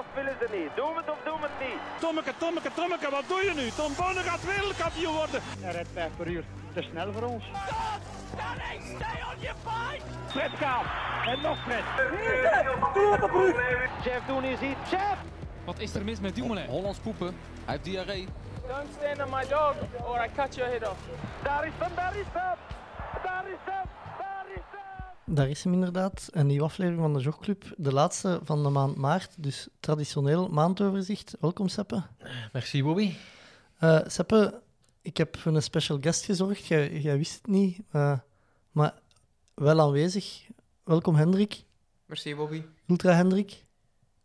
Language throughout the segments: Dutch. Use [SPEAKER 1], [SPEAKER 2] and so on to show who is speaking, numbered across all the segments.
[SPEAKER 1] niet? Doe het of doe het niet?
[SPEAKER 2] Tommeke, Tommeke, Tommeke, wat doe je nu? Tom Bonne gaat wereldkampioen worden.
[SPEAKER 3] Hij rijdt vijf per uur te snel voor ons.
[SPEAKER 2] Fred gaat. En nog Fred.
[SPEAKER 1] Jeff Doen is hier. Jeff!
[SPEAKER 4] Wat is er mis met Dumoulin?
[SPEAKER 5] Hollands poepen. Hij heeft diarree.
[SPEAKER 6] Don't stand on my dog or I cut your head off.
[SPEAKER 1] Daar is hem, daar is hem! Daar is hem! Daar is hem!
[SPEAKER 7] Daar is hem inderdaad, een nieuwe aflevering van de Jogclub, de laatste van de maand maart, dus traditioneel maandoverzicht. Welkom Seppe.
[SPEAKER 8] Merci Bobby.
[SPEAKER 7] Eh, Seppe, ik heb voor een special guest gezorgd, jij, jij wist het niet, eh, maar wel aanwezig. Welkom Hendrik,
[SPEAKER 8] Merci Bobby.
[SPEAKER 7] ultra Hendrik.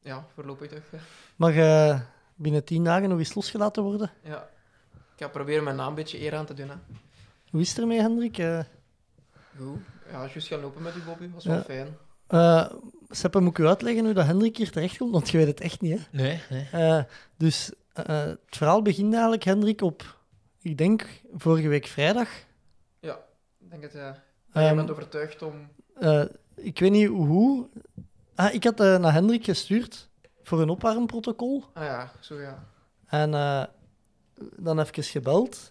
[SPEAKER 8] Ja, voorlopig toch. hè.
[SPEAKER 7] Mag eh, binnen tien dagen nog eens losgelaten worden?
[SPEAKER 8] Ja. Ik ga proberen mijn naam een beetje eer aan te doen. Hè.
[SPEAKER 7] Hoe is het ermee Hendrik? Eh,
[SPEAKER 8] Goed. Ja, juist gaan lopen met die Bobby, was wel
[SPEAKER 7] Ja.
[SPEAKER 8] fijn.
[SPEAKER 7] eh, Seppe, moet ik u uitleggen hoe dat Hendrik hier terechtkomt, want je weet het echt niet hè?
[SPEAKER 8] Nee, nee.
[SPEAKER 7] Eh, dus eh, het verhaal begint eigenlijk, Hendrik, op, ik denk, vorige week vrijdag.
[SPEAKER 8] Ja, ik denk dat eh, jij
[SPEAKER 7] Ehm,
[SPEAKER 8] bent overtuigd om...
[SPEAKER 7] eh, ik weet niet hoe. Ah, ik had eh, naar Hendrik gestuurd voor een opwarmprotocol.
[SPEAKER 8] Ah ja, zo ja.
[SPEAKER 7] En eh, dan even gebeld.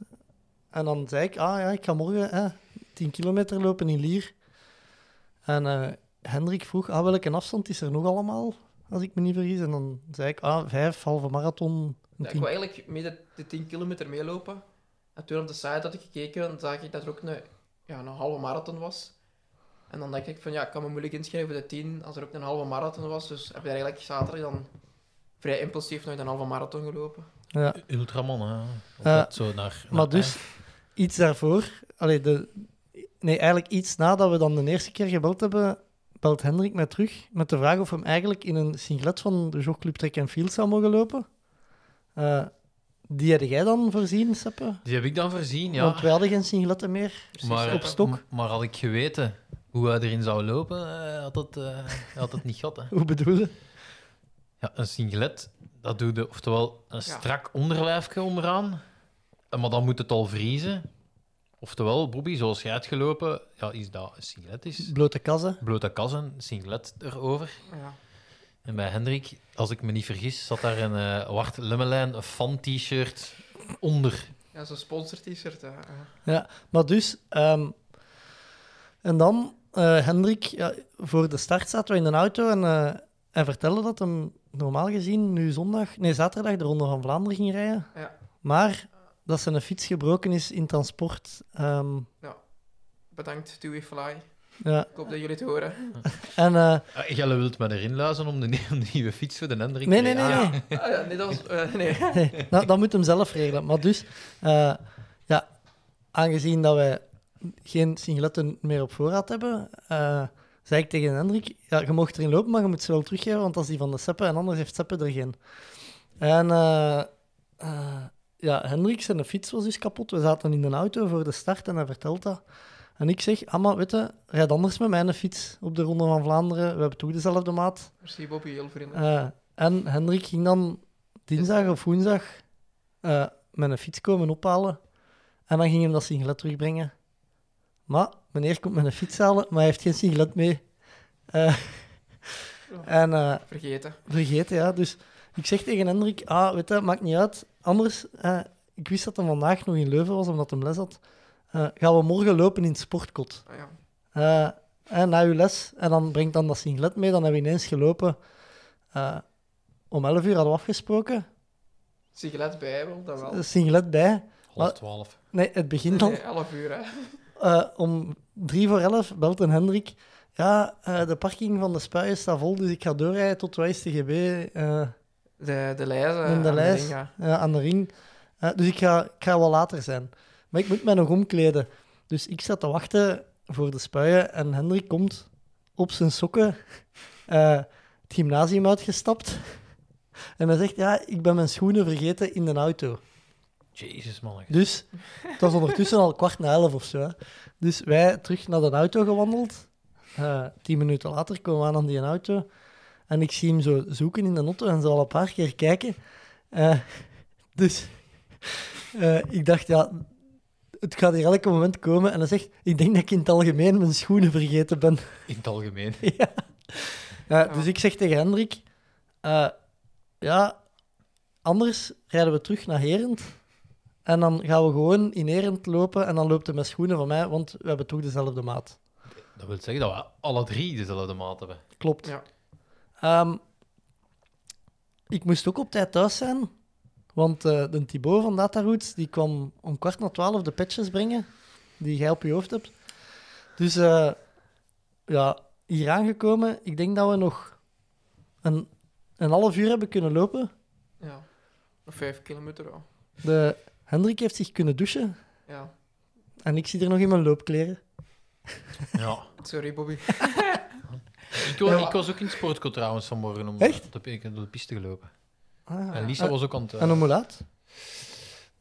[SPEAKER 7] En dan zei ik, ah ja, ik ga morgen eh, 10 kilometer lopen in Lier. En eh, Hendrik vroeg, ah, welke afstand is er nog allemaal? Als ik me niet vergis. En dan zei ik, ah, vijf, halve marathon. een
[SPEAKER 8] Ja, ik
[SPEAKER 7] 10.
[SPEAKER 8] wou eigenlijk mee de, de 10 kilometer meelopen. En toen op de site had ik gekeken, dan zag ik dat er ook een, ja, een halve marathon was. En dan dacht ik van ja, ik kan me moeilijk inschrijven voor de 10 als er ook een halve marathon was. Dus heb ik eigenlijk zaterdag dan vrij impulsief nog een halve marathon gelopen.
[SPEAKER 7] Ja.
[SPEAKER 9] Ultraman, hè. Of
[SPEAKER 7] Eh,
[SPEAKER 9] dat zo naar,
[SPEAKER 7] Maar
[SPEAKER 9] naar
[SPEAKER 7] dus iets daarvoor, allee, de, nee, eigenlijk iets nadat we dan de eerste keer gebeld hebben, belt Hendrik mij terug met de vraag of hem eigenlijk in een singlet van de jogclub Trek en Field zou mogen lopen. Eh, die had jij dan voorzien, Seppe?
[SPEAKER 9] Die heb ik dan voorzien, ja.
[SPEAKER 7] Want wij hadden geen singletten meer.
[SPEAKER 8] Precies,
[SPEAKER 9] maar, eh,
[SPEAKER 8] ja.
[SPEAKER 7] op stok.
[SPEAKER 9] m- Maar had ik geweten hoe hij erin zou lopen, eh, had, het, eh, had het niet gehad. Hè.
[SPEAKER 7] Hoe bedoel je?
[SPEAKER 9] Ja, een singlet, dat doe je, oftewel een
[SPEAKER 8] Ja.
[SPEAKER 9] strak onderlijfje onderaan, eh, maar dan moet het al vriezen. Oftewel, Bobby, zoals jij hebt gelopen, ja, is dat een singlet is.
[SPEAKER 7] Blote kassen.
[SPEAKER 9] Blote kassen, singlet erover.
[SPEAKER 8] Ja.
[SPEAKER 9] En bij Hendrik, als ik me niet vergis, zat daar een eh Wart Lemmelijn fan-t-shirt onder.
[SPEAKER 8] Ja, zo'n eh, sponsor-t-shirt. hè. Ja.
[SPEAKER 7] Maar dus, ehm, en dan, eh, Hendrik, ja, voor de start zaten we in een auto en eh, hij vertelde dat hem normaal gezien nu zondag, nee, zaterdag de Ronde van Vlaanderen ging rijden.
[SPEAKER 8] Ja.
[SPEAKER 7] Maar dat zijn fiets gebroken is in transport. ehm,
[SPEAKER 8] Bedankt, Do We Fly.
[SPEAKER 7] ja.
[SPEAKER 8] Ik hoop dat jullie het horen.
[SPEAKER 7] En eh,
[SPEAKER 9] Eh, Jelle wilt me erin luizen om de, nie- om de nieuwe fiets voor de Hendrik
[SPEAKER 7] nee,
[SPEAKER 9] te
[SPEAKER 7] nee, nee,
[SPEAKER 9] rijden.
[SPEAKER 7] nee.
[SPEAKER 8] Ah, ja, nee, dat was... eh, nee.
[SPEAKER 7] Nee, dat, dat moet hem zelf regelen. Maar dus, eh, ja, aangezien dat wij geen singletten meer op voorraad hebben, eh, zei ik tegen Hendrik, ja, je mocht erin lopen, maar je moet ze wel teruggeven, want dat is die van de Seppe en anders heeft Seppe er geen. En eh, eh, ja, Hendrik, zijn fiets was dus kapot. We zaten in een auto voor de start en hij vertelt dat. En ik zeg, ah, maar weet je, rijd anders met mijn fiets op de Ronde van Vlaanderen. We hebben toch dezelfde maat.
[SPEAKER 8] Merci, Bobby, heel vriendelijk.
[SPEAKER 7] Eh, en Hendrik ging dan dinsdag of woensdag eh, met een fiets komen ophalen. En dan ging hem dat singlet terugbrengen. Maar meneer komt met een fiets halen, maar hij heeft geen singlet mee. Eh, en eh,
[SPEAKER 8] Vergeten.
[SPEAKER 7] vergeten, ja. Dus ik zeg tegen Hendrik, ah, weet je, maakt niet uit. Anders, eh, ik wist dat hij vandaag nog in Leuven was, omdat hij les had. Eh, gaan we morgen lopen in het sportkot.
[SPEAKER 8] Ah, ja.
[SPEAKER 7] Eh, en na uw les. En dan brengt dan dat singlet mee. Dan hebben we ineens gelopen. Eh, om 11 uur hadden we afgesproken.
[SPEAKER 8] Sigaret bij, wel, dat wel.
[SPEAKER 7] Eh, Singlet bij.
[SPEAKER 5] Half
[SPEAKER 7] Maar-
[SPEAKER 5] twaalf.
[SPEAKER 7] Nee, het begint dan.
[SPEAKER 8] Oh. Nee, 11 uur, hè.
[SPEAKER 7] Eh, om drie voor elf belt een Hendrik. Ja, eh, de parking van de spuien staat vol, dus ik ga doorrijden tot WSTGB eh
[SPEAKER 8] De, de lijst. eh,
[SPEAKER 7] in
[SPEAKER 8] aan
[SPEAKER 7] de lijst
[SPEAKER 8] ring, ja.
[SPEAKER 7] eh, aan de ring. Eh, dus ik ga, ik ga wel later zijn. Maar ik moet mij nog omkleden. Dus ik sta te wachten voor de spuien en Hendrik komt op zijn sokken eh, het gymnasium uitgestapt. En hij zegt, ja, ik ben mijn schoenen vergeten in de auto.
[SPEAKER 9] Jezus, man.
[SPEAKER 7] Dus het was ondertussen al kwart na elf of zo. hè. Dus wij terug naar de auto gewandeld. Eh, tien minuten later komen we aan aan die auto. En ik zie hem zo zoeken in de auto en zo al een paar keer kijken. Eh, dus eh, ik dacht, ja, het gaat hier elk moment komen. En hij zegt, ik denk dat ik in het algemeen mijn schoenen vergeten ben.
[SPEAKER 9] In het algemeen.
[SPEAKER 7] Ja. Eh, dus ik zeg tegen Hendrik, eh, ja, anders rijden we terug naar Herent. En dan gaan we gewoon in Herent lopen en dan loopt hij met schoenen van mij, want we hebben toch dezelfde maat.
[SPEAKER 9] Dat wil zeggen dat we alle drie dezelfde maat hebben.
[SPEAKER 7] Klopt.
[SPEAKER 8] Ja.
[SPEAKER 7] Ehm, ik moest ook op tijd thuis zijn, want eh, de Thibaut van Dataroots die kwam om kwart na twaalf de patches brengen die jij op je hoofd hebt. Dus eh, ja, hier aangekomen, ik denk dat we nog een, een half uur hebben kunnen lopen.
[SPEAKER 8] Ja. Nog vijf kilometer, ja.
[SPEAKER 7] De Hendrik heeft zich kunnen douchen
[SPEAKER 8] ja.
[SPEAKER 7] en ik zie er nog in mijn loopkleren.
[SPEAKER 9] Ja.
[SPEAKER 8] Sorry, Bobby.
[SPEAKER 9] Ik, was,
[SPEAKER 8] Ja.
[SPEAKER 9] ik was ook in het sportcoat trouwens vanmorgen om
[SPEAKER 7] Echt?
[SPEAKER 9] eh, Op, de, ik heb door de piste gelopen.
[SPEAKER 7] Ah.
[SPEAKER 9] En Lisa
[SPEAKER 7] Ah,
[SPEAKER 9] was ook aan het... eh,
[SPEAKER 7] En om hoe laat?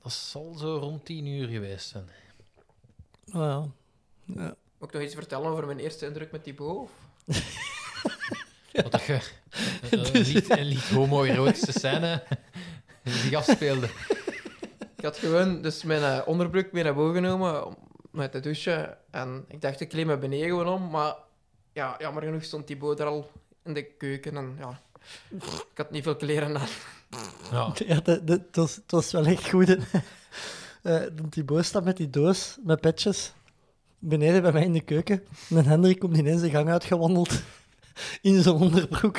[SPEAKER 9] dat zal zo rond tien uur geweest zijn.
[SPEAKER 7] Ah, ja.
[SPEAKER 8] Moet ik nog iets vertellen over mijn eerste indruk met Thibaut? of?
[SPEAKER 9] Wat dat je... Een
[SPEAKER 7] Dus-
[SPEAKER 9] lied, een lied homo-erotische scène die zich afspeelde.
[SPEAKER 8] Ik had gewoon dus mijn eh, onderbroek mee naar boven genomen om met te douchen. En ik dacht, ik kleed me beneden gewoon om. Maar ja, jammer genoeg stond Thibaut er al in de keuken. En ja, ik had niet veel kleren aan.
[SPEAKER 9] Ja.
[SPEAKER 7] Ja, dat, dat, het was, het was wel echt goed. hè. Eh, de Thibaut staat met die doos, met petjes, beneden bij mij in de keuken. En Hendrik komt ineens de gang uitgewandeld in zijn onderbroek.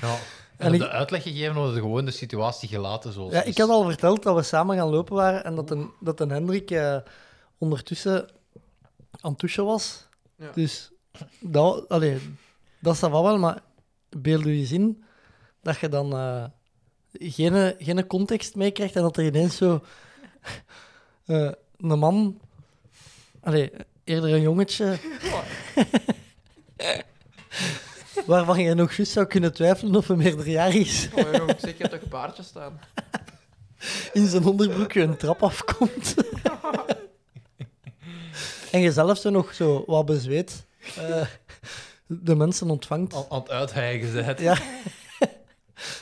[SPEAKER 9] ja. En,
[SPEAKER 7] En ik-
[SPEAKER 9] de uitleg gegeven hadden ze gewoon de situatie gelaten zoals
[SPEAKER 7] Ja,
[SPEAKER 9] het
[SPEAKER 7] ik
[SPEAKER 9] is.
[SPEAKER 7] had al verteld dat we samen gaan lopen waren en dat een, dat een Hendrik eh, ondertussen aan het douchen was.
[SPEAKER 8] Ja.
[SPEAKER 7] Dus dat, allee, dat is dan wel, maar beeld u eens in dat je dan eh, geen, geen context meekrijgt en dat er ineens zo eh, een man, allee, eerder een jongetje, waarvan je nog juist zou kunnen twijfelen of hij meerderjarig is.
[SPEAKER 8] Maar ja, ik zeg, je hebt toch baardje staan?
[SPEAKER 7] in zijn onderbroekje een trap afkomt. en je zelf zo nog zo wat bezweet eh, de mensen ontvangt.
[SPEAKER 9] Aan, aan het uithijgen ze het.
[SPEAKER 7] Ja.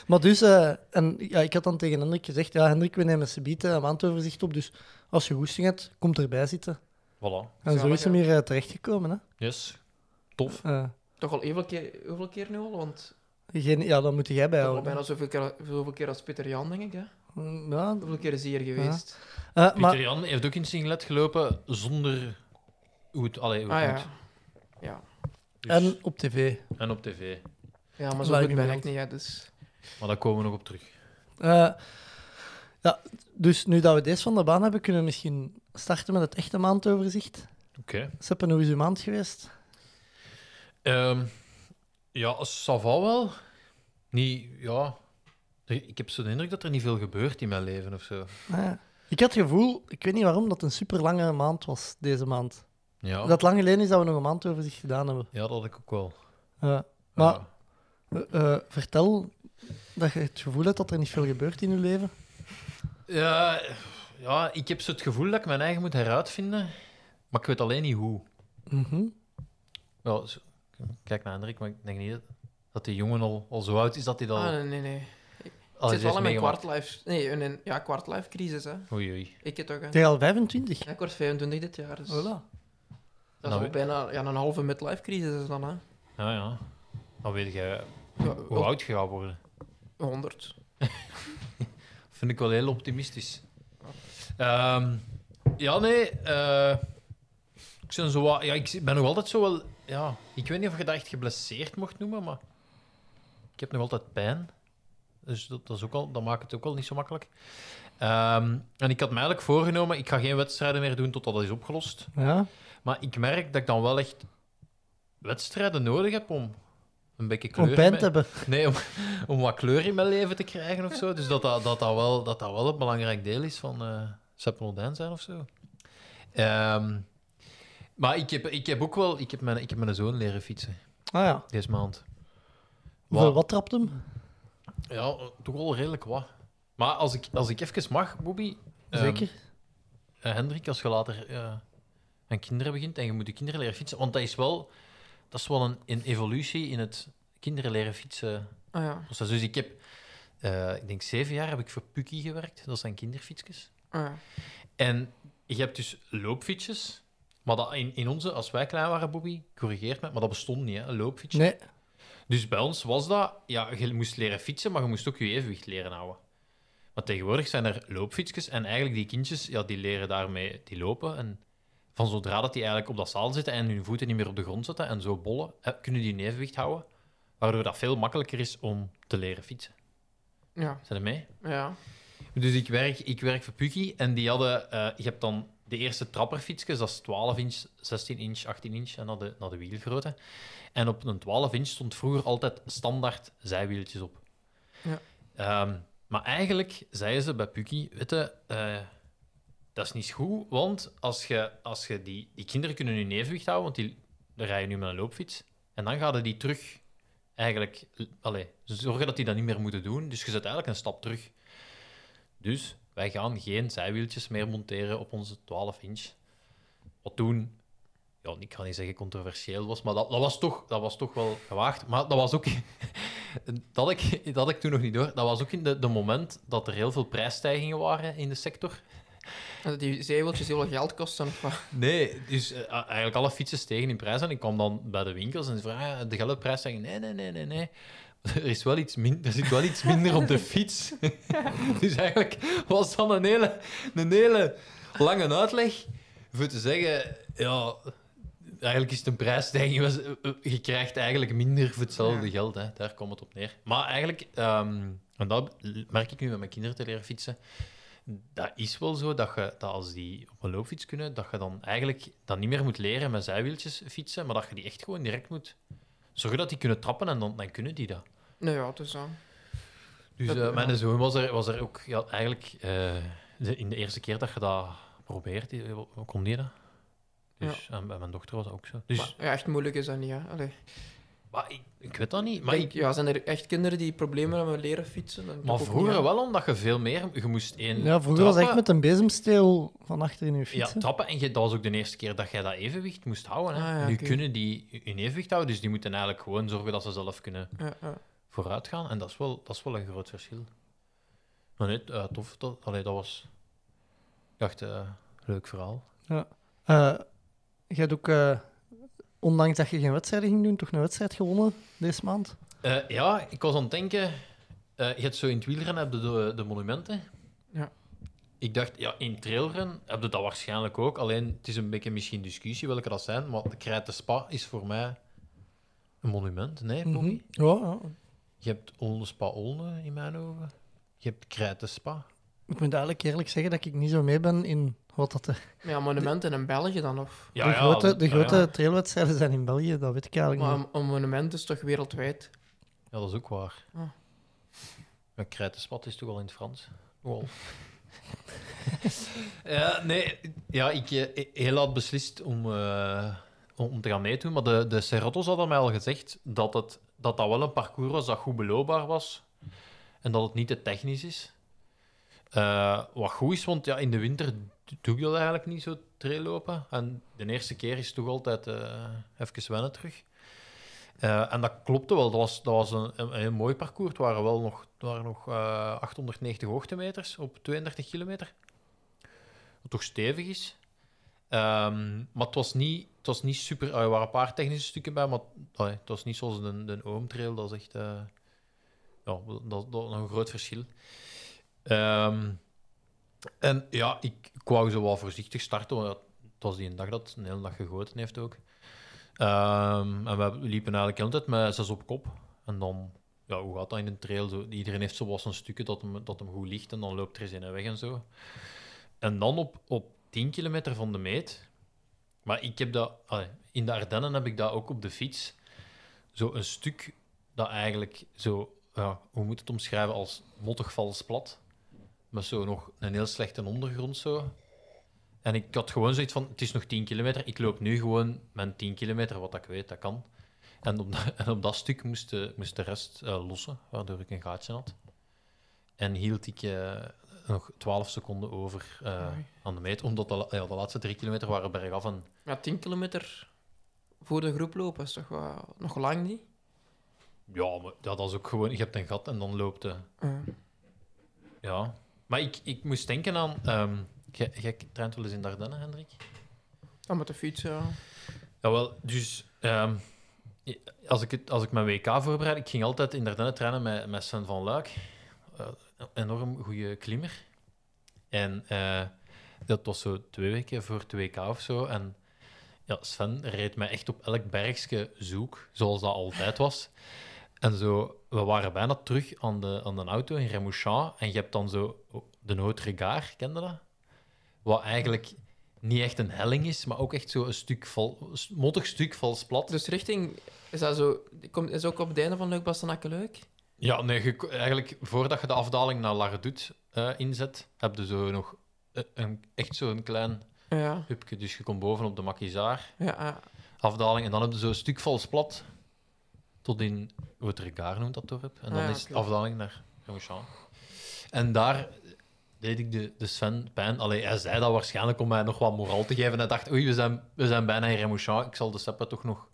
[SPEAKER 7] Maar dus, eh, en ja, ik had dan tegen Hendrik gezegd: Ja, Hendrik, we nemen subiet een maandoverzicht op. Dus als je goesting hebt, kom erbij zitten.
[SPEAKER 9] Voilà.
[SPEAKER 7] En zo
[SPEAKER 8] Zalig,
[SPEAKER 7] is hem
[SPEAKER 8] ja.
[SPEAKER 7] hier eh, terechtgekomen. Hè?
[SPEAKER 9] Yes. Tof.
[SPEAKER 7] Eh,
[SPEAKER 8] Toch al hoeveel keer, hoeveel keer nu al? Want
[SPEAKER 7] geen, ja, dan moet jij
[SPEAKER 8] toch al
[SPEAKER 7] bijhouden.
[SPEAKER 8] bijna zoveel keer, zoveel keer als Peter Jan, denk ik. Hè?
[SPEAKER 7] Ja,
[SPEAKER 8] Hoeveel keer is hij hier geweest?
[SPEAKER 7] eh,
[SPEAKER 9] Pieter
[SPEAKER 7] maar
[SPEAKER 9] Jan heeft ook in singlet gelopen zonder... Hoe het, allee, hoe
[SPEAKER 8] Ah
[SPEAKER 9] het
[SPEAKER 8] ja.
[SPEAKER 9] moet. Dus-
[SPEAKER 7] en op tv.
[SPEAKER 9] en op tv.
[SPEAKER 8] Ja,
[SPEAKER 7] Lijkt
[SPEAKER 8] maar zo
[SPEAKER 7] me
[SPEAKER 8] goed ben
[SPEAKER 7] wild.
[SPEAKER 8] ik niet, hè, dus...
[SPEAKER 9] Maar daar komen we nog op terug.
[SPEAKER 7] Eh, ja, dus nu dat we deze van de baan hebben, kunnen we misschien starten met het echte maandoverzicht.
[SPEAKER 9] Oké.
[SPEAKER 7] Seppen, hoe is uw maand geweest?
[SPEAKER 9] Ehm, ja, ça va wel. Niet, ja. Er- Ik heb zo de indruk dat er niet veel gebeurt in mijn leven of zo.
[SPEAKER 7] Ah ja. ik had het gevoel, ik weet niet waarom, dat het een super lange maand was deze maand.
[SPEAKER 9] Ja,
[SPEAKER 7] Dat lang geleden is dat we nog een maandoverzicht gedaan hebben.
[SPEAKER 9] ja dat had ik ook wel.
[SPEAKER 7] Ja. maar
[SPEAKER 9] Ja.
[SPEAKER 7] eh, eh, vertel dat je het gevoel hebt dat er niet veel gebeurt in je leven.
[SPEAKER 9] Ja, ja, ik heb zo het gevoel dat ik mijn eigen moet heruitvinden, maar ik weet alleen niet hoe.
[SPEAKER 7] Mhm.
[SPEAKER 9] Ja, zo- ik kijk naar Hendrik, maar ik denk niet dat- dat die jongen al, al zo oud is dat hij
[SPEAKER 7] Oh.
[SPEAKER 9] dat al,
[SPEAKER 8] Ah, nee, nee, nee.
[SPEAKER 9] al
[SPEAKER 8] ik zit
[SPEAKER 9] eens heeft
[SPEAKER 8] wel in mijn
[SPEAKER 9] meegemaakt.
[SPEAKER 8] kwartlife... Nee, in een ja, kwartlife-crisis, hè.
[SPEAKER 9] Oei, oei.
[SPEAKER 8] Ik het toch, hè.
[SPEAKER 7] Het is al 25.
[SPEAKER 8] Ja, ik word 25 dit jaar, dus...
[SPEAKER 7] Voilà.
[SPEAKER 8] Dat is
[SPEAKER 9] Nou,
[SPEAKER 8] al bijna ja, een halve midlife-crisis dan, hè.
[SPEAKER 9] Ja, ja. Dan weet jij
[SPEAKER 8] Ja,
[SPEAKER 9] hoe oud je gaat worden.
[SPEAKER 8] 100.
[SPEAKER 9] Vind ik wel heel optimistisch. Ehm, ja, nee. eh, ik, ben zo wat- ja, ik ben nog altijd zo wel. Ja, ik weet niet of je dat echt geblesseerd mocht noemen, maar ik heb nog altijd pijn. Dus dat, dat, is ook al, dat maakt het ook al niet zo makkelijk. Ehm, en ik had me eigenlijk voorgenomen: ik ga geen wedstrijden meer doen totdat dat is opgelost.
[SPEAKER 7] Ja.
[SPEAKER 9] Maar ik merk dat ik dan wel echt wedstrijden nodig heb om een beetje kleur
[SPEAKER 7] Om
[SPEAKER 9] in
[SPEAKER 7] pijn
[SPEAKER 9] mijn-
[SPEAKER 7] te hebben.
[SPEAKER 9] Nee, om, om wat kleur in mijn leven te krijgen of zo. Dus dat dat, dat, dat, wel, dat, dat wel een belangrijk deel is van eh Seppelodijn zijn of zo. Ehm, maar ik heb, ik heb ook wel... Ik heb, mijn, ik heb mijn zoon leren fietsen
[SPEAKER 7] Ah ja.
[SPEAKER 9] deze maand.
[SPEAKER 7] Hoeveel wat trapt hem?
[SPEAKER 9] Ja, toch wel redelijk wat. Maar als ik, als ik even mag, Bobby... ehm,
[SPEAKER 7] Zeker.
[SPEAKER 9] eh, Hendrik, als je later eh aan kinderen begint en je moet de kinderen leren fietsen... Want dat is wel, dat is wel een, een evolutie in het kinderen leren fietsen
[SPEAKER 8] Ah ja,
[SPEAKER 9] Dus, dat is- dus ik heb, eh, ik denk zeven jaar heb ik voor Puki gewerkt. Dat zijn kinderfietsjes.
[SPEAKER 8] ah ja.
[SPEAKER 9] En je hebt dus loopfietsjes. Maar dat in, in onze, als wij klein waren, Bobby, corrigeert me, maar dat bestond niet, hè, een loopfietsje.
[SPEAKER 7] Nee.
[SPEAKER 9] Dus bij ons was dat, ja, je moest leren fietsen, maar je moest ook je evenwicht leren houden. Want tegenwoordig zijn er loopfietsjes en eigenlijk die kindjes, ja, die leren daarmee, die lopen. En van zodra dat die eigenlijk op dat zadel zitten en hun voeten niet meer op de grond zetten en zo bollen, eh, kunnen die een evenwicht houden. Waardoor dat veel makkelijker is om te leren fietsen.
[SPEAKER 8] Ja,
[SPEAKER 9] Zijn er mee?
[SPEAKER 8] ja.
[SPEAKER 9] Dus ik werk, ik werk voor Puggy en die hadden... eh, je hebt dan de eerste trapperfietsjes, dat is 12 inch, 16 inch, 18 inch, en naar de, naar de wielgrootte. En op een 12 inch stond vroeger altijd standaard zijwieltjes op.
[SPEAKER 8] Ja.
[SPEAKER 9] Ehm, maar eigenlijk zeiden ze bij Puggy, weet je, eh, dat is niet goed, want als je, als je die, die kinderen kunnen hun evenwicht houden, want die rijden nu met een loopfiets, en dan gaan die terug eigenlijk... l- Allee, zorgen dat die dat niet meer moeten doen, dus je zet eigenlijk een stap terug. Dus wij gaan geen zijwieltjes meer monteren op onze 12 inch. Wat toen, ja, ik kan niet zeggen controversieel was, maar dat, dat, was, toch, dat was toch wel gewaagd. Maar dat was ook, dat had ik, dat had ik toen nog niet door, dat was ook in de, de moment dat er heel veel prijsstijgingen waren in de sector.
[SPEAKER 8] En dat die zeeweltjes heel veel geld kosten. Of wat.
[SPEAKER 9] Nee, dus eh, a- eigenlijk alle fietsen stegen in prijs. En ik kwam dan bij de winkels en ze vragen, ah, de geldprijs zeggen, nee, nee, nee, nee, nee. Er, is wel iets min- er zit wel iets minder op de fiets. dus eigenlijk was dat een hele, een hele lange uitleg voor te zeggen, ja, eigenlijk is het een prijsstijging. was- eh, eh, Je krijgt eigenlijk minder voor hetzelfde
[SPEAKER 8] Ja.
[SPEAKER 9] geld. Hè. Daar komt het op neer. Maar eigenlijk, ehm, en dat merk ik nu met mijn kinderen te leren fietsen, dat is wel zo dat, je, dat als die op een loopfiets kunnen, dat je dan eigenlijk dan niet meer moet leren met zijwieltjes fietsen, maar dat je die echt gewoon direct moet zorgen dat die kunnen trappen en dan, dan kunnen die dat.
[SPEAKER 8] Nee, ja, dus dan.
[SPEAKER 9] Dus
[SPEAKER 8] Dat-
[SPEAKER 9] eh,
[SPEAKER 8] ja.
[SPEAKER 9] mijn zoon was er, was er ook ja, eigenlijk eh, de, in de eerste keer dat je dat probeert, eh, hoe kon die dat? Dus, En bij mijn dochter was dat ook zo. Dus
[SPEAKER 8] Maar, ja, echt moeilijk is dat niet, hè. Allee.
[SPEAKER 9] maar ik, ik weet dat niet. Maar,
[SPEAKER 8] Denk,
[SPEAKER 9] ik,
[SPEAKER 8] ja, zijn er echt kinderen die problemen hebben met leren fietsen? Dan
[SPEAKER 9] maar
[SPEAKER 8] toch ook
[SPEAKER 9] vroeger
[SPEAKER 8] niet, hè.
[SPEAKER 9] wel, omdat je veel meer... Je moest één
[SPEAKER 7] Ja, vroeger was echt
[SPEAKER 9] trappen-
[SPEAKER 7] met een bezemsteel van achter in je
[SPEAKER 9] Ja,
[SPEAKER 7] fiets. hè.
[SPEAKER 9] trappen. En je, dat was ook de eerste keer dat jij dat evenwicht moest houden. Hè.
[SPEAKER 8] Ah, ja,
[SPEAKER 9] nu
[SPEAKER 8] oké.
[SPEAKER 9] kunnen die hun evenwicht houden, dus die moeten eigenlijk gewoon zorgen dat ze zelf kunnen
[SPEAKER 8] Ja, ja.
[SPEAKER 9] vooruit gaan. En dat is wel, dat is wel een groot verschil. Maar nee, eh, tof. Dat, allee, dat was... Ik dacht, eh, leuk verhaal.
[SPEAKER 7] Eh, jij hebt ook, eh, ondanks dat je geen wedstrijd ging doen, toch een wedstrijd gewonnen deze maand.
[SPEAKER 9] Eh, ja, ik was aan het denken... eh, je hebt zo in het wielrennen heb je de, de monumenten.
[SPEAKER 8] Ja.
[SPEAKER 9] Ik dacht, ja, in trailren heb je dat waarschijnlijk ook. Alleen, het is een beetje misschien discussie welke dat zijn. Maar de Krijt de Spa is voor mij een monument. Nee, Bobby?
[SPEAKER 7] Mhm. Ja, ja.
[SPEAKER 9] Je hebt Olne Spa Olne in mijn ogen. Je hebt Krijt de Spa.
[SPEAKER 7] Ik moet eigenlijk eerlijk zeggen dat ik niet zo mee ben in wat dat de,
[SPEAKER 8] Maar ja, monumenten in België dan, of?
[SPEAKER 9] Ja,
[SPEAKER 7] de
[SPEAKER 9] ja,
[SPEAKER 7] grote, de
[SPEAKER 9] ja,
[SPEAKER 7] grote
[SPEAKER 9] Ja,
[SPEAKER 7] trailwedstrijden zijn in België, dat weet ik eigenlijk
[SPEAKER 8] Maar
[SPEAKER 7] niet.
[SPEAKER 8] een, een monument is toch wereldwijd?
[SPEAKER 9] Ja, dat is ook waar.
[SPEAKER 8] Ah.
[SPEAKER 9] Maar Krijt de Spa is toch al in het Frans? Wow. ja, nee. Ja, ik eh, heel had beslist om, eh, om om te gaan meedoen. Maar de, de Serratos hadden mij al gezegd dat, het, dat dat wel een parcours was dat goed beloopbaar was. En dat het niet te technisch is. Eh, wat goed is, want ja, in de winter d- doe ik dat eigenlijk niet zo trail lopen. En de eerste keer is toch altijd eh even wennen terug. Eh, en dat klopte wel. Dat was, dat was een, een, een heel mooi parcours. Het waren wel nog, het waren nog eh, 890 hoogtemeters op 32 kilometer. Wat toch stevig is. Ehm, maar het was niet, het was niet super... ah, er waren een paar technische stukken bij, maar allee, het was niet zoals een, een oomtrail. Dat is echt... eh, ja, dat, dat is een groot verschil. Ehm, en ja, ik, ik wou zo wel voorzichtig starten. Want ja, het was die een dag dat het een hele dag gegoten heeft ook. Ehm, en we liepen eigenlijk altijd met zes op kop. En dan, ja, hoe gaat dat in een trail? Zo, iedereen heeft zo wel zijn stukken dat hem, dat hem goed ligt en dan loopt er eens in en weg en zo. En dan op, op 10 kilometer van de meet. Maar ik heb dat, allee, in de Ardennen heb ik dat ook op de fiets. Zo een stuk dat eigenlijk zo, ja, hoe moet het omschrijven, als mottig vals plat. Met zo nog een heel slechte ondergrond zo. En ik had gewoon zoiets van, het is nog 10 kilometer. Ik loop nu gewoon mijn 10 kilometer, wat ik weet, dat kan. En op, dat- en op dat stuk moest de, moest de rest eh, lossen, waardoor ik een gaatje had. En hield ik eh, nog 12 seconden over eh,
[SPEAKER 8] Amai.
[SPEAKER 9] aan de meet, omdat de, la- ja, de laatste drie kilometer waren bergaf. En,
[SPEAKER 8] Ja, 10 kilometer voor de groep lopen is toch wel- nog lang niet?
[SPEAKER 9] ja, maar ja, dat is ook gewoon, je hebt een gat en dan loopt de...
[SPEAKER 8] Ja.
[SPEAKER 9] Ja, maar ik, ik moest denken aan... ehm, jij- Jij traint wel eens in Dardenne, Hendrik?
[SPEAKER 8] Dan met de fiets, ja.
[SPEAKER 9] Jawel, dus ehm, Als ik, het, als ik mijn WK voorbereid, ik ging altijd inderdaad trainen met, met Sven van Luik. Eh, een enorm goede klimmer. En eh, dat was zo twee weken voor het WK of zo. En ja, Sven reed mij echt op elk bergje zoek, zoals dat altijd was. En zo, we waren bijna terug aan de, aan de auto in Remouchamp. En je hebt dan zo de Nootregaar, kende dat? Wat eigenlijk niet echt een helling is, maar ook echt zo een stuk val, s- mottig stuk vals plat.
[SPEAKER 8] Dus richting... Is dat zo... Komt, is ook op het einde van Leuk Bastenakke Leuk?
[SPEAKER 9] Ja, nee, je, eigenlijk voordat je de afdaling naar Lardoet eh, inzet, heb je zo nog eh, een, echt zo'n klein
[SPEAKER 8] Ja.
[SPEAKER 9] hupje. Dus je komt boven op de Makizaar,
[SPEAKER 8] Ja, eh, ja.
[SPEAKER 9] afdaling, en dan heb je zo'n stuk vals plat tot in Wotregaar noemt dat dorp. En dan
[SPEAKER 8] Ah, ja,
[SPEAKER 9] is het
[SPEAKER 8] oké.
[SPEAKER 9] afdaling naar Remouchamp. En daar deed ik de, de Sven pijn. Allee, hij zei dat waarschijnlijk om mij nog wat moraal te geven. Hij dacht, oei, we zijn, we zijn bijna in Remouchamp. Ik zal de Seppe toch nog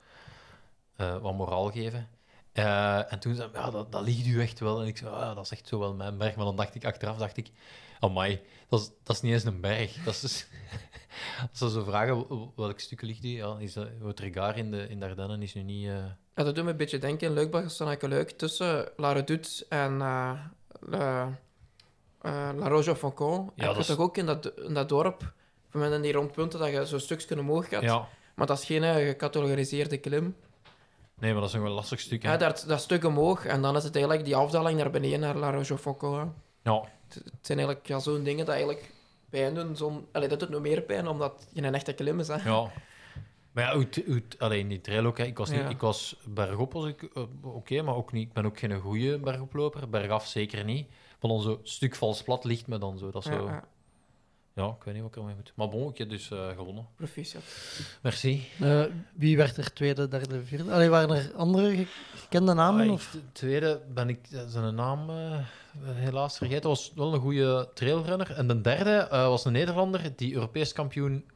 [SPEAKER 9] eh, wat moraal geven. Eh, en toen zei hij, ja, dat, dat ligt u echt wel. En ik zei, ah, ja, dat is echt zo wel mijn berg. Maar dan dacht ik achteraf, dacht ik, amai, dat is, dat is niet eens een berg. Dat is dus- Als ze zo vragen, w- welk stuk ligt die? Ja, is dat, Wotregaar in de, in de Ardennen is nu niet... eh,
[SPEAKER 8] Ja, dat doet me een beetje denken. Leuk Bastenakke Leuk tussen La Redoute en eh, La, eh, La Roche-au-Foncon.
[SPEAKER 9] Ja,
[SPEAKER 8] Ja,
[SPEAKER 9] dat
[SPEAKER 8] dat
[SPEAKER 9] is-
[SPEAKER 8] toch ook in dat, in dat dorp, van mensen die rondpunten, dat je zo'n stukje omhoog gaat.
[SPEAKER 9] Ja,
[SPEAKER 8] Maar dat is geen eh, gecategoriseerde klim.
[SPEAKER 9] nee, maar dat is nog een lastig stuk. Hè?
[SPEAKER 8] Ja, dat, dat stuk omhoog en dan is het eigenlijk die afdaling naar beneden naar La Roche-au-Foncon. hè.
[SPEAKER 9] Ja.
[SPEAKER 8] Het zijn eigenlijk ja, zo'n dingen dat eigenlijk pijn doen. Zo'n... Allee, dat doet nog meer pijn omdat je een echte klim is. Hè.
[SPEAKER 9] Ja. Maar ja, uit, uit, alleen in die trail ook. Hè. Ik was, niet,
[SPEAKER 8] Ja.
[SPEAKER 9] ik was bergop was ik eh, oké, maar ook niet, ik ben ook geen goede bergoploper. Bergaf zeker niet. Maar dan zo stuk vals plat ligt me dan zo. Dat is
[SPEAKER 8] Ja,
[SPEAKER 9] zo
[SPEAKER 8] ja,
[SPEAKER 9] ja, ik weet niet wat ik ermee moet. Maar bon, ik heb dus eh, gewonnen.
[SPEAKER 8] proficiat.
[SPEAKER 9] Merci.
[SPEAKER 7] Eh, wie werd er tweede, derde, vierde? Allee, waren er andere ge- gekende namen?
[SPEAKER 9] Ah,
[SPEAKER 7] of?
[SPEAKER 9] ik- t- tweede ben ik eh, zijn naam eh, helaas vergeten. Dat was wel een goede trailrunner. En de derde eh, was een Nederlander die Europees kampioen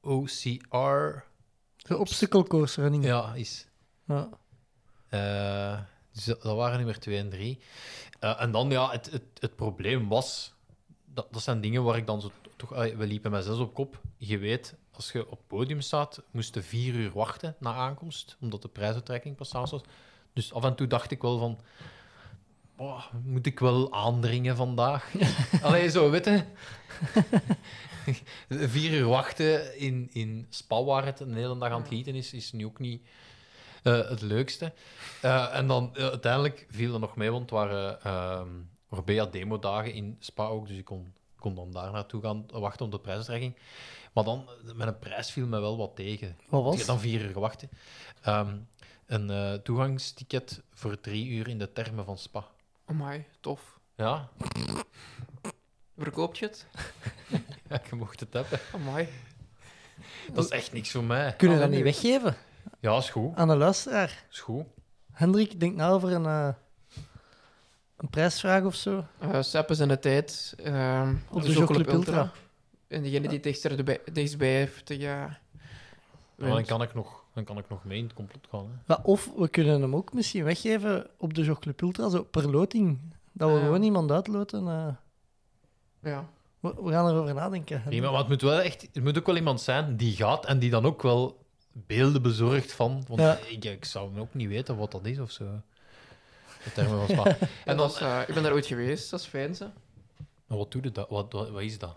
[SPEAKER 9] OCR
[SPEAKER 7] De obstacle course running.
[SPEAKER 9] ja, is.
[SPEAKER 7] Ja.
[SPEAKER 9] Eh, dus dat, dat waren nummer 2 en 3. en dan, ja, het, het, het probleem was... Dat, dat zijn dingen waar ik dan zo... t- Toch, ah, we liepen met zes op kop. Je weet, als je op het podium staat, moest je vier uur wachten na aankomst, omdat de prijsuitreiking pas s'avonds was. Dus af en toe dacht ik wel van... "Boah, moet ik wel aandringen vandaag? Allee, zo, weet je? Vier uur wachten in, in Spa, waar het een hele dag aan het gieten is, is nu ook niet eh, het leukste. Eh, en dan eh, uiteindelijk viel er nog mee, want het waren ehm Orbea demo-dagen in Spa ook, dus ik kon, kon dan daar naartoe gaan eh, wachten op de prijsdreiging. Maar dan, eh, met een prijs viel me wel wat tegen.
[SPEAKER 7] Wat was?
[SPEAKER 9] Ik heb dan vier uur gewacht. hè. Ehm, een eh, toegangsticket voor drie uur in de termen van Spa.
[SPEAKER 8] Amai, tof.
[SPEAKER 9] Ja,
[SPEAKER 8] Verkoopt je het?
[SPEAKER 9] je mocht het hebben.
[SPEAKER 8] Amai.
[SPEAKER 9] Dat is echt niks voor mij.
[SPEAKER 7] Kunnen we dat niet weggeven
[SPEAKER 9] Ja, is goed.
[SPEAKER 7] aan de luisteraar?
[SPEAKER 9] Is goed.
[SPEAKER 7] Hendrik, denk nou over een, eh, een prijsvraag of zo.
[SPEAKER 8] Eh Sepp is in de tijd. ehm,
[SPEAKER 7] Op de Jockey Club Ultra.
[SPEAKER 8] En degene die dichter erbij- dichtstbij heeft, eh, ja.
[SPEAKER 9] Maar dan kan ik nog, dan kan ik nog mee in het complot gaan. Hè.
[SPEAKER 7] Maar of we kunnen hem ook misschien weggeven op de Jockey Club Ultra, zo per loting. Dat we
[SPEAKER 8] Ah, Ja.
[SPEAKER 7] gewoon iemand uitloten. eh.
[SPEAKER 8] Ja.
[SPEAKER 7] we, we gaan erover nadenken.
[SPEAKER 9] Prima, maar het moet, wel echt, het moet ook wel iemand zijn die gaat en die dan ook wel beelden bezorgt van. Want
[SPEAKER 7] Ja.
[SPEAKER 9] ik, ik zou ook niet weten wat dat is of zo. De termen van spa.
[SPEAKER 8] En
[SPEAKER 9] En
[SPEAKER 8] dat
[SPEAKER 9] dan,
[SPEAKER 8] is, eh, ik ben daar ooit geweest, dat is fijn. Ze.
[SPEAKER 9] maar wat doe je dat? Wat, wat, wat is dat?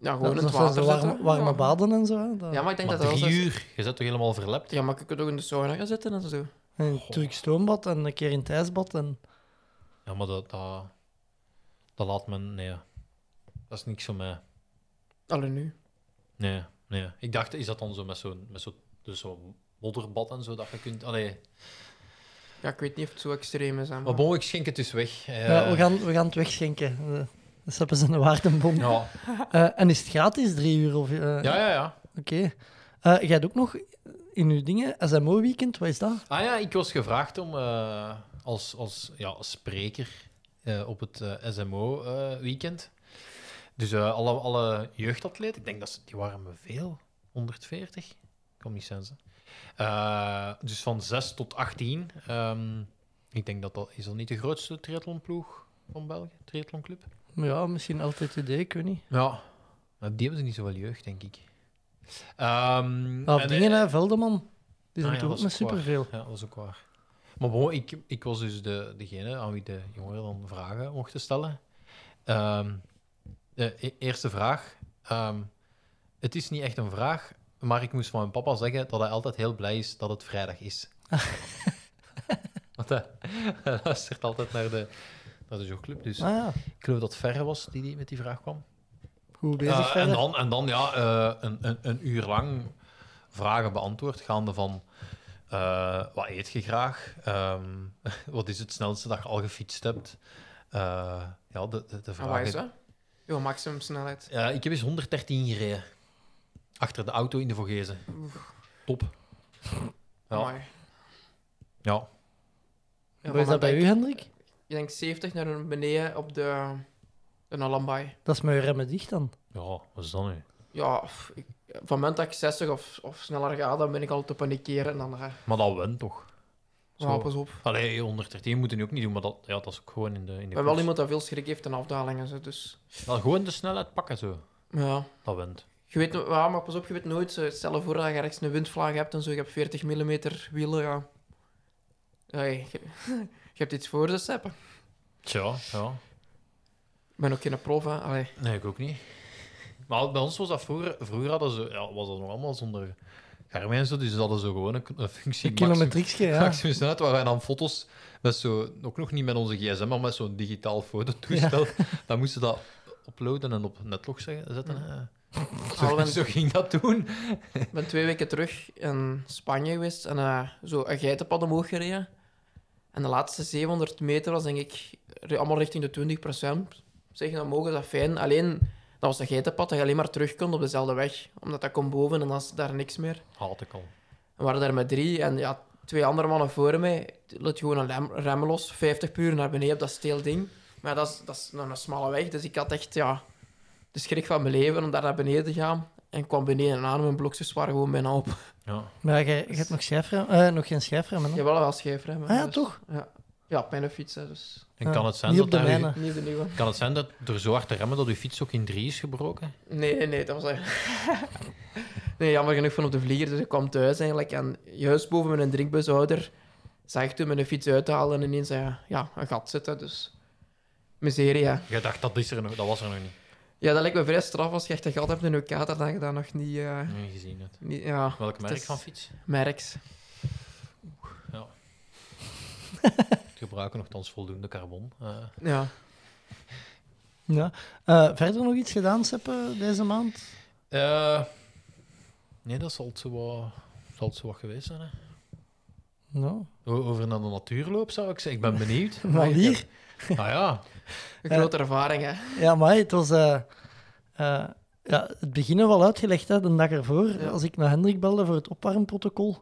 [SPEAKER 8] Ja,
[SPEAKER 7] Dat-
[SPEAKER 8] gewoon in
[SPEAKER 7] dat
[SPEAKER 8] het
[SPEAKER 7] zijn zo
[SPEAKER 8] water
[SPEAKER 7] warme,
[SPEAKER 8] zitten.
[SPEAKER 7] warme
[SPEAKER 8] ja.
[SPEAKER 7] baden en zo. hè. Dat,
[SPEAKER 8] Ja, maar ik denk
[SPEAKER 9] Maar
[SPEAKER 8] dat dat
[SPEAKER 9] drie
[SPEAKER 8] wel zo is.
[SPEAKER 9] uur, je zit toch helemaal verlept?
[SPEAKER 8] Ja, maar je kunt ook in de sauna gaan zitten en zo.
[SPEAKER 7] Een Turks stoombad en een keer in het ijsbad. En...
[SPEAKER 9] Ja, maar dat, dat, dat laat men... Nee, dat is niks voor mij.
[SPEAKER 8] Alle nu.
[SPEAKER 9] Nee, nee. Ik dacht, is dat dan zo met zo'n met zo, dus zo'n modderbad en zo dat je kunt... Allee.
[SPEAKER 8] Ja, ik weet niet of het zo extreem is. Hè,
[SPEAKER 9] Maar bon, ik schenk het dus weg. Eh,
[SPEAKER 7] Ja, we, gaan, we gaan het wegschenken. Eh, Dus hebben ze een waardebom.
[SPEAKER 9] Ja,
[SPEAKER 7] Eh, en is het gratis, drie uur? Of, eh,
[SPEAKER 9] ja, ja. ja.
[SPEAKER 7] Oké. Eh, jij hebt ook nog in uw dingen SMO-weekend, wat is dat?
[SPEAKER 9] Ah ja, ik was gevraagd om eh, als, als ja, als spreker eh, op het SMO-weekend. eh, dus eh, alle, alle jeugdatleten, ik denk dat ze, die waren me veel, 140, kan niet zijn ze. Eh, dus van 6 tot 18. ehm, ik denk dat dat is al niet de grootste triathlonploeg van België, triathlonclub.
[SPEAKER 7] Ja, misschien altijd idee, ik weet niet.
[SPEAKER 9] Ja, maar die hebben ze niet zoveel jeugd, denk ik. Ehm,
[SPEAKER 7] Ah, Of
[SPEAKER 9] en,
[SPEAKER 7] dingen, hè, Veldeman. Die
[SPEAKER 9] Ah
[SPEAKER 7] zijn
[SPEAKER 9] ja,
[SPEAKER 7] toch
[SPEAKER 9] dat
[SPEAKER 7] ook
[SPEAKER 9] is
[SPEAKER 7] met
[SPEAKER 9] ook waar.
[SPEAKER 7] superveel.
[SPEAKER 9] Ja, dat is ook waar. Maar bon, ik, ik was dus de, degene aan wie de jongeren dan vragen mochten stellen. Ehm, de e- eerste vraag. ehm, het is niet echt een vraag, maar ik moest van mijn papa zeggen dat hij altijd heel blij is dat het vrijdag is. Want hij, hij luistert altijd naar de, naar de jogclub. Dus
[SPEAKER 7] Ah ja,
[SPEAKER 9] ik geloof dat Ferre was die, die met die vraag kwam.
[SPEAKER 7] goed bezig
[SPEAKER 9] Eh, en,
[SPEAKER 7] verder.
[SPEAKER 9] dan, en dan, ja, eh, een, een, een uur lang vragen beantwoord, gaande van eh, wat eet je graag? Ehm, wat is het snelste dat je al gefietst hebt? Eh, ja, de, de, de
[SPEAKER 8] En waar
[SPEAKER 9] vragen...
[SPEAKER 8] Ah, is dat? Jo, maximum snelheid.
[SPEAKER 9] Ja, ik heb eens 113 gereden. Achter de auto in de Vogezen. Top. Ja,
[SPEAKER 8] Amai.
[SPEAKER 9] ja.
[SPEAKER 8] Ja,
[SPEAKER 7] Hoe is dat
[SPEAKER 8] van
[SPEAKER 7] bij
[SPEAKER 8] mijn
[SPEAKER 7] u, Hendrik?
[SPEAKER 8] Ik denk 70 naar beneden op de, de Nalambai.
[SPEAKER 7] Dat is mijn remmen dicht dan.
[SPEAKER 9] ja wat is dat nu?
[SPEAKER 8] Ja, pff, ik, van het moment dat ik 60 of, of sneller ga, dan ben ik al te panikeren. En dan ga
[SPEAKER 9] Maar dat went toch? Zo.
[SPEAKER 8] ja, pas op.
[SPEAKER 9] Allee, 113 moeten nu ook niet doen, maar dat, ja, dat is ook gewoon in de, in
[SPEAKER 8] Ik
[SPEAKER 9] de
[SPEAKER 8] ben wel
[SPEAKER 9] koers.
[SPEAKER 8] iemand dat veel schrik heeft in afdalingen. zo, Dus
[SPEAKER 9] Wel gewoon de snelheid pakken, zo.
[SPEAKER 8] ja.
[SPEAKER 9] Dat went.
[SPEAKER 8] Je weet, no- ja, maar pas op, je weet nooit. eh, Stel je voor dat je rechts een windvlaag hebt en zo. Je hebt 40 mm wielen. Ja. Ja, je, je hebt iets voor te steppen.
[SPEAKER 9] Tja, ja.
[SPEAKER 8] Ik ben ook geen prof. Hè. Allee.
[SPEAKER 9] Nee, ik ook niet. Maar bij ons was dat vroeger, vroeger hadden ze, ja, was dat nog allemaal zonder Garmin en zo, dus ze hadden zo gewoon een, een functie.
[SPEAKER 7] Een kilometrieksje,
[SPEAKER 9] maximum-
[SPEAKER 7] ja.
[SPEAKER 9] maximum snelheid, waar wij dan foto's met zo, ook nog niet met onze gsm, maar met zo'n digitaal fototoestel, dan moesten ze dat uploaden en op netlog zeggen- zetten. hè.
[SPEAKER 8] Al
[SPEAKER 9] Zo,
[SPEAKER 8] ben-
[SPEAKER 9] zo ging dat doen.
[SPEAKER 8] Ik ben twee weken terug in Spanje geweest en eh, zo een geitenpad omhoog gereden. En de laatste 700 meter was denk ik ri- allemaal richting de 20%. Zeg, dan mogen dat fijn. Alleen, dat was een geitenpad dat je alleen maar terug kon op dezelfde weg. Omdat dat kon boven en dan is daar niks meer.
[SPEAKER 9] Haat ik al.
[SPEAKER 8] We waren daar met drie en ja, twee andere mannen voor mij. Let gewoon een lem- rem los, 50 per uur naar beneden op dat steel ding. Maar dat is, dat is een, een smalle weg, dus ik had echt ja, de schrik van mijn leven om daar naar beneden te gaan. En kwam beneden aan, mijn blokjes waren gewoon bijna op.
[SPEAKER 9] Ja.
[SPEAKER 7] Maar jij, jij hebt nog, schijfrem, eh, nog geen schijfremmen, hè?
[SPEAKER 8] Jawel, wel schijfremmen.
[SPEAKER 7] Ah ja,
[SPEAKER 8] dus-
[SPEAKER 7] toch?
[SPEAKER 8] Ja, ja op mijn fiets, hè, dus
[SPEAKER 9] En
[SPEAKER 7] Ja,
[SPEAKER 9] kan het zijn
[SPEAKER 7] niet
[SPEAKER 9] dat
[SPEAKER 7] op de
[SPEAKER 9] daar-
[SPEAKER 7] mijne.
[SPEAKER 8] niet de nieuwe.
[SPEAKER 9] kan het zijn dat door zo hard te remmen dat uw fiets ook in drie is gebroken?
[SPEAKER 8] Nee, nee, nee, dat was echt... nee, jammer genoeg van op de vlieger, dus ik kwam thuis eigenlijk. En juist boven mijn drinkbushouder zag ik toen mijn fiets uithalen en ineens eh, ja, een gat zitten, dus... Miserie, hè.
[SPEAKER 9] Je dacht, dat, is er nog, dat was er nog niet.
[SPEAKER 8] Ja, dat lijkt me vrij straf als je echt een gat hebt in je kater, dat je dat nog niet... eh,
[SPEAKER 9] Nee, gezien het.
[SPEAKER 8] niet ja,
[SPEAKER 9] Welk merk
[SPEAKER 8] is-
[SPEAKER 9] van fiets?
[SPEAKER 8] merks.
[SPEAKER 9] Ze gebruiken nogthans voldoende carbon. eh.
[SPEAKER 8] Ja.
[SPEAKER 7] Ja. Eh, verder nog iets gedaan, Seppe, deze maand?
[SPEAKER 9] Eh, nee, dat zal het zo wat, zal het zo wat geweest zijn. Hè.
[SPEAKER 7] Nou,
[SPEAKER 9] O- Over naar de natuurloop zou ik zeggen. Ik ben benieuwd.
[SPEAKER 7] maar hier...
[SPEAKER 9] Ah ja,
[SPEAKER 8] Een grote ervaring, hè.
[SPEAKER 7] Ja, maar het was. eh, eh, ja, het begin wel uitgelegd, hè, de dag ervoor,
[SPEAKER 8] Ja.
[SPEAKER 7] als ik naar Hendrik belde voor het opwarmprotocol.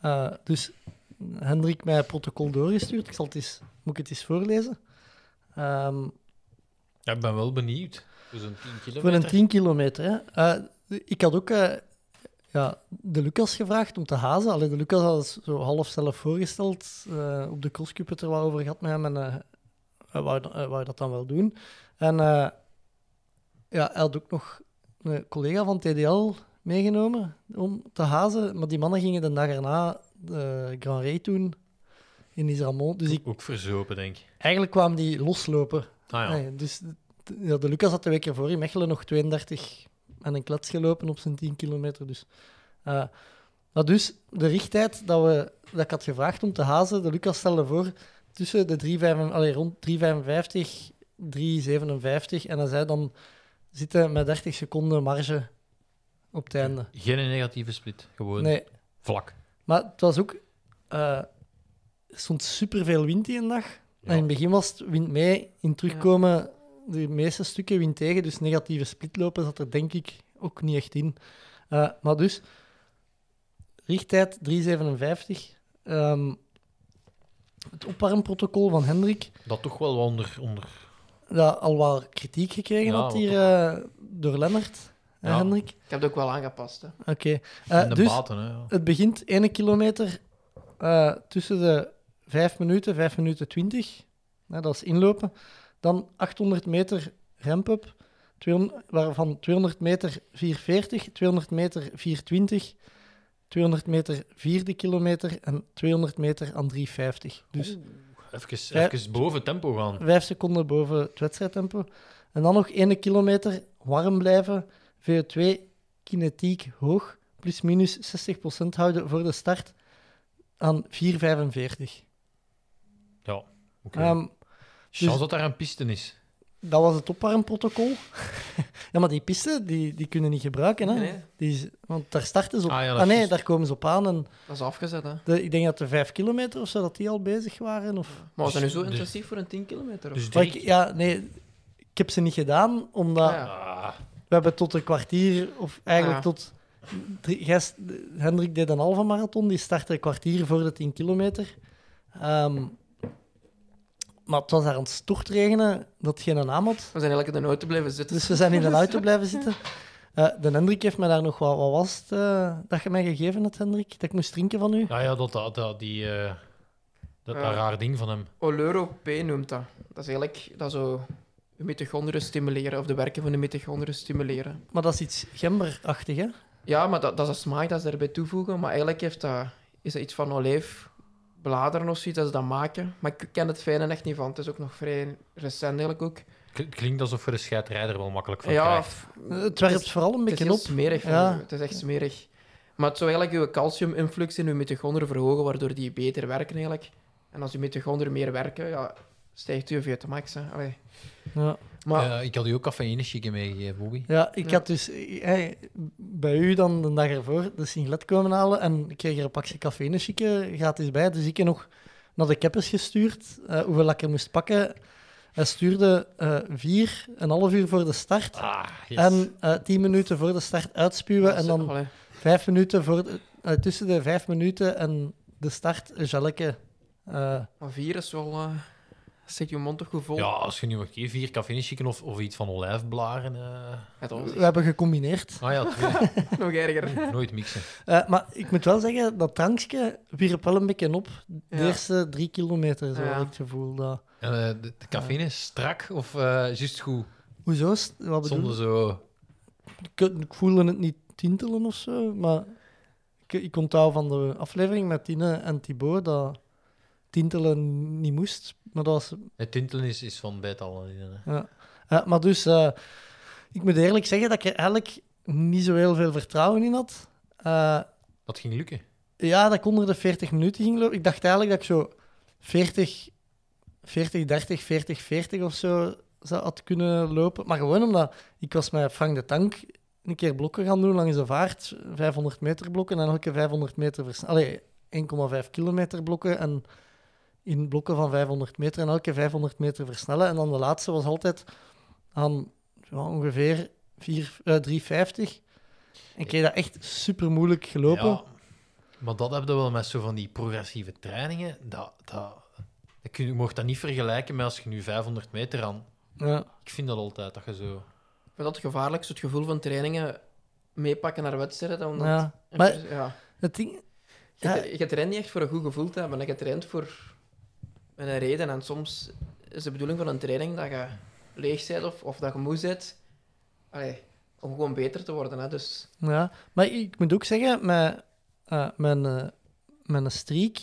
[SPEAKER 7] Eh, dus Hendrik mij het protocol doorgestuurd. Ik zal het eens, moet ik het eens voorlezen? Ehm,
[SPEAKER 9] Ja, ik ben wel benieuwd. Dus een 10
[SPEAKER 7] voor
[SPEAKER 9] kilometer.
[SPEAKER 7] een 10 kilometer. Hè. Eh, ik had ook eh, ja, de Lucas gevraagd om te hazen. Allee, de Lucas had het zo half zelf voorgesteld. eh, op de crosscup het er wel over gehad met hem. En eh, hij wou, da- hij wou dat dan wel doen. En eh, ja, hij had ook nog een collega van TDL meegenomen om te hazen. Maar die mannen gingen de dag erna de Grand Raid doen in Isramont. Dus ik,
[SPEAKER 9] Ook verzopen, denk ik.
[SPEAKER 7] eigenlijk kwamen die loslopen.
[SPEAKER 9] Ah ja.
[SPEAKER 7] Nee, dus de- de- ja, de Lucas had de week ervoor in Mechelen nog 32 en een klets gelopen op zijn 10 kilometer. Dus, eh, maar dus de richttijd dat, we, dat ik had gevraagd om te hazen, de Lucas stelde voor tussen de 3,55 allee, rond 3,55, 3,57. En hij zei dan zitten met 30 seconden marge op het einde.
[SPEAKER 9] Geen negatieve split. Gewoon
[SPEAKER 7] Nee,
[SPEAKER 9] vlak.
[SPEAKER 7] maar het was ook... eh, er stond superveel wind die een dag. En in het begin was het wind mee. In terugkomen, de meeste stukken wind tegen. Dus negatieve splitlopen zat er denk ik ook niet echt in. Eh, maar dus, richttijd 357. Ehm, het opwarmprotocol van Hendrik
[SPEAKER 9] Dat toch wel wat onder... onder...
[SPEAKER 7] dat al wat kritiek gekregen
[SPEAKER 9] Ja,
[SPEAKER 7] had
[SPEAKER 9] wat
[SPEAKER 7] hier
[SPEAKER 9] toch.
[SPEAKER 7] eh, door Lennart en
[SPEAKER 9] Ja.
[SPEAKER 7] Hendrik.
[SPEAKER 8] Ik heb het ook wel aangepast, hè.
[SPEAKER 7] Oké. Eh,
[SPEAKER 9] en de
[SPEAKER 7] dus,
[SPEAKER 9] baten, hè. ja.
[SPEAKER 7] het begint 1 kilometer eh, tussen de 5 minuten, 5 minuten 20. Nou, dat is inlopen. Dan 800 meter ramp-up, 200 waarvan 200 meter 440, 200 meter 420, 200 meter vierde kilometer en 200 meter aan 350. Dus
[SPEAKER 9] Even,
[SPEAKER 7] Ja.
[SPEAKER 9] even boven tempo gaan.
[SPEAKER 7] vijf seconden boven het wedstrijdtempo. En dan nog 1 kilometer warm blijven, VO2 kinetiek hoog, plus minus 60% houden voor de start aan 4,45.
[SPEAKER 9] Ja, oké.
[SPEAKER 7] Ehm,
[SPEAKER 9] Chance
[SPEAKER 7] dus-
[SPEAKER 9] dat daar een piste is.
[SPEAKER 7] dat was het opwarmprotocol. ja, maar die piste, die, die kunnen niet gebruiken. Hè?
[SPEAKER 8] Nee, nee.
[SPEAKER 7] Die is, want daar starten ze op.
[SPEAKER 9] Ah,
[SPEAKER 7] Ah,
[SPEAKER 9] ja, dat is
[SPEAKER 7] nee,
[SPEAKER 9] juist.
[SPEAKER 7] daar komen ze op aan. En
[SPEAKER 8] Dat is afgezet, hè.
[SPEAKER 7] de- ik denk dat de 5 kilometer of zo, dat die al bezig waren. Of...
[SPEAKER 8] Maar was dat nu zo
[SPEAKER 9] Dus-
[SPEAKER 8] intensief voor een 10 kilometer? of?
[SPEAKER 9] Dus
[SPEAKER 7] Maar
[SPEAKER 9] drie...
[SPEAKER 7] ik, ja, nee, ik heb ze niet gedaan, omdat...
[SPEAKER 8] Ah, ja.
[SPEAKER 9] Ah,
[SPEAKER 7] We hebben tot een kwartier, of eigenlijk
[SPEAKER 8] Ah.
[SPEAKER 7] tot. Drie, gest- Hendrik deed een halve marathon, die startte een kwartier voor de 10 kilometer. Ehm, maar het was daar aan het stortregenen, dat geen naam had.
[SPEAKER 8] We zijn eigenlijk in de auto blijven zitten.
[SPEAKER 7] Dus we zijn in een auto blijven zitten. Eh, de Hendrik heeft me daar nog wat, wat was het eh, dat je mij gegeven had, Hendrik? Dat ik moest drinken van u?
[SPEAKER 9] ja, ja, dat, dat, dat, die, eh, dat, dat
[SPEAKER 8] Ja.
[SPEAKER 9] raar ding van hem.
[SPEAKER 8] Oleuro P noemt dat. Dat is eigenlijk dat zo de mitochondriën stimuleren, of de werken van de mitochondriën stimuleren.
[SPEAKER 7] Maar dat is iets gemberachtig, hè?
[SPEAKER 8] Ja, maar dat, dat is een smaak dat ze daarbij toevoegen. Maar eigenlijk heeft dat, is dat iets van olijfbladeren of zoiets dat ze dat maken. Maar ik ken het fijne echt niet van. Het is ook nog vrij recent eigenlijk ook.
[SPEAKER 9] K- Klinkt alsof er een scheidrijder wel makkelijk van
[SPEAKER 8] ja,
[SPEAKER 9] krijgt.
[SPEAKER 8] f-
[SPEAKER 7] Het werpt vooral een
[SPEAKER 8] het is
[SPEAKER 7] beetje
[SPEAKER 8] heel
[SPEAKER 7] op.
[SPEAKER 8] smerig. vind
[SPEAKER 7] Ja.
[SPEAKER 8] ik. Het is echt smerig. Maar het zou eigenlijk je calciuminflux in je mitochondriën verhogen, waardoor die beter werken eigenlijk. En als je mitochondriën meer werken, ja, stijgt je VO2max. hè. Allee.
[SPEAKER 7] Ja.
[SPEAKER 8] Maar
[SPEAKER 9] Eh, ik had u ook cafeïne chicken meegegeven, Bobby.
[SPEAKER 7] Ja, ik
[SPEAKER 8] Ja.
[SPEAKER 7] had dus eh, bij u dan de dag ervoor de singlet komen halen en ik kreeg er een pakje cafeïne chique gratis bij. Dus ik heb nog naar de keppers gestuurd eh, hoeveel ik er moest pakken. Hij stuurde eh vier, een half uur voor de start
[SPEAKER 9] Ah, yes.
[SPEAKER 7] en eh tien minuten voor de start uitspuwen en dan
[SPEAKER 8] Allee.
[SPEAKER 7] vijf minuten voor de- eh, tussen de vijf minuten en de start een gelke. eh,
[SPEAKER 8] Maar vier is wel... eh zit je mond toch goed vol?
[SPEAKER 9] Ja, als je nu een keer vier cafeïne chicken of, of iets van olijfblaren... eh.
[SPEAKER 8] Het was
[SPEAKER 7] we hebben gecombineerd.
[SPEAKER 9] Ah ja, twee.
[SPEAKER 8] nog erger.
[SPEAKER 9] nooit mixen.
[SPEAKER 7] Eh, maar ik moet wel zeggen, dat drankje wierp wel een beetje op. De
[SPEAKER 8] Ja.
[SPEAKER 7] eerste drie kilometer, zo
[SPEAKER 8] Ja.
[SPEAKER 7] had ik het gevoel. Dat...
[SPEAKER 9] En, eh, de, de cafeïne is strak of eh juist goed?
[SPEAKER 7] Hoezo? is het- Wat bedoel je?
[SPEAKER 9] Zonder zo...
[SPEAKER 7] Ik, ik voelde het niet tintelen of zo, maar ik, ik onthoud van de aflevering met Tine en Thibaut dat tintelen niet moest. Maar, dat was,
[SPEAKER 9] Het tintelen is, is van bij het al. eh.
[SPEAKER 7] eh, maar dus, eh, ik moet eerlijk zeggen dat ik er eigenlijk niet zo heel veel vertrouwen in had. Eh,
[SPEAKER 9] Dat ging lukken.
[SPEAKER 7] Ja, dat ik onder de 40 minuten ging lopen. Ik dacht eigenlijk dat ik zo 40, 40, 30, 40, 40 of zo zou had kunnen lopen. Maar gewoon omdat ik was met Frank de Tank een keer blokken gaan doen langs de vaart. 500 meter blokken en elke 500 meter versnelling. Allee, 1,5 kilometer blokken en in blokken van 500 meter en elke 500 meter versnellen. En dan de laatste was altijd aan ja, ongeveer 4, eh, 3,50. En ik heb dat echt super moeilijk gelopen.
[SPEAKER 9] Ja, maar dat hebben we wel met zo van die progressieve trainingen. Dat, dat, dat kun, je mocht dat niet vergelijken met als je nu 500 meter aan...
[SPEAKER 7] Ja.
[SPEAKER 9] Ik vind dat altijd, dat je zo...
[SPEAKER 8] Ik vind dat het gevaarlijkste, het gevoel van trainingen meepakken naar wedstrijden. Omdat,
[SPEAKER 7] Ja.
[SPEAKER 8] ja.
[SPEAKER 7] Maar
[SPEAKER 8] ja.
[SPEAKER 7] het ding...
[SPEAKER 8] Je,
[SPEAKER 7] Ja.
[SPEAKER 8] je traint niet echt voor een goed gevoel te hebben. Je traint voor een reden. En soms is de bedoeling van een training dat je leeg bent of, of dat je moe bent. Allee, om gewoon beter te worden. Hè. Dus
[SPEAKER 7] Ja, maar ik moet ook zeggen, met, eh, mijn, eh, mijn streak,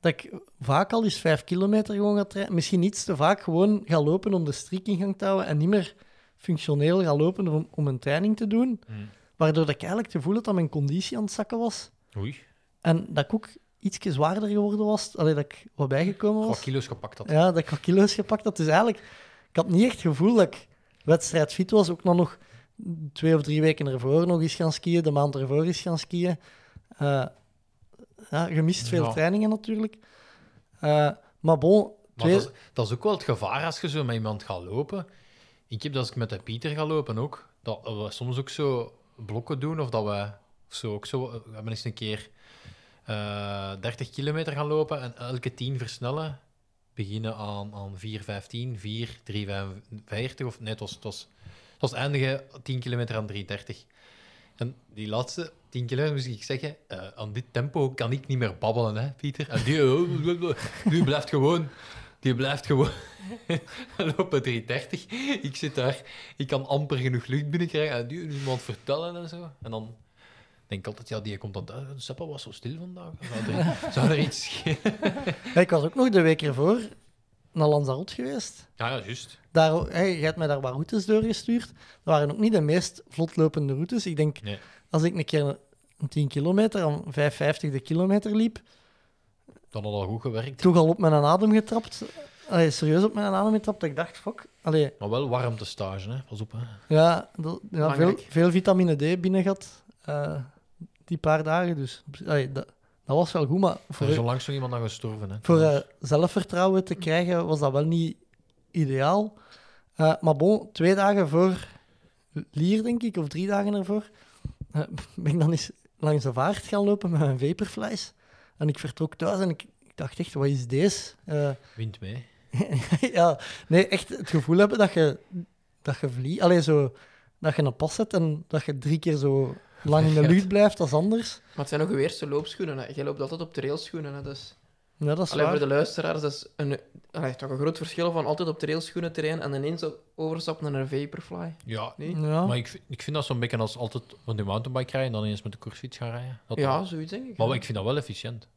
[SPEAKER 7] dat ik vaak al eens vijf kilometer gewoon ga trainen. Misschien iets te vaak gewoon ga lopen om de streak in gang te houden en niet meer functioneel ga lopen om, om een training te doen.
[SPEAKER 9] Mm.
[SPEAKER 7] Waardoor dat ik eigenlijk het gevoel had dat mijn conditie aan het zakken was.
[SPEAKER 9] Oei,
[SPEAKER 7] En dat ik ook ietsje zwaarder geworden was. Allee, dat ik wat bijgekomen
[SPEAKER 9] wat
[SPEAKER 7] was.
[SPEAKER 9] kilo's gepakt had.
[SPEAKER 7] Ja, dat ik wat kilo's gepakt had. Dus eigenlijk, ik had niet echt het gevoel dat ik wedstrijdfit was. Ook nog, nog twee of drie weken ervoor nog eens gaan skiën, de maand ervoor eens gaan skiën. Eh ja, gemist veel
[SPEAKER 9] Ja.
[SPEAKER 7] trainingen natuurlijk. Eh, maar bon,
[SPEAKER 9] Maar
[SPEAKER 7] twee...
[SPEAKER 9] dat, is, dat is ook wel het gevaar als je zo met iemand gaat lopen. Ik heb dat als ik met de Pieter ga lopen ook, dat we soms ook zo blokken doen of dat we zo ook zo. We hebben eens een keer eh, 30 kilometer gaan lopen en elke 10 versnellen. Beginnen aan, aan 4,15, 4, 3,45 of nee, het was, het was, het was eindigen 10 kilometer aan 3,30. En die laatste 10 kilometer moest ik zeggen, eh, aan dit tempo kan ik niet meer babbelen, hè, Pieter. En die, nu blijft gewoon die blijft gewoon lopen 330. Ik zit daar, ik kan amper genoeg lucht binnenkrijgen. En nu iemand vertellen en zo. En dan denk altijd, ja, die komt dan thuis. Seppa was zo stil vandaag. Zou er, zou er iets schelen?
[SPEAKER 7] Ja, ik was ook nog de week ervoor naar Lanzarote geweest.
[SPEAKER 9] Ja, ja, juist.
[SPEAKER 7] Daar, o- hey, jij hebt mij daar wat routes doorgestuurd. Dat waren ook niet de meest vlotlopende routes. Ik denk,
[SPEAKER 9] Nee.
[SPEAKER 7] als ik een keer een 10 kilometer, aan 5,50 de kilometer liep,
[SPEAKER 9] Dan had al goed gewerkt.
[SPEAKER 7] toch al op mijn adem getrapt. Allee, serieus op mijn adem getrapt. dat Ik dacht, fuck. Allee,
[SPEAKER 9] Maar wel warmtestage, hè. Pas op, hè.
[SPEAKER 7] ja, dat- ja veel,
[SPEAKER 8] Belangrijk.
[SPEAKER 7] veel vitamine D binnen gehad eh, die paar dagen. Dus op zich- allee, dat, dat was wel goed, maar
[SPEAKER 9] Er is
[SPEAKER 7] voor,
[SPEAKER 9] onlangs nog iemand aan gestorven, hè.
[SPEAKER 7] voor eh, zelfvertrouwen te krijgen was dat wel niet ideaal. Eh, maar bon, twee dagen voor Lier, denk ik, of drie dagen ervoor, eh, ben ik dan eens langs de vaart gaan lopen met mijn vaporflies. En ik vertrok thuis en ik, ik dacht echt, wat is deze? Eh,
[SPEAKER 9] Wind mee.
[SPEAKER 7] ja, nee, echt het gevoel hebben dat je, dat je vliegt. Allee, zo, dat je een pas hebt en dat je drie keer zo lang in de lucht blijft als anders.
[SPEAKER 8] Maar het zijn ook uw eerste loopschoenen. Hè. Jij loopt altijd op trailschoenen. Hè. Dus,
[SPEAKER 7] Ja, dat is
[SPEAKER 8] alleen
[SPEAKER 7] waar.
[SPEAKER 8] voor de luisteraars, dat is een, allee, toch een groot verschil van altijd op trailschoenen te rijden en ineens overstappen naar een Vaporfly.
[SPEAKER 9] Ja, Mm.
[SPEAKER 8] Nee?
[SPEAKER 7] Ja.
[SPEAKER 9] maar ik, vind- ik vind dat zo'n beetje als altijd van die mountainbike rijden en dan eens met de koersfiets gaan rijden. Dat
[SPEAKER 8] Ja,
[SPEAKER 9] wel.
[SPEAKER 8] zoiets denk ik.
[SPEAKER 9] Maar
[SPEAKER 8] hè.
[SPEAKER 9] ik vind dat wel efficiënt.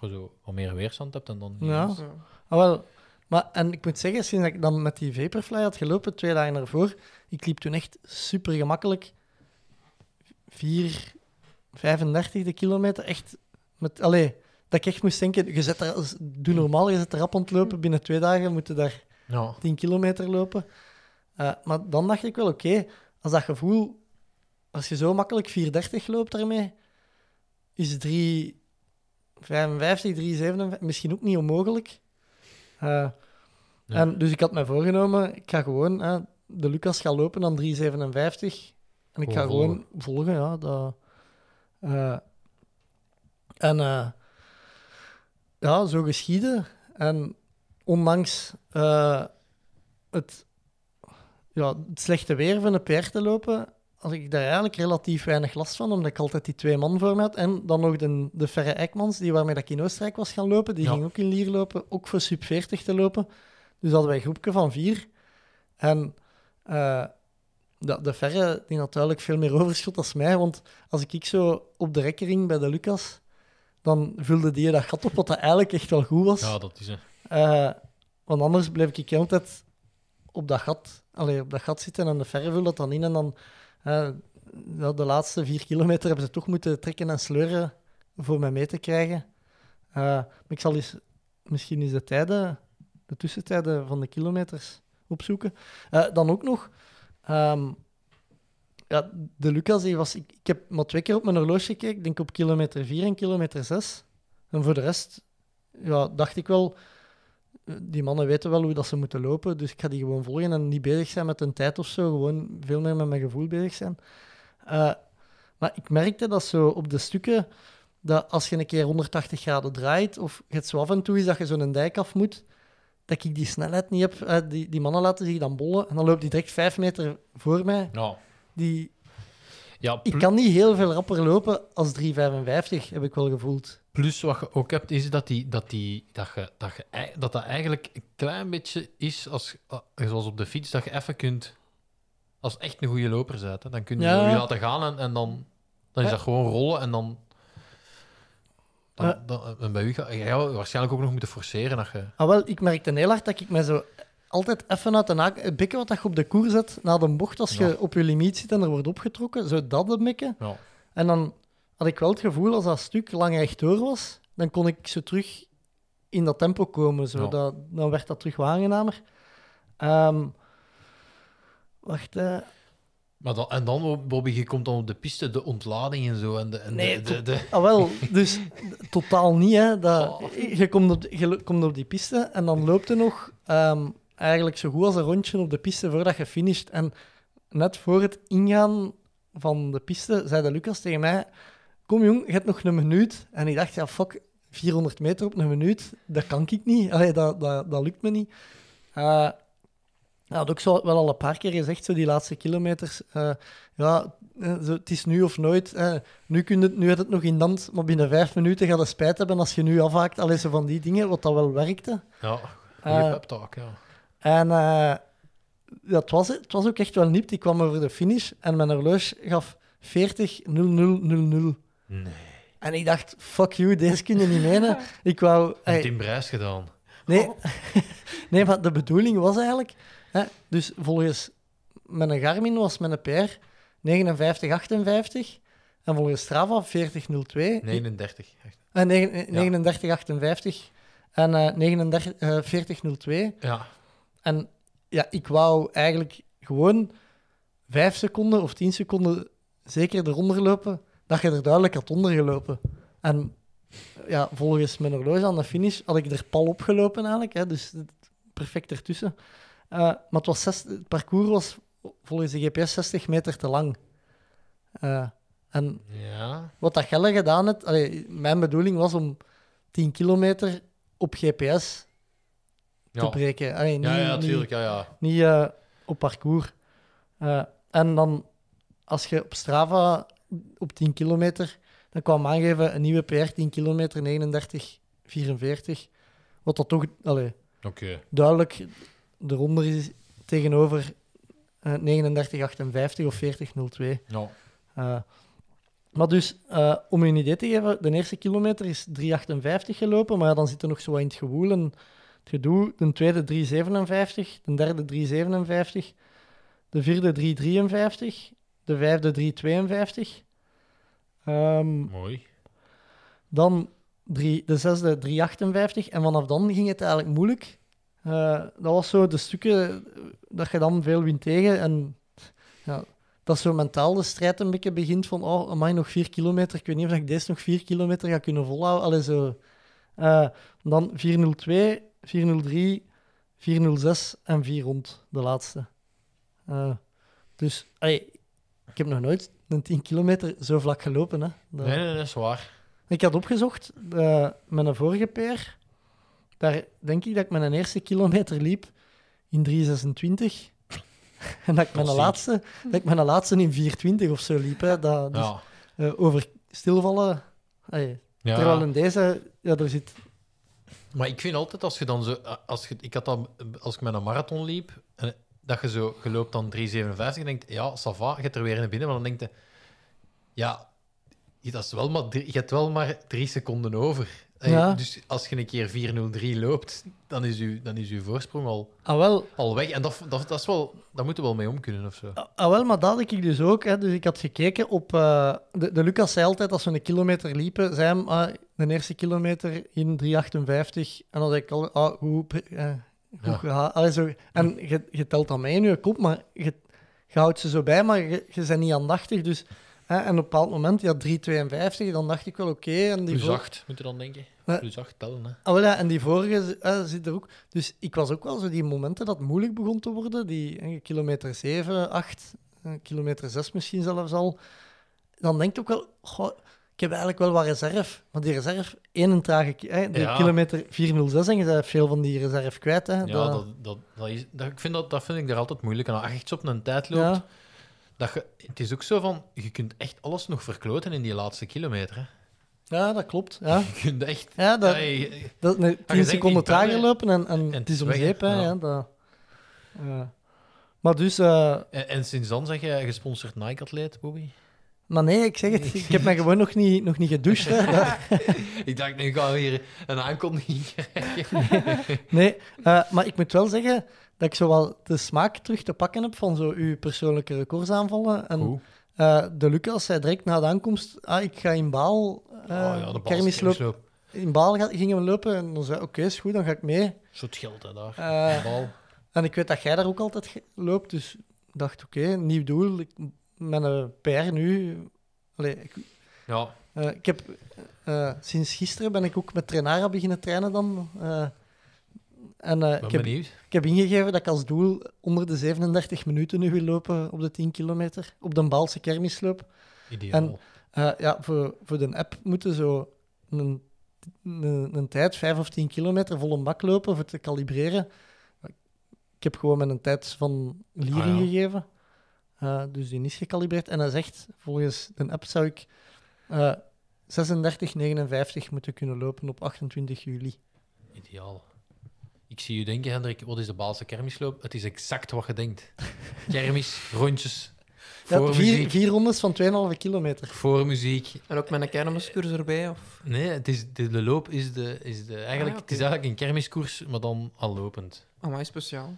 [SPEAKER 9] Je zo wat meer weerstand hebt en dan...
[SPEAKER 7] Ja.
[SPEAKER 9] ineens-
[SPEAKER 8] Ja.
[SPEAKER 7] Ah, wel. Maar, en ik moet zeggen, sinds dat ik dan met die Vaporfly had gelopen, twee dagen ervoor, ik liep toen echt super gemakkelijk. 4, 35 de kilometer, echt met... Allee, dat ik echt moest denken, je zet er, als- doe normaal, je zet er rap aan het lopen, binnen twee dagen moeten daar
[SPEAKER 9] Ja.
[SPEAKER 7] 10 kilometer lopen. Eh, maar dan dacht ik wel, oké, als dat gevoel, als je zo makkelijk 4,30 loopt daarmee, is 3,55, 3,57 misschien ook niet onmogelijk. Eh,
[SPEAKER 9] Ja.
[SPEAKER 7] en, dus ik had mij voorgenomen, ik ga gewoon, hè, de Lucas gaat lopen aan 3,57 en ik ga
[SPEAKER 9] Gewoon
[SPEAKER 7] gewoon volgen. Ja, dat, eh, en eh, ja, zo geschieden. En ondanks eh, het, ja, het slechte weer van de PR te lopen, had ik daar eigenlijk relatief weinig last van, omdat ik altijd die twee man voor me had. En dan nog de, de Ferre Eikmans, die waarmee dat ik in Oostenrijk was gaan lopen, die
[SPEAKER 9] Ja.
[SPEAKER 7] ging ook in Lier lopen, ook voor sub 40 te lopen. Dus hadden wij een groepje van vier. En eh, de, de Ferre die had duidelijk veel meer overschot dan mij, want als ik, ik zo op de rekkering bij de Lucas, dan vulde die dat gat op, wat dat eigenlijk echt wel goed was.
[SPEAKER 9] ja, dat is... Hè.
[SPEAKER 7] Eh, want anders bleef ik de hele tijd op dat gat, allee, op dat gat zitten en de verre vul dat dan in. En dan eh, ja, de laatste vier kilometer hebben ze toch moeten trekken en sleuren voor mij mee te krijgen. Eh, maar ik zal eens, misschien eens de tijden, de tussentijden van de kilometers opzoeken. Eh, dan ook nog, ehm, ja, de Lucas, die was, ik, ik heb maar twee keer op mijn horloge gekeken. Ik denk op kilometer 4 en kilometer 6. En voor de rest ja, dacht ik wel, die mannen weten wel hoe dat ze moeten lopen, dus ik ga die gewoon volgen en niet bezig zijn met hun tijd of zo, gewoon veel meer met mijn gevoel bezig zijn. Eh, maar ik merkte dat zo op de stukken, dat als je een keer 180 graden draait, of het zo af en toe is dat je zo'n dijk af moet, dat ik die snelheid niet heb. Eh, die, die mannen laten zich dan bollen en dan loopt die direct vijf meter voor mij.
[SPEAKER 9] Ja.
[SPEAKER 7] Die,
[SPEAKER 9] Ja,
[SPEAKER 7] ik
[SPEAKER 9] pl-
[SPEAKER 7] kan niet heel veel rapper lopen als 3,55, heb ik wel gevoeld.
[SPEAKER 9] plus wat je ook hebt, is dat die, dat, die, dat, je, dat, je, ei- dat dat eigenlijk een klein beetje is als, ah, zoals op de fiets, dat je even kunt... Als echt een goede loper bent, hè, dan kun je
[SPEAKER 7] Ja.
[SPEAKER 9] zo je laten gaan en, en dan, dan is dat gewoon rollen en dan... dan,
[SPEAKER 7] Ja.
[SPEAKER 9] dan- eh, en bij u ga jij gaat waarschijnlijk ook nog moeten forceren. Dat je,
[SPEAKER 7] Ah, wel, ik merkte heel hard dat ik me zo altijd even uit de naak... Het bikken wat dat je op de koer zet, na de bocht, als je
[SPEAKER 9] Ja.
[SPEAKER 7] op je limiet zit en er wordt opgetrokken, zo dat de mikken.
[SPEAKER 9] ja.
[SPEAKER 7] En dan had ik wel het gevoel, als dat stuk lang rechtdoor was, dan kon ik zo terug in dat tempo komen. Zo.
[SPEAKER 9] Ja.
[SPEAKER 7] Dat, dan werd dat terug wat aangenamer. Ehm, wacht, eh.
[SPEAKER 9] Maar dan, en dan, Bobby, je komt dan op de piste, de ontlading en zo. En de, en
[SPEAKER 7] Nee,
[SPEAKER 9] de, de, de-
[SPEAKER 7] Ah, wel, dus totaal niet. Hè. Dat,
[SPEAKER 9] Oh.
[SPEAKER 7] je, komt op, je lo- komt op die piste en dan loopt er nog ehm, eigenlijk zo goed als een rondje op de piste voordat je finisht. En net voor het ingaan van de piste zei de Lucas tegen mij: Kom jong, je hebt nog een minuut. En ik dacht: Ja, fuck, 400 meter op een minuut, dat kan ik niet. Allee, dat, dat, dat lukt me niet. Eh hij had ook zo wel al een paar keer gezegd, zo die laatste kilometers. eh, ja, eh, zo, het is nu of nooit. eh, nu, kun je, het- nu had het nog in hand, maar binnen vijf minuten gaat het spijt hebben als je nu afhaakt. Allee, zo van die dingen, wat dat wel werkte.
[SPEAKER 9] Ja,
[SPEAKER 7] Eh,
[SPEAKER 9] goede pep talk, ja.
[SPEAKER 7] En eh, dat was het. Het was ook echt wel nipt. Ik kwam over de finish en mijn horloge gaf 40 0000.
[SPEAKER 9] Nee.
[SPEAKER 7] En ik dacht, fuck you, deze kun je niet menen. Ik wou...
[SPEAKER 9] Hey.
[SPEAKER 7] ey,
[SPEAKER 9] Tim Brijs gedaan.
[SPEAKER 7] nee, nee, maar de bedoeling was eigenlijk... Hè, dus volgens mijn Garmin was mijn PR 5958 en volgens Strava 4002.
[SPEAKER 9] 39.
[SPEAKER 7] Eh, negen- eh, 3958 en eh 39, eh, 4002.
[SPEAKER 9] Ja.
[SPEAKER 7] En ja, ik wou eigenlijk gewoon vijf seconden of tien seconden zeker eronder lopen, dat je er duidelijk had ondergelopen. En ja, volgens mijn horloge aan de finish had ik er pal opgelopen eigenlijk, hè, dus het- perfect ertussen. Eh, maar het, was zes, het parcours was volgens de GPS 60 meter te lang. Eh, en
[SPEAKER 9] Ja.
[SPEAKER 7] wat dat Gelle gedaan heeft, allee, mijn bedoeling was om 10 kilometer op GPS te
[SPEAKER 9] Ja,
[SPEAKER 7] breken. Allee, niet,
[SPEAKER 9] ja, ja,
[SPEAKER 7] niet-
[SPEAKER 9] tuurlijk. Ja, ja.
[SPEAKER 7] niet eh, op parcours. Eh, en dan, als je op Strava op 10 kilometer, dan kwam aangeven een nieuwe PR 10 kilometer 39, 44. Wat dat toch allee,
[SPEAKER 9] Oké.
[SPEAKER 7] duidelijk eronder is tegenover eh 39, 58 of 40, 02.
[SPEAKER 9] Ja.
[SPEAKER 7] Eh, maar dus, eh, om je een idee te geven, de eerste kilometer is 3,58 gelopen, maar ja, dan zit er nog zo wat in het gewoel en het gedoe. De tweede 3,57, de derde 3,57, de vierde 3,53, de vijfde 3,52. Ehm,
[SPEAKER 9] Mooi.
[SPEAKER 7] dan drie, de zesde 3,58 en vanaf dan ging het eigenlijk moeilijk. Eh, dat was zo de stukken eh, dat je dan veel wint tegen. En ja, dat zo mentaal de strijd een beetje begint van oh, amai, nog vier kilometer. Ik weet niet of ik deze nog vier kilometer ga kunnen volhouden. Allee, zo. Eh, dan 402, 403, 406 en 4 rond, de laatste. Eh, dus, allee, ik heb nog nooit een 10 kilometer zo vlak gelopen. Hè. Dat-
[SPEAKER 9] Nee, nee, nee, dat is waar.
[SPEAKER 7] ik had opgezocht eh met een vorige peer. Daar denk ik dat ik mijn eerste kilometer liep in 326. En dat ik mijn
[SPEAKER 9] Klassiek.
[SPEAKER 7] laatste, dat ik mijn laatste in 420 of zo liep. Hè. Dat, dus,
[SPEAKER 9] Ja.
[SPEAKER 7] eh, over stilvallen. Allee, Terwijl
[SPEAKER 9] Ja.
[SPEAKER 7] in deze, ja, er zit.
[SPEAKER 9] Maar ik vind altijd als je dan zo. Als, je, ik had dat, als ik met een marathon liep. En dat je zo. Je loopt dan 3,57. En denkt. Ja, Sava, je gaat er weer naar binnen. Maar dan denkt je. Ja, je- dat is wel maar, drie- je hebt wel maar drie seconden over. En
[SPEAKER 7] Ja.
[SPEAKER 9] Dus als je een keer 4,03 loopt. Dan is, uw, dan is uw voorsprong al,
[SPEAKER 7] Ah wel,
[SPEAKER 9] al weg. En dat, dat, dat is wel. Daar moeten we wel mee om kunnen of zo.
[SPEAKER 7] ah, ah, wel, maar dat had ik dus ook. Hè. Dus ik had gekeken op. eh, de, de Lucas zei altijd als we een kilometer liepen, zei hem ah, de eerste kilometer in 358. En dan zei ik al, ah, hoe. eh,
[SPEAKER 9] Ja.
[SPEAKER 7] Goed gehaald. Allee, zo, en je, je telt dat mee in je kop, maar je, je houdt ze zo bij, maar je, je bent niet aandachtig. Dus, hè, en op een bepaald moment, ja, 3,52, dan dacht ik wel, oké. en die
[SPEAKER 9] Plus
[SPEAKER 7] vor-
[SPEAKER 9] 8 moet je dan denken.
[SPEAKER 7] Ja.
[SPEAKER 9] Plus 8 tellen. Hè.
[SPEAKER 7] Ah, wel, ja, en die vorige eh, zit er ook. Dus ik was ook wel zo die momenten dat het moeilijk begon te worden. Die eh, kilometer 7, 8, eh, kilometer 6 misschien zelfs al. Dan denk ik ook wel, goh, ik heb eigenlijk wel wat reserve. Want die reserve, één trage... ki- eh, de
[SPEAKER 9] Ja.
[SPEAKER 7] kilometer 406 en je bent veel van die reserve kwijt. Hè,
[SPEAKER 9] Ja,
[SPEAKER 7] Dat-
[SPEAKER 9] dat, dat, dat is, dat, ik vind dat, dat vind ik er altijd moeilijk aan. Als je echt zo op een tijd loopt,
[SPEAKER 7] Ja.
[SPEAKER 9] dat je, het is ook zo van, je kunt echt alles nog verkloten in die laatste kilometer. Hè.
[SPEAKER 7] ja, dat klopt. Ja.
[SPEAKER 9] Je kunt echt...
[SPEAKER 7] Ja, dat,
[SPEAKER 9] Ja, je-
[SPEAKER 7] dat, nee,
[SPEAKER 9] Ah, je
[SPEAKER 7] 10
[SPEAKER 9] denkt
[SPEAKER 7] seconden
[SPEAKER 9] niet bellen,
[SPEAKER 7] trager lopen en, en,
[SPEAKER 9] het
[SPEAKER 7] het
[SPEAKER 9] is
[SPEAKER 7] is om
[SPEAKER 9] weg,
[SPEAKER 7] zeep. hè,
[SPEAKER 9] ja.
[SPEAKER 7] Ja, dat, ja. Maar dus, eh,
[SPEAKER 9] en, en sinds dan zeg jij gesponsord Nike-atleet, Bobby?
[SPEAKER 7] maar nee, ik zeg het, ik heb mij gewoon nog niet, nog niet gedoucht. Hè. Dat-
[SPEAKER 9] Ik dacht, nu gaan we hier een aankondiging krijgen.
[SPEAKER 7] nee, eh, maar ik moet wel zeggen dat ik zo wel de smaak terug te pakken heb van zo uw persoonlijke records aanvallen. En
[SPEAKER 9] Oeh.
[SPEAKER 7] eh, de Lucas zei direct na de aankomst, ah, ik ga in Baal, eh
[SPEAKER 9] Oh ja, de
[SPEAKER 7] kermisloop-
[SPEAKER 9] balskermisloop.
[SPEAKER 7] in Baal ga- gingen we lopen. En dan zei ik, oké, is goed, dan ga ik mee.
[SPEAKER 9] Zo het geld, hè, daar.
[SPEAKER 7] Eh,
[SPEAKER 9] De bal.
[SPEAKER 7] En ik weet dat jij daar ook altijd ge- loopt, dus ik dacht, oké, een nieuw doel. Ik, mijn PR nu... Allee, ik,
[SPEAKER 9] Ja,
[SPEAKER 7] eh, ik heb... eh, sinds gisteren ben ik ook met Trenara beginnen trainen dan. eh, en eh,
[SPEAKER 9] ben
[SPEAKER 7] ik, heb,
[SPEAKER 9] benieuwd.
[SPEAKER 7] ik heb ingegeven dat ik als doel onder de 37 minuten nu wil lopen op de 10 kilometer. Op de Baalse kermisloop.
[SPEAKER 9] Ideaal.
[SPEAKER 7] en- Eh, ja, voor, voor de app moeten zo een, een, een tijd, 5 of 10 kilometer, vol een bak lopen voor te kalibreren. Ik heb gewoon met een tijd van Lier
[SPEAKER 9] Ah, ja.
[SPEAKER 7] gegeven. Eh, dus die is gecalibreerd. En hij zegt, volgens de app zou ik eh 36, 59 moeten kunnen lopen op 28 juli.
[SPEAKER 9] Ideaal. Ik zie je denken, Hendrik, wat is de Baalse kermisloop? Het is exact wat je denkt. Kermis, rondjes,
[SPEAKER 7] Ja,
[SPEAKER 9] Voor
[SPEAKER 7] vier,
[SPEAKER 9] muziek.
[SPEAKER 7] vier rondes van 2,5 kilometer.
[SPEAKER 9] Voor muziek.
[SPEAKER 8] En ook met een kermiscursus erbij? Of?
[SPEAKER 9] Nee, het is, de, de loop is, de, is de, eigenlijk,
[SPEAKER 8] Ah,
[SPEAKER 9] het is
[SPEAKER 8] oké.
[SPEAKER 9] eigenlijk een kermiskoers, maar dan al lopend.
[SPEAKER 8] Amai, speciaal.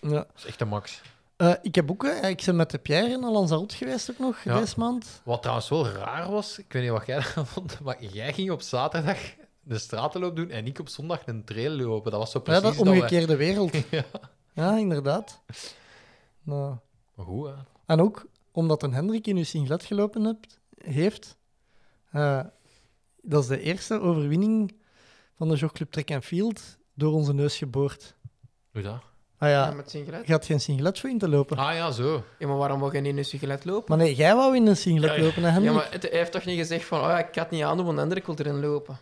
[SPEAKER 7] Ja.
[SPEAKER 9] Dat is echt de max.
[SPEAKER 7] Eh, ik heb ook, eh, ik ben met de Pierre naar Lanzarote geweest ook nog,
[SPEAKER 9] Ja.
[SPEAKER 7] deze maand.
[SPEAKER 9] Wat trouwens wel raar was, ik weet niet wat jij daarvan vond, maar jij ging op zaterdag de stratenloop doen en ik op zondag een trail lopen. Dat was zo
[SPEAKER 7] Ja,
[SPEAKER 9] precies
[SPEAKER 7] dat
[SPEAKER 9] wij-
[SPEAKER 7] omgekeerde wereld.
[SPEAKER 9] Ja.
[SPEAKER 7] Ja, inderdaad. Nou.
[SPEAKER 9] Maar goed, hè.
[SPEAKER 7] En ook omdat een Hendrik in uw singlet gelopen hebt, heeft. eh, dat is de eerste overwinning van de jogclub Trek and Field door onze neus geboord.
[SPEAKER 9] Hoe dat?
[SPEAKER 7] Ah
[SPEAKER 8] Ja,
[SPEAKER 7] ja,
[SPEAKER 8] met singlet.
[SPEAKER 7] je had geen singlet voor in te lopen.
[SPEAKER 9] Ah ja, zo.
[SPEAKER 8] Ja, maar waarom wou je niet in een singlet lopen?
[SPEAKER 7] Maar nee, jij wou in een singlet
[SPEAKER 9] Ja, ja.
[SPEAKER 7] lopen, hè,
[SPEAKER 8] Ja,
[SPEAKER 7] Hendrik?
[SPEAKER 8] maar het, hij heeft toch niet gezegd van, oh ja, ik ga het niet aandoen, want Hendrik wil erin lopen.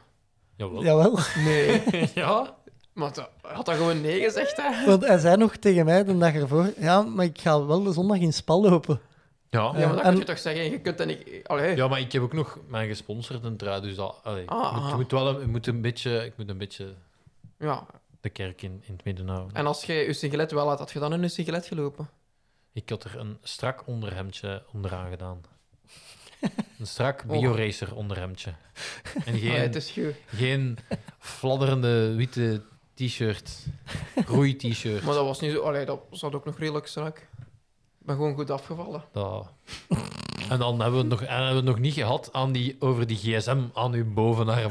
[SPEAKER 9] Jawel.
[SPEAKER 7] Jawel.
[SPEAKER 8] Nee.
[SPEAKER 9] ja?
[SPEAKER 8] maar dat- hij had dat gewoon nee gezegd, hè?
[SPEAKER 7] Want hij zei nog tegen mij de dag ervoor, ja, maar ik ga wel de zondag in Spal lopen.
[SPEAKER 9] Ja.
[SPEAKER 8] Ja, maar dat
[SPEAKER 7] en-
[SPEAKER 8] kun je toch zeggen, je kunt dat niet... Allee.
[SPEAKER 9] Ja, maar ik heb ook nog mijn gesponsorde trui, dus dat... allee, ik
[SPEAKER 8] Ah,
[SPEAKER 9] moet, ik
[SPEAKER 8] ah.
[SPEAKER 9] moet wel een, ik moet een beetje, ik moet een beetje
[SPEAKER 8] Ja.
[SPEAKER 9] de kerk in, in het midden houden.
[SPEAKER 8] En als je je singlet wel had, had je dan in je singlet gelopen?
[SPEAKER 9] Ik had er een strak onderhemdje onderaan gedaan. Een strak bioracer onderhemdje. En
[SPEAKER 8] Oh. Ja,
[SPEAKER 9] geen,
[SPEAKER 8] het is goed.
[SPEAKER 9] geen fladderende witte t-shirt. Roei-t-shirt.
[SPEAKER 8] Maar dat was niet zo... Allee, dat zat ook nog redelijk strak. Ik ben gewoon goed afgevallen.
[SPEAKER 9] Dat- En dan hebben we het nog, en hebben we het nog niet gehad aan die, over die gsm aan uw bovenarm.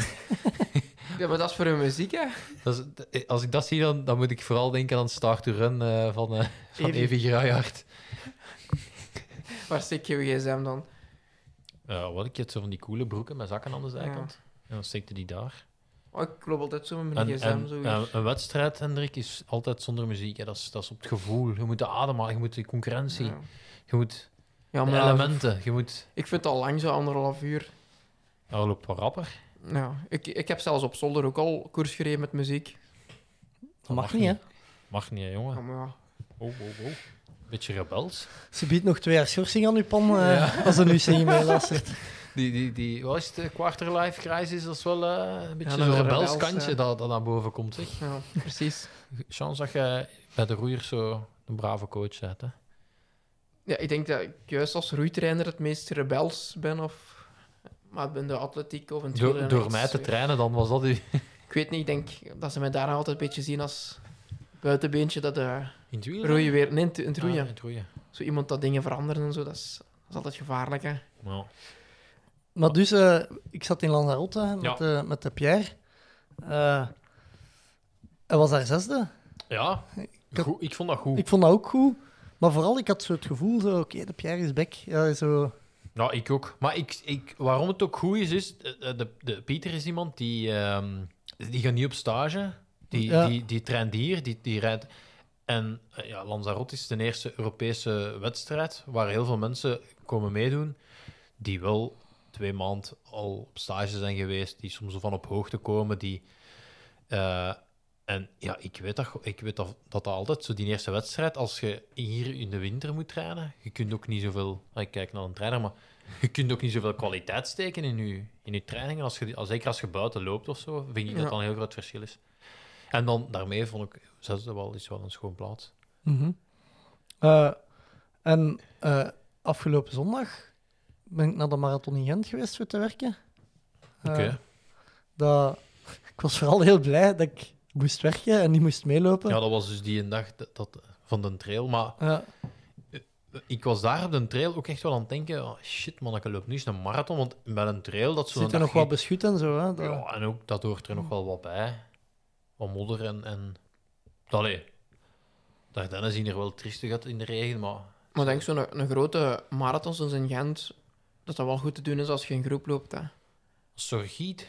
[SPEAKER 8] Ja, maar dat is voor hun muziek, hè?
[SPEAKER 9] Dat is- eh, als ik dat zie, dan, dan moet ik vooral denken aan Start to Run eh, van, eh van
[SPEAKER 8] Evi.
[SPEAKER 9] Evi, Graaiaard.
[SPEAKER 8] Waar steek je je gsm dan?
[SPEAKER 9] Eh, wat ik het zo van die coole broeken met zakken aan de zijkant. En dan steekte die daar.
[SPEAKER 8] Oh, ik loop altijd zo met mijn
[SPEAKER 9] En,
[SPEAKER 8] gsm.
[SPEAKER 9] en,
[SPEAKER 8] Zo
[SPEAKER 9] eh,
[SPEAKER 8] hier.
[SPEAKER 9] een wedstrijd, Hendrik, is altijd zonder muziek. Hè. Dat, is, dat is op het gevoel. Je moet de adem halen, je moet de concurrentie,
[SPEAKER 8] ja.
[SPEAKER 9] je moet
[SPEAKER 8] Ja,
[SPEAKER 9] de
[SPEAKER 8] maar
[SPEAKER 9] elementen, je moet...
[SPEAKER 8] ik vind het al lang zo anderhalf uur.
[SPEAKER 9] Nou, loop wat rapper.
[SPEAKER 8] Ja, ik, ik heb zelfs op zolder ook al koers gereden met muziek.
[SPEAKER 7] Dat mag niet, hè?
[SPEAKER 9] Mag niet, hè, jongen.
[SPEAKER 8] Ja, maar ja.
[SPEAKER 9] Oh, oh, oh. Beetje rebels.
[SPEAKER 7] Ze biedt nog twee jaar schorsing aan uw pan eh, als ze nu zingen meeluistert.
[SPEAKER 9] Die, die, die, wat is het, eh, quarterlife crisis? Dat is wel eh, een beetje
[SPEAKER 8] dat
[SPEAKER 9] een
[SPEAKER 8] wel
[SPEAKER 9] rebels
[SPEAKER 8] rebels,
[SPEAKER 9] kantje
[SPEAKER 8] ja.
[SPEAKER 9] dat, dat naar boven komt. Zeg.
[SPEAKER 8] Ja, precies.
[SPEAKER 9] Chance dat je bij de roeiers zo een brave coach bent. Hè.
[SPEAKER 8] Ja, ik denk dat ik juist als roeitrainer het meest rebels ben. Of, maar ben de atletiek of een
[SPEAKER 9] Door, door mij te
[SPEAKER 8] trainen.
[SPEAKER 9] trainen, dan was dat uw
[SPEAKER 8] Ik weet niet, ik denk dat ze mij daar altijd een beetje zien als buitenbeentje dat de
[SPEAKER 9] In het wiel?
[SPEAKER 8] roeien weer... Nee, in het- in het
[SPEAKER 9] Ah,
[SPEAKER 8] roeien.
[SPEAKER 9] in het roeien.
[SPEAKER 8] Zo iemand dat dingen veranderen en zo, dat is, dat is altijd gevaarlijk, hè.
[SPEAKER 9] Nou,
[SPEAKER 7] Maar dus, eh, ik zat in Lanzarote hè, met,
[SPEAKER 9] Ja.
[SPEAKER 7] de, met de Pierre. Eh, hij was daar zesde.
[SPEAKER 9] ja,
[SPEAKER 7] had-
[SPEAKER 9] Goed, ik vond dat goed.
[SPEAKER 7] Ik vond dat ook goed. Maar vooral, ik had zo het gevoel, zo, oké, de Pierre is back. Ja, zo,
[SPEAKER 9] Ja, ik ook. Maar ik, ik, waarom het ook goed is, is eh, eh, de, de, Pieter is iemand die, ehm, die gaat niet op stage. Die,
[SPEAKER 7] Ja.
[SPEAKER 9] die, die traint hier, die, die rijdt. En eh, ja, Lanzarote is de eerste Europese wedstrijd waar heel veel mensen komen meedoen die wel twee maanden al op stage zijn geweest, die soms van op hoogte komen, die... eh, en ja, ik weet, dat, ik weet dat, dat dat altijd zo, die eerste wedstrijd, als je hier in de winter moet trainen, je kunt ook niet zoveel... ah, Ik kijk naar een trainer, maar je kunt ook niet zoveel kwaliteit steken in je, in je trainingen. Als je, als, zeker als je buiten loopt of zo, vind ik
[SPEAKER 8] Ja.
[SPEAKER 9] dat dat een heel groot verschil is. En dan daarmee vond ik zesde wel, is wel een schoon plaats.
[SPEAKER 7] mhm. Eh, en eh, afgelopen zondag ben ik naar de marathon in Gent geweest voor te werken. Eh,
[SPEAKER 9] Oké.
[SPEAKER 7] dat, ik was vooral heel blij dat ik moest werken en niet moest meelopen.
[SPEAKER 9] Ja, dat was dus die een dag dat, dat- van de trail, maar...
[SPEAKER 7] Ja.
[SPEAKER 9] ik was daar op de trail ook echt wel aan het denken: oh, shit man, ik loop nu eens een marathon. Want met een trail, dat zo'n
[SPEAKER 7] zit er
[SPEAKER 9] dag
[SPEAKER 7] nog wat
[SPEAKER 9] niet-
[SPEAKER 7] beschut en zo. Hè? Dat-
[SPEAKER 9] Ja, en ook dat hoort er nog wel wat bij. Wat modder en. en... Allee, daar dan zien er wel triestig uit in de regen, maar.
[SPEAKER 8] Maar ik denk zo'n een grote marathon zoals in Gent, dat dat wel goed te doen is als je in groep loopt, hè.
[SPEAKER 9] Sorgiet.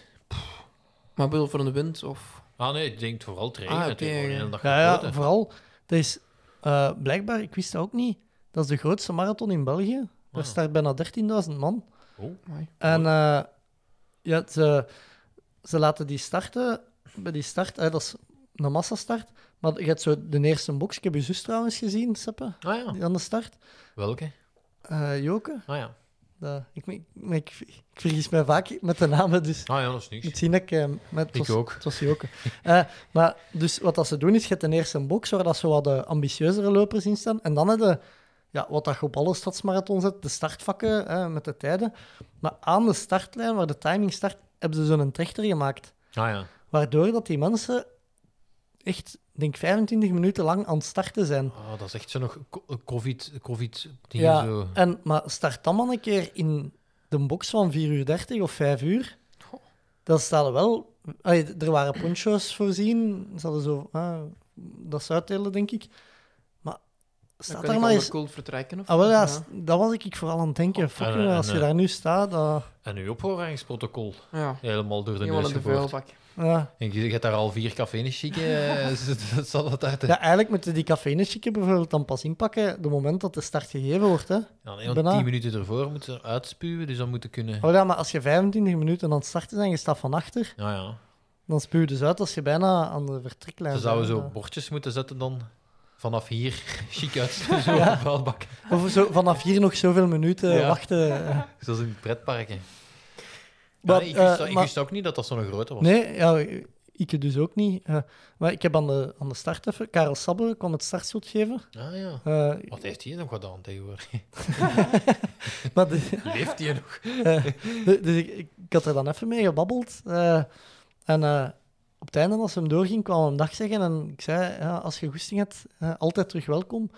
[SPEAKER 8] Maar ik bedoel, voor de wind of...
[SPEAKER 9] Ah nee, ik denk vooral het regenen.
[SPEAKER 8] Ah,
[SPEAKER 9] het heeft
[SPEAKER 8] oké,
[SPEAKER 9] gewoon de
[SPEAKER 8] ja.
[SPEAKER 9] hele dag
[SPEAKER 7] Ja, ja,
[SPEAKER 9] gegooid, hè.
[SPEAKER 7] vooral, dat is eh, blijkbaar, ik wist dat ook niet, dat is de grootste marathon in België. Daar
[SPEAKER 9] Ah.
[SPEAKER 7] start bijna 13.000 man.
[SPEAKER 9] Oh.
[SPEAKER 8] Amai.
[SPEAKER 7] En eh, ja, ze, ze laten die starten, bij die start, eh, dat is een massastart, maar je hebt zo de eerste box, ik heb je zus trouwens gezien, Seppe,
[SPEAKER 9] Ah ja,
[SPEAKER 7] die aan de start.
[SPEAKER 9] welke?
[SPEAKER 7] Eh, Joke,
[SPEAKER 9] Ah ja.
[SPEAKER 7] dat- ik, ik, ik, ik vergis mij vaak met de namen, dus
[SPEAKER 9] Ah ja, dat is
[SPEAKER 7] Ik moet
[SPEAKER 9] niks.
[SPEAKER 7] zien dat ik... eh, maar het
[SPEAKER 9] Ik
[SPEAKER 7] was,
[SPEAKER 9] ook.
[SPEAKER 7] Het was hier ook. Eh, maar eh, dus wat dat ze doen, is je hebt ten eerste een box waar dat zo wat de ambitieuzere lopers in staan. En dan hebben ja, wat dat je op alle stadsmarathons hebt, de startvakken hè, met de tijden. Maar aan de startlijn, waar de timing start, hebben ze zo'n trechter gemaakt.
[SPEAKER 9] Ah, ja.
[SPEAKER 7] Waardoor dat die mensen echt, denk 25 minuten lang aan het starten zijn.
[SPEAKER 9] Ah, dat is echt zo nog co- covid, covid dingen
[SPEAKER 7] Ja,
[SPEAKER 9] zo.
[SPEAKER 7] en, maar start dan maar een keer in de box van 4 uur 30 of 5 uur. Dan staan er wel... allee, d- er waren poncho's voorzien. Ze hadden zo... ah, dat ze uitdelen, denk ik. Maar
[SPEAKER 8] Dan
[SPEAKER 7] staat
[SPEAKER 8] kan
[SPEAKER 7] daar
[SPEAKER 8] ik
[SPEAKER 7] maar eens...
[SPEAKER 8] onderkoeld vertrekken. Of
[SPEAKER 7] Ah, wel, ja,
[SPEAKER 8] Ja.
[SPEAKER 7] s- Dat was ik vooral aan het denken. Fuck,
[SPEAKER 9] en,
[SPEAKER 7] jongen, als
[SPEAKER 9] en,
[SPEAKER 7] je
[SPEAKER 9] eh,
[SPEAKER 7] daar nu staat... dat-
[SPEAKER 9] En uw opvaringsprotocol.
[SPEAKER 8] Ja.
[SPEAKER 9] Helemaal door de
[SPEAKER 8] Helemaal
[SPEAKER 9] neus
[SPEAKER 8] in de
[SPEAKER 9] geboord.
[SPEAKER 8] vuilbak.
[SPEAKER 7] ja.
[SPEAKER 9] En je je hebt daar al vier eh, cafeïnes chicken. dat zal dat uit.
[SPEAKER 7] ja, eigenlijk moeten die cafeïnechicken bijvoorbeeld dan pas inpakken op het moment dat de start gegeven wordt. Hè.
[SPEAKER 9] Ja, nee, want
[SPEAKER 7] Bijna.
[SPEAKER 9] tien minuten ervoor moeten ze uitspuwen, dus dan moeten kunnen...
[SPEAKER 7] Oh, ja, maar als je 25 minuten aan het starten bent en je staat van achter,
[SPEAKER 9] Ja, Ah, ja.
[SPEAKER 7] dan spuw je dus uit als je bijna aan de vertreklijn
[SPEAKER 9] Ze
[SPEAKER 7] bent. eh.
[SPEAKER 9] zouden
[SPEAKER 7] hè.
[SPEAKER 9] zo bordjes moeten zetten dan. Vanaf hier, chic uit, zo op de vuilbak.
[SPEAKER 7] Of zo, vanaf hier nog zoveel minuten
[SPEAKER 9] Ja.
[SPEAKER 7] wachten. eh.
[SPEAKER 9] Zoals in pretparken. Ja,
[SPEAKER 7] Maar,
[SPEAKER 9] nee, ik wist,
[SPEAKER 7] eh,
[SPEAKER 9] dat- ik
[SPEAKER 7] maar-
[SPEAKER 9] wist ook niet dat dat zo'n grote was.
[SPEAKER 7] nee, ja, ik dus ook niet. eh. maar ik heb aan de, aan de start even... Karel Sabbe kwam het startschot geven.
[SPEAKER 9] Ah ja.
[SPEAKER 7] Eh,
[SPEAKER 9] Wat heeft hij nog gedaan tegenwoordig?
[SPEAKER 7] maar de-
[SPEAKER 9] Leeft hij nog?
[SPEAKER 7] eh, de- dus ik, ik, ik had er dan even mee gebabbeld. eh. en eh, op het einde, als hem doorging, kwam hem dag zeggen. En ik zei, ja, als je goesting hebt, eh, altijd terug welkom.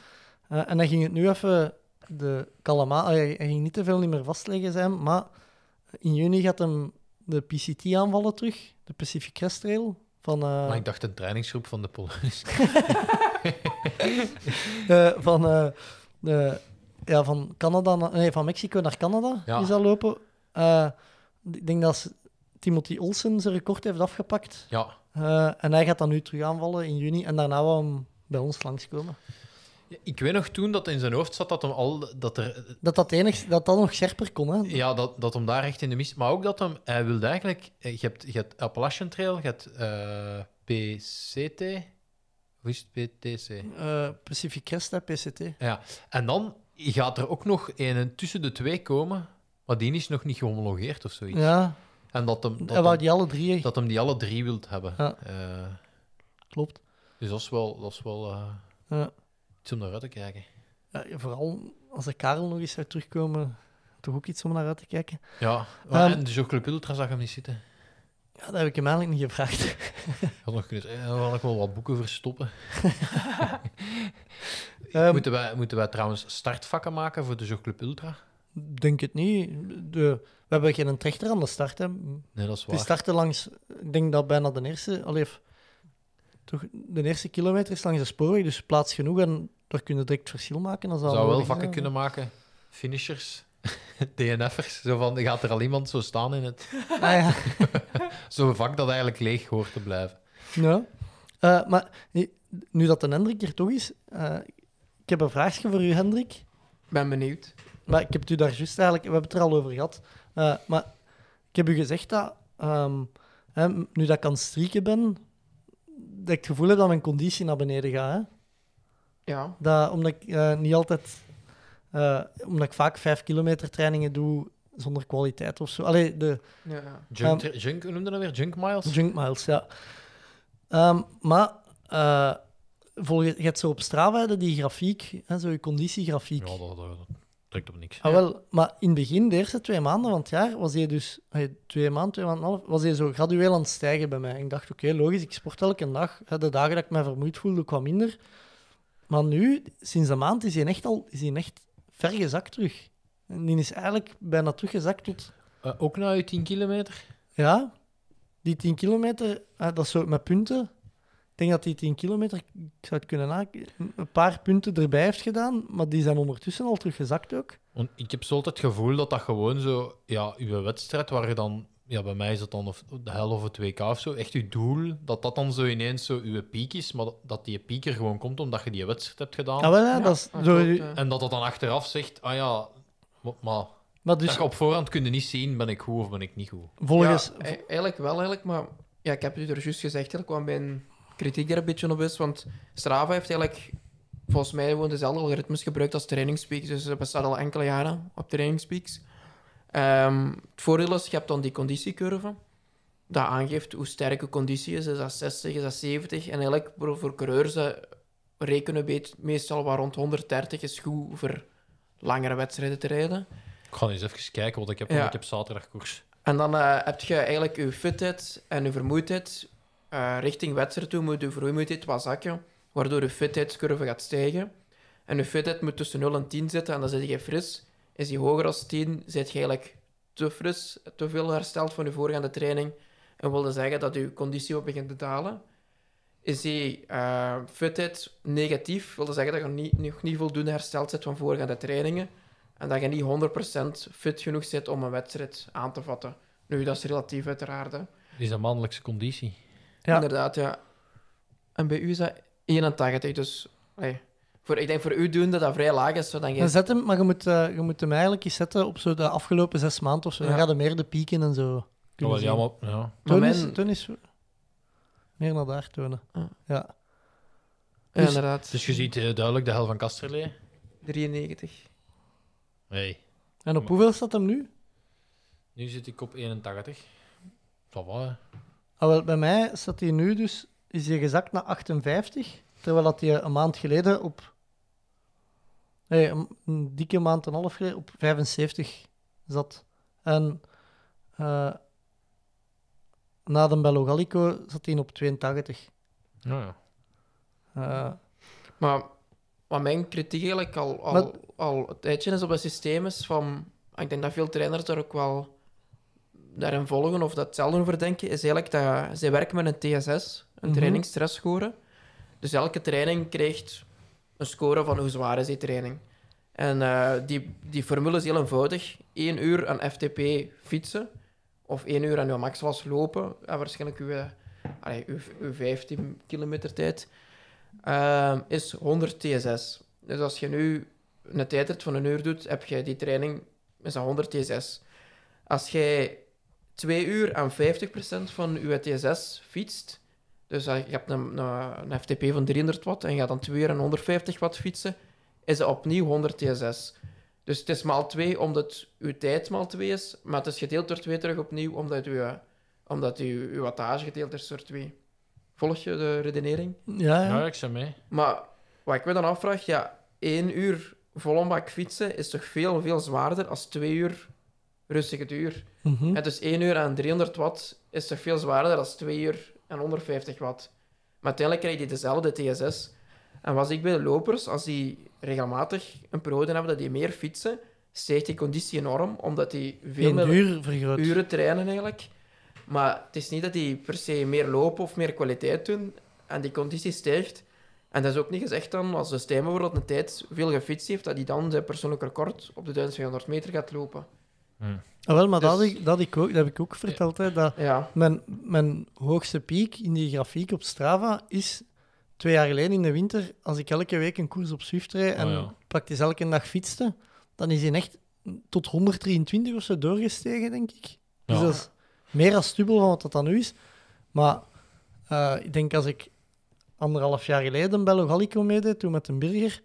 [SPEAKER 7] Eh, en hij ging het nu even... De kalama, hij, hij ging niet te veel niet meer vastleggen zijn, maar in juni gaat hem de PCT aanvallen terug, de Pacific Crest Trail. Van, eh,
[SPEAKER 9] Maar ik dacht een trainingsgroep van de Polonis.
[SPEAKER 7] Eh, van, eh, de- ja, van, Canada na- nee, van Mexico naar Canada
[SPEAKER 9] Ja.
[SPEAKER 7] is dat lopen. Eh, ik denk dat s- Timothy Olsen zijn record heeft afgepakt.
[SPEAKER 9] Ja.
[SPEAKER 7] Eh, en hij gaat dan nu terug aanvallen in juni. En daarna wou hem bij ons langskomen.
[SPEAKER 9] Ja, Ik weet nog toen dat in zijn hoofd zat dat hem al dat er
[SPEAKER 7] Dat dat, enig, dat, dat nog scherper kon. Hè?
[SPEAKER 9] ja dat, dat hem daar echt in de mist, maar ook dat hem hij wilde eigenlijk eh, je hebt je hebt Appalachian Trail, je hebt eh, PCT, hoe is het PTC?
[SPEAKER 7] Eh, Pacific Crest, hè, PCT.
[SPEAKER 9] En dan gaat er ook nog een tussen de twee komen, maar die is nog niet gehomologeerd of zoiets.
[SPEAKER 7] Ja,
[SPEAKER 9] En dat hem
[SPEAKER 7] hij
[SPEAKER 9] dat,
[SPEAKER 7] wou
[SPEAKER 9] hem,
[SPEAKER 7] die alle drie.
[SPEAKER 9] dat hem die alle drie wilt hebben.
[SPEAKER 7] Ja.
[SPEAKER 9] Eh,
[SPEAKER 7] Klopt.
[SPEAKER 9] dus dat is wel dat is wel eh,
[SPEAKER 7] Ja.
[SPEAKER 9] iets om naar uit te kijken.
[SPEAKER 7] Ja, vooral als de Karel nog eens zou terugkomen. Toch ook iets om naar uit te kijken.
[SPEAKER 9] Ja. Maar-
[SPEAKER 7] Ehm.
[SPEAKER 9] en de Club Ultra zag hem niet zitten.
[SPEAKER 7] Ja, dat heb ik hem eigenlijk niet gevraagd.
[SPEAKER 9] had nog kunnen zeggen, eh, dan had ik wel wat boeken verstoppen.
[SPEAKER 7] Ehm,
[SPEAKER 9] moeten, wij, moeten wij trouwens startvakken maken voor dus de Jogclub Ultra?
[SPEAKER 7] Denk het niet. De, we hebben geen trechter aan de start. Hè.
[SPEAKER 9] Nee, dat is waar.
[SPEAKER 7] Die starten langs, ik denk dat bijna de eerste, allee, of toch de eerste kilometer is langs de spoorweg, dus plaats genoeg en daar kunnen direct verschil maken. Als dat
[SPEAKER 9] Zou wel
[SPEAKER 7] nodig
[SPEAKER 9] vakken
[SPEAKER 7] is, hè.
[SPEAKER 9] kunnen maken. Finishers, DNF'ers. Zo van, gaat er al iemand zo staan in het...
[SPEAKER 7] Ah,
[SPEAKER 9] Zo'n vak dat eigenlijk leeg hoort te blijven.
[SPEAKER 7] ja. ja. Eh, maar nu- nu dat de Hendrik er toch is, eh, ik heb een vraagje voor u, Hendrik.
[SPEAKER 8] Ben benieuwd.
[SPEAKER 7] Maar ik heb het u daar juist eigenlijk, we hebben het er al over gehad. Eh, maar ik heb u gezegd dat, ehm, hè, nu dat ik aan het strieken ben, dat ik het gevoel heb dat mijn conditie naar beneden gaat. Hè?
[SPEAKER 8] Ja.
[SPEAKER 7] Dat, omdat ik eh, niet altijd, eh, omdat ik vaak vijf kilometer trainingen doe zonder kwaliteit of zo. Allee, de
[SPEAKER 8] ja, ja.
[SPEAKER 9] Junk,
[SPEAKER 7] Ehm.
[SPEAKER 9] tra- junk, hoe noemde dat weer? Junk miles?
[SPEAKER 7] junk miles, ja. Ehm, maar eh volg je, je hebt zo op Strava hè, die grafiek, hè, zo je conditiegrafiek.
[SPEAKER 9] Ja, dat, dat, dat trekt op niks.
[SPEAKER 7] Ah, wel, maar in het begin, de eerste twee maanden van het jaar, was hij dus, hey, twee maanden, twee maanden en een half, was hij zo gradueel aan het stijgen bij mij. Ik dacht, oké, logisch, ik sport elke dag. Hè, De dagen dat ik mij vermoeid voelde, kwam minder. Maar nu, sinds een maand, is hij echt al is hij echt ver gezakt terug. En die is eigenlijk bijna teruggezakt tot,
[SPEAKER 9] Eh, ook na je 10 kilometer?
[SPEAKER 7] ja, die 10 kilometer, hè, dat is zo met punten. Ik denk dat die 10 kilometer, ik zou het kunnen na, een paar punten erbij heeft gedaan, maar die zijn ondertussen al teruggezakt ook.
[SPEAKER 9] Want ik heb zo altijd het gevoel dat dat gewoon zo... Ja, uw wedstrijd waar je dan... Ja, bij mij is dat dan of de hel of het WK of zo. Echt uw doel, dat dat dan zo ineens zo uw piek is. Maar dat- dat die piek er gewoon komt omdat je die wedstrijd hebt gedaan.
[SPEAKER 7] Ah, wel, ja, dat is
[SPEAKER 8] dat
[SPEAKER 7] door,
[SPEAKER 8] klopt,
[SPEAKER 7] je-
[SPEAKER 8] ja.
[SPEAKER 9] En dat dat dan achteraf zegt, ah ja... wa- Maar
[SPEAKER 7] Maar
[SPEAKER 9] dat
[SPEAKER 7] dus
[SPEAKER 9] je op voorhand kunnen niet zien, ben ik goed of ben ik niet goed.
[SPEAKER 7] volgens.
[SPEAKER 8] Ja, e- eigenlijk wel, eigenlijk, maar ja, ik heb het u er juist gezegd, er kwam mijn kritiek er een beetje op is, want Strava heeft eigenlijk volgens mij gewoon dezelfde algoritmes gebruikt als trainingspeaks, dus dat bestaat al enkele jaren op trainingspeaks. Ehm, het voordeel is, je hebt dan die conditiecurve, dat aangeeft hoe sterk je conditie is, is dat 60, is dat 70, en eigenlijk voor, voor coureurs eh, rekenen weet- meestal waar rond 130 is goed voor langere wedstrijden te rijden.
[SPEAKER 9] Ik ga eens even kijken, want ik heb,
[SPEAKER 8] Ja.
[SPEAKER 9] ik heb zaterdag koers.
[SPEAKER 8] En dan eh, heb je eigenlijk je fitheid en je vermoeidheid. eh, richting wedstrijd toe moet je vermoeidheid wat zakken, waardoor je fitheidscurve gaat stijgen. En je fitheid moet tussen 0 en 10 zitten en dan zit je fris. Is die hoger dan 10, zit je eigenlijk te fris, te veel hersteld van je voorgaande training. En wilde zeggen dat je conditie wat begint te dalen. Is die eh, fitheid negatief, wilde zeggen dat je niet, nog niet voldoende hersteld zit van voorgaande trainingen. En dat je niet 100% fit genoeg zit om een wedstrijd aan te vatten. Nu, dat is relatief uiteraard. Hè.
[SPEAKER 9] Is dat mannelijkse conditie?
[SPEAKER 7] Ja.
[SPEAKER 8] Inderdaad, ja. En bij u is dat 81, dus... allee, voor, ik denk voor u doen dat dat vrij laag is, zodat
[SPEAKER 7] En
[SPEAKER 8] je...
[SPEAKER 7] zet hem, maar je moet, eh, je moet hem eigenlijk eens zetten op zo de afgelopen zes maanden of zo. Dan
[SPEAKER 8] Ja.
[SPEAKER 7] gaat hij meer de pieken en zo.
[SPEAKER 9] Ja,
[SPEAKER 7] kunnen
[SPEAKER 9] wel, ja,
[SPEAKER 7] zien.
[SPEAKER 9] maar, ja.
[SPEAKER 8] Maar
[SPEAKER 7] Toon
[SPEAKER 8] mijn-
[SPEAKER 7] is, Toon is meer naar daar tonen.
[SPEAKER 8] Ah.
[SPEAKER 7] Ja.
[SPEAKER 8] Ja,
[SPEAKER 7] dus-
[SPEAKER 8] inderdaad.
[SPEAKER 9] Dus je ziet eh, duidelijk de hel van Kasterlee.
[SPEAKER 8] 93.
[SPEAKER 9] Nee.
[SPEAKER 7] En op hoeveel staat hem nu?
[SPEAKER 9] Nu zit ik op 81. Dat wel, hè.
[SPEAKER 7] Ah, wel, bij mij staat hij nu dus, is hij gezakt naar 58, terwijl dat hij een maand geleden op... Nee, een, een dikke maand en een half geleden op 75 zat. En eh, na de Bello Gallico zat hij op 82.
[SPEAKER 9] Ja, ja.
[SPEAKER 7] Eh,
[SPEAKER 8] Maar wat mijn kritiek eigenlijk al, al,
[SPEAKER 7] Maar-
[SPEAKER 8] al een tijdje is op het systeem is van... ah, Ik denk dat veel trainers daar ook wel daarin volgen of dat hetzelfde over denken, is eigenlijk dat zij werken met een TSS, een
[SPEAKER 7] Mhm.
[SPEAKER 8] trainingsstressscore. Dus elke training krijgt een score van hoe zwaar is die training. En eh, die, die formule is heel eenvoudig. 1 uur aan FTP fietsen of 1 uur aan uw max was lopen. En waarschijnlijk uw, eh, allee, uw, uw 15 kilometer tijd. ehm, is 100 TSS. Dus als je nu een tijdrit van een uur doet, heb je die training is dat 100 TSS. Als jij 2 uur aan 50% van je TSS fietst, dus eh, je hebt een, een, een FTP van 300 watt en je gaat dan 2 uur aan 150 watt fietsen, is dat opnieuw 100 TSS. Dus het is maal 2 omdat je tijd maal 2 is, maar het is gedeeld door 2 terug opnieuw omdat je, eh, omdat je, je wattage gedeeld is door 2. Volg je de redenering?
[SPEAKER 7] ja, ja.
[SPEAKER 9] Nou ja ik ben mee.
[SPEAKER 8] Maar wat ik me dan afvraag, ja, één uur volle bak fietsen is toch veel, veel zwaarder als twee uur rustige duur.
[SPEAKER 7] Mhm.
[SPEAKER 8] En dus één uur aan 300 watt is toch veel zwaarder als twee uur aan 150 watt. Maar uiteindelijk krijg je dezelfde TSS. En was ik bij de lopers, als die regelmatig een periode hebben dat die meer fietsen, stijgt die conditie enorm, omdat die veel
[SPEAKER 7] Geen
[SPEAKER 8] meer
[SPEAKER 7] duur vergroot.
[SPEAKER 8] uren trainen eigenlijk. Maar het is niet dat die per se meer lopen of meer kwaliteit doen. En die conditie stijgt. En dat is ook niet gezegd dan, als de Stijn bijvoorbeeld een tijd veel gefietst heeft, dat hij dan zijn persoonlijk record op de 1200 meter gaat lopen.
[SPEAKER 7] Ah, wel, maar dat, had
[SPEAKER 8] Dus-
[SPEAKER 7] ik, dat, had ik ook, dat heb ik ook verteld. Hè, dat
[SPEAKER 8] Ja,
[SPEAKER 7] mijn, mijn hoogste piek in die grafiek op Strava is twee jaar geleden in de winter, als ik elke week een koers op Zwift rijd en
[SPEAKER 9] Oh ja.
[SPEAKER 7] praktisch elke dag fietste, dan is hij echt tot 123 of zo doorgestegen, denk ik. Dus
[SPEAKER 9] Ja.
[SPEAKER 7] dat is meer als dubbel van wat dat dan nu is. Maar eh, ik denk als ik anderhalf jaar geleden een Bello Gallico meedeed, toen met een burger,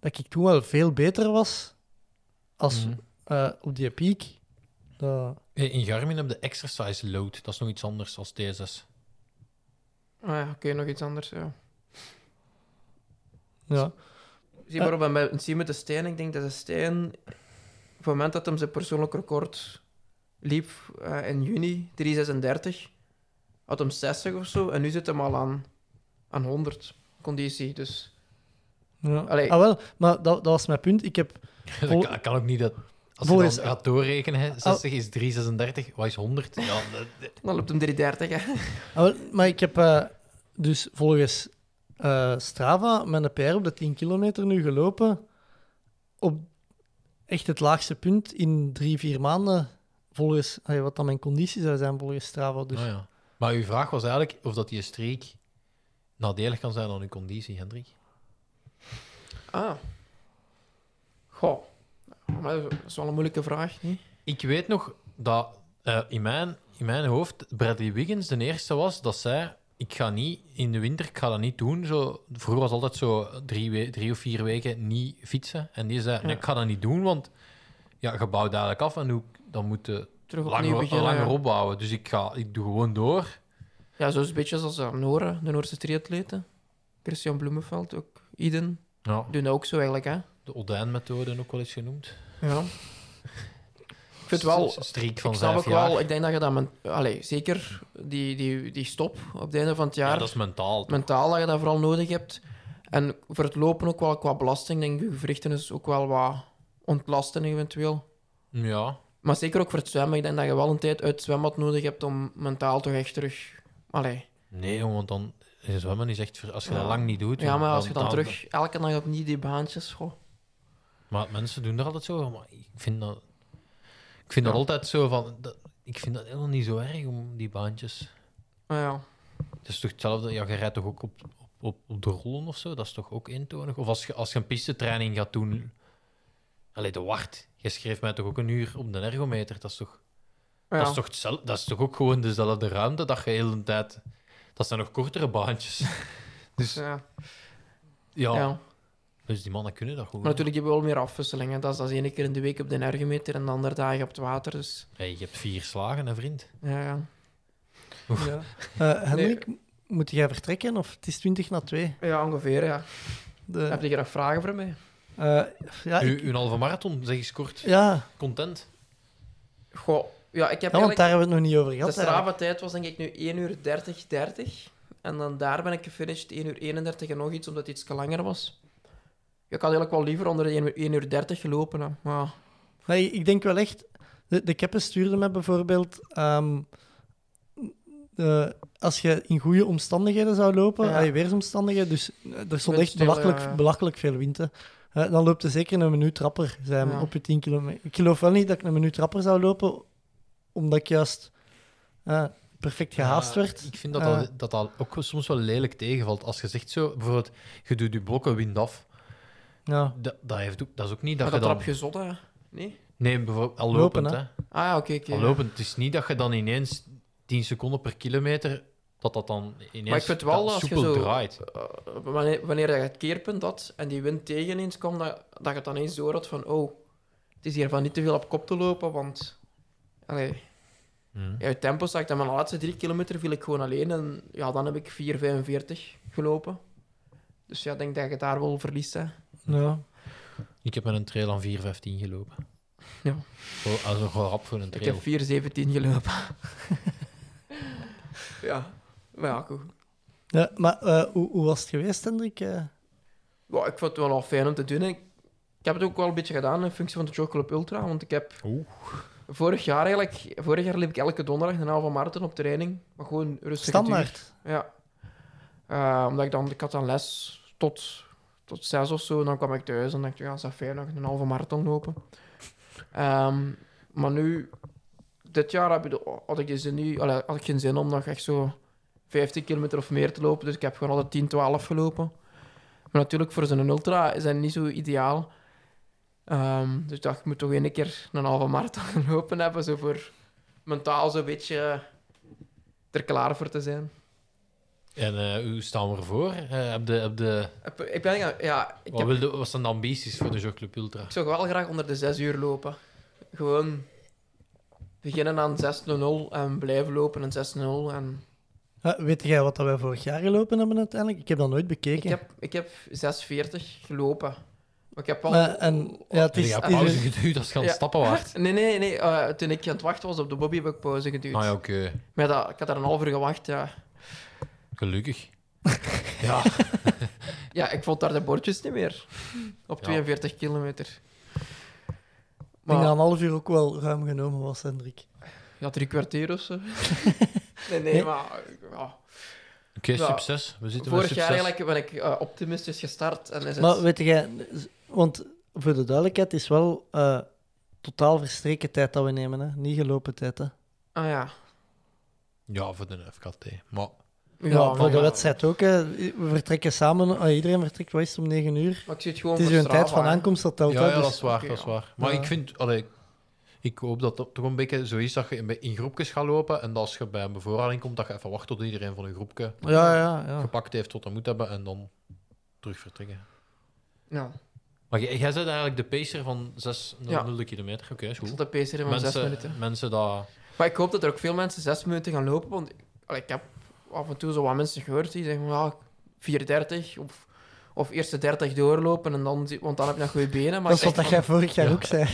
[SPEAKER 7] dat ik toen wel veel beter was als
[SPEAKER 9] Mhm.
[SPEAKER 7] eh, op die piek. Dat-
[SPEAKER 9] Hey, In Garmin heb je exercise load. Dat is nog iets anders dan TSS.
[SPEAKER 8] ah, ja oké, nog iets anders. Ja.
[SPEAKER 7] ja.
[SPEAKER 8] Zie maar op met, zie met de Stijn, ik denk dat de Stijn, op het moment dat hem zijn persoonlijk record liep eh, in juni, 336, had hem 60 of zo. En nu zit hem al aan, aan 100 conditie, dus...
[SPEAKER 7] Ja.
[SPEAKER 8] Allee.
[SPEAKER 7] Ah, wel, maar dat, dat was mijn punt. Ik heb, Vol-
[SPEAKER 9] Dat kan, kan ook niet dat... Als
[SPEAKER 7] Volgens-
[SPEAKER 9] je dan gaat doorrekenen, hè, 60 is 336, wat is 100? Ja, dat- dat-
[SPEAKER 8] Dan loopt hem 330, hè.
[SPEAKER 7] ah, wel, maar ik heb eh, dus volgens eh, Strava mijn PR op de 10 kilometer nu gelopen. Op echt het laagste punt in drie, vier maanden. Volgens allee, wat dan mijn conditie zou zijn volgens Strava. Dus.
[SPEAKER 9] Ah, ja. Maar uw vraag was eigenlijk of dat die streek nadelig kan zijn aan uw conditie, Hendrik.
[SPEAKER 8] Ah. Goh. Maar dat is wel een moeilijke vraag, niet?
[SPEAKER 9] Ik weet nog dat eh, in, mijn, in mijn hoofd Bradley Wiggins de eerste was dat zei: Ik ga niet in de winter, ik ga dat niet doen. Zo, vroeger was altijd zo drie, we- drie of vier weken niet fietsen. En die zei: nee, Ik ga dat niet doen, want ja, je bouwt dadelijk af en hoe- dan moet je
[SPEAKER 8] Terug opnieuw
[SPEAKER 9] langer,
[SPEAKER 8] beginnen.
[SPEAKER 9] langer opbouwen. Dus ik, ga, ik doe gewoon door.
[SPEAKER 8] eh, Ja, zo is het beetje zoals de Noren, de Noorse triatleten. Christian Bloemenveld, ook Iden.
[SPEAKER 9] Ja,
[SPEAKER 8] Doen dat ook zo eigenlijk, hè?
[SPEAKER 9] de Odijn-methode ook wel eens genoemd.
[SPEAKER 8] Ja. Ik vind wel,
[SPEAKER 9] Een streak van
[SPEAKER 8] ik snap
[SPEAKER 9] vijf
[SPEAKER 8] ook
[SPEAKER 9] jaar.
[SPEAKER 8] wel, ik denk dat je dat, men, allee, zeker die, die, die stop op het einde van het jaar,
[SPEAKER 9] Ja, dat is mentaal.
[SPEAKER 8] mentaal dat je dat vooral nodig hebt. En voor het lopen ook wel qua belasting, denk ik, je gewrichten is ook wel wat ontlasten eventueel.
[SPEAKER 9] Ja,
[SPEAKER 8] Maar zeker ook voor het zwemmen. Ik denk dat je wel een tijd uit het zwembad nodig hebt om mentaal toch echt terug... Allee.
[SPEAKER 9] nee, jongen, want dan is zwemmen is echt... ver- Als je
[SPEAKER 8] Ja.
[SPEAKER 9] dat lang niet doet...
[SPEAKER 8] Ja, maar als je dan terug elke dag opnieuw die baantjes... Goh.
[SPEAKER 9] Maar mensen doen dat altijd zo. Maar ik vind dat... Ik vind dat altijd zo van... Dat, ik vind dat helemaal niet zo erg, om die baantjes.
[SPEAKER 8] Maar ja,
[SPEAKER 9] Het is toch hetzelfde... Ja, je rijdt toch ook op, op, op, op de rollen of zo? Dat is toch ook eentonig? Of als je, als je een pistetraining gaat doen... Allee, de wacht. Je schreef mij toch ook een uur op de ergometer? Dat is toch...
[SPEAKER 8] Maar ja.
[SPEAKER 9] Dat, is toch hetzel- dat is toch ook gewoon dezelfde ruimte dat je de hele tijd... Dat zijn nog kortere baantjes. Dus ja,
[SPEAKER 8] ja. ja.
[SPEAKER 9] dus die mannen kunnen dat goed.
[SPEAKER 8] Maar natuurlijk hebben we wel meer afwisselingen. Dat is, dat is één keer in de week op de ergometer en de andere dagen op het water. Dus
[SPEAKER 9] Hey, je hebt vier slagen, hè, vriend.
[SPEAKER 8] ja, ja.
[SPEAKER 7] Ja. Eh, Hendrik, moet jij vertrekken of het is 20 na 2?
[SPEAKER 8] ja ongeveer. Ja. Heb
[SPEAKER 7] De,
[SPEAKER 8] je hier nog vragen voor mij?
[SPEAKER 7] eh, ja, ik-
[SPEAKER 9] U, een halve marathon, zeg eens kort.
[SPEAKER 7] ja,
[SPEAKER 9] Content.
[SPEAKER 8] Goh, ja, ik heb
[SPEAKER 7] ja, want
[SPEAKER 8] eigenlijk...
[SPEAKER 7] daar hebben we het nog niet over
[SPEAKER 8] De
[SPEAKER 7] gehad. eigenlijk.
[SPEAKER 8] Strava-tijd was denk ik nu 1 uur 30, 30. En dan daar ben ik gefinished 1 uur 31 en nog iets, omdat het iets langer was. Ik had eigenlijk wel liever onder de 1 uur, 1 uur 30 gelopen. Hè. Maar ja,
[SPEAKER 7] Nee, ik denk wel echt... De, de keppen stuurde me bijvoorbeeld... ehm, de- als je in goede omstandigheden zou lopen,
[SPEAKER 8] Ja.
[SPEAKER 7] allee, weersomstandigheden, dus eh, er stond echt
[SPEAKER 8] Windstil,
[SPEAKER 7] belachelijk,
[SPEAKER 8] ja, ja.
[SPEAKER 7] belachelijk veel wind, hè. Eh, dan loopt er zeker een minuut trapper zijn
[SPEAKER 8] Ja.
[SPEAKER 7] op je 10 kilometer. Ik geloof wel niet dat ik een minuut trapper zou lopen, omdat ik juist eh, perfect gehaast
[SPEAKER 9] Ja,
[SPEAKER 7] werd.
[SPEAKER 9] Ik vind dat
[SPEAKER 7] Eh.
[SPEAKER 9] dat, dat dat ook soms wel lelijk tegenvalt. Als je zegt zo, bijvoorbeeld, je doet je blokken wind af.
[SPEAKER 7] Ja.
[SPEAKER 9] Dat, dat, heeft ook, dat is ook niet dat
[SPEAKER 8] dat, dat
[SPEAKER 9] je dan...
[SPEAKER 8] trap je zot, hè. Nee?
[SPEAKER 9] Nee, bijvoorbeeld, al
[SPEAKER 7] Lopen,
[SPEAKER 9] lopend,
[SPEAKER 7] hè.
[SPEAKER 9] hè.
[SPEAKER 8] Ah ja, oké, oké.
[SPEAKER 9] Al lopend. Het is niet dat je dan ineens 10 seconden per kilometer... Dat dat dan ineens
[SPEAKER 8] Maar ik vind wel,
[SPEAKER 9] dat
[SPEAKER 8] als je
[SPEAKER 9] soepel
[SPEAKER 8] zo-
[SPEAKER 9] draait.
[SPEAKER 8] Eh, wanneer, wanneer dat je het keerpunt had en die wind tegen eens kwam, dat, dat je het dan eens door had van oh, het is hier van niet te veel op kop te lopen, want allee,
[SPEAKER 9] Hm.
[SPEAKER 8] ja, het tempo zakt. En mijn laatste drie kilometer viel ik gewoon alleen en ja, dan heb ik 4,45 gelopen. Dus ja, ik denk dat je daar wel verliest, hè.
[SPEAKER 7] Ja.
[SPEAKER 9] Ik heb met een trail aan 4.15 gelopen.
[SPEAKER 8] Ja.
[SPEAKER 9] Oh, dat is nog wel rap voor een
[SPEAKER 8] Ik
[SPEAKER 9] trail.
[SPEAKER 8] heb 4,17 gelopen. ja, maar ja, goed.
[SPEAKER 7] Ja, maar eh, hoe, hoe was het geweest, Hendrik? Eh,
[SPEAKER 8] Ja, ik vond het wel al fijn om te doen. Ik, ik heb het ook wel een beetje gedaan in functie van de Chocolate Club Ultra, want ik heb
[SPEAKER 9] Oeh.
[SPEAKER 8] vorig jaar eigenlijk, vorig jaar liep ik elke donderdag een halve marathon op training, maar gewoon rustig.
[SPEAKER 7] standaard.
[SPEAKER 8] Ja. Eh, omdat ik dan, ik had dan les tot, tot zes of zo, en dan kwam ik thuis en dacht ik, ja, is dat fijn, nog een halve marathon lopen. Ehm, maar nu, dit jaar heb ik de- had ik, deze nu, allee, had ik geen zin om nog echt zo 15 kilometer of meer te lopen, dus ik heb gewoon altijd 10, 12 gelopen. Maar natuurlijk, voor zo'n ultra is dat niet zo ideaal. Ehm, dus ik dacht, ik moet toch één keer een halve marathon lopen hebben, zo voor mentaal zo'n beetje er klaar voor te zijn.
[SPEAKER 9] En eh, hoe staan we ervoor? Eh, heb de, heb de,
[SPEAKER 8] Ik- Ik ben, ja, ja, ik
[SPEAKER 9] wat,
[SPEAKER 8] heb,
[SPEAKER 9] wilde, wat zijn de ambities voor de Jogclub Ultra?
[SPEAKER 8] ik zou wel graag onder de 6 uur lopen. Gewoon beginnen aan 6-0 en blijven lopen aan 6-0. En
[SPEAKER 7] Eh, weet jij wat dat wij vorig jaar gelopen hebben uiteindelijk? Ik heb dat nooit
[SPEAKER 8] ik
[SPEAKER 7] bekeken.
[SPEAKER 8] heb, ik heb 6-40 gelopen. Maar ik heb al...
[SPEAKER 7] Maar, en, ja, het
[SPEAKER 9] Het
[SPEAKER 7] is,
[SPEAKER 9] is,
[SPEAKER 7] het is
[SPEAKER 9] pauze
[SPEAKER 7] een-
[SPEAKER 9] geduwd als je aan het
[SPEAKER 8] Ja.
[SPEAKER 9] stappen waard.
[SPEAKER 8] Nee, nee, nee. eh, toen ik aan het wachten was op de Bobby, heb ik pauze geduwd.
[SPEAKER 9] Ah ja, oké.
[SPEAKER 8] Maar dat, ik had daar een half uur gewacht, ja.
[SPEAKER 9] Gelukkig. ja.
[SPEAKER 8] Ja, ik vond daar de bordjes niet meer. Op
[SPEAKER 9] Ja.
[SPEAKER 8] 42 kilometer.
[SPEAKER 7] Ik denk
[SPEAKER 8] Maar-
[SPEAKER 7] dat een half uur ook wel ruim genomen was, Hendrik.
[SPEAKER 8] Ja, drie kwartier of zo. nee, nee,
[SPEAKER 7] Nee.
[SPEAKER 8] maar... Ja.
[SPEAKER 9] Oké,
[SPEAKER 8] Ja.
[SPEAKER 9] succes. We zitten
[SPEAKER 8] Vorig
[SPEAKER 9] met
[SPEAKER 8] jaar
[SPEAKER 9] succes.
[SPEAKER 8] eigenlijk ben ik eh, optimistisch gestart en is het...
[SPEAKER 7] Maar weet jij, want voor de duidelijkheid het is wel eh, totaal verstreken tijd dat we nemen, hè? niet gelopen tijd. Hè? Ja,
[SPEAKER 8] Ah ja.
[SPEAKER 9] Ja, voor de FKT. Maar
[SPEAKER 8] Ja,
[SPEAKER 7] voor
[SPEAKER 8] maar
[SPEAKER 7] de
[SPEAKER 8] ja.
[SPEAKER 7] wedstrijd ook. Hè. We vertrekken samen, ah, iedereen vertrekt wel eens om 9 uur.
[SPEAKER 8] Maar ik zie het gewoon
[SPEAKER 7] Het is
[SPEAKER 8] voor
[SPEAKER 7] een tijd
[SPEAKER 8] Strava,
[SPEAKER 7] van
[SPEAKER 8] hè.
[SPEAKER 7] aankomst dat telt.
[SPEAKER 9] ja,
[SPEAKER 7] hè,
[SPEAKER 9] ja,
[SPEAKER 7] dus-
[SPEAKER 9] dat is waar.
[SPEAKER 8] oké,
[SPEAKER 9] dat is
[SPEAKER 8] ja.
[SPEAKER 9] waar. Maar
[SPEAKER 7] Ja.
[SPEAKER 9] ik vind... Allee, ik hoop dat dat toch een beetje zo is dat je in- in groepjes gaat lopen en dat als je bij een bevoorrading komt, dat je even wacht tot iedereen van een groepje
[SPEAKER 7] Ja, ja, ja.
[SPEAKER 9] gepakt heeft wat hij moet hebben en dan terug vertrekken.
[SPEAKER 8] Ja.
[SPEAKER 9] Maar jij, jij bent eigenlijk de pacer van 6
[SPEAKER 8] Ja.
[SPEAKER 9] kilometer. Oké, is
[SPEAKER 8] Ik
[SPEAKER 9] goed.
[SPEAKER 8] zat te pacen in mijn zes minuten.
[SPEAKER 9] Mensen, mensen dat...
[SPEAKER 8] Maar ik hoop dat er ook veel mensen zes minuten gaan lopen, want ik- allee, ik heb af en toe zo wat mensen gehoord die zeggen van, ja, 4.30 of, of eerste 30 doorlopen, en dan, zie- want dan heb je nog goede benen. Maar
[SPEAKER 7] dat is wat
[SPEAKER 8] ik zeg
[SPEAKER 7] dat
[SPEAKER 8] van-
[SPEAKER 7] jij vorig jaar ook zei.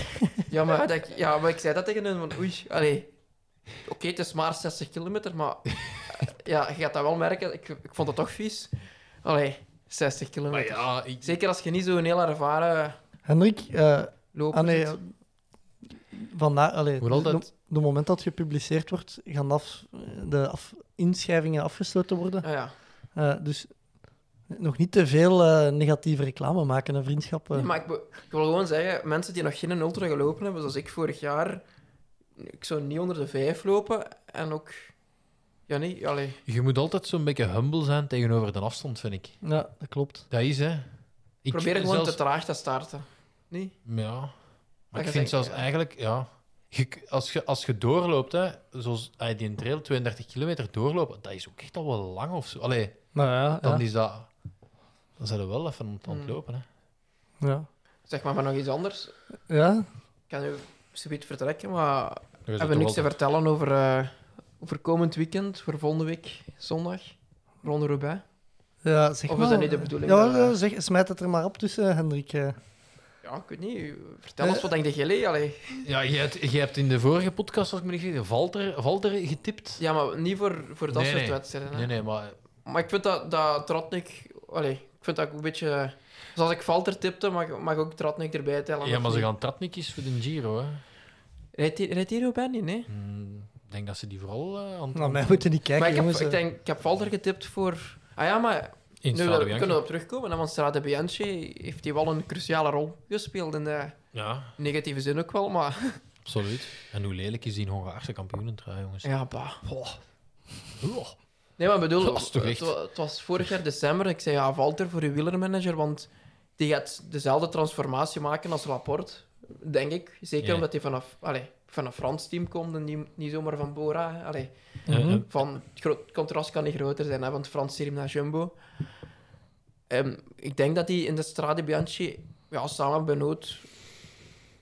[SPEAKER 8] ja, maar, dat ik, ja, maar ik zei dat tegen hen, van oei, allee. Oké, het is maar 60 kilometer, maar eh, ja, je gaat dat wel merken. Ik, ik vond het toch vies. Allee, 60
[SPEAKER 9] Maar
[SPEAKER 8] kilometer.
[SPEAKER 9] ja, ik,
[SPEAKER 8] Zeker als je niet zo'n heel ervaren
[SPEAKER 7] Hendrik, eh
[SPEAKER 8] loper
[SPEAKER 7] ah, nee, eh,
[SPEAKER 8] bent.
[SPEAKER 7] vandaar, allee,
[SPEAKER 9] Moet altijd-
[SPEAKER 7] de, de moment dat gepubliceerd wordt, gaan de af, eh, de af, inschrijvingen afgesloten worden.
[SPEAKER 8] Ah, ja.
[SPEAKER 7] Eh, dus nog niet te veel eh, negatieve reclame maken eh. en vriendschappen.
[SPEAKER 8] Nee, maar ik, be- ik wil gewoon zeggen, mensen die nog geen ultra gelopen hebben, zoals ik vorig jaar, ik zou niet onder de vijf lopen. En ook... Ja, nee, allee.
[SPEAKER 9] je moet altijd zo'n beetje humble zijn tegenover de afstand, vind ik.
[SPEAKER 7] Ja, dat klopt.
[SPEAKER 9] Dat is, hè. Ik
[SPEAKER 8] probeer gewoon
[SPEAKER 9] zelfs-
[SPEAKER 8] te traag te starten. Nee?
[SPEAKER 9] Ja. Maar
[SPEAKER 8] je
[SPEAKER 9] ik
[SPEAKER 8] denkt,
[SPEAKER 9] vind zelfs
[SPEAKER 8] ja.
[SPEAKER 9] eigenlijk, ja... Je, k- als, je, als je doorloopt, hè, zoals ah, die trail 32 kilometer doorlopen, dat is ook echt al wel lang of zo. Allee,
[SPEAKER 7] Nou ja,
[SPEAKER 9] dan
[SPEAKER 7] ja.
[SPEAKER 9] is dat... Dan zijn we wel even aan het- aan het
[SPEAKER 8] Hmm.
[SPEAKER 9] lopen, hè.
[SPEAKER 7] ja.
[SPEAKER 8] Zeg maar, maar nog iets anders. Ik
[SPEAKER 7] ja?
[SPEAKER 8] kan u subiet vertrekken, maar
[SPEAKER 9] Dan is dat
[SPEAKER 8] hebben
[SPEAKER 9] toch
[SPEAKER 8] niks te
[SPEAKER 9] wel-
[SPEAKER 8] vertellen over, eh, over komend weekend, voor volgende week, zondag, Ronde Roubaix.
[SPEAKER 7] Ja, zeg
[SPEAKER 8] Of is
[SPEAKER 7] maar.
[SPEAKER 8] dat niet de bedoeling?
[SPEAKER 7] Ja,
[SPEAKER 8] Dat-
[SPEAKER 7] ja, zeg, smijt het er maar op tussen, Hendrik. eh.
[SPEAKER 8] Ja, ik weet niet. Vertel ons wat denk je, Gele? Allee.
[SPEAKER 9] Ja, jij hebt, jij hebt in de vorige podcast, als ik me niet vergis, Valter, Valter getipt.
[SPEAKER 8] Ja, maar niet voor, voor dat
[SPEAKER 9] Nee,
[SPEAKER 8] soort
[SPEAKER 9] nee.
[SPEAKER 8] wedstrijden. hè.
[SPEAKER 9] Nee, nee, maar...
[SPEAKER 8] Maar ik vind dat, dat Trotnik... Allee, ik vind dat ook een beetje... Zoals ik Valter tipte, mag, mag ook Trotnik erbij tellen.
[SPEAKER 9] Ja,
[SPEAKER 8] of
[SPEAKER 9] maar ze
[SPEAKER 8] niet?
[SPEAKER 9] gaan Tratnikjes voor de Giro, hè.
[SPEAKER 8] Rijdt die- rijdt die Roubaix niet, nee?
[SPEAKER 9] Hmm, Ik denk dat ze die vooral eh, aan het-
[SPEAKER 7] Nou, mij moeten niet kijken,
[SPEAKER 8] maar ik heb,
[SPEAKER 7] jongens.
[SPEAKER 8] ik,
[SPEAKER 7] eh.
[SPEAKER 8] denk, ik heb Valter getipt voor... Ah ja, maar
[SPEAKER 9] in
[SPEAKER 8] nu
[SPEAKER 9] het
[SPEAKER 8] daar-
[SPEAKER 9] Strade
[SPEAKER 8] we kunnen
[SPEAKER 9] Bianche.
[SPEAKER 8] op terugkomen. hè, Want Strade Bianchi heeft hij wel een cruciale rol gespeeld. In de
[SPEAKER 9] Ja,
[SPEAKER 8] negatieve zin ook wel, maar...
[SPEAKER 9] absoluut. En hoe lelijk is die Hongaarse kampioenentrui, jongens.
[SPEAKER 8] Ja, bah.
[SPEAKER 9] Oeh.
[SPEAKER 8] Nee, maar ik bedoel,
[SPEAKER 9] Dat is toch
[SPEAKER 8] het,
[SPEAKER 9] echt?
[SPEAKER 8] wa- het was vorig jaar december. Ik zei, ja, Valter voor uw wielermanager, want die gaat dezelfde transformatie maken als Laporte, denk ik. Zeker
[SPEAKER 9] Ja.
[SPEAKER 8] omdat hij vanaf, allee, van een Frans team komt en niet, niet zomaar van Bora. hè. Allee,
[SPEAKER 9] Eh, eh,
[SPEAKER 8] van, het, gro- het contrast kan niet groter zijn, hè, van het Frans team naar Jumbo. Ehm, ik denk dat hij in de Strade Bianchi, ja, samen Benoot,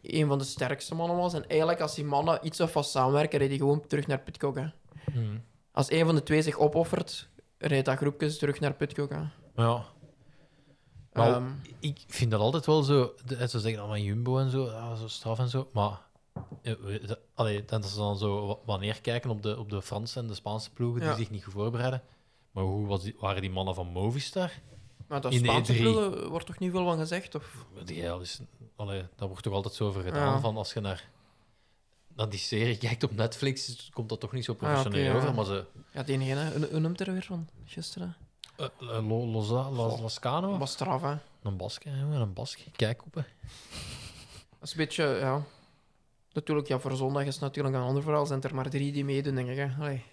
[SPEAKER 8] een van de sterkste mannen was. En eigenlijk, als die mannen iets of vast samenwerken, reed hij gewoon terug naar Pitcock. Hè.
[SPEAKER 9] hmm.
[SPEAKER 8] Als een van de twee zich opoffert, rijdt dat groepjes terug naar Pitcock. hè.
[SPEAKER 9] Ja. Maar
[SPEAKER 8] Ehm,
[SPEAKER 9] ik vind dat altijd wel zo... de- Ze zeggen dan van Jumbo en zo, ja, zo straf en zo, maar... eh, we- de- Allee, dat ze dan zo wa- wanneer kijken op de, op de Franse en de Spaanse ploegen
[SPEAKER 8] Ja.
[SPEAKER 9] die zich niet goed voorbereiden. Maar hoe was die, waren die mannen van Movistar?
[SPEAKER 8] maar dat
[SPEAKER 9] in E de
[SPEAKER 8] Spaanse
[SPEAKER 9] E3.
[SPEAKER 8] prullen wordt toch niet veel van gezegd? Of?
[SPEAKER 9] Weet jij, dat is, allee, daar wordt toch altijd zo over gedaan,
[SPEAKER 8] Ja.
[SPEAKER 9] van als je naar, naar die serie kijkt op Netflix, dus komt dat toch niet zo professioneel
[SPEAKER 8] Ah, oké, ja.
[SPEAKER 9] over, maar ze...
[SPEAKER 8] Ja, die ene, hè. hoe hoe noemt er weer van gisteren?
[SPEAKER 9] eh, eh, Lo- Loza- Las-
[SPEAKER 8] Goh.
[SPEAKER 9] Lascano?
[SPEAKER 8] Was straf, hè.
[SPEAKER 9] Een Baske, jongen, een Baske. Kijk op, hè.
[SPEAKER 8] Dat is een beetje, ja... Natuurlijk, ja, voor zondag is het natuurlijk een ander verhaal. Zijn er maar drie die meedoen, denk ik. Hè. Allee.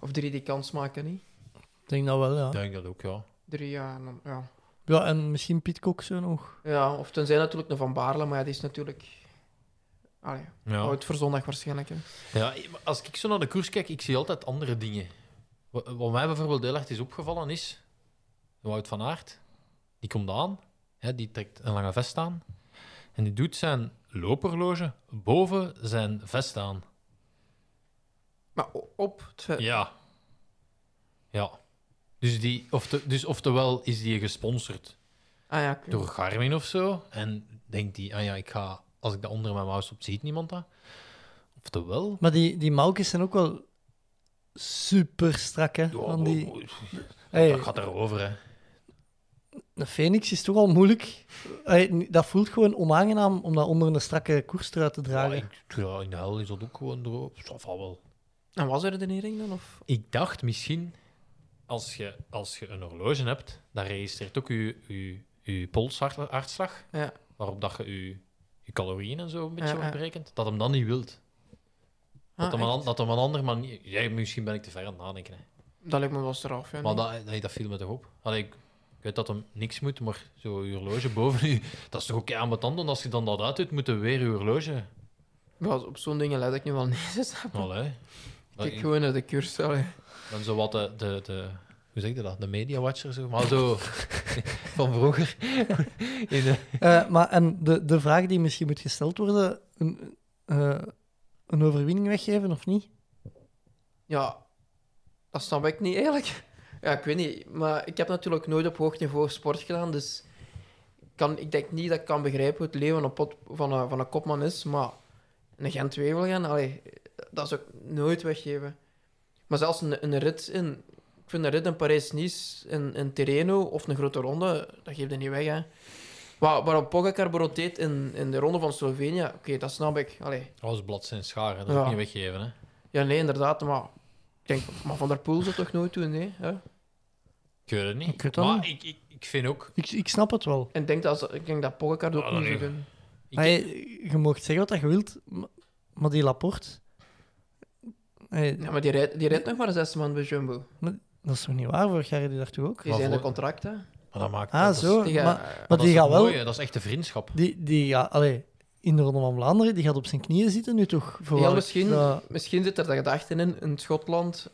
[SPEAKER 8] Of drie die kans maken, niet?
[SPEAKER 7] Ik denk dat wel, ja.
[SPEAKER 9] Ik denk dat ook, ja.
[SPEAKER 8] Drie, ja. en dan- ja.
[SPEAKER 7] Ja, en misschien Piet Kok zo nog.
[SPEAKER 8] ja of tenzij natuurlijk nog Van Baarle, maar ja, die is natuurlijk... Allee,
[SPEAKER 9] Ja.
[SPEAKER 8] oud voor zondag waarschijnlijk, hè.
[SPEAKER 9] Ja, maar als ik zo naar de koers kijk, ik zie altijd andere dingen. Wat, wat mij bijvoorbeeld heel erg is opgevallen is... Wout van Aert, die komt aan. Hè, die trekt een lange vest aan. En die doet zijn loperloge boven zijn vest aan.
[SPEAKER 8] Maar o- op... het ve-
[SPEAKER 9] Ja. Ja. Dus, die, ofte, dus oftewel is die gesponsord
[SPEAKER 8] Ah ja, oké.
[SPEAKER 9] door Garmin of zo. En denkt die, ah ja, ik ga, als ik dat onder mijn mouse op ziet niemand dat. Oftewel...
[SPEAKER 7] Maar die, die mouwkes zijn ook wel super strak, hè. Van die... Hey,
[SPEAKER 9] oh, Dat gaat erover, hè.
[SPEAKER 7] de Phoenix is toch al moeilijk. Hey, dat voelt gewoon onaangenaam om dat onder een strakke koerstrui te dragen.
[SPEAKER 9] Ja, ik- ja, in de hel is dat ook gewoon droog. Ça va wel.
[SPEAKER 8] En was er de nering dan, of...
[SPEAKER 9] Ik dacht misschien, als je, als je een horloge hebt, dan registreert ook je, je, je polshartslag,
[SPEAKER 8] Ja.
[SPEAKER 9] waarop dat je, je je calorieën en zo een beetje
[SPEAKER 8] Ja, ja.
[SPEAKER 9] berekent, dat hem dan niet wilt. Dat,
[SPEAKER 8] Ah,
[SPEAKER 9] hem,
[SPEAKER 8] echt?
[SPEAKER 9] aan- dat hem een andere manier... Jij, misschien ben ik te ver aan het nadenken. Hè.
[SPEAKER 8] Dat lijkt me wel straf, ja.
[SPEAKER 9] Maar
[SPEAKER 8] nee.
[SPEAKER 9] dat, nee, dat viel me toch op. Allee, ik, ik weet dat hem niks moet, maar zo je horloge boven je... Dat is toch ook aan mijn tanden. Als je dan dat uitdoet, moet je weer je horloge...
[SPEAKER 8] Ja, op zo'n dingen let ik nu wel niet. Dus snap je?
[SPEAKER 9] Allee.
[SPEAKER 8] Ik kijk gewoon naar de cursus. allee.
[SPEAKER 9] Dan zo wat de, de, de hoe zeg je dat? De media watcher zo, maar zo van vroeger. In de-
[SPEAKER 7] Eh, maar en de, de vraag die misschien moet gesteld worden: een, eh, een overwinning weggeven of niet?
[SPEAKER 8] Ja, dat snap ik niet eigenlijk. Ja, ik weet niet. Maar ik heb natuurlijk nooit op hoog niveau sport gedaan, dus ik kan, ik denk niet dat ik kan begrijpen hoe het leven van een, pot, van een, van een kopman is. Maar een Gent wil gaan, allee, dat zou ik nooit weggeven. Maar zelfs een, een rit in... Ik vind een rit in Parijs-Nice, in, in Tirreno of een grote ronde, dat geeft er niet weg, hè. Waar, waarop Pogacar broteet in, in de ronde van Slovenië, oké, dat snap ik. Allee,
[SPEAKER 9] Als blad zijn scharen, dat Oh, is
[SPEAKER 8] Ja.
[SPEAKER 9] ook niet weggeven. Hè?
[SPEAKER 8] ja, nee, inderdaad, maar... Ik denk, maar Van der Poel zou het toch nooit doen, nee? Hè?
[SPEAKER 9] Ik weet het niet.
[SPEAKER 7] Ik weet het
[SPEAKER 9] maar
[SPEAKER 7] niet.
[SPEAKER 9] ik, ik, ik vind ook...
[SPEAKER 7] Ik, ik snap het wel.
[SPEAKER 8] En ik denk dat, ze- ik denk dat Pogacar dat ook
[SPEAKER 9] Ah,
[SPEAKER 8] niet zou
[SPEAKER 9] nee.
[SPEAKER 8] doen.
[SPEAKER 9] Ik,
[SPEAKER 7] Hey, je mocht zeggen wat je wilt, ma- maar die Laporte... Hey,
[SPEAKER 8] Ja, maar die rijdt, die rijdt nog maar zes man bij Jumbo.
[SPEAKER 7] Dat is toch niet waar? Vorig jaar had hij daartoe ook.
[SPEAKER 8] Die
[SPEAKER 9] Maar
[SPEAKER 8] zijn de
[SPEAKER 9] voor-
[SPEAKER 8] contracten.
[SPEAKER 9] Maar dat maakt...
[SPEAKER 7] Ah,
[SPEAKER 9] dat is-
[SPEAKER 7] zo.
[SPEAKER 8] Die gaan-
[SPEAKER 7] Maar,
[SPEAKER 8] eh,
[SPEAKER 7] maar
[SPEAKER 9] dat
[SPEAKER 7] die
[SPEAKER 9] is
[SPEAKER 7] gaat
[SPEAKER 9] het
[SPEAKER 7] wel...
[SPEAKER 9] mooie, dat is echte vriendschap.
[SPEAKER 7] Die, die gaat... Allee, in de Ronde van Vlaanderen, die gaat op zijn knieën zitten nu toch? Voor
[SPEAKER 8] ja,
[SPEAKER 7] welk-
[SPEAKER 8] misschien,
[SPEAKER 7] dat-
[SPEAKER 8] misschien zit er de gedachte in, in Schotland,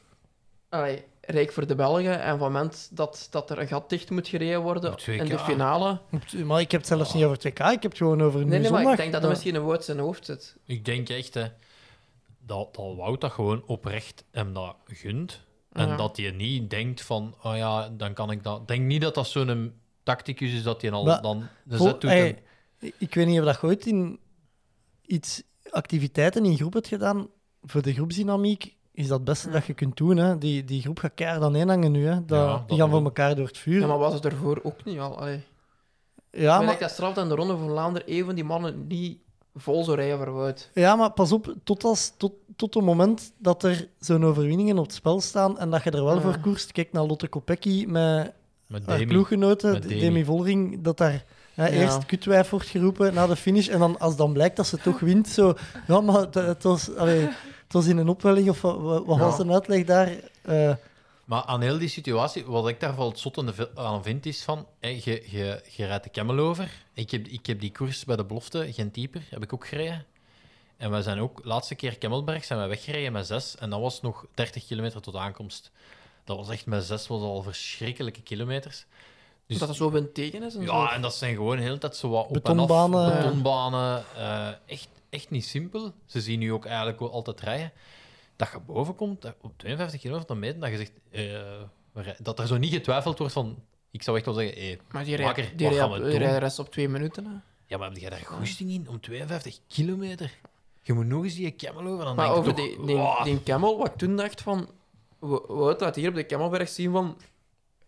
[SPEAKER 8] allee, rijk voor de Belgen, en van het moment dat, dat er een gat dicht moet gereden worden
[SPEAKER 9] Op het WK.
[SPEAKER 8] in de finale...
[SPEAKER 7] maar ik heb het zelfs niet over 2K, ik heb het gewoon over nu
[SPEAKER 8] Nee, nee, maar ik
[SPEAKER 7] Ah. zondag.
[SPEAKER 8] denk dat er
[SPEAKER 7] Ja.
[SPEAKER 8] misschien een woord in zijn hoofd zit.
[SPEAKER 9] Ik denk echt hè, dat, dat Wout dat gewoon oprecht hem dat gunt. En
[SPEAKER 8] Ja.
[SPEAKER 9] dat hij niet denkt van, oh ja, dan kan ik dat... Ik denk niet dat dat zo'n tacticus is Dus dat hij al
[SPEAKER 7] Maar
[SPEAKER 9] dan de
[SPEAKER 7] Vol-
[SPEAKER 9] zet doet.
[SPEAKER 7] ey,
[SPEAKER 9] en-
[SPEAKER 7] ik weet niet of dat je ooit in iets activiteiten in groep hebt gedaan. Voor de groepsdynamiek is dat het beste dat je kunt doen. Hè. Die, die groep gaat keihard aan één hangen nu. Hè. Dat,
[SPEAKER 9] Ja, dat
[SPEAKER 7] die gaan
[SPEAKER 9] wel.
[SPEAKER 7] voor elkaar door het vuur.
[SPEAKER 8] Ja, maar was het ervoor ook niet al? Allee.
[SPEAKER 7] ja,
[SPEAKER 8] ik denk
[SPEAKER 7] Ah, maar,
[SPEAKER 8] dat straf dat in de Ronde van Vlaanderen even die mannen niet vol zou rijden voor Wout.
[SPEAKER 7] ja, maar pas op, tot, als, tot, tot het moment dat er zo'n overwinningen op het spel staan en dat je er wel
[SPEAKER 8] Ja.
[SPEAKER 7] voor koerst. Kijk naar Lotte Kopecky met
[SPEAKER 9] Met
[SPEAKER 7] haar
[SPEAKER 9] Demi.
[SPEAKER 7] ploeggenoten,
[SPEAKER 9] Met
[SPEAKER 7] D-
[SPEAKER 9] Demi.
[SPEAKER 7] Demi Vollering, dat daar hè,
[SPEAKER 8] Ja.
[SPEAKER 7] eerst kutwijf wordt geroepen na de finish. En dan, als dan blijkt dat ze toch wint, zo... Ja, maar het, het was, allee, het was in een opwelling, of wat, wat
[SPEAKER 8] Ja.
[SPEAKER 7] was een uitleg daar? Eh,
[SPEAKER 9] Maar aan heel die situatie, wat ik daar wel het zottende vi- aan vind, is van... hè, je, je, je rijdt de Camel over. Ik heb, ik heb die koers bij de belofte, geen typer, heb ik ook gereden. En wij zijn ook, laatste keer Kemmelberg, zijn wij weggereden met zes. En dat was nog 30 kilometer tot aankomst. Dat was echt met zes, was al verschrikkelijke kilometers. Dus,
[SPEAKER 8] Dat er zo wind tegen is en zo.
[SPEAKER 9] ja, en dat zijn gewoon de hele tijd zo wat op en
[SPEAKER 7] Betonbanen.
[SPEAKER 9] af. Betonbanen. eh, echt, echt niet simpel. Ze zien nu ook eigenlijk wel altijd rijden. Dat je boven komt, eh, op 52 kilometer dan meter, dat je zegt... eh, we rij- dat er zo niet getwijfeld wordt van... Ik zou echt wel zeggen, hé,
[SPEAKER 8] Maar die
[SPEAKER 9] Makker,
[SPEAKER 8] rijdt die
[SPEAKER 9] wat gaan
[SPEAKER 8] rijdt-
[SPEAKER 9] we
[SPEAKER 8] die
[SPEAKER 9] doen?
[SPEAKER 8] rijdt de rest op twee minuten. Hè.
[SPEAKER 9] ja, maar heb jij daar goesting in om 52 kilometer? Je moet nog eens die camel over, dan
[SPEAKER 8] Maar
[SPEAKER 9] denk
[SPEAKER 8] over
[SPEAKER 9] ik toch...
[SPEAKER 8] die, die,
[SPEAKER 9] "Wow."
[SPEAKER 8] die camel, wat ik toen dacht van... we- Wout laat hier op de camelberg zien van...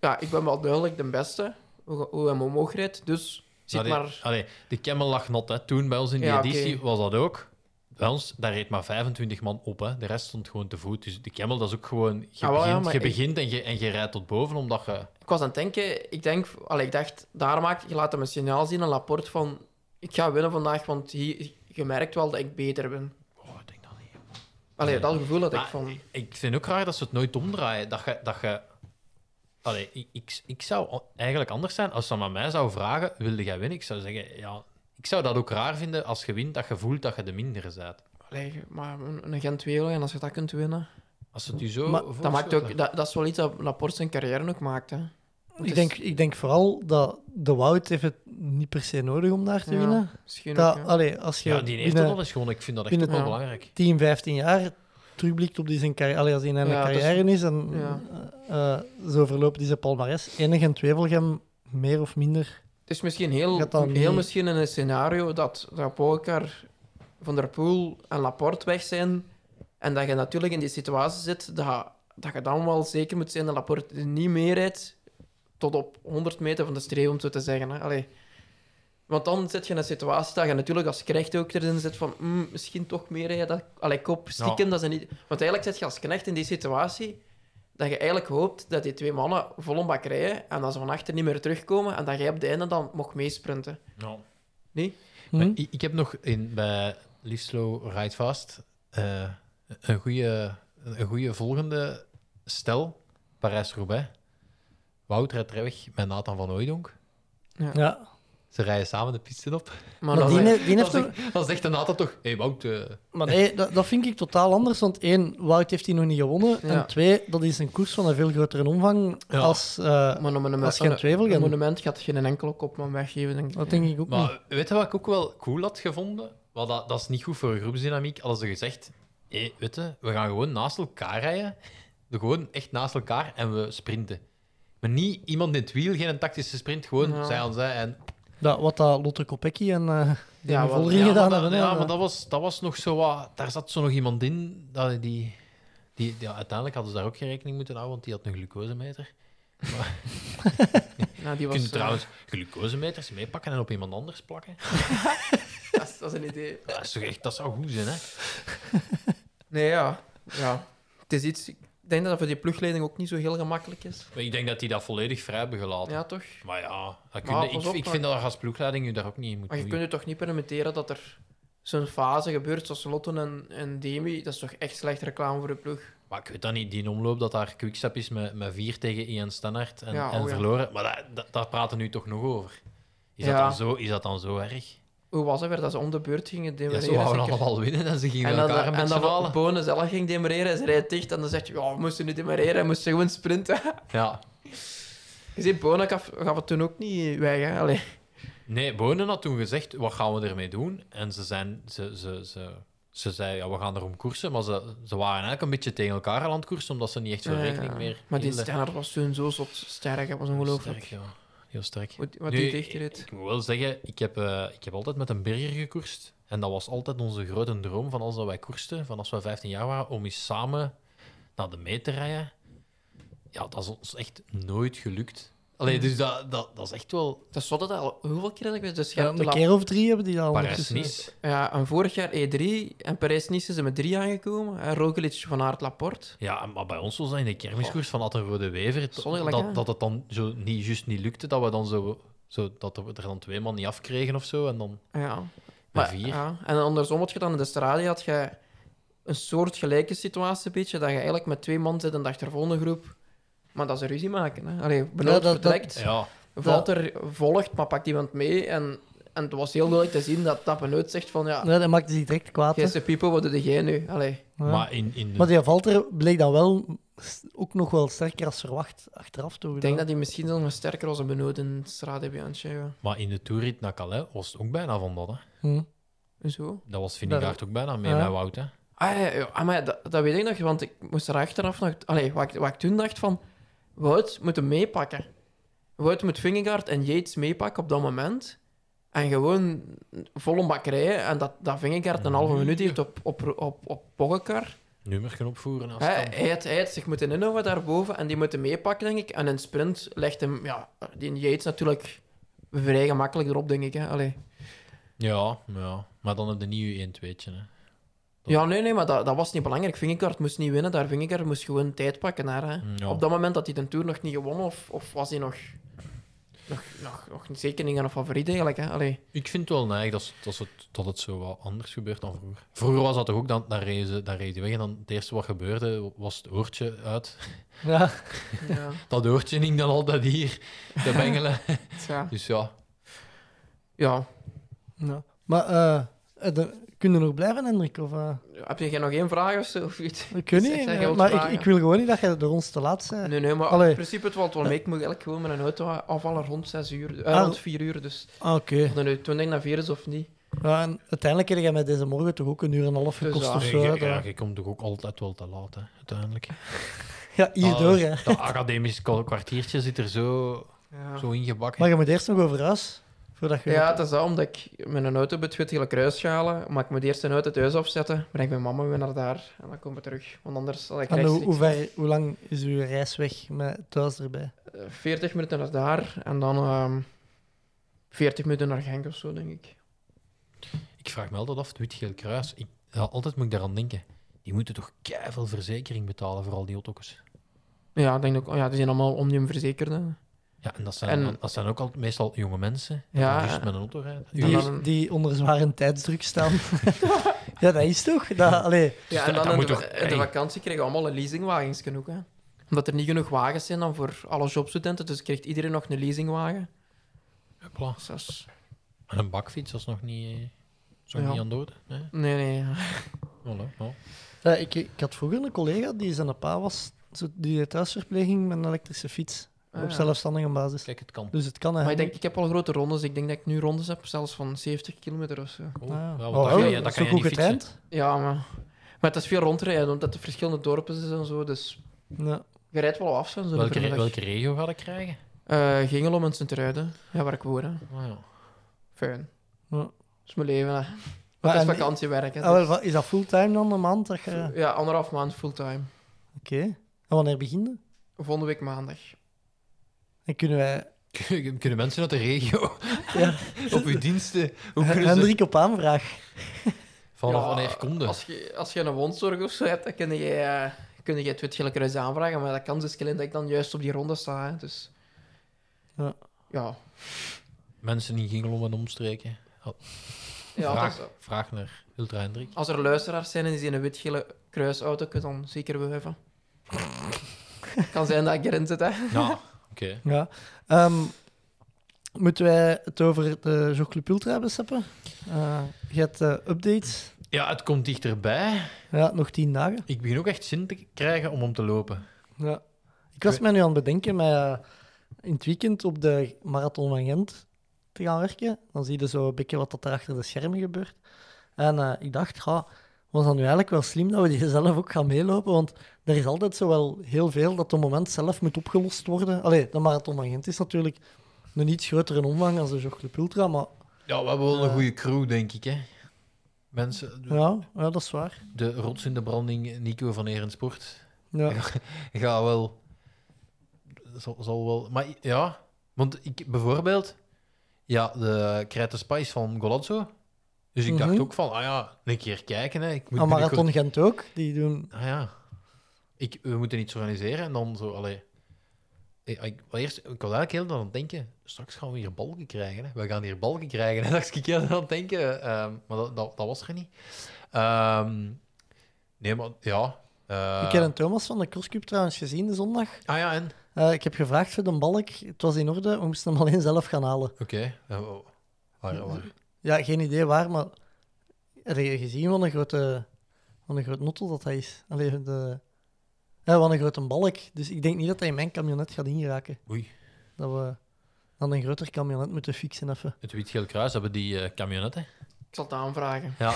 [SPEAKER 8] Ja, ik ben wel duidelijk de beste, hoe, hoe hem omhoog rijdt, dus zit
[SPEAKER 9] Allee,
[SPEAKER 8] maar...
[SPEAKER 9] allee, de camel lag nat, hè. Toen bij ons in die
[SPEAKER 8] Ja, oké.
[SPEAKER 9] editie was dat ook. Bij ons, daar reed maar 25 man op, hè. De rest stond gewoon te voet. Dus de camel, dat is ook gewoon... Je
[SPEAKER 8] Ah, wel, ja,
[SPEAKER 9] begint,
[SPEAKER 8] maar
[SPEAKER 9] je
[SPEAKER 8] ik-
[SPEAKER 9] begint en, je, en je rijdt tot boven, omdat je...
[SPEAKER 8] Ik was aan het denken, ik, denk, allee, ik dacht, daar maak je laat hem een signaal zien, een rapport van... Ik ga winnen vandaag, want hier, je merkt wel dat ik beter ben.
[SPEAKER 9] Oh, ik denk dat niet.
[SPEAKER 8] Allee,
[SPEAKER 9] Nee.
[SPEAKER 8] dat gevoel had ik
[SPEAKER 9] Maar
[SPEAKER 8] van...
[SPEAKER 9] Ik vind ook raar dat ze het nooit omdraaien. Dat je... Dat je allee, ik, ik, ik zou a- eigenlijk anders zijn. Als ze aan mij zou vragen, wilde jij winnen? Ik zou zeggen, ja... Ik zou dat ook raar vinden als je wint, dat je voelt dat je de mindere bent.
[SPEAKER 8] Allee, maar een, een gent en als je dat kunt winnen...
[SPEAKER 9] Als het u zo
[SPEAKER 7] Maar
[SPEAKER 8] Dat,
[SPEAKER 9] voorstelt,
[SPEAKER 8] maakt
[SPEAKER 9] hè.
[SPEAKER 8] ook, dat, dat is wel iets dat Laporte zijn carrière ook maakt, hè. Het
[SPEAKER 7] ik,
[SPEAKER 8] is
[SPEAKER 7] denk, ik denk vooral dat de Wout heeft het niet per se nodig om daar te
[SPEAKER 8] Ja,
[SPEAKER 7] winnen.
[SPEAKER 8] Misschien
[SPEAKER 7] Dat,
[SPEAKER 8] ook, ja.
[SPEAKER 7] allee, als je
[SPEAKER 9] Ja, die heeft dat
[SPEAKER 7] binnen
[SPEAKER 9] al eens gewoon. Ik vind dat echt
[SPEAKER 7] binnen-
[SPEAKER 9] ook wel
[SPEAKER 8] Ja.
[SPEAKER 9] belangrijk.
[SPEAKER 7] 10, 15 jaar terugblikt op die zijn carrière, allee, als hij in een
[SPEAKER 8] Ja, dat is-
[SPEAKER 7] carrière is, en
[SPEAKER 8] ja.
[SPEAKER 7] eh, eh, zo verloopt die zijn palmarès. Enig en twijfelgem, meer of minder.
[SPEAKER 8] Het is misschien heel,
[SPEAKER 7] Gaat dat
[SPEAKER 8] heel
[SPEAKER 7] niet-
[SPEAKER 8] misschien in een scenario dat, dat Pogacar, Van der Poel en Laporte weg zijn. En dat je natuurlijk in die situatie zit dat, dat je dan wel zeker moet zijn dat Laporte niet meer rijdt tot op 100 meter van de streep, om het zo te zeggen. Hè. Allee. Want dan zit je in een situatie dat je natuurlijk als knecht ook erin zit van "Mm, misschien toch meer rijden. Dat, allee, kop, stiekem, dat is niet... Want eigenlijk zit je als knecht in die situatie dat je eigenlijk hoopt dat die twee mannen vol een bak rijden en dat ze van achter niet meer terugkomen en dat jij op het einde dan mocht meesprinten.
[SPEAKER 9] Ja.
[SPEAKER 8] Nee?
[SPEAKER 7] Hm?
[SPEAKER 9] Maar ik, ik heb nog in, bij Live Slow Ride Fast eh, een, goede, een goede volgende stel. Parijs-Roubaix. Wout rijdt er weg met Nathan van Ooydonk.
[SPEAKER 7] Ja.
[SPEAKER 9] Ze rijden samen de piste op.
[SPEAKER 8] Maar,
[SPEAKER 7] Maar
[SPEAKER 8] dat
[SPEAKER 7] die,
[SPEAKER 8] is-
[SPEAKER 7] die Eh, heeft
[SPEAKER 9] Dan
[SPEAKER 7] toch-
[SPEAKER 9] zegt, dan zegt de Nathan toch... hey, Wout... eh,
[SPEAKER 7] Maar nee, dat, dat vind ik totaal anders. Want één, Wout heeft hij nog niet gewonnen.
[SPEAKER 8] Ja.
[SPEAKER 7] En twee, dat is een koers van een veel grotere omvang
[SPEAKER 9] Ja.
[SPEAKER 7] als... eh,
[SPEAKER 8] maar om een,
[SPEAKER 7] Als je aan het twijfelen
[SPEAKER 8] een,
[SPEAKER 7] bent.
[SPEAKER 8] monument gaat geen enkele kopman weggeven, denk ik.
[SPEAKER 7] dat denk ik ook niet.
[SPEAKER 9] Maar weet je wat ik ook wel cool had gevonden? Wat dat, dat is niet goed voor groepsdynamiek. Als ze gezegd, hé, weet je, we gaan gewoon naast elkaar rijden. Gewoon echt naast elkaar en we sprinten. Maar niet iemand in het wiel, geen tactische sprint, gewoon
[SPEAKER 8] Ja.
[SPEAKER 9] zij aan zij. En,
[SPEAKER 7] Dat, wat dat Lotte Kopecky en eh die
[SPEAKER 8] Ja,
[SPEAKER 7] ja,
[SPEAKER 8] wel-
[SPEAKER 7] Vollering
[SPEAKER 9] ja,
[SPEAKER 7] gedaan
[SPEAKER 9] maar, dat-
[SPEAKER 7] hebben. hè.
[SPEAKER 9] ja, maar dat was, dat was nog zo wat... Daar zat zo nog iemand in, dat die... die ja, uiteindelijk hadden ze daar ook geen rekening moeten houden, want die had een glucosemeter.
[SPEAKER 8] Ja, die
[SPEAKER 9] Je
[SPEAKER 8] was,
[SPEAKER 9] kunt
[SPEAKER 8] eh,
[SPEAKER 9] trouwens glucosemeters meepakken en op iemand anders plakken.
[SPEAKER 8] dat, is, dat is een idee.
[SPEAKER 9] Dat, is toch echt, dat zou goed zijn, hè?
[SPEAKER 8] Nee, ja. ja. Het is iets... Ik denk dat dat voor die ploegleiding ook niet zo heel gemakkelijk is.
[SPEAKER 9] Maar ik denk dat die dat volledig vrij hebben gelaten.
[SPEAKER 8] Ja, toch?
[SPEAKER 9] Maar ja, dat kun
[SPEAKER 8] Maar
[SPEAKER 9] je-
[SPEAKER 8] pas
[SPEAKER 9] ik,
[SPEAKER 8] op,
[SPEAKER 9] ik
[SPEAKER 8] maar-
[SPEAKER 9] vind dat je als ploegleiding je daar ook niet in moet
[SPEAKER 8] Maar je kunt
[SPEAKER 9] moeien.
[SPEAKER 8] je toch niet permitteren dat er zo'n fase gebeurt zoals Lotten en, en Demi. Dat is toch echt slecht reclame voor de ploeg.
[SPEAKER 9] Maar ik weet dat niet, die omloop dat daar quickstep is met, met vier tegen Ian Stannard en,
[SPEAKER 8] Ja,
[SPEAKER 9] en
[SPEAKER 8] oh ja.
[SPEAKER 9] verloren. Maar dat, dat, daar praten we nu toch nog over. Is, dat,
[SPEAKER 8] Ja.
[SPEAKER 9] dan zo, is dat dan zo erg?
[SPEAKER 8] Hoe was het weer dat ze om de beurt gingen
[SPEAKER 9] Ja,
[SPEAKER 8] demereren?
[SPEAKER 9] ze wouden
[SPEAKER 8] zeker?
[SPEAKER 9] allemaal winnen en ze gingen
[SPEAKER 8] en dan,
[SPEAKER 9] elkaar een
[SPEAKER 8] en
[SPEAKER 9] beetje
[SPEAKER 8] dan
[SPEAKER 9] halen.
[SPEAKER 8] Bonen zelf ging demereren en ze rijdt dicht. En dan zegt je, ja, we moesten niet demereren, we moesten gewoon sprinten.
[SPEAKER 9] Ja.
[SPEAKER 8] Je ziet, Bonen gaf, gaf het toen ook niet weg. Hè? Allee.
[SPEAKER 9] Nee, Bonen had toen gezegd, wat gaan we ermee doen? En ze, zijn, ze, ze, ze, ze zei, ja, we gaan erom koersen. Maar ze, ze waren eigenlijk een beetje tegen elkaar aan het koersen, omdat ze niet echt zo
[SPEAKER 8] Ja,
[SPEAKER 9] rekening
[SPEAKER 8] ja.
[SPEAKER 9] meer
[SPEAKER 8] Eh, Maar die
[SPEAKER 9] hielden.
[SPEAKER 8] Sternard was toen zo zot sterk, dat was ongelooflijk.
[SPEAKER 9] Sterk, ja. Heel sterk.
[SPEAKER 8] Wat, wat
[SPEAKER 9] Nu,
[SPEAKER 8] die dichtreed.
[SPEAKER 9] Ik moet wel zeggen, ik heb, eh, ik heb altijd met een berger gekoerst. En dat was altijd onze grote droom van als dat wij koersten, van als we 15 jaar waren, om eens samen naar de meet te rijden. Ja, dat is ons echt nooit gelukt. Allee, dus dat, dat, dat is echt wel
[SPEAKER 8] Dat is zot dat al. Hoeveel keer dat ik dus
[SPEAKER 7] Ja, een keer of drie hebben die dat al ondertussen.
[SPEAKER 9] Parijs-Nice.
[SPEAKER 8] Ja, en vorig jaar E E3 en Parijs-Nice is er met drie aangekomen. En Roglic van Aert Laporte.
[SPEAKER 9] Ja, maar bij ons was dat in de kermiskoers van Atten Rode Wever. dat-
[SPEAKER 8] Zonderlijk, hè?
[SPEAKER 9] dat, dat het dan zo niet, juist niet lukte, dat we dan zo, zo dat we er dan twee man niet afkregen of zo. En dan
[SPEAKER 8] Ja.
[SPEAKER 9] Bij vier.
[SPEAKER 8] ja. En andersom had je dan in de Strade had je een soort gelijke situatie, een beetje, dat je eigenlijk met twee man zit en de achtervolgende groep. Maar dat ze ruzie maken. Hè. Allee, benauwd
[SPEAKER 7] dat- dat-
[SPEAKER 8] vertrekt,
[SPEAKER 9] ja,
[SPEAKER 8] valt er, volgt, maar pakt iemand mee. En, en het was heel duidelijk te zien dat dat benauwd zegt van, ja,
[SPEAKER 7] Nee, dat maakte zich direct kwaad. hè.
[SPEAKER 8] jij de people, wat doe jij nu? Allee.
[SPEAKER 7] Ja.
[SPEAKER 9] maar in, in de-
[SPEAKER 7] Maar die Valter bleek dan wel s- ook nog wel sterker als verwacht achteraf toe.
[SPEAKER 8] Ik denk dat hij misschien dan nog sterker was een benauwd in Strade Bianche. Ja.
[SPEAKER 9] Maar in de toerrit naar Calais was het ook bijna van dat. Hè.
[SPEAKER 7] Hm.
[SPEAKER 8] Zo.
[SPEAKER 9] Dat was Vingegaard ook bijna mee
[SPEAKER 7] Ja.
[SPEAKER 9] met Wout. Hè.
[SPEAKER 8] Ah ja, ja. Ah, maar ja, dat, dat weet ik nog, want ik moest er achteraf nog... Allee, wat, ik- wat ik toen dacht van... Wout moet hem meepakken. Wout moet Vingegaard en Yates meepakken op dat moment. En gewoon volle bak rijden. En dat, dat Vingegaard een halve minuut heeft op, op, op, op Pogacar.
[SPEAKER 9] Nummer kunnen opvoeren als
[SPEAKER 8] Hij,
[SPEAKER 9] het kan.
[SPEAKER 8] hij, had, hij had zich moeten inhouden daarboven. En die moeten meepakken, denk ik. En in sprint legt hem... Ja, die Yates natuurlijk vrij gemakkelijk erop, denk ik. Hè. Allee.
[SPEAKER 9] Ja, ja, maar dan heb je niet je 1 2 hè. Dat-
[SPEAKER 8] Ja, nee, nee, maar dat, dat was niet belangrijk. Vingegaard moest niet winnen, daar Vingegaard moest gewoon tijd pakken. Naar, hè.
[SPEAKER 9] Ja.
[SPEAKER 8] Op dat moment had hij de Tour nog niet gewonnen, of, of was hij nog, nog, nog, nog zeker niet aan een favoriet eigenlijk. Hè. Allee.
[SPEAKER 9] Ik vind het wel neig dat, ze- dat, ze het, dat het zo wat anders gebeurt dan vroeger. Vroeger was dat toch ook, dan, dan, reed, ze, dan reed je weg en dan het eerste wat gebeurde was het oortje uit.
[SPEAKER 7] Ja,
[SPEAKER 8] Ja,
[SPEAKER 9] Dat oortje hing dan altijd hier, te bengelen.
[SPEAKER 8] ja.
[SPEAKER 9] Dus ja,
[SPEAKER 8] ja.
[SPEAKER 7] ja. Maar eh, eh, de- kunnen we nog blijven, Hendrik? Of, eh?
[SPEAKER 8] Heb je nog één vraag of zo? Of iets?
[SPEAKER 7] we kunnen
[SPEAKER 8] Zeg,
[SPEAKER 7] niet,
[SPEAKER 8] zeg,
[SPEAKER 7] eh,
[SPEAKER 8] je wilt
[SPEAKER 7] maar ik,
[SPEAKER 8] vragen.
[SPEAKER 7] ik wil gewoon niet dat je door ons te laat bent.
[SPEAKER 8] Nee, nee, maar
[SPEAKER 7] Allee.
[SPEAKER 8] in principe het valt wel mee. Ik moet eigenlijk gewoon met een auto afvallen rond 6 uur, eh,
[SPEAKER 7] Ah.
[SPEAKER 8] rond 4 uur. Dus
[SPEAKER 7] Ah, Oké.
[SPEAKER 8] of dat nu toen denk naar 4 is of niet.
[SPEAKER 7] Ja, en uiteindelijk heb jij mij deze morgen toch ook een uur en een half
[SPEAKER 8] Dus
[SPEAKER 7] gekost
[SPEAKER 8] ja,
[SPEAKER 7] of
[SPEAKER 9] je,
[SPEAKER 7] zo. hè, dat-
[SPEAKER 9] ja, je komt toch ook altijd wel te laat, hè, uiteindelijk.
[SPEAKER 7] ja, hierdoor,
[SPEAKER 8] Ah.
[SPEAKER 9] dat,
[SPEAKER 7] hè.
[SPEAKER 9] dat academisch kwartiertje zit er zo,
[SPEAKER 8] Ja.
[SPEAKER 9] zo ingebakken.
[SPEAKER 7] Maar je moet eerst nog over huis, voordat je...
[SPEAKER 8] Ja, dat is dat, omdat ik met een auto op het Witte kruis ga halen. Maar ik moet eerst een auto thuis afzetten. Breng mijn mama weer naar daar en dan komen we terug. Want anders had ik
[SPEAKER 7] en hoe,
[SPEAKER 8] rechtstreeks
[SPEAKER 7] hoe, ver, hoe lang is uw reis weg met thuis erbij?
[SPEAKER 8] eh, 40 minuten naar daar en dan ehm 40 minuten naar Genk of zo, denk ik.
[SPEAKER 9] Ik vraag me altijd af, het Wit-Geel Kruis. Ik, ja, altijd moet ik daaraan denken. Die moeten toch veel verzekering betalen voor al die auto's.
[SPEAKER 8] Ja, ik denk ook, oh ja, die zijn allemaal omnium verzekerd. hè.
[SPEAKER 9] Dus Ja, en dat zijn,
[SPEAKER 8] En-
[SPEAKER 9] dat zijn ook al, meestal jonge mensen.
[SPEAKER 8] Ja,
[SPEAKER 9] Ja. Dus
[SPEAKER 8] en-
[SPEAKER 9] met een auto rijden.
[SPEAKER 8] En
[SPEAKER 7] Die,
[SPEAKER 8] dan-
[SPEAKER 7] die onder zware tijdsdruk staan. ja, dat is toch? Dat, allee,
[SPEAKER 8] Ja,
[SPEAKER 9] dat-
[SPEAKER 8] en dan
[SPEAKER 9] dat
[SPEAKER 8] in
[SPEAKER 9] moet
[SPEAKER 8] de,
[SPEAKER 9] toch-
[SPEAKER 8] in de
[SPEAKER 9] hey.
[SPEAKER 8] vakantie kregen we allemaal een leasingwagens genoeg. Hè. Omdat er niet genoeg wagens zijn dan voor alle jobstudenten, dus krijgt iedereen nog een leasingwagen.
[SPEAKER 9] Hopla.
[SPEAKER 8] Dus dat is-
[SPEAKER 9] En een bakfiets, dat is nog niet, eh, is nog
[SPEAKER 8] Ja.
[SPEAKER 9] niet aan de orde. Nee?
[SPEAKER 8] Nee, nee.
[SPEAKER 9] Voilà, ja.
[SPEAKER 7] ja, ik, ik had vroeger een collega die zijn pa was, zo- die deed thuisverpleging met een elektrische fiets.
[SPEAKER 8] Ah,
[SPEAKER 7] op
[SPEAKER 8] ja.
[SPEAKER 7] zelfstandige basis.
[SPEAKER 9] Kijk, het kan.
[SPEAKER 7] Dus het kan
[SPEAKER 8] Maar ik
[SPEAKER 7] eigenlijk.
[SPEAKER 8] denk, ik heb al grote rondes. Ik denk dat ik nu rondes heb, zelfs van 70 kilometer of zo.
[SPEAKER 9] Oh,
[SPEAKER 7] Ah.
[SPEAKER 9] ja, want
[SPEAKER 7] Oh,
[SPEAKER 9] dat kan
[SPEAKER 7] oh,
[SPEAKER 9] je, dat
[SPEAKER 7] dat
[SPEAKER 9] kan
[SPEAKER 7] is
[SPEAKER 9] je
[SPEAKER 7] ook
[SPEAKER 9] niet
[SPEAKER 7] goed
[SPEAKER 9] fietsen.
[SPEAKER 7] getraind.
[SPEAKER 8] Ja, maar... Maar het is veel rondrijden, omdat er verschillende dorpen zijn en zo, dus...
[SPEAKER 7] Ja.
[SPEAKER 8] Je rijdt wel af, zo'n zo'n
[SPEAKER 9] Welke, re-
[SPEAKER 8] vrijdag.
[SPEAKER 9] welke regio ga ik krijgen?
[SPEAKER 8] Eh, Gingelom en Sint-Truiden. Ja, waar ik woon. Hè.
[SPEAKER 9] Oh, ja.
[SPEAKER 8] Fijn.
[SPEAKER 7] Ja.
[SPEAKER 8] Dat is mijn leven. Hè.
[SPEAKER 7] Maar
[SPEAKER 8] het is
[SPEAKER 7] en-
[SPEAKER 8] vakantiewerk. Hè,
[SPEAKER 7] Ah, wel,
[SPEAKER 8] dus-
[SPEAKER 7] wat- is dat fulltime dan, een maand? dat je- Oké.
[SPEAKER 8] Ja, anderhalf maand fulltime.
[SPEAKER 7] En wanneer begint dat?
[SPEAKER 8] Volgende week maandag.
[SPEAKER 7] En kunnen wij
[SPEAKER 9] Kunnen kunnen mensen uit de regio
[SPEAKER 7] Ja.
[SPEAKER 9] op uw diensten? Hoe kunnen ze...
[SPEAKER 7] Hendrik op aanvraag?
[SPEAKER 9] Vanaf
[SPEAKER 8] Ja,
[SPEAKER 9] wanneer komt dat?
[SPEAKER 8] Als je, als je een wondzorg of zo hebt, dan kun je, eh, kun je het witgelijke kruis aanvragen. Maar dat kan dus alleen dat ik dan juist op die ronde sta. Hè. Dus,
[SPEAKER 7] Ja.
[SPEAKER 8] Ja.
[SPEAKER 9] Mensen in Gingelom en omstreken.
[SPEAKER 8] ja
[SPEAKER 9] vraag,
[SPEAKER 8] dat is-
[SPEAKER 9] vraag naar Ultra Hendrik.
[SPEAKER 8] als er luisteraars zijn en die zien een witgele kruisauto, kun je dan zeker wuiven. Het kan zijn dat ik erin zit, hè.
[SPEAKER 9] Ja, oké.
[SPEAKER 7] Ja. Ehm, moeten wij het over de Jogclub Ultra hebben, Seppe? Eh, je hebt eh, updates.
[SPEAKER 9] Ja, het komt dichterbij.
[SPEAKER 7] Ja, nog tien dagen.
[SPEAKER 9] Ik begin ook echt zin te krijgen om om te lopen.
[SPEAKER 7] Ja. Ik was mij nu aan het bedenken met eh, in het weekend op de Marathon van Gent te gaan werken. Dan zie je zo een beetje wat dat er achter de schermen gebeurt. En eh, ik dacht, ja, was dat nu eigenlijk wel slim dat we die zelf ook gaan meelopen? Want er is altijd zo wel heel veel dat op het moment zelf moet opgelost worden. Allee, de Marathon van Gent is natuurlijk een iets grotere omvang als de Jogclub Ultra, maar
[SPEAKER 9] Ja, we hebben wel een
[SPEAKER 7] Eh.
[SPEAKER 9] goede crew, denk ik. Hè? Mensen, de-
[SPEAKER 7] ja, ja dat is waar.
[SPEAKER 9] de rots in de branding, Nico van Erensport.
[SPEAKER 7] Ja.
[SPEAKER 9] Ga wel. Zal, zal wel. Maar ja, want ik bijvoorbeeld. Ja, de Krijt de Spice van Golazzo. Dus ik dacht
[SPEAKER 7] Mhm.
[SPEAKER 9] ook van, ah ja, een keer kijken. Hè. Ik moet
[SPEAKER 7] Maar
[SPEAKER 9] binnenkort-
[SPEAKER 7] Marathon Gent ook, die doen...
[SPEAKER 9] Ah ja. Ik, we moeten iets organiseren en dan zo, allee. Ik, ik, wel eerst, ik was eigenlijk heel de tijd aan het denken, straks gaan we hier balken krijgen. Hè. We gaan hier balken krijgen. En dacht ik heel de tijd aan het denken, ehm, maar dat, dat, dat was er niet. Ehm, nee, maar ja. eh,
[SPEAKER 7] Ik heb een Thomas van de Crosscube trouwens gezien de zondag.
[SPEAKER 9] Ah ja, en?
[SPEAKER 7] Eh, ik heb gevraagd voor de balk. Het was in orde. We moesten hem alleen zelf gaan halen.
[SPEAKER 9] Oké. Eh, wa- waar, waar?
[SPEAKER 7] Ja, geen idee waar, maar... Heb je gezien wat een grote... Wat een groot notel dat hij is. Allee, de... Ja, wat een grote balk. Dus ik denk niet dat hij in mijn camionet gaat ingeraken.
[SPEAKER 9] Oei.
[SPEAKER 7] Dat we dan een groter camionet moeten fixen even.
[SPEAKER 9] Het Wit-Geel Kruis hebben die eh, camionetten.
[SPEAKER 8] Ik zal het aanvragen.
[SPEAKER 9] Ja.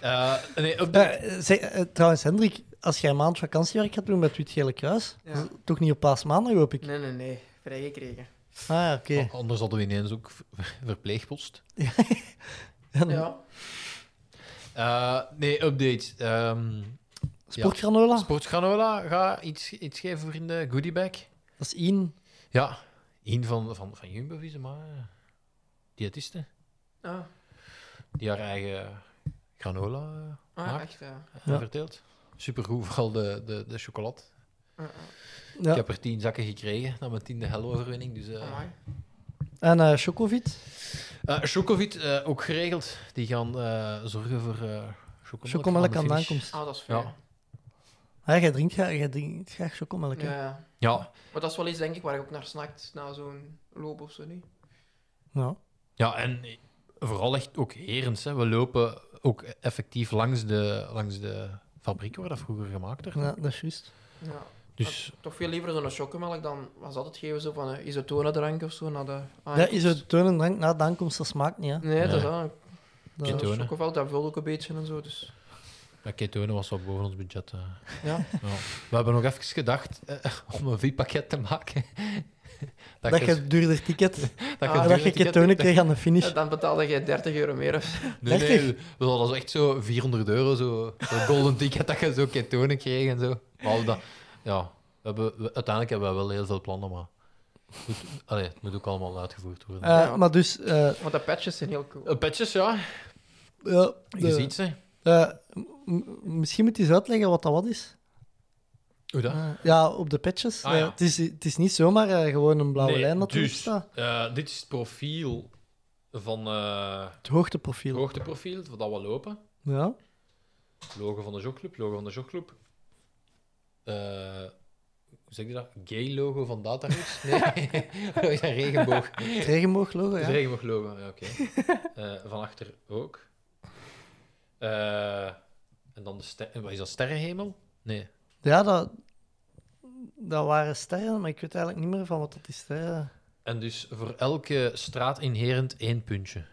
[SPEAKER 9] Eh, nee, op de-
[SPEAKER 7] Eh, eh, zeg, eh, trouwens, Hendrik, als jij een maand vakantiewerk gaat doen met het Wit-Gele Kruis,
[SPEAKER 8] Ja.
[SPEAKER 7] dat is toch niet op paasmaandag, hoop ik?
[SPEAKER 8] Nee, nee, nee. Vrijgekregen.
[SPEAKER 7] Ah, ja, oké.
[SPEAKER 9] a- Oh, Anders hadden we ineens ook ver- verpleegpost.
[SPEAKER 7] En
[SPEAKER 8] Ja.
[SPEAKER 9] Eh, nee, update. Ehm,
[SPEAKER 7] Sportgranola,
[SPEAKER 9] Sportgranola ga iets, iets geven voor in de goodiebag.
[SPEAKER 7] dat is in.
[SPEAKER 9] Ja, een van, van, van Jumbo Visma. Diëtisten.
[SPEAKER 8] Ah,
[SPEAKER 9] Die haar eigen granola eh,
[SPEAKER 8] ah
[SPEAKER 9] Maar-
[SPEAKER 8] echt, ja.
[SPEAKER 7] Ja.
[SPEAKER 9] verteelt. Supergoed, vooral de, de, de chocolade.
[SPEAKER 8] Ah, ah.
[SPEAKER 7] Ja.
[SPEAKER 9] Ik heb er tien zakken gekregen na mijn tiende hello-overwinning. Dus, eh
[SPEAKER 8] Amai.
[SPEAKER 7] En eh Chocovit,
[SPEAKER 9] eh, Chocovit eh, ook geregeld. Die gaan eh, zorgen voor eh chocomelk.
[SPEAKER 7] chocomelk
[SPEAKER 9] de
[SPEAKER 7] aan de
[SPEAKER 9] finish.
[SPEAKER 7] aankomst.
[SPEAKER 8] Ah, dat is
[SPEAKER 9] Ja.
[SPEAKER 8] fijn.
[SPEAKER 7] Ja, Ah, jij drinkt graag, jij drinkt graag chocomelk. hè?
[SPEAKER 8] Ja, ja.
[SPEAKER 9] Ja,
[SPEAKER 8] Maar dat is wel iets, denk ik, waar ik ook naar snakt. Na zo'n loop of zo, niet?
[SPEAKER 7] Ja.
[SPEAKER 9] ja, en vooral echt ook herens. Hè. We lopen ook effectief langs de, langs de fabriek waar dat vroeger gemaakt werd.
[SPEAKER 7] ja, dat is juist.
[SPEAKER 8] Ja.
[SPEAKER 9] Dus
[SPEAKER 7] Ah,
[SPEAKER 8] Toch veel liever zo'n chocomelk dan was dat het geven zo van een isotonendrank of zo naar de
[SPEAKER 7] Ja, is het toon en drank na de aankomst, dat smaakt niet. Hè?
[SPEAKER 8] Nee, dat is
[SPEAKER 9] Ah, Nee.
[SPEAKER 8] wel.
[SPEAKER 7] Dat-
[SPEAKER 9] Ketonen.
[SPEAKER 8] Dat chocomelk, dat vult ook een beetje en zo. Dus.
[SPEAKER 9] Ja, ketonen was wel boven ons budget. eh.
[SPEAKER 8] Ja.
[SPEAKER 9] Ja. We hebben nog even gedacht eh, om een VIP-pakket te maken.
[SPEAKER 7] dat je het duurder ticket,
[SPEAKER 9] dat
[SPEAKER 8] ah,
[SPEAKER 9] je
[SPEAKER 7] en
[SPEAKER 9] duurder
[SPEAKER 7] dat je
[SPEAKER 9] ticket-
[SPEAKER 7] ketonen kreeg aan de finish.
[SPEAKER 8] Ja, dan betaalde jij 30 euro meer. of zo.
[SPEAKER 9] Nee, nee,
[SPEAKER 7] 30.
[SPEAKER 9] we hadden zo echt zo 400 euro, zo, zo'n golden ticket, dat je zo ketonen kreeg en zo. We hadden dat, ja, we hebben, we- uiteindelijk hebben we wel heel veel plannen, maar het moet, allee, het moet ook allemaal uitgevoerd worden.
[SPEAKER 7] Eh, Maar dus, eh,
[SPEAKER 8] Want de patches zijn heel cool.
[SPEAKER 9] Eh, patches, ja,
[SPEAKER 7] ja,
[SPEAKER 9] je
[SPEAKER 7] de-
[SPEAKER 9] ziet ze.
[SPEAKER 7] eh, m- m- misschien moet je eens uitleggen wat dat wat is.
[SPEAKER 9] Hoe dat?
[SPEAKER 7] Eh, ja, op de patches.
[SPEAKER 9] Ah, ja.
[SPEAKER 7] Eh, het, is, het is niet zomaar eh, gewoon een blauwe
[SPEAKER 9] Nee,
[SPEAKER 7] lijn dat erop
[SPEAKER 9] dus,
[SPEAKER 7] staat.
[SPEAKER 9] eh, dit is het profiel van eh,
[SPEAKER 7] Het hoogteprofiel.
[SPEAKER 9] het hoogteprofiel, dat we lopen.
[SPEAKER 7] Ja.
[SPEAKER 9] Logo van de jogclub, logo van de jogclub. Eh, hoe zeg je dat? Gay logo van Dataroots? Nee, dat is een regenboog.
[SPEAKER 7] Het regenbooglogo,
[SPEAKER 9] Het
[SPEAKER 7] ja.
[SPEAKER 9] regenboog logo, ja, oké. Eh, van achter ook. Eh, en dan de ster- en Wat is dat, sterrenhemel? Nee.
[SPEAKER 7] Ja, dat, dat waren sterren, maar ik weet eigenlijk niet meer van wat dat is. sterren.
[SPEAKER 9] En dus voor elke straat inherent één puntje.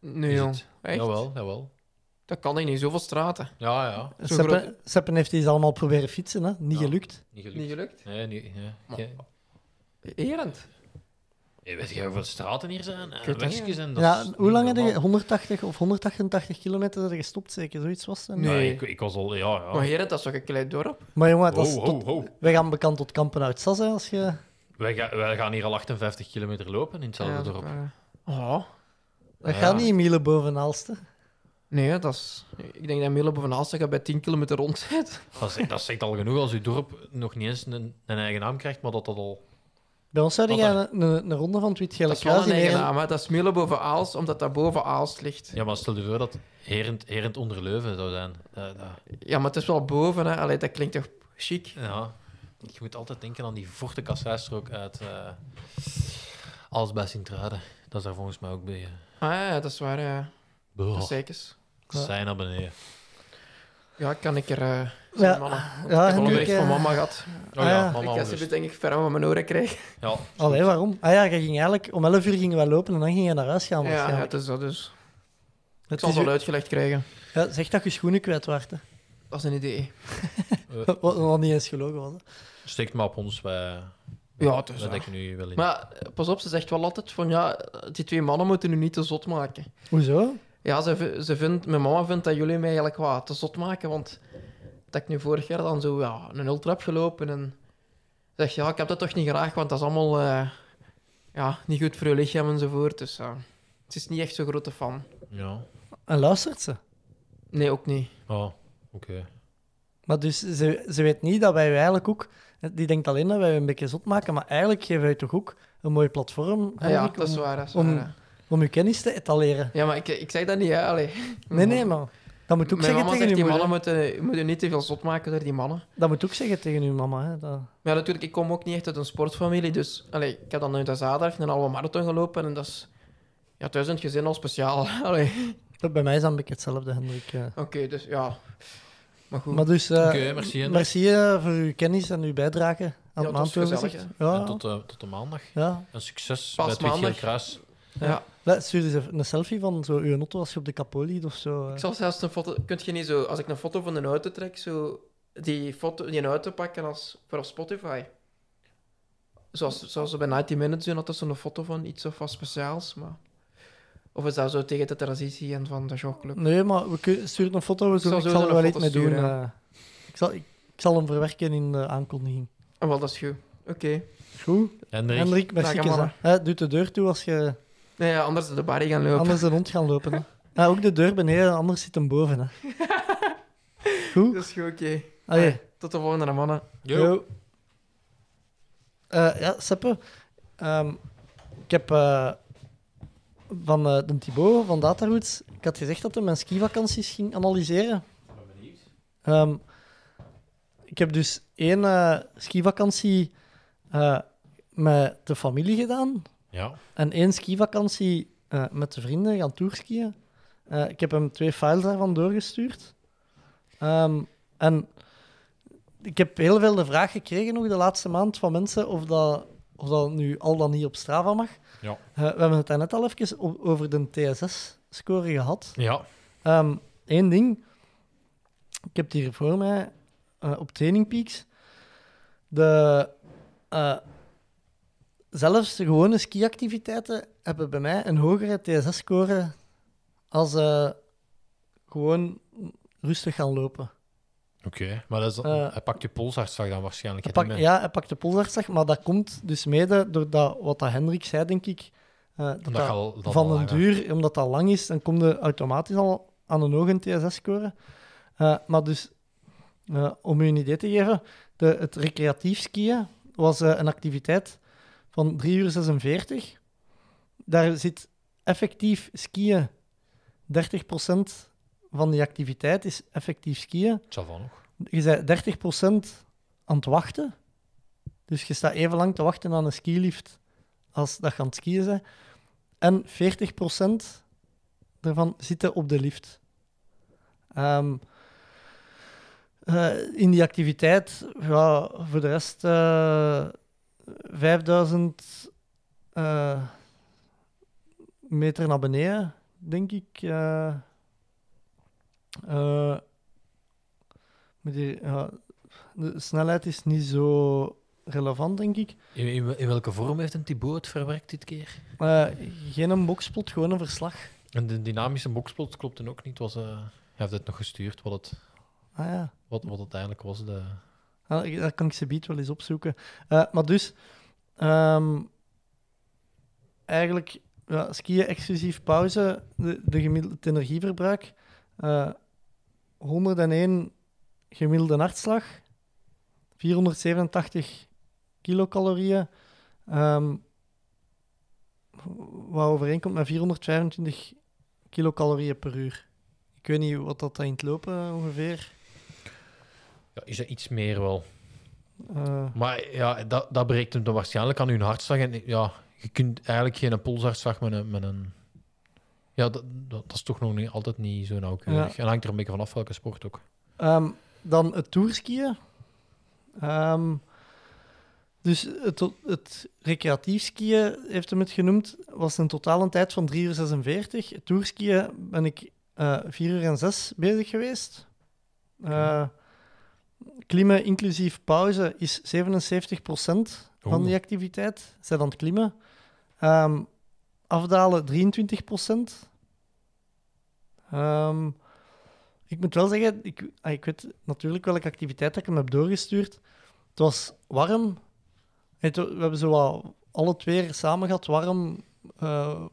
[SPEAKER 8] Nee,
[SPEAKER 9] Is
[SPEAKER 8] jong.
[SPEAKER 9] het?
[SPEAKER 8] Echt?
[SPEAKER 9] Jawel, jawel.
[SPEAKER 8] Dat kan ik niet, zoveel straten.
[SPEAKER 9] Ja, ja.
[SPEAKER 8] Zo'n
[SPEAKER 7] Seppen,
[SPEAKER 8] grote-
[SPEAKER 7] Seppen heeft die ze allemaal proberen fietsen, hè? niet
[SPEAKER 9] Ja.
[SPEAKER 7] gelukt.
[SPEAKER 9] Niet
[SPEAKER 8] Niet
[SPEAKER 9] gelukt.
[SPEAKER 8] gelukt.
[SPEAKER 9] Nee, niet. Ja.
[SPEAKER 8] Maar-
[SPEAKER 9] Jij-
[SPEAKER 8] Erend.
[SPEAKER 9] Jij weet jij hoeveel straten hier zijn?
[SPEAKER 8] weet
[SPEAKER 9] En
[SPEAKER 8] dat niet.
[SPEAKER 9] wegjes en dat
[SPEAKER 7] Ja,
[SPEAKER 9] is
[SPEAKER 7] hoe
[SPEAKER 9] niet
[SPEAKER 7] lang heb je?
[SPEAKER 9] normaal.
[SPEAKER 7] 180 of 188 kilometer dat je gestopt, zeker? Zoiets was het. hè?
[SPEAKER 8] Nee.
[SPEAKER 9] Nee, ik, ik was al... Ja, ja.
[SPEAKER 8] Maar Herend, dat is toch een klein dorp?
[SPEAKER 7] Maar jongen, dat is
[SPEAKER 9] Ho, ho,
[SPEAKER 7] tot-
[SPEAKER 9] ho.
[SPEAKER 7] wij gaan bekend tot Kampen uit Sas, hè, als je...
[SPEAKER 9] Wij, ga- wij gaan hier al 58 kilometer lopen in hetzelfde
[SPEAKER 8] Ja, dat-
[SPEAKER 9] dorp.
[SPEAKER 8] eh, Oh,
[SPEAKER 7] Dat
[SPEAKER 9] Ja.
[SPEAKER 7] gaat niet in Miele boven Aalsten.
[SPEAKER 8] nee, dat is... Ik denk dat Mille van Haalsten gaat bij 10 kilometer rond zit.
[SPEAKER 9] Dat, zegt, dat zegt al genoeg als uw dorp nog niet eens een, een eigen naam krijgt, maar dat dat al...
[SPEAKER 7] Bij ons zou
[SPEAKER 9] Wat
[SPEAKER 7] jij een, een, een ronde van het
[SPEAKER 8] Dat
[SPEAKER 7] Wit-Gele
[SPEAKER 8] is wel
[SPEAKER 7] Kruis
[SPEAKER 8] een
[SPEAKER 7] in
[SPEAKER 8] eigen
[SPEAKER 7] Heren-
[SPEAKER 8] naam, hè. Dat is Mille boven Aals, omdat dat boven Aals ligt.
[SPEAKER 9] Ja, maar stel je voor dat Herend, Herend onder Leuven zou zijn. Eh, Dat- dat-
[SPEAKER 8] Ja, maar het is wel boven, hè. Allee, dat klinkt toch chic?
[SPEAKER 9] ja. Je moet altijd denken aan die forte kasseistrook uit eh Als bij Sint-Truiden. Dat is daar volgens mij ook bij. eh.
[SPEAKER 8] Ah, ja, dat is waar, ja. Dat is
[SPEAKER 9] Boah,
[SPEAKER 8] zeker.
[SPEAKER 9] zijn naar beneden.
[SPEAKER 8] Ja, kan ik er... eh
[SPEAKER 7] Ja,
[SPEAKER 8] ja, mannen. Ik
[SPEAKER 7] ja,
[SPEAKER 8] heb al een
[SPEAKER 7] Hendrik,
[SPEAKER 8] bericht
[SPEAKER 7] eh,
[SPEAKER 8] van mama gehad.
[SPEAKER 9] Oh ja,
[SPEAKER 7] Ah.
[SPEAKER 9] mama
[SPEAKER 8] ik ga
[SPEAKER 9] onrust.
[SPEAKER 8] ze dus, denk ik ver van mijn oren krijgen.
[SPEAKER 9] Ja,
[SPEAKER 7] Allee, waarom? Ah ja, je ging eigenlijk... Om 11 uur gingen we lopen en dan ging je naar huis gaan.
[SPEAKER 8] Ja, ja,
[SPEAKER 7] waarschijnlijk.
[SPEAKER 8] het is dat dus. Ik
[SPEAKER 7] Het
[SPEAKER 8] zal
[SPEAKER 7] is
[SPEAKER 8] het
[SPEAKER 7] u-
[SPEAKER 8] wel uitgelegd krijgen.
[SPEAKER 7] ja, zeg dat je schoenen kwijt waart, hè.
[SPEAKER 8] Dat is een idee.
[SPEAKER 9] eh,
[SPEAKER 7] Wat nog niet eens gelogen was. hè.
[SPEAKER 9] steekt maar op ons. Wij,
[SPEAKER 8] Ja, het is
[SPEAKER 9] wij
[SPEAKER 8] waar.
[SPEAKER 9] denken nu wel in.
[SPEAKER 8] Maar eh, pas op, ze zegt wel altijd van ja, eh, die twee mannen moeten nu niet te zot maken.
[SPEAKER 7] Hoezo?
[SPEAKER 8] Ja, ze, vi- ze vindt, mijn mama vindt dat jullie mij eigenlijk wat te zot maken, want dat ik nu vorig jaar dan zo ja, een ultra heb gelopen en zeg ja, ik heb dat toch niet graag, want dat is allemaal eh, ja, niet goed voor je lichaam enzovoort. Dus ja, het is niet echt zo'n grote fan.
[SPEAKER 9] Ja,
[SPEAKER 7] En luistert ze?
[SPEAKER 8] Nee, ook niet.
[SPEAKER 9] oh, oké.
[SPEAKER 7] Maar dus ze, ze weet niet dat wij u eigenlijk ook... Die denkt alleen dat wij u een beetje zot maken, maar eigenlijk geven wij toch ook een mooi platform
[SPEAKER 8] Ah, ja,
[SPEAKER 7] Hendrik,
[SPEAKER 8] dat is
[SPEAKER 7] om,
[SPEAKER 8] waar. Dat is
[SPEAKER 7] om-
[SPEAKER 8] waar, hè.
[SPEAKER 7] om uw kennis te etaleren.
[SPEAKER 8] ja, maar ik, ik zeg dat niet, hè. Allee.
[SPEAKER 7] Nee, nee, maar... Dat moet ook
[SPEAKER 8] Mijn
[SPEAKER 7] zeggen
[SPEAKER 8] mama
[SPEAKER 7] tegen
[SPEAKER 8] zegt,
[SPEAKER 7] uw
[SPEAKER 8] die
[SPEAKER 7] moeder.
[SPEAKER 8] mannen moeten, moeten niet te veel zot maken door die mannen.
[SPEAKER 7] Dat moet ook zeggen tegen uw mama, hè. Dat...
[SPEAKER 8] Maar ja, natuurlijk, ik kom ook niet echt uit een sportfamilie. Dus allee, ik heb dan uit de zaterdag een halve marathon gelopen. En dat is ja, thuis in het gezin al speciaal. Allee,
[SPEAKER 7] Bij mij is dat een beetje hetzelfde, Hendrik. eh.
[SPEAKER 8] Oké, dus ja. Maar goed.
[SPEAKER 7] Maar dus... eh,
[SPEAKER 9] Oké, merci, Hendrik.
[SPEAKER 7] Merci eh, voor uw kennis en uw bijdrage aan het
[SPEAKER 8] het was
[SPEAKER 7] maandoverzicht.
[SPEAKER 8] gezellig,
[SPEAKER 9] En
[SPEAKER 7] Ja,
[SPEAKER 9] tot, eh, tot de maandag.
[SPEAKER 7] ja.
[SPEAKER 9] Een succes
[SPEAKER 8] Pas
[SPEAKER 9] bij het Witgeel
[SPEAKER 8] maandag.
[SPEAKER 9] Kruis.
[SPEAKER 8] ja.
[SPEAKER 7] Le- Stuur eens even een selfie van zo uw auto als je op de kapot liet of zo. eh.
[SPEAKER 8] Ik zal zelfs een foto... Kunt je niet zo... Als ik een foto van een auto trek, zo... Die foto, die een auto pakken als, voor op Spotify. Zoals, zoals ze bij 90 Minutes doen, hadden ze een foto van iets of wat speciaals. Maar... Of is dat zo tegen de transitie en van de jogclub?
[SPEAKER 7] Nee, maar we kun- stuur een foto. We zullen,
[SPEAKER 8] zal
[SPEAKER 7] ik zal
[SPEAKER 8] sowieso
[SPEAKER 7] er wel
[SPEAKER 8] een
[SPEAKER 7] iets mee
[SPEAKER 8] foto
[SPEAKER 7] doen.
[SPEAKER 8] sturen,
[SPEAKER 7] eh. ik, zal, ik, ik zal hem verwerken in de aankondiging.
[SPEAKER 8] Ah, wel, dat is goed. Oké.
[SPEAKER 7] Goed.
[SPEAKER 9] Hendrik,
[SPEAKER 7] Hendrik, merci.
[SPEAKER 8] Dag, mannen.
[SPEAKER 7] Hè, doe de deur toe als je
[SPEAKER 8] Nee, ja, anders de barrie gaan lopen.
[SPEAKER 7] anders een hond gaat lopen. Hè. Ja, ook de deur beneden, anders zit hem boven. Hè. Goed.
[SPEAKER 8] Dat is goed, oké.
[SPEAKER 7] Allee.
[SPEAKER 8] Tot de volgende, mannen.
[SPEAKER 9] Yo.
[SPEAKER 7] Eh, ja, Seppe. ehm, ik heb eh, van eh de Thibaut van Dataroots... Ik had gezegd dat hij mijn skivakanties ging analyseren. Ehm, ik heb dus één eh, skivakantie eh, met de familie gedaan.
[SPEAKER 9] Ja.
[SPEAKER 7] En één skivakantie eh, met de vrienden gaan tourskiën. Eh, ik heb hem twee files daarvan doorgestuurd. Ehm, en ik heb heel veel de vraag gekregen nog de laatste maand van mensen of dat, of dat nu al dan niet op Strava mag.
[SPEAKER 9] Ja.
[SPEAKER 7] Eh, we hebben het daarnet al even o- over de TSS-score gehad.
[SPEAKER 9] Ja.
[SPEAKER 7] Eén Ehm, ding. Ik heb hier voor mij eh, op Training Peaks de. eh, zelfs de gewone skiactiviteiten hebben bij mij een hogere TSS-score als eh, gewoon rustig gaan lopen.
[SPEAKER 9] Oké, maar dat is,
[SPEAKER 7] Eh,
[SPEAKER 9] hij pakt je polshartslag dan waarschijnlijk.
[SPEAKER 7] Hij
[SPEAKER 9] hè,
[SPEAKER 7] pakt-
[SPEAKER 9] Tim, hè?
[SPEAKER 7] ja, hij pakt de polsartslag, maar dat komt dus mede door dat, wat dat Hendrik zei, denk ik. eh, dat
[SPEAKER 9] Omdat
[SPEAKER 7] dat-
[SPEAKER 9] je al- dat
[SPEAKER 7] van
[SPEAKER 9] al
[SPEAKER 7] een
[SPEAKER 9] langer-
[SPEAKER 7] duur, omdat dat lang is, dan komt je automatisch al aan een hoge TSS-score. Eh, maar dus, eh, om u een idee te geven, de, het recreatief skiën was eh, een activiteit van 3 uur 46. Daar zit effectief skiën 30% van die activiteit is effectief skiën.
[SPEAKER 9] Het zal wel nog.
[SPEAKER 7] Je bent 30% aan het wachten. Dus je staat even lang te wachten aan een skilift als dat je aan het skiën bent. En 40% daarvan zitten op de lift. Ehm, eh, in die activiteit, ja, voor de rest eh, 5000 eh, meter naar beneden, denk ik. eh, Eh, moet hier- ja, de snelheid is niet zo relevant, denk ik.
[SPEAKER 9] In, in, wel- in welke vorm heeft een Thibaut het verwerkt dit keer?
[SPEAKER 7] Eh, geen een boxplot, gewoon een verslag.
[SPEAKER 9] En de dynamische boxplot klopte ook niet. Was, eh, hij heeft het nog gestuurd wat het,
[SPEAKER 7] Ah ja.
[SPEAKER 9] wat, wat het eigenlijk was. De...
[SPEAKER 7] Ah, ik- Dat kan ik ze biedt wel eens opzoeken. Eh, maar dus, ehm, eigenlijk ja, skiën exclusief pauze, de, de gemiddelde het energieverbruik. eh, 101 gemiddelde hartslag, 487 kilocalorieën, ehm, wat overeenkomt met 425 kilocalorieën per uur. Ik weet niet wat dat in het lopen eh, ongeveer.
[SPEAKER 9] Ja, is dat iets meer wel.
[SPEAKER 7] eh,
[SPEAKER 9] Maar ja, dat, dat breekt hem dan waarschijnlijk aan hun hartslag. En ja, je kunt eigenlijk geen polshartslag met een... Met een... Ja, dat, dat, dat is toch nog niet, altijd niet zo nauwkeurig. En hangt er een beetje vanaf welke sport ook.
[SPEAKER 7] Ehm, dan het toerskiën. Ehm, dus het, het recreatief skiën, heeft hem het genoemd, was een totale tijd van 3 uur 46. Het toerskiën ben ik eh 4 uur en 6 bezig geweest. Eh, klimmen inclusief pauze is 77% van
[SPEAKER 9] Oeh.
[SPEAKER 7] die activiteit. Zijn aan het klimmen. Ehm, afdalen 23%. Ehm, ik moet wel zeggen, ik, ah, ik weet natuurlijk welke activiteit dat ik hem heb doorgestuurd. Het was warm. Het- we hebben zo wat alle twee samen gehad. Warm, eh,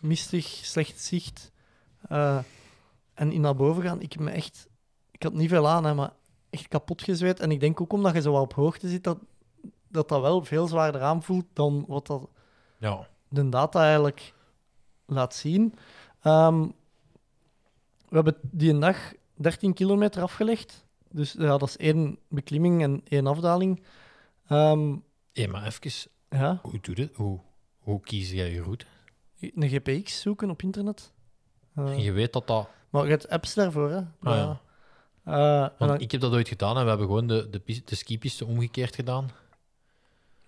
[SPEAKER 7] mistig, slecht zicht. Eh, en in naar boven gaan, ik heb me echt... Ik had niet veel aan, hè, maar echt kapot gezweet. En ik denk ook omdat je zo wat op hoogte zit, dat dat, dat wel veel zwaarder aanvoelt dan wat dat
[SPEAKER 9] Ja.
[SPEAKER 7] de data eigenlijk laat zien. Ehm, we hebben die een dag 13 kilometer afgelegd. Dus ja, dat is één beklimming en één afdaling. Ehm,
[SPEAKER 9] Hé, maar even,
[SPEAKER 7] ja,
[SPEAKER 9] hoe doe je dat? Hoe, hoe kies jij je route?
[SPEAKER 7] een GPX zoeken op internet. Eh,
[SPEAKER 9] En je weet dat dat...
[SPEAKER 7] maar je hebt apps daarvoor, hè?
[SPEAKER 9] Ah, ja.
[SPEAKER 7] Eh, en
[SPEAKER 9] Want
[SPEAKER 7] dan-
[SPEAKER 9] ik heb dat ooit gedaan en we hebben gewoon de, de, pis- de skipiste omgekeerd gedaan.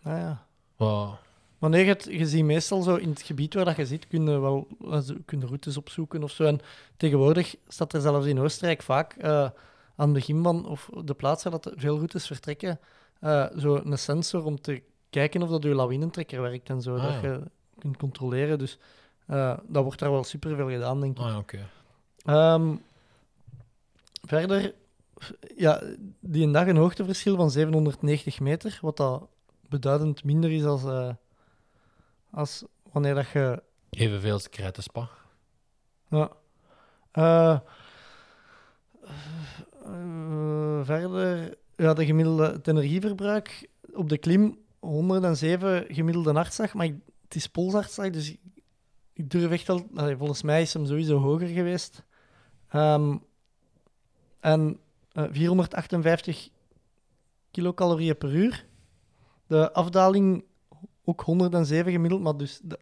[SPEAKER 7] ah, ja.
[SPEAKER 9] Wat-
[SPEAKER 7] Maar nee, je, hebt- je ziet meestal zo in het gebied waar dat je zit, kun je wel eh, zo- kun je routes opzoeken of zo. En tegenwoordig staat er zelfs in Oostenrijk vaak eh, aan het begin van, of de plaats waar dat veel routes vertrekken, eh, zo een sensor om te kijken of dat je lawinentrekker werkt en zo.
[SPEAKER 9] Ah,
[SPEAKER 7] dat
[SPEAKER 9] ja.
[SPEAKER 7] je kunt controleren. Dus eh, dat wordt daar wel superveel gedaan, denk ik.
[SPEAKER 9] Ah, ja, oké.
[SPEAKER 7] Ehm, verder, ja, die een dag een hoogteverschil van 790 meter, wat dat beduidend minder is als, eh, als wanneer dat je...
[SPEAKER 9] Evenveel als Krijten Spa.
[SPEAKER 7] Ja. Eh, eh, verder, ja, de gemiddelde het energieverbruik op de klim, 107 gemiddelde hartslag, maar ik- het is polshartslag, dus ik, ik durf echt al... allee, volgens mij is hem sowieso hoger geweest. Ehm, en eh, 458 kilocalorieën per uur. De afdaling ook 107 gemiddeld, maar dus dat,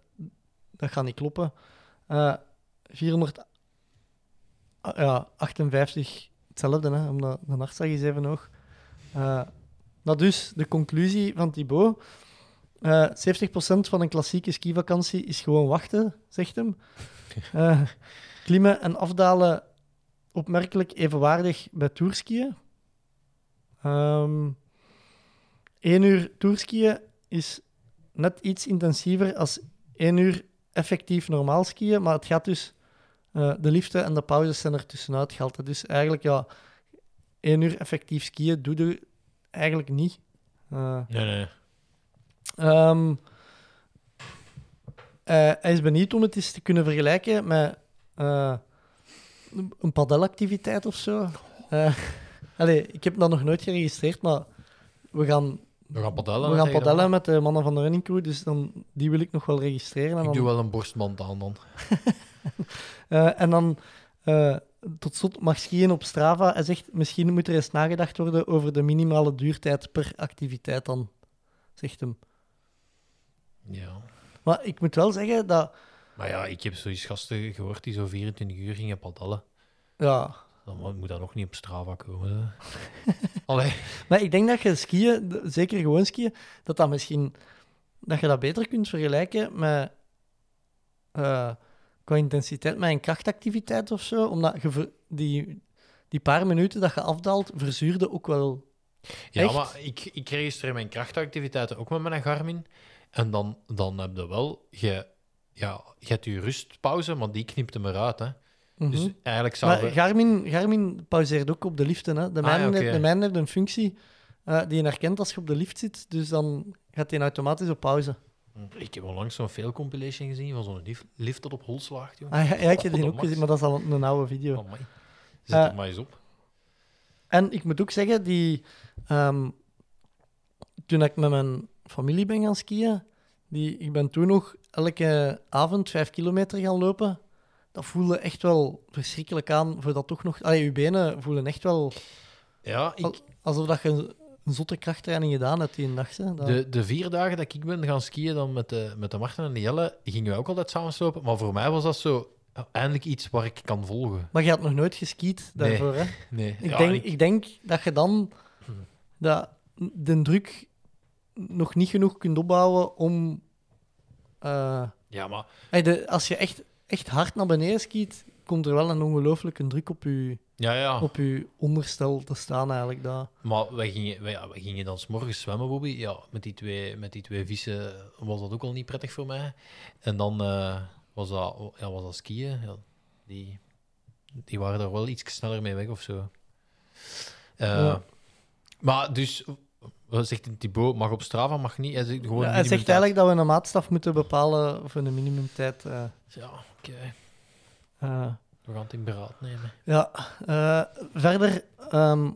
[SPEAKER 7] dat gaat niet kloppen. Eh 400, ah, ja, 58 hetzelfde, hè, omdat de hartslag is even hoog. Eh dat dus de conclusie van Thibaut. Eh, 70% van een klassieke skivakantie is gewoon wachten, zegt hem. Eh, klimmen en afdalen opmerkelijk evenwaardig bij toerskiën. Ehm 1 uur toerskiën is net iets intensiever als 1 uur effectief normaal skiën, maar het gaat dus... eh, de liefde en de pauzes zijn er tussenuit gehaald. hè. Dus eigenlijk, ja, 1 uur effectief skiën doe je eigenlijk niet. Eh,
[SPEAKER 9] Nee, nee.
[SPEAKER 7] Ehm, eh, hij is benieuwd om het eens te kunnen vergelijken met eh, een- een padelactiviteit of zo. Eh, allee, ik heb dat nog nooit geregistreerd, maar we gaan,
[SPEAKER 9] We gaan padellen.
[SPEAKER 7] we
[SPEAKER 9] hè,
[SPEAKER 7] gaan
[SPEAKER 9] tegen de
[SPEAKER 7] padellen
[SPEAKER 9] mannen.
[SPEAKER 7] met de mannen van de running crew, dus dan, die wil ik nog wel registreren. En
[SPEAKER 9] Ik
[SPEAKER 7] dan,
[SPEAKER 9] doe wel een borstband aan dan.
[SPEAKER 7] eh, en dan eh, tot slot mag skiën op Strava. Hij zegt, misschien moet er eens nagedacht worden over de minimale duurtijd per activiteit dan, zegt hem.
[SPEAKER 9] Ja.
[SPEAKER 7] Maar ik moet wel zeggen dat...
[SPEAKER 9] Maar ja, ik heb zoiets gasten gehoord die zo 24 uur gingen padellen.
[SPEAKER 7] Ja,
[SPEAKER 9] Dan moet dat nog niet op Strava komen. Hè. Allee.
[SPEAKER 7] Maar ik denk dat je skiën, d- zeker gewoon skiën, dat dat misschien dat je dat beter kunt vergelijken met eh, qua intensiteit met een krachtactiviteit of zo, omdat je ver- die die paar minuten dat je afdaalt, verzuurde ook wel.
[SPEAKER 9] Ja,
[SPEAKER 7] Echt?
[SPEAKER 9] maar ik, ik registreer mijn krachtactiviteiten ook met mijn Garmin. En dan, dan heb je wel... Je, ja, je hebt je rustpauze, maar die knipt hem eruit. Hè.
[SPEAKER 7] Mhm.
[SPEAKER 9] Dus eigenlijk zou...
[SPEAKER 7] maar
[SPEAKER 9] we-
[SPEAKER 7] Garmin, Garmin pauzeert ook op de liften. Hè. De,
[SPEAKER 9] Ah,
[SPEAKER 7] mijne
[SPEAKER 9] ja, oké.
[SPEAKER 7] heeft, de mijne heeft een functie eh, die je herkent als je op de lift zit, dus dan gaat die automatisch op pauze.
[SPEAKER 9] Mm. Ik heb onlangs zo'n fail compilation gezien van zo'n lift, lift dat op hol slaagt. jongen.
[SPEAKER 7] Ah, ja, ja, ik heb die
[SPEAKER 9] Oh,
[SPEAKER 7] ook
[SPEAKER 9] max.
[SPEAKER 7] gezien, maar dat is al een, een oude video.
[SPEAKER 9] Amai. Zet
[SPEAKER 7] Eh,
[SPEAKER 9] er maar eens op.
[SPEAKER 7] En ik moet ook zeggen, die, ehm, toen ik met mijn familie ben gaan skiën, die, ik ben toen nog elke avond vijf kilometer gaan lopen. Dat voelde echt wel verschrikkelijk aan voor dat toch nog... Allee, je benen voelen echt wel
[SPEAKER 9] Ja,
[SPEAKER 7] oh,
[SPEAKER 9] ik,
[SPEAKER 7] alsof dat je een- een zotte krachttraining gedaan hebt die een dag. Hè. Dat-
[SPEAKER 9] De, de vier dagen dat ik ben gaan skiën dan met, de, met de Marten en de Jelle, gingen wij ook altijd samen slopen. Maar voor mij was dat zo ja, eindelijk iets waar ik kan volgen.
[SPEAKER 7] Maar je had nog nooit geskiet
[SPEAKER 9] Nee.
[SPEAKER 7] daarvoor, hè?
[SPEAKER 9] Nee,
[SPEAKER 7] Ik,
[SPEAKER 9] ja,
[SPEAKER 7] denk,
[SPEAKER 9] ik- Hmm.
[SPEAKER 7] ik... denk dat je dan dat de druk nog niet genoeg kunt opbouwen om... eh,
[SPEAKER 9] ja maar
[SPEAKER 7] Hey, de- als je echt, echt hard naar beneden skiet, komt er wel een ongelooflijke druk op je,
[SPEAKER 9] ja, ja.
[SPEAKER 7] op je onderstel te staan eigenlijk. Daar.
[SPEAKER 9] Maar wij gingen, wij, ja, wij gingen dan 's morgens zwemmen, Bobby. Ja, met die, twee, met die twee vissen was dat ook al niet prettig voor mij. En dan eh, was, dat, ja, was dat skiën. Ja, die, die waren daar wel iets sneller mee weg of zo. Eh,
[SPEAKER 7] Ja.
[SPEAKER 9] Maar dus, wat zegt Thibaut? Mag op Strava, mag niet. Hij zegt gewoon
[SPEAKER 7] Ja, hij zegt
[SPEAKER 9] minimumtijd.
[SPEAKER 7] eigenlijk dat we een maatstaf moeten bepalen voor een minimumtijd. eh,
[SPEAKER 9] Ja, oké.
[SPEAKER 7] eh,
[SPEAKER 9] We gaan het in beraad nemen.
[SPEAKER 7] ja, eh, verder, ehm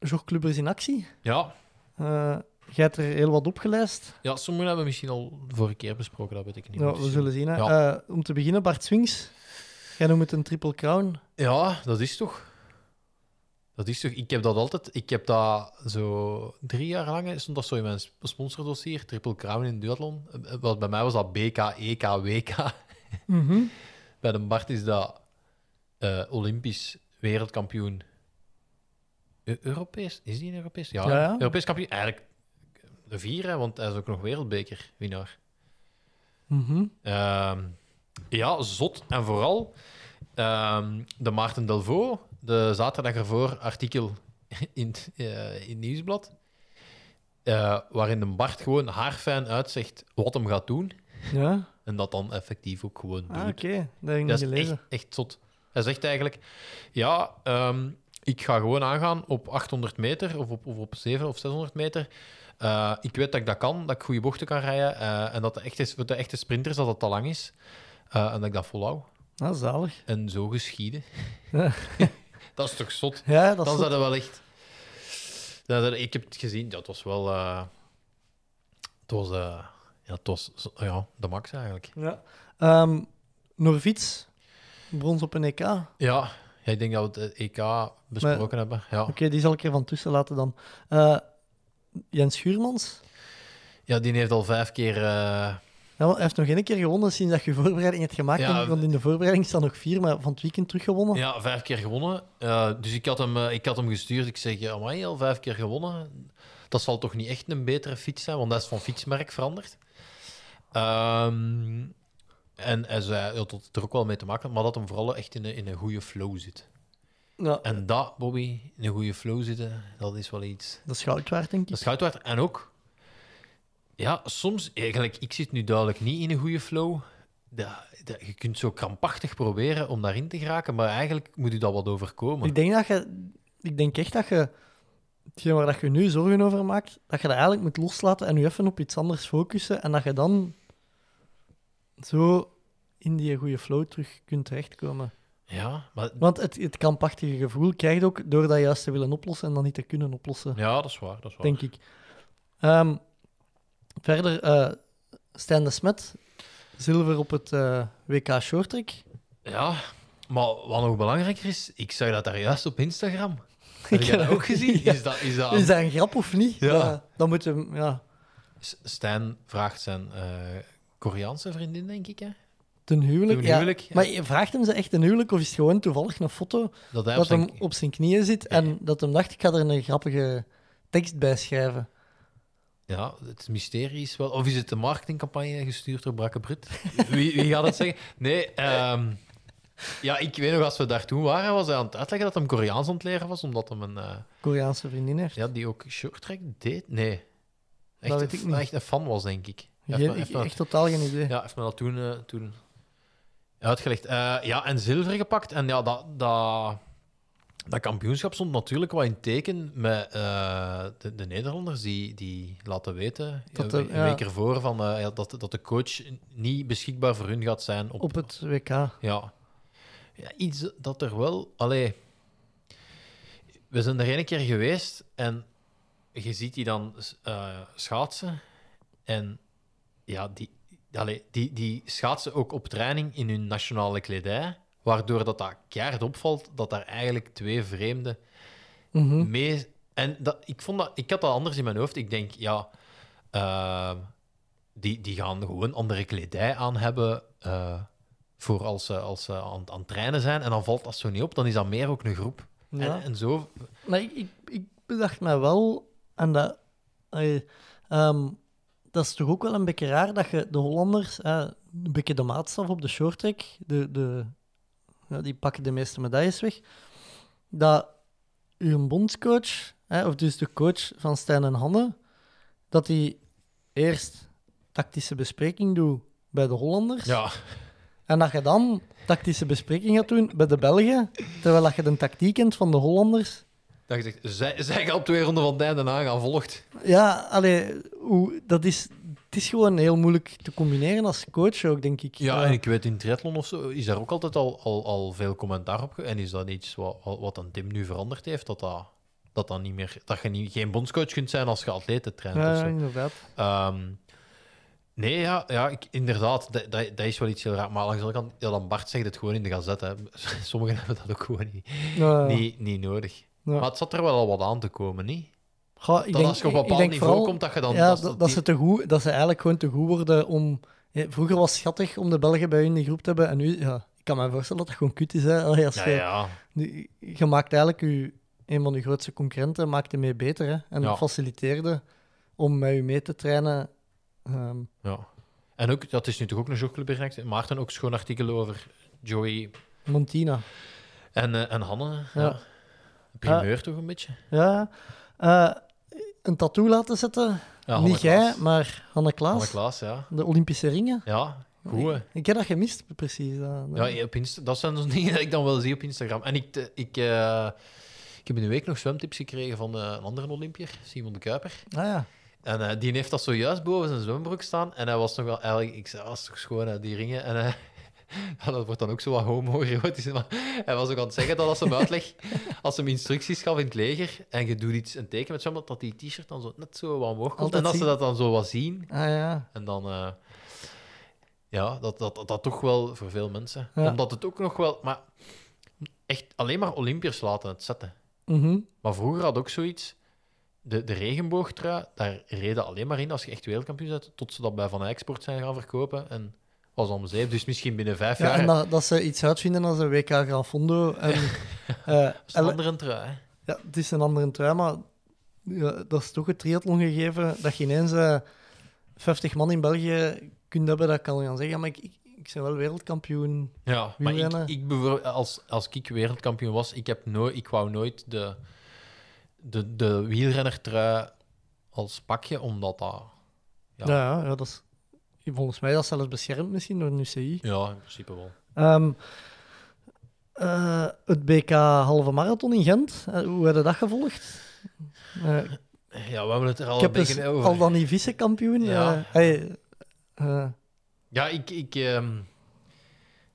[SPEAKER 7] George Clubber is in actie.
[SPEAKER 9] Ja,
[SPEAKER 7] Eh, jij hebt er heel wat opgelijst.
[SPEAKER 9] ja sommigen hebben we misschien al vorige keer besproken, dat weet ik niet.
[SPEAKER 7] Ja,
[SPEAKER 9] meer.
[SPEAKER 7] we zullen zien. Hè.
[SPEAKER 9] Ja.
[SPEAKER 7] Eh, om te beginnen, Bart Swings. Jij noemt het een triple crown.
[SPEAKER 9] Ja, dat is toch. Dat is toch. Ik heb dat altijd. Ik heb dat zo drie jaar lang. hè, Stond dat zo in mijn sp- sponsordossier. Triple Crown in duathlon. Eh, eh, Wat bij mij was dat E BK, EK, WK. Bij de Bart is dat eh, Olympisch wereldkampioen. Eu- Europees? Is die een Europees? Ja,
[SPEAKER 7] Ja, ja.
[SPEAKER 9] Europees kampioen. Eigenlijk de vier, hè, want hij is ook nog wereldbekerwinnaar.
[SPEAKER 7] Mhm.
[SPEAKER 9] Ehm, ja, zot. En vooral ehm, de Maarten Delvaux, de zaterdag ervoor artikel in, het, eh, in het Nieuwsblad, eh, waarin de Bart gewoon haarfijn uitzegt wat hem gaat doen
[SPEAKER 7] Ja,
[SPEAKER 9] en dat dan effectief ook gewoon doet.
[SPEAKER 7] ah, oké. Dat heb ik niet
[SPEAKER 9] Dat is
[SPEAKER 7] gelezen.
[SPEAKER 9] echt, echt zot. Hij zegt eigenlijk, ja, ehm, ik ga gewoon aangaan op 800 meter of op, of op 700 of 600 meter. Eh, ik weet dat ik dat kan, dat ik goede bochten kan rijden eh, en dat de echte, voor de echte sprinters dat dat te lang is eh, en dat ik dat volhou.
[SPEAKER 7] Ah, zalig.
[SPEAKER 9] En zo geschieden.
[SPEAKER 7] Ja.
[SPEAKER 9] dat is toch zot?
[SPEAKER 7] Ja, dat
[SPEAKER 9] Dat
[SPEAKER 7] is
[SPEAKER 9] is dat wel echt... Dat is- ik heb het gezien, dat was wel... eh, het was... eh, ja, het was zo- ja, de max eigenlijk.
[SPEAKER 7] Ja. Ehm Norvits, brons op een EK. Oké,
[SPEAKER 9] Ja, ja, ik denk dat we het eh, EK besproken hebben. Ja.
[SPEAKER 7] die zal ik er van tussen laten dan. Eh, Jens Schuurmans.
[SPEAKER 9] ja, die heeft al vijf keer. eh,
[SPEAKER 7] Ja, want hij heeft nog één keer gewonnen sinds dat je voorbereiding hebt gemaakt.
[SPEAKER 9] Ja,
[SPEAKER 7] want in de voorbereiding staan nog vier, maar van het weekend teruggewonnen.
[SPEAKER 9] ja, vijf keer gewonnen. Eh, dus ik had, hem, eh, ik had hem gestuurd. Ik zeg, ja, amai, al vijf keer gewonnen. Dat zal toch niet echt een betere fiets zijn, want dat is van fietsmerk veranderd. Ehm, en hij zei ja, dat het er ook wel mee te maken had, maar dat hem vooral echt in een, in een goede flow zit.
[SPEAKER 7] Ja,
[SPEAKER 9] En dat, Bobby, in een goede flow zitten, dat is wel iets.
[SPEAKER 7] dat is goud waard, denk ik.
[SPEAKER 9] Dat is goud waard. En ook, ja, soms eigenlijk, ik zit nu duidelijk niet in een goede flow. Dat- dat- je kunt zo krampachtig proberen om daarin te geraken, maar eigenlijk moet je dat wat overkomen.
[SPEAKER 7] Ik denk, dat je, ik denk echt dat je hetgeen waar dat je nu zorgen over maakt, dat je dat eigenlijk moet loslaten en je even op iets anders focussen. En dat je dan zo in die goede flow terug kunt terechtkomen.
[SPEAKER 9] Ja, maar,
[SPEAKER 7] Want het, het krampachtige gevoel krijg je ook door dat juist te willen oplossen en dan niet te kunnen oplossen,
[SPEAKER 9] ja dat is waar. Dat is waar.
[SPEAKER 7] denk ik. Ehm, verder, eh Stijn de Smet, zilver op het eh, WK Shorttrack.
[SPEAKER 9] Ja, maar wat nog belangrijker is, ik zag dat daar juist op Instagram. Heb
[SPEAKER 7] Ik
[SPEAKER 9] jij
[SPEAKER 7] heb
[SPEAKER 9] dat ook gezien?
[SPEAKER 7] Ja.
[SPEAKER 9] Is dat, is dat
[SPEAKER 7] Is dat een grap of niet?
[SPEAKER 9] Ah. Ja.
[SPEAKER 7] Dat- dan moeten we... Ja,
[SPEAKER 9] S- Stijn vraagt zijn eh, Koreaanse vriendin, denk ik, hè?
[SPEAKER 7] ten huwelijk.
[SPEAKER 9] Ten
[SPEAKER 7] ja.
[SPEAKER 9] huwelijk, ja.
[SPEAKER 7] Maar je vraagt hem ze echt een huwelijk of is het gewoon toevallig een foto
[SPEAKER 9] dat hij op
[SPEAKER 7] dat
[SPEAKER 9] zijn...
[SPEAKER 7] hem op zijn knieën zit en dat hem dacht, ik ga er een grappige tekst bij schrijven.
[SPEAKER 9] Ja, het mysterie is wel. Of is het een marketingcampagne gestuurd door Brakke Brut? Wie, wie gaat het zeggen? Nee, ehm, Ja, ik weet nog, als we daar toen waren, was hij aan het uitleggen dat hem Koreaans aan het leren was, omdat hem een... eh,
[SPEAKER 7] Koreaanse vriendin heeft.
[SPEAKER 9] ja, die ook short track deed? Nee. Echt,
[SPEAKER 7] weet
[SPEAKER 9] een-
[SPEAKER 7] ik niet.
[SPEAKER 9] echt een fan was, denk ik. Hij heeft
[SPEAKER 7] Geen-
[SPEAKER 9] me- heeft
[SPEAKER 7] ik-
[SPEAKER 9] me-
[SPEAKER 7] echt totaal geen idee.
[SPEAKER 9] Ja, heeft me dat toen, eh, toen uitgelegd. Eh, ja, en zilver gepakt. En ja, dat, dat, dat kampioenschap stond natuurlijk wel in teken met eh, de, de Nederlanders die, die laten weten,
[SPEAKER 7] Dat
[SPEAKER 9] een,
[SPEAKER 7] er-
[SPEAKER 9] een week
[SPEAKER 7] ja.
[SPEAKER 9] ervoor, van, eh, ja, dat, dat de coach niet beschikbaar voor hun gaat zijn op,
[SPEAKER 7] Op het WK.
[SPEAKER 9] ja. ja, iets dat er wel. Allee, we zijn er één keer geweest en je ziet die dan eh, schaatsen. En ja, die, allee, die, die schaatsen ook op training in hun nationale kledij. Waardoor dat, dat keihard opvalt dat daar eigenlijk twee vreemden
[SPEAKER 7] Mhm.
[SPEAKER 9] mee. En dat, ik, vond dat, ik had dat anders in mijn hoofd. Ik denk, ja, ehm, die, die gaan gewoon andere kledij aan hebben eh, voor als ze, als ze aan, aan het trainen zijn. En dan valt dat zo niet op. Dan is dat meer ook een groep.
[SPEAKER 7] Ja.
[SPEAKER 9] En, en zo,
[SPEAKER 7] Maar ik, ik, ik bedacht mij wel aan dat. allee, ehm, dat is toch ook wel een beetje raar dat je de Hollanders, eh, een beetje de maatstaf op de short track, de, de, ja, die pakken de meeste medailles weg. Dat uw bondscoach, eh, of dus de coach van Stijn en Hanne, dat die eerst tactische bespreking doet bij de Hollanders.
[SPEAKER 9] ja,
[SPEAKER 7] En dat je dan tactische bespreking gaat doen bij de Belgen, terwijl dat je de tactiek kent van de Hollanders.
[SPEAKER 9] dat je zegt, zij, zij gaan op twee ronden van het einde aangevolgd.
[SPEAKER 7] Ja, allee, hoe, dat is, het is gewoon heel moeilijk te combineren als coach ook, denk ik.
[SPEAKER 9] Ja,
[SPEAKER 7] Eh,
[SPEAKER 9] en ik weet in triathlon of zo is daar ook altijd al, al, al veel commentaar op. ge- En is dat iets wat, wat wat dan Tim nu veranderd heeft? Dat, dat, dat, dat, niet meer, dat je niet, geen bondscoach kunt zijn als je atleten traint.
[SPEAKER 7] ja,
[SPEAKER 9] of zo.
[SPEAKER 7] inderdaad.
[SPEAKER 9] Ehm, nee, ja, ja ik, inderdaad, dat, dat, dat is wel iets heel raar. Maar langs de andere kant, ja, dan Bart zegt het gewoon in de gazette. hè. Sommigen hebben dat ook gewoon niet,
[SPEAKER 7] Ja.
[SPEAKER 9] niet, niet nodig.
[SPEAKER 7] Ja.
[SPEAKER 9] Maar het zat er wel al wat aan te komen, niet?
[SPEAKER 7] Goh, ik
[SPEAKER 9] Dat
[SPEAKER 7] denk-
[SPEAKER 9] als je op
[SPEAKER 7] ik
[SPEAKER 9] een bepaald
[SPEAKER 7] denk
[SPEAKER 9] niveau
[SPEAKER 7] vooral-
[SPEAKER 9] komt, dat je dan...
[SPEAKER 7] Ja,
[SPEAKER 9] als
[SPEAKER 7] dat, dat, ze te goed, dat ze eigenlijk gewoon te goed worden om... eh, Vroeger was het schattig om de Belgen bij hun in de groep te hebben. En nu, ja, ik kan me voorstellen dat dat gewoon kut is. Hè. Allee, als
[SPEAKER 9] ja,
[SPEAKER 7] je,
[SPEAKER 9] ja.
[SPEAKER 7] nu- je maakt eigenlijk je, een van je grootste concurrenten maakt je mee beter. Hè. En
[SPEAKER 9] Ja.
[SPEAKER 7] faciliteerde om met je mee te trainen. Ehm,
[SPEAKER 9] ja. En ook, dat is nu toch ook een jogclub hier, Maarten ook schoon artikel over Joey
[SPEAKER 7] Montina.
[SPEAKER 9] en, eh, en Hanne. Ja.
[SPEAKER 7] Ja.
[SPEAKER 9] Primeur toch een beetje?
[SPEAKER 7] Ja, eh, een tattoo laten zetten.
[SPEAKER 9] Ja, Hanne
[SPEAKER 7] Niet jij,
[SPEAKER 9] Klaas.
[SPEAKER 7] maar Hanne Klaas.
[SPEAKER 9] Hanne Klaas, ja.
[SPEAKER 7] De Olympische ringen.
[SPEAKER 9] Ja, goed hè.
[SPEAKER 7] Ik heb dat gemist, precies. Dat- dat-
[SPEAKER 9] Ja, op Insta dat zijn dus dingen die ik dan wel zie op Instagram. En ik, eh, ik, eh, ik heb in de week nog zwemtips gekregen van eh, een andere Olympier, Simon de Kuiper.
[SPEAKER 7] Ah, ja.
[SPEAKER 9] En eh, die heeft dat zojuist boven zijn zwembroek staan. En hij was nog wel eigenlijk, ik zei, ah, is toch schoon, hè, die ringen. En eh, ja, dat wordt dan ook zo wat homo-erotisch. Maar hij was ook aan het zeggen dat als ze hem uitleg, als ze hem instructies gaf in het leger en je doet iets, een teken met zwemmen, dat die t-shirt dan zo net zo wat omhoog komt.
[SPEAKER 7] Altijd
[SPEAKER 9] en dat ze
[SPEAKER 7] zien.
[SPEAKER 9] dat dan zo wat zien,
[SPEAKER 7] Ah, ja.
[SPEAKER 9] en dan, eh, ja, dat, dat, dat, dat toch wel voor veel mensen.
[SPEAKER 7] Ja.
[SPEAKER 9] Omdat het ook nog wel, maar echt alleen maar Olympiërs laten het zetten.
[SPEAKER 7] Mhm.
[SPEAKER 9] Maar vroeger had ook zoiets, de, de regenboogtrui, daar reden alleen maar in als je echt wereldkampioen bent, tot ze dat bij Van Export zijn gaan verkopen. En was om zeep, dus misschien binnen vijf
[SPEAKER 7] ja,
[SPEAKER 9] jaar.
[SPEAKER 7] en dat, dat ze iets uitvinden als een WK Gran Fondo. En, eh,
[SPEAKER 9] is het een
[SPEAKER 7] elle-
[SPEAKER 9] andere trui. hè.
[SPEAKER 7] ja, het is een andere trui, maar ja, dat is toch het triathlon gegeven dat je ineens eh, 50 man in België kunt hebben dat kan gaan zeggen. Ja, maar ik, ik, ik ben wel wereldkampioen.
[SPEAKER 9] Ja, maar
[SPEAKER 7] Wielrennen.
[SPEAKER 9] ik, ik bijvoorbeeld- als, als ik wereldkampioen was, ik, heb nooit, ik wou nooit de, de, de wielrennertrui als pakje, omdat dat... Ja.
[SPEAKER 7] Ja, ja, ja, dat is volgens mij dat is zelfs beschermd misschien door een UCI.
[SPEAKER 9] Ja, in principe wel.
[SPEAKER 7] Ehm, eh, het BK halve marathon in Gent, eh, hoe hebben dat gevolgd? Eh,
[SPEAKER 9] Oh, Ja, we hebben het er al
[SPEAKER 7] ik
[SPEAKER 9] een
[SPEAKER 7] heb
[SPEAKER 9] beetje
[SPEAKER 7] dus
[SPEAKER 9] over.
[SPEAKER 7] al dan niet vice-kampioen.
[SPEAKER 9] oh, Ja.
[SPEAKER 7] eh, hey, eh,
[SPEAKER 9] Ja, ik, ik, ehm,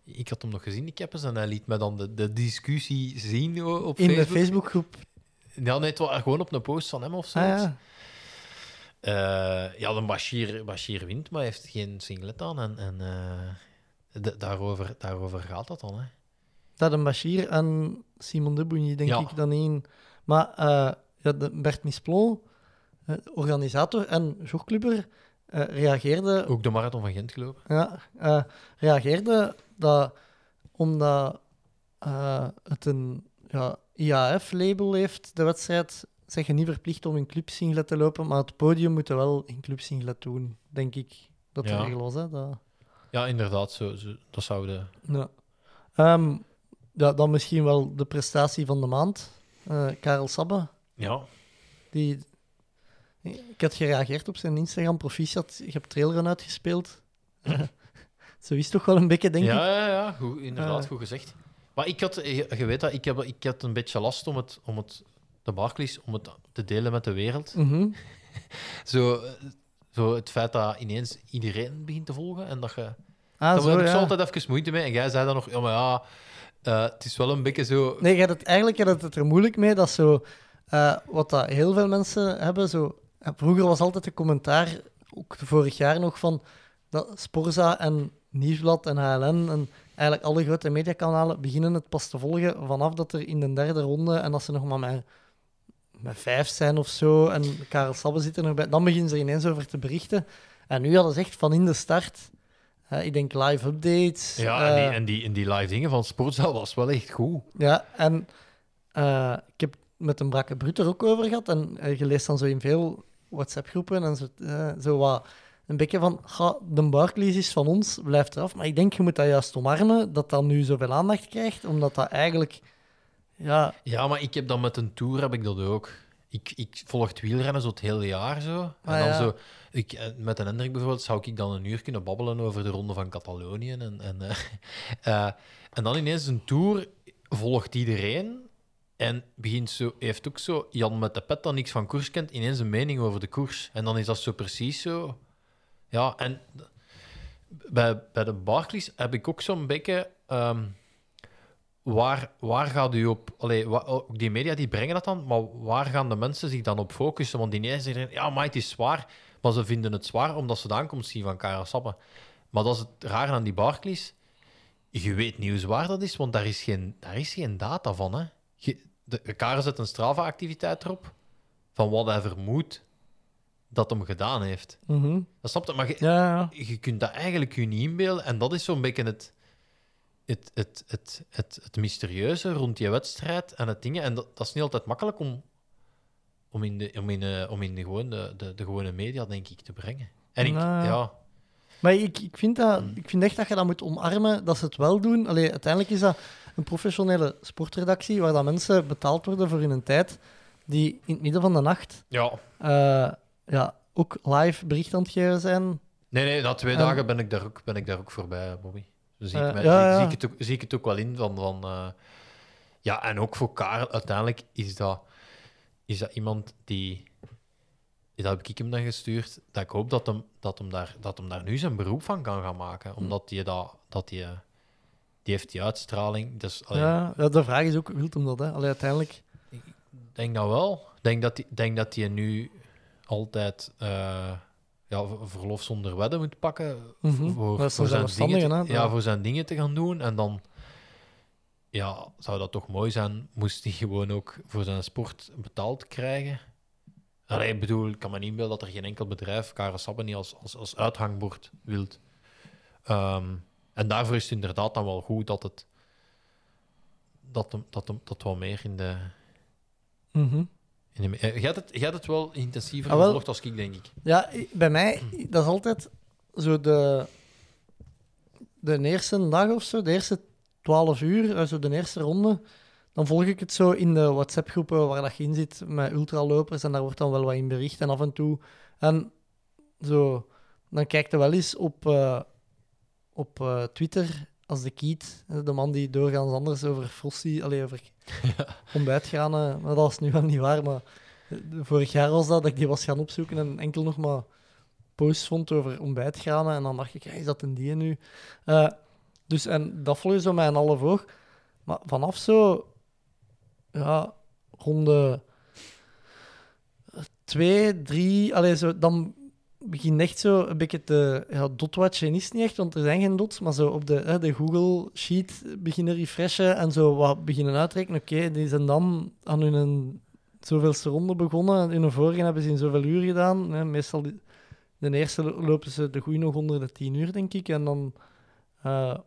[SPEAKER 9] ik had hem nog gezien, die Keppes, en hij liet me dan de, de discussie zien o- op
[SPEAKER 7] in de
[SPEAKER 9] Facebook.
[SPEAKER 7] Facebookgroep.
[SPEAKER 9] Ja, nee, het was gewoon op een post van hem of zo.
[SPEAKER 7] Ah, ja.
[SPEAKER 9] Eh, ja, dan Bashir, Bashir wint, maar heeft geen singlet aan. En, en eh, da- daarover, daarover gaat dat dan, hè.
[SPEAKER 7] Dat een Bashir en Simon de Boigny, denk
[SPEAKER 9] Ja.
[SPEAKER 7] ik dan één. Maar eh, ja, de Bert Misplon, eh, organisator en jogclubber, eh, reageerde
[SPEAKER 9] Ook de marathon van Gent gelopen.
[SPEAKER 7] ja, eh, reageerde dat omdat eh, het een ja, IAF-label heeft, de wedstrijd, zeg je niet verplicht om in clubsinglet te lopen, maar het podium moet je wel in clubsinglet doen, denk ik. Dat de
[SPEAKER 9] Ja.
[SPEAKER 7] regel was, hè. Dat,
[SPEAKER 9] Ja, inderdaad, zo, zo, dat zou de...
[SPEAKER 7] ja. Ehm, ja, dan misschien wel de prestatie van de maand. Eh, Karel Sabbe.
[SPEAKER 9] Ja.
[SPEAKER 7] Die... Ik had gereageerd op zijn Instagram. Proficiat, je hebt trailrun uitgespeeld. Zo is het toch wel een beetje, denk ik.
[SPEAKER 9] ja, ja, ja. Goed, inderdaad,
[SPEAKER 7] Eh.
[SPEAKER 9] goed gezegd. Maar ik had, eh, je weet dat, ik, heb, ik had een beetje last om het, om het de Barclays, om het te delen met de wereld.
[SPEAKER 7] Mhm.
[SPEAKER 9] Zo, eh, zo het feit dat ineens iedereen begint te volgen en dat je...
[SPEAKER 7] Ah,
[SPEAKER 9] daar
[SPEAKER 7] zo,
[SPEAKER 9] heb ik
[SPEAKER 7] ja.
[SPEAKER 9] zo altijd even moeite mee. En jij zei dan nog, ja, maar ja, eh, het is wel een beetje zo...
[SPEAKER 7] Nee, je had het, eigenlijk had het het er moeilijk mee dat zo, eh, wat dat heel veel mensen hebben. Zo, eh, vroeger was altijd de commentaar, ook vorig jaar nog, van dat Sporza en Nieuwsblad en HLN en eigenlijk alle grote mediakanalen beginnen het pas te volgen vanaf dat er in de derde ronde en als ze nog maar met, met vijf zijn of zo en Karel Sabbe zit er nog bij, dan beginnen ze er ineens over te berichten. En nu hadden ze echt van in de start, eh, ik denk live updates.
[SPEAKER 9] Ja, en
[SPEAKER 7] eh,
[SPEAKER 9] die, en die, en die live dingen van Sportzaal was wel echt goed.
[SPEAKER 7] ja, en eh, ik heb het met een brakke bruut er ook over gehad. En eh, je leest dan zo in veel WhatsApp-groepen en zo, eh, zo wat een beetje van, ga, de Barclays is van ons, blijf eraf. Maar ik denk, je moet dat juist omarmen, dat dat nu zoveel aandacht krijgt, omdat dat eigenlijk... Ja,
[SPEAKER 9] Ja, maar ik heb dat met een tour heb ik dat ook. Ik, ik volg het wielrennen zo het hele jaar zo. En
[SPEAKER 7] Ah,
[SPEAKER 9] dan
[SPEAKER 7] ja.
[SPEAKER 9] zo ik, eh, met een Hendrik bijvoorbeeld zou ik dan een uur kunnen babbelen over de ronde van Catalonië. En, en, eh, eh, en dan ineens een tour volgt iedereen. En begint zo, heeft ook zo Jan met de pet dat niks van koers kent, ineens een mening over de koers. En dan is dat zo precies zo. Ja, en bij, bij de Barclays heb ik ook zo'n beetje. ehm, waar, waar gaat u op? Allee, wa- oh, ook die media die brengen dat dan, maar waar gaan de mensen zich dan op focussen? Want die nee zeggen, ja, maar het is zwaar. Maar ze vinden het zwaar omdat ze de aankomst zien van Kara Sabba. Maar dat is het raar aan die Barclays. Je weet niet hoe zwaar dat is, want daar is geen, daar is geen data van. Hè? Je, de, Kara zet een Strava-activiteit erop van wat hij vermoedt dat hem gedaan heeft.
[SPEAKER 7] mhm.
[SPEAKER 9] Dat snapt het, maar je-
[SPEAKER 7] ja, ja.
[SPEAKER 9] je kunt dat eigenlijk je niet inbeelden. En dat is zo'n beetje het, het, het, het, het, het mysterieuze rond die wedstrijd en het dingen. En dat, dat is niet altijd makkelijk om, om in, de, om in, eh, om in de, gewoon de, de, de gewone media, denk ik, te brengen. En ik,
[SPEAKER 7] Nou,
[SPEAKER 9] ja,
[SPEAKER 7] Maar ik, ik, vind dat, ik vind echt dat je dat moet omarmen, dat ze het wel doen. Allee, uiteindelijk is dat een professionele sportredactie waar dat mensen betaald worden voor hun tijd, die in het midden van de nacht
[SPEAKER 9] ja.
[SPEAKER 7] eh, ja, ook live bericht aan het geven zijn.
[SPEAKER 9] Nee, nee, na twee
[SPEAKER 7] En-
[SPEAKER 9] dagen ben ik daar ook, ben ik daar ook voorbij, Bobby. Dus zie, ik
[SPEAKER 7] Eh,
[SPEAKER 9] mij-
[SPEAKER 7] ja, ja.
[SPEAKER 9] zie- zie ik het ook, zie ik het ook wel in van... van eh, ja, en ook voor Karel, uiteindelijk is dat, is dat iemand die... Dat heb ik hem dan gestuurd. Dat ik hoop dat hem, dat hem, daar, dat hem daar nu zijn beroep van kan gaan
[SPEAKER 7] Hm.
[SPEAKER 9] maken. Omdat die, dat, dat die, eh, die heeft die uitstraling. Dus, allee,
[SPEAKER 7] Ja, ja, de vraag is ook, wilt hem dat? Hè? Allee, uiteindelijk.
[SPEAKER 9] ik denk dat wel. Ik denk dat die, ik denk dat die nu altijd eh, ja, ver- verlof zonder wedden moet pakken.
[SPEAKER 7] Mhm.
[SPEAKER 9] Voor,
[SPEAKER 7] Dat is
[SPEAKER 9] voor
[SPEAKER 7] een
[SPEAKER 9] zijn dingen
[SPEAKER 7] zelfstandige,
[SPEAKER 9] te,
[SPEAKER 7] hè?
[SPEAKER 9] ja,
[SPEAKER 7] Ja.
[SPEAKER 9] voor zijn dingen te gaan doen. En dan ja, zou dat toch mooi zijn, moest hij gewoon ook voor zijn sport betaald krijgen. Allee, ik bedoel, ik kan me niet inbeelden dat er geen enkel bedrijf Karel Sabben niet als, als, als uithangbord wilt. Ehm, en daarvoor is het inderdaad dan wel goed dat het dat, hem- dat, hem- dat wel meer in de,
[SPEAKER 7] Mhm.
[SPEAKER 9] in de- eh, Jij had het, jij had het wel intensiever
[SPEAKER 7] Ah, wel.
[SPEAKER 9] gevolgd als ik, denk ik.
[SPEAKER 7] Ja, i- bij mij, i- dat is altijd zo de, de eerste dag of zo, de eerste 12 uur, eh, zo de eerste ronde. Dan volg ik het zo in de WhatsApp-groepen waar dat je in zit met ultralopers en daar wordt dan wel wat in bericht en af en toe. En zo, dan kijkt er wel eens op, eh, op eh, Twitter als de Kiet, eh, de man die doorgaans anders over Frosty, alleen over ontbijt gaan. eh, Maar dat is nu wel niet waar, maar Vorig jaar was dat, dat ik die was gaan opzoeken en enkel nog maar posts vond over ontbijtgranen. En dan dacht ik, "Hey, is dat een die nu? Eh, dus en dat volg je zo met een half oog. Maar vanaf zo, ja, ronde twee, drie, allee, zo, dan begin echt zo een beetje te... Ja, dotwatchen is niet echt, want er zijn geen dots, maar zo op de, hè, de Google Sheet beginnen refreshen en zo wat beginnen uitrekenen. Oké, die zijn dan aan hun zoveelste ronde begonnen. In de vorige hebben ze in zoveel uur gedaan. Hè. Meestal die- de eerste lo- lopen ze de goeie nog onder de 10 uur, denk ik. En dan eh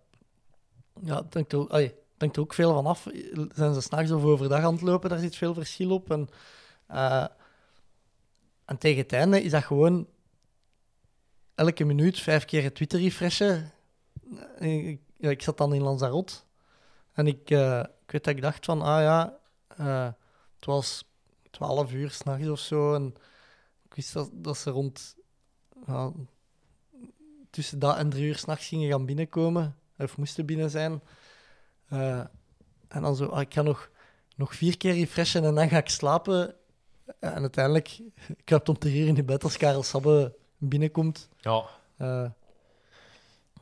[SPEAKER 7] ja, het hangt, er, ook- allee, het hangt er ook veel van af. Zijn ze s'nachts of overdag aan het lopen? Daar zit veel verschil op. En, eh, en tegen het einde is dat gewoon elke minuut vijf keer het Twitter refreshen. Eh, Ik, ja, ik zat dan in Lanzarote. En ik, eh, ik weet dat ik dacht van, ah ja, eh, het was 12 uur s'nachts of zo. En ik wist dat, dat ze rond ja, tussen dat en drie uur s'nachts gingen gaan binnenkomen. Of moesten binnen zijn. Eh, en dan zo, ah, ik ga nog, nog vier keer refreshen en dan ga ik slapen. Eh, En uiteindelijk kruipt om drie uur in je bed als Karel Sabbe binnenkomt.
[SPEAKER 9] Ja,
[SPEAKER 7] Eh,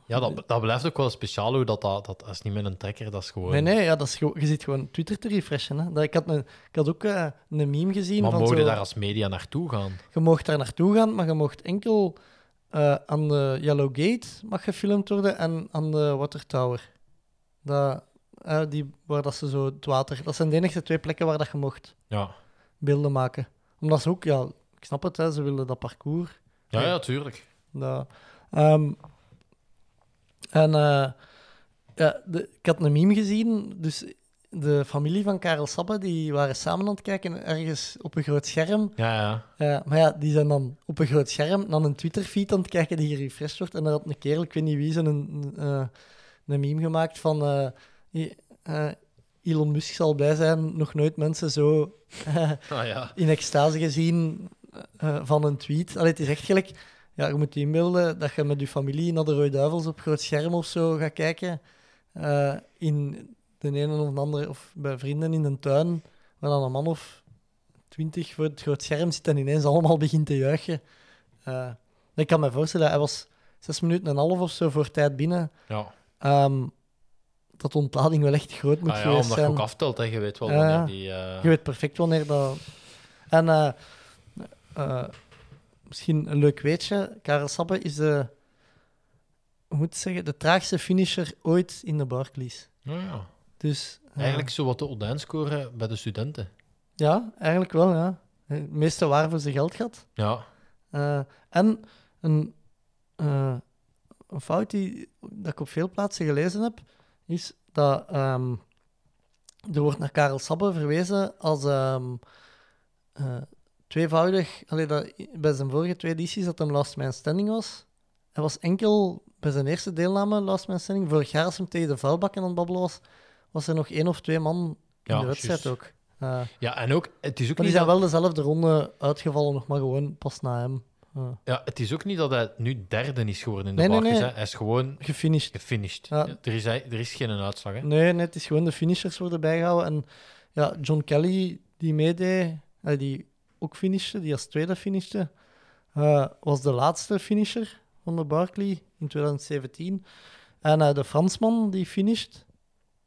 [SPEAKER 9] ja dat, dat blijft ook wel speciaal hoe dat, dat, dat is niet met een trekker, dat is gewoon...
[SPEAKER 7] Nee, nee, ja, dat is gewoon, je zit gewoon Twitter te refreshen. Hè. Dat, ik, had een, ik had ook eh, een meme gezien
[SPEAKER 9] maar
[SPEAKER 7] van
[SPEAKER 9] mogen
[SPEAKER 7] zo,
[SPEAKER 9] daar als media naartoe gaan?
[SPEAKER 7] je mocht daar naartoe gaan, maar je mocht enkel eh, aan de Yellow Gate mag gefilmd worden en aan de Water Tower. Dat, eh, die, waar dat ze zo het water... Dat zijn de enige twee plekken waar dat je mocht
[SPEAKER 9] Ja,
[SPEAKER 7] beelden maken. Omdat ze ook, ja, ik snap het, hè, ze willen dat parcours.
[SPEAKER 9] ja, ja tuurlijk.
[SPEAKER 7] Dat, ehm, en eh, ja, de, ik had een meme gezien, dus de familie van Karel Sabba, die waren samen aan het kijken ergens op een groot scherm.
[SPEAKER 9] Ja, ja.
[SPEAKER 7] Eh, maar ja, die zijn dan op een groot scherm naar een Twitterfeed aan het kijken die gerefreshed wordt. En daar had een kerel, ik weet niet wie, zo'n een, eh, een meme gemaakt van eh, i- eh, Elon Musk zal blij zijn, nog nooit mensen zo eh,
[SPEAKER 9] Ah, ja.
[SPEAKER 7] in extase gezien eh, van een tweet. Allee, het is echt gelijk... Ja, je moet je inbeelden dat je met je familie naar de Rode Duivels op groot scherm of zo gaat kijken. eh, in de ene of de andere... Of bij vrienden in de tuin, waar dan een man of twintig voor het groot scherm zit en ineens allemaal begint te juichen. Eh, ik kan me voorstellen, hij was zes minuten en een half of zo voor tijd binnen.
[SPEAKER 9] ja.
[SPEAKER 7] Ehm, dat de ontlading wel echt groot moet
[SPEAKER 9] Ah, ja,
[SPEAKER 7] geweest
[SPEAKER 9] omdat je
[SPEAKER 7] zijn.
[SPEAKER 9] ook aftelt, hè. je weet wel
[SPEAKER 7] Ja,
[SPEAKER 9] wanneer
[SPEAKER 7] ja.
[SPEAKER 9] die... eh,
[SPEAKER 7] Je weet perfect wanneer dat. En eh, eh, misschien een leuk weetje: Karel Sabbe is de, hoe moet ik het zeggen, de traagste finisher ooit in de Barclays.
[SPEAKER 9] ja, ja.
[SPEAKER 7] Dus, eh,
[SPEAKER 9] Eigenlijk zo wat de Odijn-score bij de studenten.
[SPEAKER 7] Ja, eigenlijk wel. Ja. Het meeste waar voor zijn geld gehad.
[SPEAKER 9] Ja,
[SPEAKER 7] Eh, en een, eh, een fout die dat ik op veel plaatsen gelezen heb, is dat ehm, er wordt naar Karel Sabbe verwezen als ehm, eh, tweevoudig. Allee, dat, bij zijn vorige twee edities dat hem Last Man Standing was. Hij was enkel bij zijn eerste deelname Last Man Standing. Vorig jaar als hem tegen de vuilbakken aan het babbelen was, was er nog één of twee man in
[SPEAKER 9] Ja,
[SPEAKER 7] de wedstrijd
[SPEAKER 9] juist.
[SPEAKER 7] ook. Eh, maar
[SPEAKER 9] ja en ook, het is ook
[SPEAKER 7] die
[SPEAKER 9] niet
[SPEAKER 7] zijn
[SPEAKER 9] dat-
[SPEAKER 7] wel dezelfde ronde uitgevallen, nog maar gewoon pas na hem. Eh.
[SPEAKER 9] Ja, het is ook niet dat hij nu derde is geworden in de
[SPEAKER 7] Nee, nee,
[SPEAKER 9] Barclays.
[SPEAKER 7] nee.
[SPEAKER 9] hè. Hij is gewoon
[SPEAKER 7] gefinished.
[SPEAKER 9] gefinished.
[SPEAKER 7] Ja.
[SPEAKER 9] Er, is, hij- er is geen uitslag, hè.
[SPEAKER 7] Nee, net is gewoon de finishers worden bijgehouden. En ja, John Kelly, die meedeed, eh, die ook finishte, die als tweede finishte, eh, was de laatste finisher van de Barkley in 2017. En eh, de Fransman die finisht,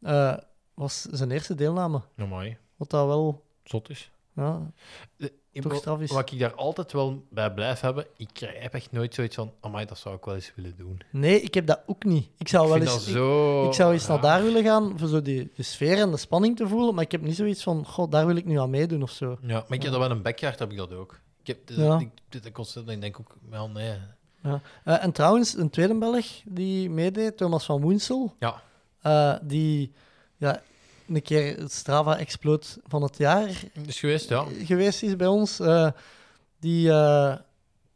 [SPEAKER 7] eh, was zijn eerste deelname.
[SPEAKER 9] Amai,
[SPEAKER 7] Wat dat wel
[SPEAKER 9] zot is.
[SPEAKER 7] ja,
[SPEAKER 9] Eh, Ik
[SPEAKER 7] toch
[SPEAKER 9] bedoel,
[SPEAKER 7] straf is.
[SPEAKER 9] Wat ik daar altijd wel bij blijf hebben, ik heb echt nooit zoiets van, amai, dat zou ik wel eens willen doen.
[SPEAKER 7] Nee, ik heb dat ook niet. Ik zou
[SPEAKER 9] ik
[SPEAKER 7] wel
[SPEAKER 9] vind
[SPEAKER 7] eens.
[SPEAKER 9] dat
[SPEAKER 7] ik-
[SPEAKER 9] zo...
[SPEAKER 7] Ik zou eens naar
[SPEAKER 9] Ja.
[SPEAKER 7] daar willen gaan voor zo die, de sfeer en de spanning te voelen, maar ik heb niet zoiets van, god, daar wil ik nu aan meedoen of zo.
[SPEAKER 9] Ja, maar ik heb dat wel een backyard, heb ik dat ook. Ik heb dit,
[SPEAKER 7] Ja.
[SPEAKER 9] ik, dit, ik constant, ik denk ook, wel nee.
[SPEAKER 7] Eh, en trouwens, een tweede Belg die meedeed, Thomas van Woensel,
[SPEAKER 9] Ja.
[SPEAKER 7] eh, die ja, een keer het Strava Explode van het jaar
[SPEAKER 9] Is geweest, ja.
[SPEAKER 7] geweest is bij ons, eh, die eh,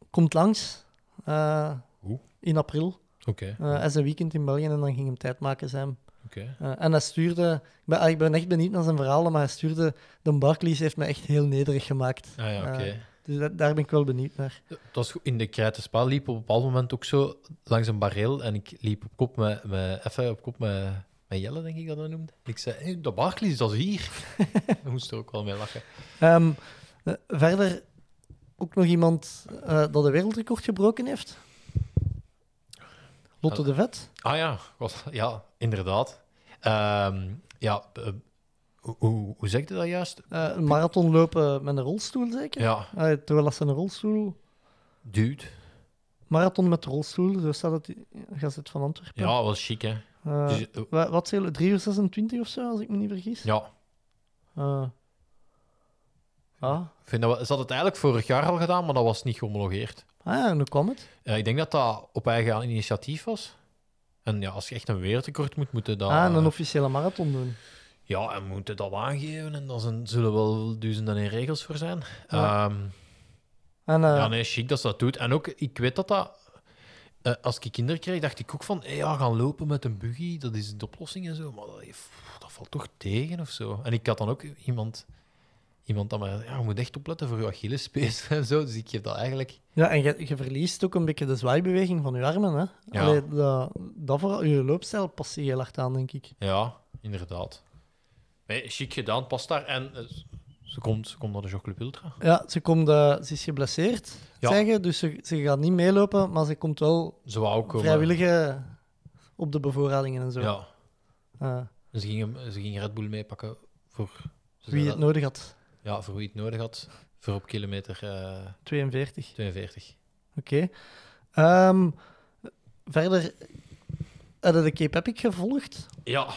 [SPEAKER 7] komt langs eh,
[SPEAKER 9] Oeh.
[SPEAKER 7] in april.
[SPEAKER 9] Oké.
[SPEAKER 7] Eh hij is een weekend in België en dan ging hem tijd maken zijn.
[SPEAKER 9] Oké.
[SPEAKER 7] Eh, en hij stuurde, ik ben, ah, ik ben echt benieuwd naar zijn verhalen, maar hij stuurde, de Barclays heeft me echt heel nederig gemaakt.
[SPEAKER 9] Ah ja, oké.
[SPEAKER 7] Eh, dus dat- daar ben ik wel benieuwd naar.
[SPEAKER 9] Het was goed. in de Krijtenspa liep op een bepaald moment ook zo langs een barrel en ik liep op kop met, met even op kop met, met Jelle, denk ik dat hij noemde. Ik zei, hey, de Barclays, dat is hier. Daar moest er ook wel mee lachen.
[SPEAKER 7] Ehm, eh, verder ook nog iemand eh, dat een wereldrecord gebroken heeft. Lotte de Vet.
[SPEAKER 9] Ah ja, God, ja, inderdaad. Ehm, ja, eh, hoe- hoe, hoe zeg je dat juist?
[SPEAKER 7] Eh, een marathon lopen met een rolstoel, zeker?
[SPEAKER 9] Ja,
[SPEAKER 7] Eh, terwijl dat ze een rolstoel...
[SPEAKER 9] dude.
[SPEAKER 7] Marathon met rolstoel, zo staat het in de Gazet van Antwerpen.
[SPEAKER 9] Ja, wel chic, hè.
[SPEAKER 7] Eh,
[SPEAKER 9] Dus, eh,
[SPEAKER 7] wa- wat zei je? 3 uur 26 of zo, als ik me niet vergis?
[SPEAKER 9] ja,
[SPEAKER 7] Eh, ah.
[SPEAKER 9] ik vind dat we, ze hadden het eigenlijk vorig jaar al gedaan, maar dat was niet gehomologeerd.
[SPEAKER 7] ah, ja, en hoe kwam het?
[SPEAKER 9] Eh, ik denk dat dat op eigen initiatief was. En ja, als je echt een weertekort moet, moeten dat...
[SPEAKER 7] ah, en een
[SPEAKER 9] eh,
[SPEAKER 7] officiële marathon doen.
[SPEAKER 9] Ja, en moeten dat aangeven. En daar zijn- zullen wel duizenden en regels voor zijn. Ehm,
[SPEAKER 7] Ja.
[SPEAKER 9] Ja,
[SPEAKER 7] En, eh,
[SPEAKER 9] ja nee, chic dat ze dat doet. En ook, ik weet dat dat... eh, als ik kinderen kreeg, dacht ik ook van, eh, ja, gaan lopen met een buggy, dat is de oplossing en zo. Maar dat, heeft- dat valt toch tegen of zo. En ik had dan ook iemand, iemand dat mij, ja, je moet echt opletten voor je Achillespees en zo. Dus ik geef dat eigenlijk.
[SPEAKER 7] Ja, en je, je verliest ook een beetje de zwaaibeweging van je armen. Hè?
[SPEAKER 9] Ja.
[SPEAKER 7] Allee, dat, dat vooral, je loopstijl past hier heel hard aan, denk ik.
[SPEAKER 9] Ja, inderdaad. Nee, chic gedaan, past daar. En eh, ze, komt, ze komt naar de Jogclub Ultra.
[SPEAKER 7] Ja, ze, komt, eh, ze is geblesseerd,
[SPEAKER 9] Ja.
[SPEAKER 7] zeggen, dus ze, ze gaat niet meelopen, maar ze komt wel
[SPEAKER 9] Ze wou ook komen.
[SPEAKER 7] vrijwillige op de bevoorradingen en zo.
[SPEAKER 9] Ja.
[SPEAKER 7] Eh,
[SPEAKER 9] En Ze ging, hem- ze ging Red Bull meepakken voor... ze zei
[SPEAKER 7] wie
[SPEAKER 9] dat-
[SPEAKER 7] het nodig had,
[SPEAKER 9] Ja, voor wie het nodig had. Voor op kilometer eh,
[SPEAKER 7] 42.
[SPEAKER 9] 42.
[SPEAKER 7] Oké. Ehm, verder, hadden de Cape Epic gevolgd?
[SPEAKER 9] Ja.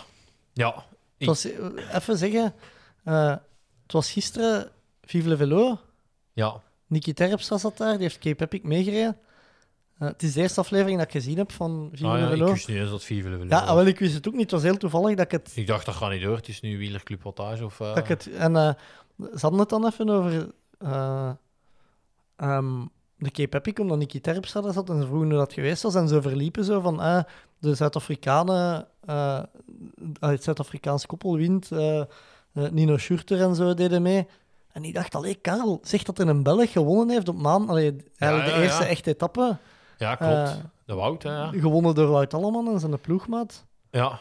[SPEAKER 9] Ja.
[SPEAKER 7] Het was, even zeggen, eh, het was gisteren Vive le Velo.
[SPEAKER 9] Ja.
[SPEAKER 7] Nicky Terps was dat daar, die heeft Cape Epic meegereden. Eh, het is de eerste aflevering dat ik gezien heb van Vive
[SPEAKER 9] Ah,
[SPEAKER 7] le
[SPEAKER 9] ja ik
[SPEAKER 7] Velo.
[SPEAKER 9] wist niet eens dat vier willen
[SPEAKER 7] Ja, ah, wel, ik wist het ook niet. Het was heel toevallig dat ik het...
[SPEAKER 9] Ik dacht, dat gaat niet door. Het is nu wielerclub wattage of... eh,
[SPEAKER 7] Dat ik het en eh, ze hadden het dan even over eh, ehm, de Cape Epic, omdat Nicky Terps daar zat en ze vroegen hoe dat geweest was. En ze verliepen zo van, eh, de Zuid-Afrikanen, eh, het Zuid-Afrikaans koppel wint, eh, eh, Nino Schurter en zo deden mee. En ik dacht, allee, Karel, zeg dat er een Belg gewonnen heeft op maand. Allee, eigenlijk
[SPEAKER 9] Ja,
[SPEAKER 7] de
[SPEAKER 9] ja,
[SPEAKER 7] eerste
[SPEAKER 9] ja.
[SPEAKER 7] echte etappe,
[SPEAKER 9] Ja, klopt.
[SPEAKER 7] eh,
[SPEAKER 9] de Wout, hè, ja.
[SPEAKER 7] gewonnen door Wout Alleman en zijn ploegmaat.
[SPEAKER 9] Ja.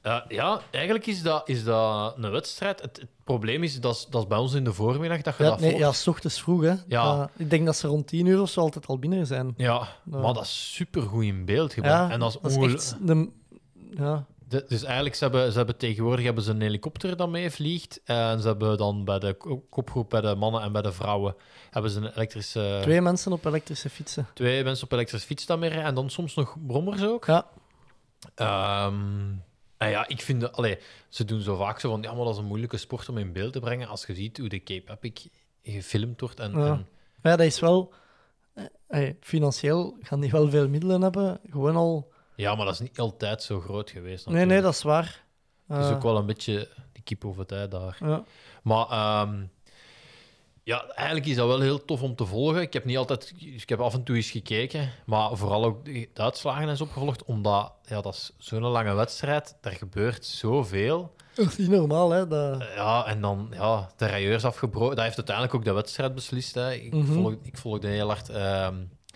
[SPEAKER 9] Eh, ja, eigenlijk is dat, is dat een wedstrijd. Het, het probleem is, dat is, dat is bij ons in de voormiddag dat je
[SPEAKER 7] Ja,
[SPEAKER 9] dat
[SPEAKER 7] nee,
[SPEAKER 9] volgt.
[SPEAKER 7] ja, s ochtends vroeg, hè.
[SPEAKER 9] Ja.
[SPEAKER 7] Eh, ik denk dat ze rond tien uur of zo altijd al binnen zijn.
[SPEAKER 9] Ja, maar dat is supergoed in beeld gebracht.
[SPEAKER 7] Ja,
[SPEAKER 9] en dat is, ongel-
[SPEAKER 7] echt de... Ja,
[SPEAKER 9] De- dus eigenlijk, ze hebben, ze hebben tegenwoordig hebben ze een helikopter dat meevliegt. En ze hebben dan bij de ko- kopgroep, bij de mannen en bij de vrouwen, hebben ze een elektrische...
[SPEAKER 7] twee mensen op elektrische fietsen.
[SPEAKER 9] twee mensen op elektrische fiets dan mee rijden. En dan soms nog brommers ook.
[SPEAKER 7] Ja.
[SPEAKER 9] Ehm, en ja, ik vind... dat- Allee, ze doen zo vaak zo van... Ja, maar dat is een moeilijke sport om in beeld te brengen. Als je ziet hoe de Cape Epic gefilmd wordt. En,
[SPEAKER 7] Ja.
[SPEAKER 9] en-
[SPEAKER 7] Maar ja, dat is wel... eh, hey, financieel gaan die wel veel middelen hebben. Gewoon al...
[SPEAKER 9] ja, maar dat is niet altijd zo groot geweest.
[SPEAKER 7] Nee, nee,
[SPEAKER 9] natuurlijk.
[SPEAKER 7] dat is waar.
[SPEAKER 9] Het is
[SPEAKER 7] Eh,
[SPEAKER 9] ook wel een beetje de kip over tijd daar.
[SPEAKER 7] ja.
[SPEAKER 9] Maar ehm, ja, eigenlijk is dat wel heel tof om te volgen. Ik heb niet altijd, ik heb af en toe eens gekeken, maar vooral ook de de uitslagen eens opgevolgd, omdat ja, dat is zo'n lange wedstrijd, daar gebeurt zoveel.
[SPEAKER 7] Dat is niet normaal, hè. Dat...
[SPEAKER 9] Eh, Ja, en dan ja, de rieurs afgebroken. Dat heeft uiteindelijk ook de wedstrijd beslist. Hè. Ik,
[SPEAKER 7] Mhm.
[SPEAKER 9] volg, ik volgde heel hard ehm,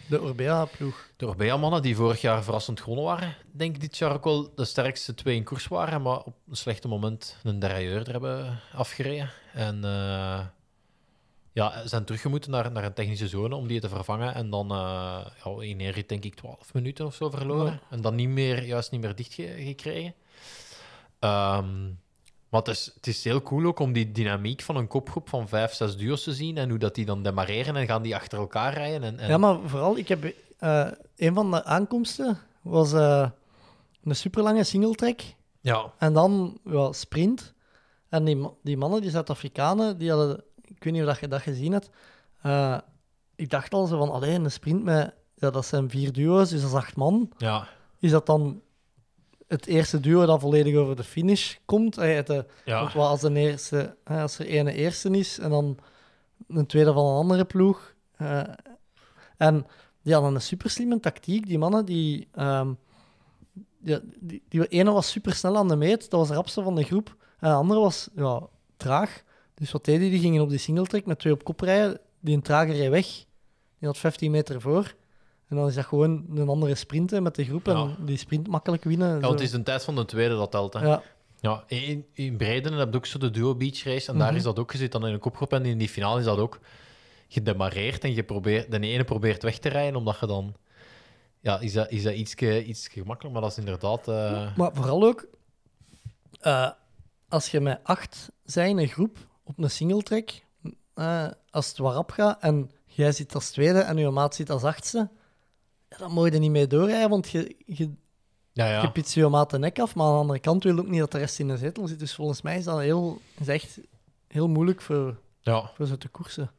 [SPEAKER 7] De Orbea-ploeg.
[SPEAKER 9] de Orbea-mannen, die vorig jaar verrassend gewonnen waren. Ik denk dit jaar ook wel de sterkste twee in koers waren, maar op een slechte moment een derailleur er hebben afgereden. En eh, ja, zijn teruggemoeten naar, naar een technische zone om die te vervangen. En dan eh, ja, in een rit denk ik 12 minuten of zo verloren. En dan niet meer, juist niet meer dicht ge- gekregen. Ehm, maar het is, het is heel cool ook om die dynamiek van een kopgroep van vijf, zes duo's te zien. En hoe dat die dan demareren en gaan die achter elkaar rijden. En, en...
[SPEAKER 7] Ja, maar vooral, ik heb... eh, een van de aankomsten was eh, een superlange singletrack.
[SPEAKER 9] ja.
[SPEAKER 7] En dan ja, sprint. En die, ma- die mannen, die Zuid-Afrikanen, die hadden... Ik weet niet of dat je dat gezien hebt. Eh, ik dacht al zo van, alleen een sprint met... Ja, dat zijn vier duo's, dus dat is acht man.
[SPEAKER 9] ja.
[SPEAKER 7] Is dat dan het eerste duo dat volledig over de finish komt? Eh, het, eh,
[SPEAKER 9] Ja.
[SPEAKER 7] want wat als, een eerste, hè, als er ene eerste is en dan een tweede van een andere ploeg. eh, en die hadden een superslimme tactiek. Die mannen, die, ehm, die, die, die ene was supersnel aan de meet, dat was de rapste van de groep. En de andere was ja, traag. Dus wat deden die? Die gingen op die singletrack met twee op kop rijden. Die een trager reed weg. Die had 15 meter voor. En dan is dat gewoon een andere sprinten met de groep.
[SPEAKER 9] Ja.
[SPEAKER 7] En die sprint makkelijk winnen.
[SPEAKER 9] Ja, want het is de tijd van de tweede dat telt. Hè. Ja.
[SPEAKER 7] ja,
[SPEAKER 9] in, in Breidenen heb je ook zo de duo beach race. En daar
[SPEAKER 7] Mhm.
[SPEAKER 9] is dat ook. Je zit dan in een kopgroep en in die finale is dat ook gedemareerd. En je probeert, de ene probeert weg te rijden, omdat je dan... Ja, is dat, is dat iets gemakkelijk, maar dat is inderdaad... eh,
[SPEAKER 7] Maar vooral ook, eh, als je met acht zijn in een groep op een singletrack, eh als het waarop gaat en jij zit als tweede en je maat zit als achtste, ja, dan moet je er niet mee doorrijden, want je, je,
[SPEAKER 9] ja, ja.
[SPEAKER 7] je pitst je maat de nek af. Maar aan de andere kant wil je ook niet dat de rest in de zetel zit. Dus volgens mij is dat heel, is echt heel moeilijk voor,
[SPEAKER 9] ja.
[SPEAKER 7] voor ze te koersen.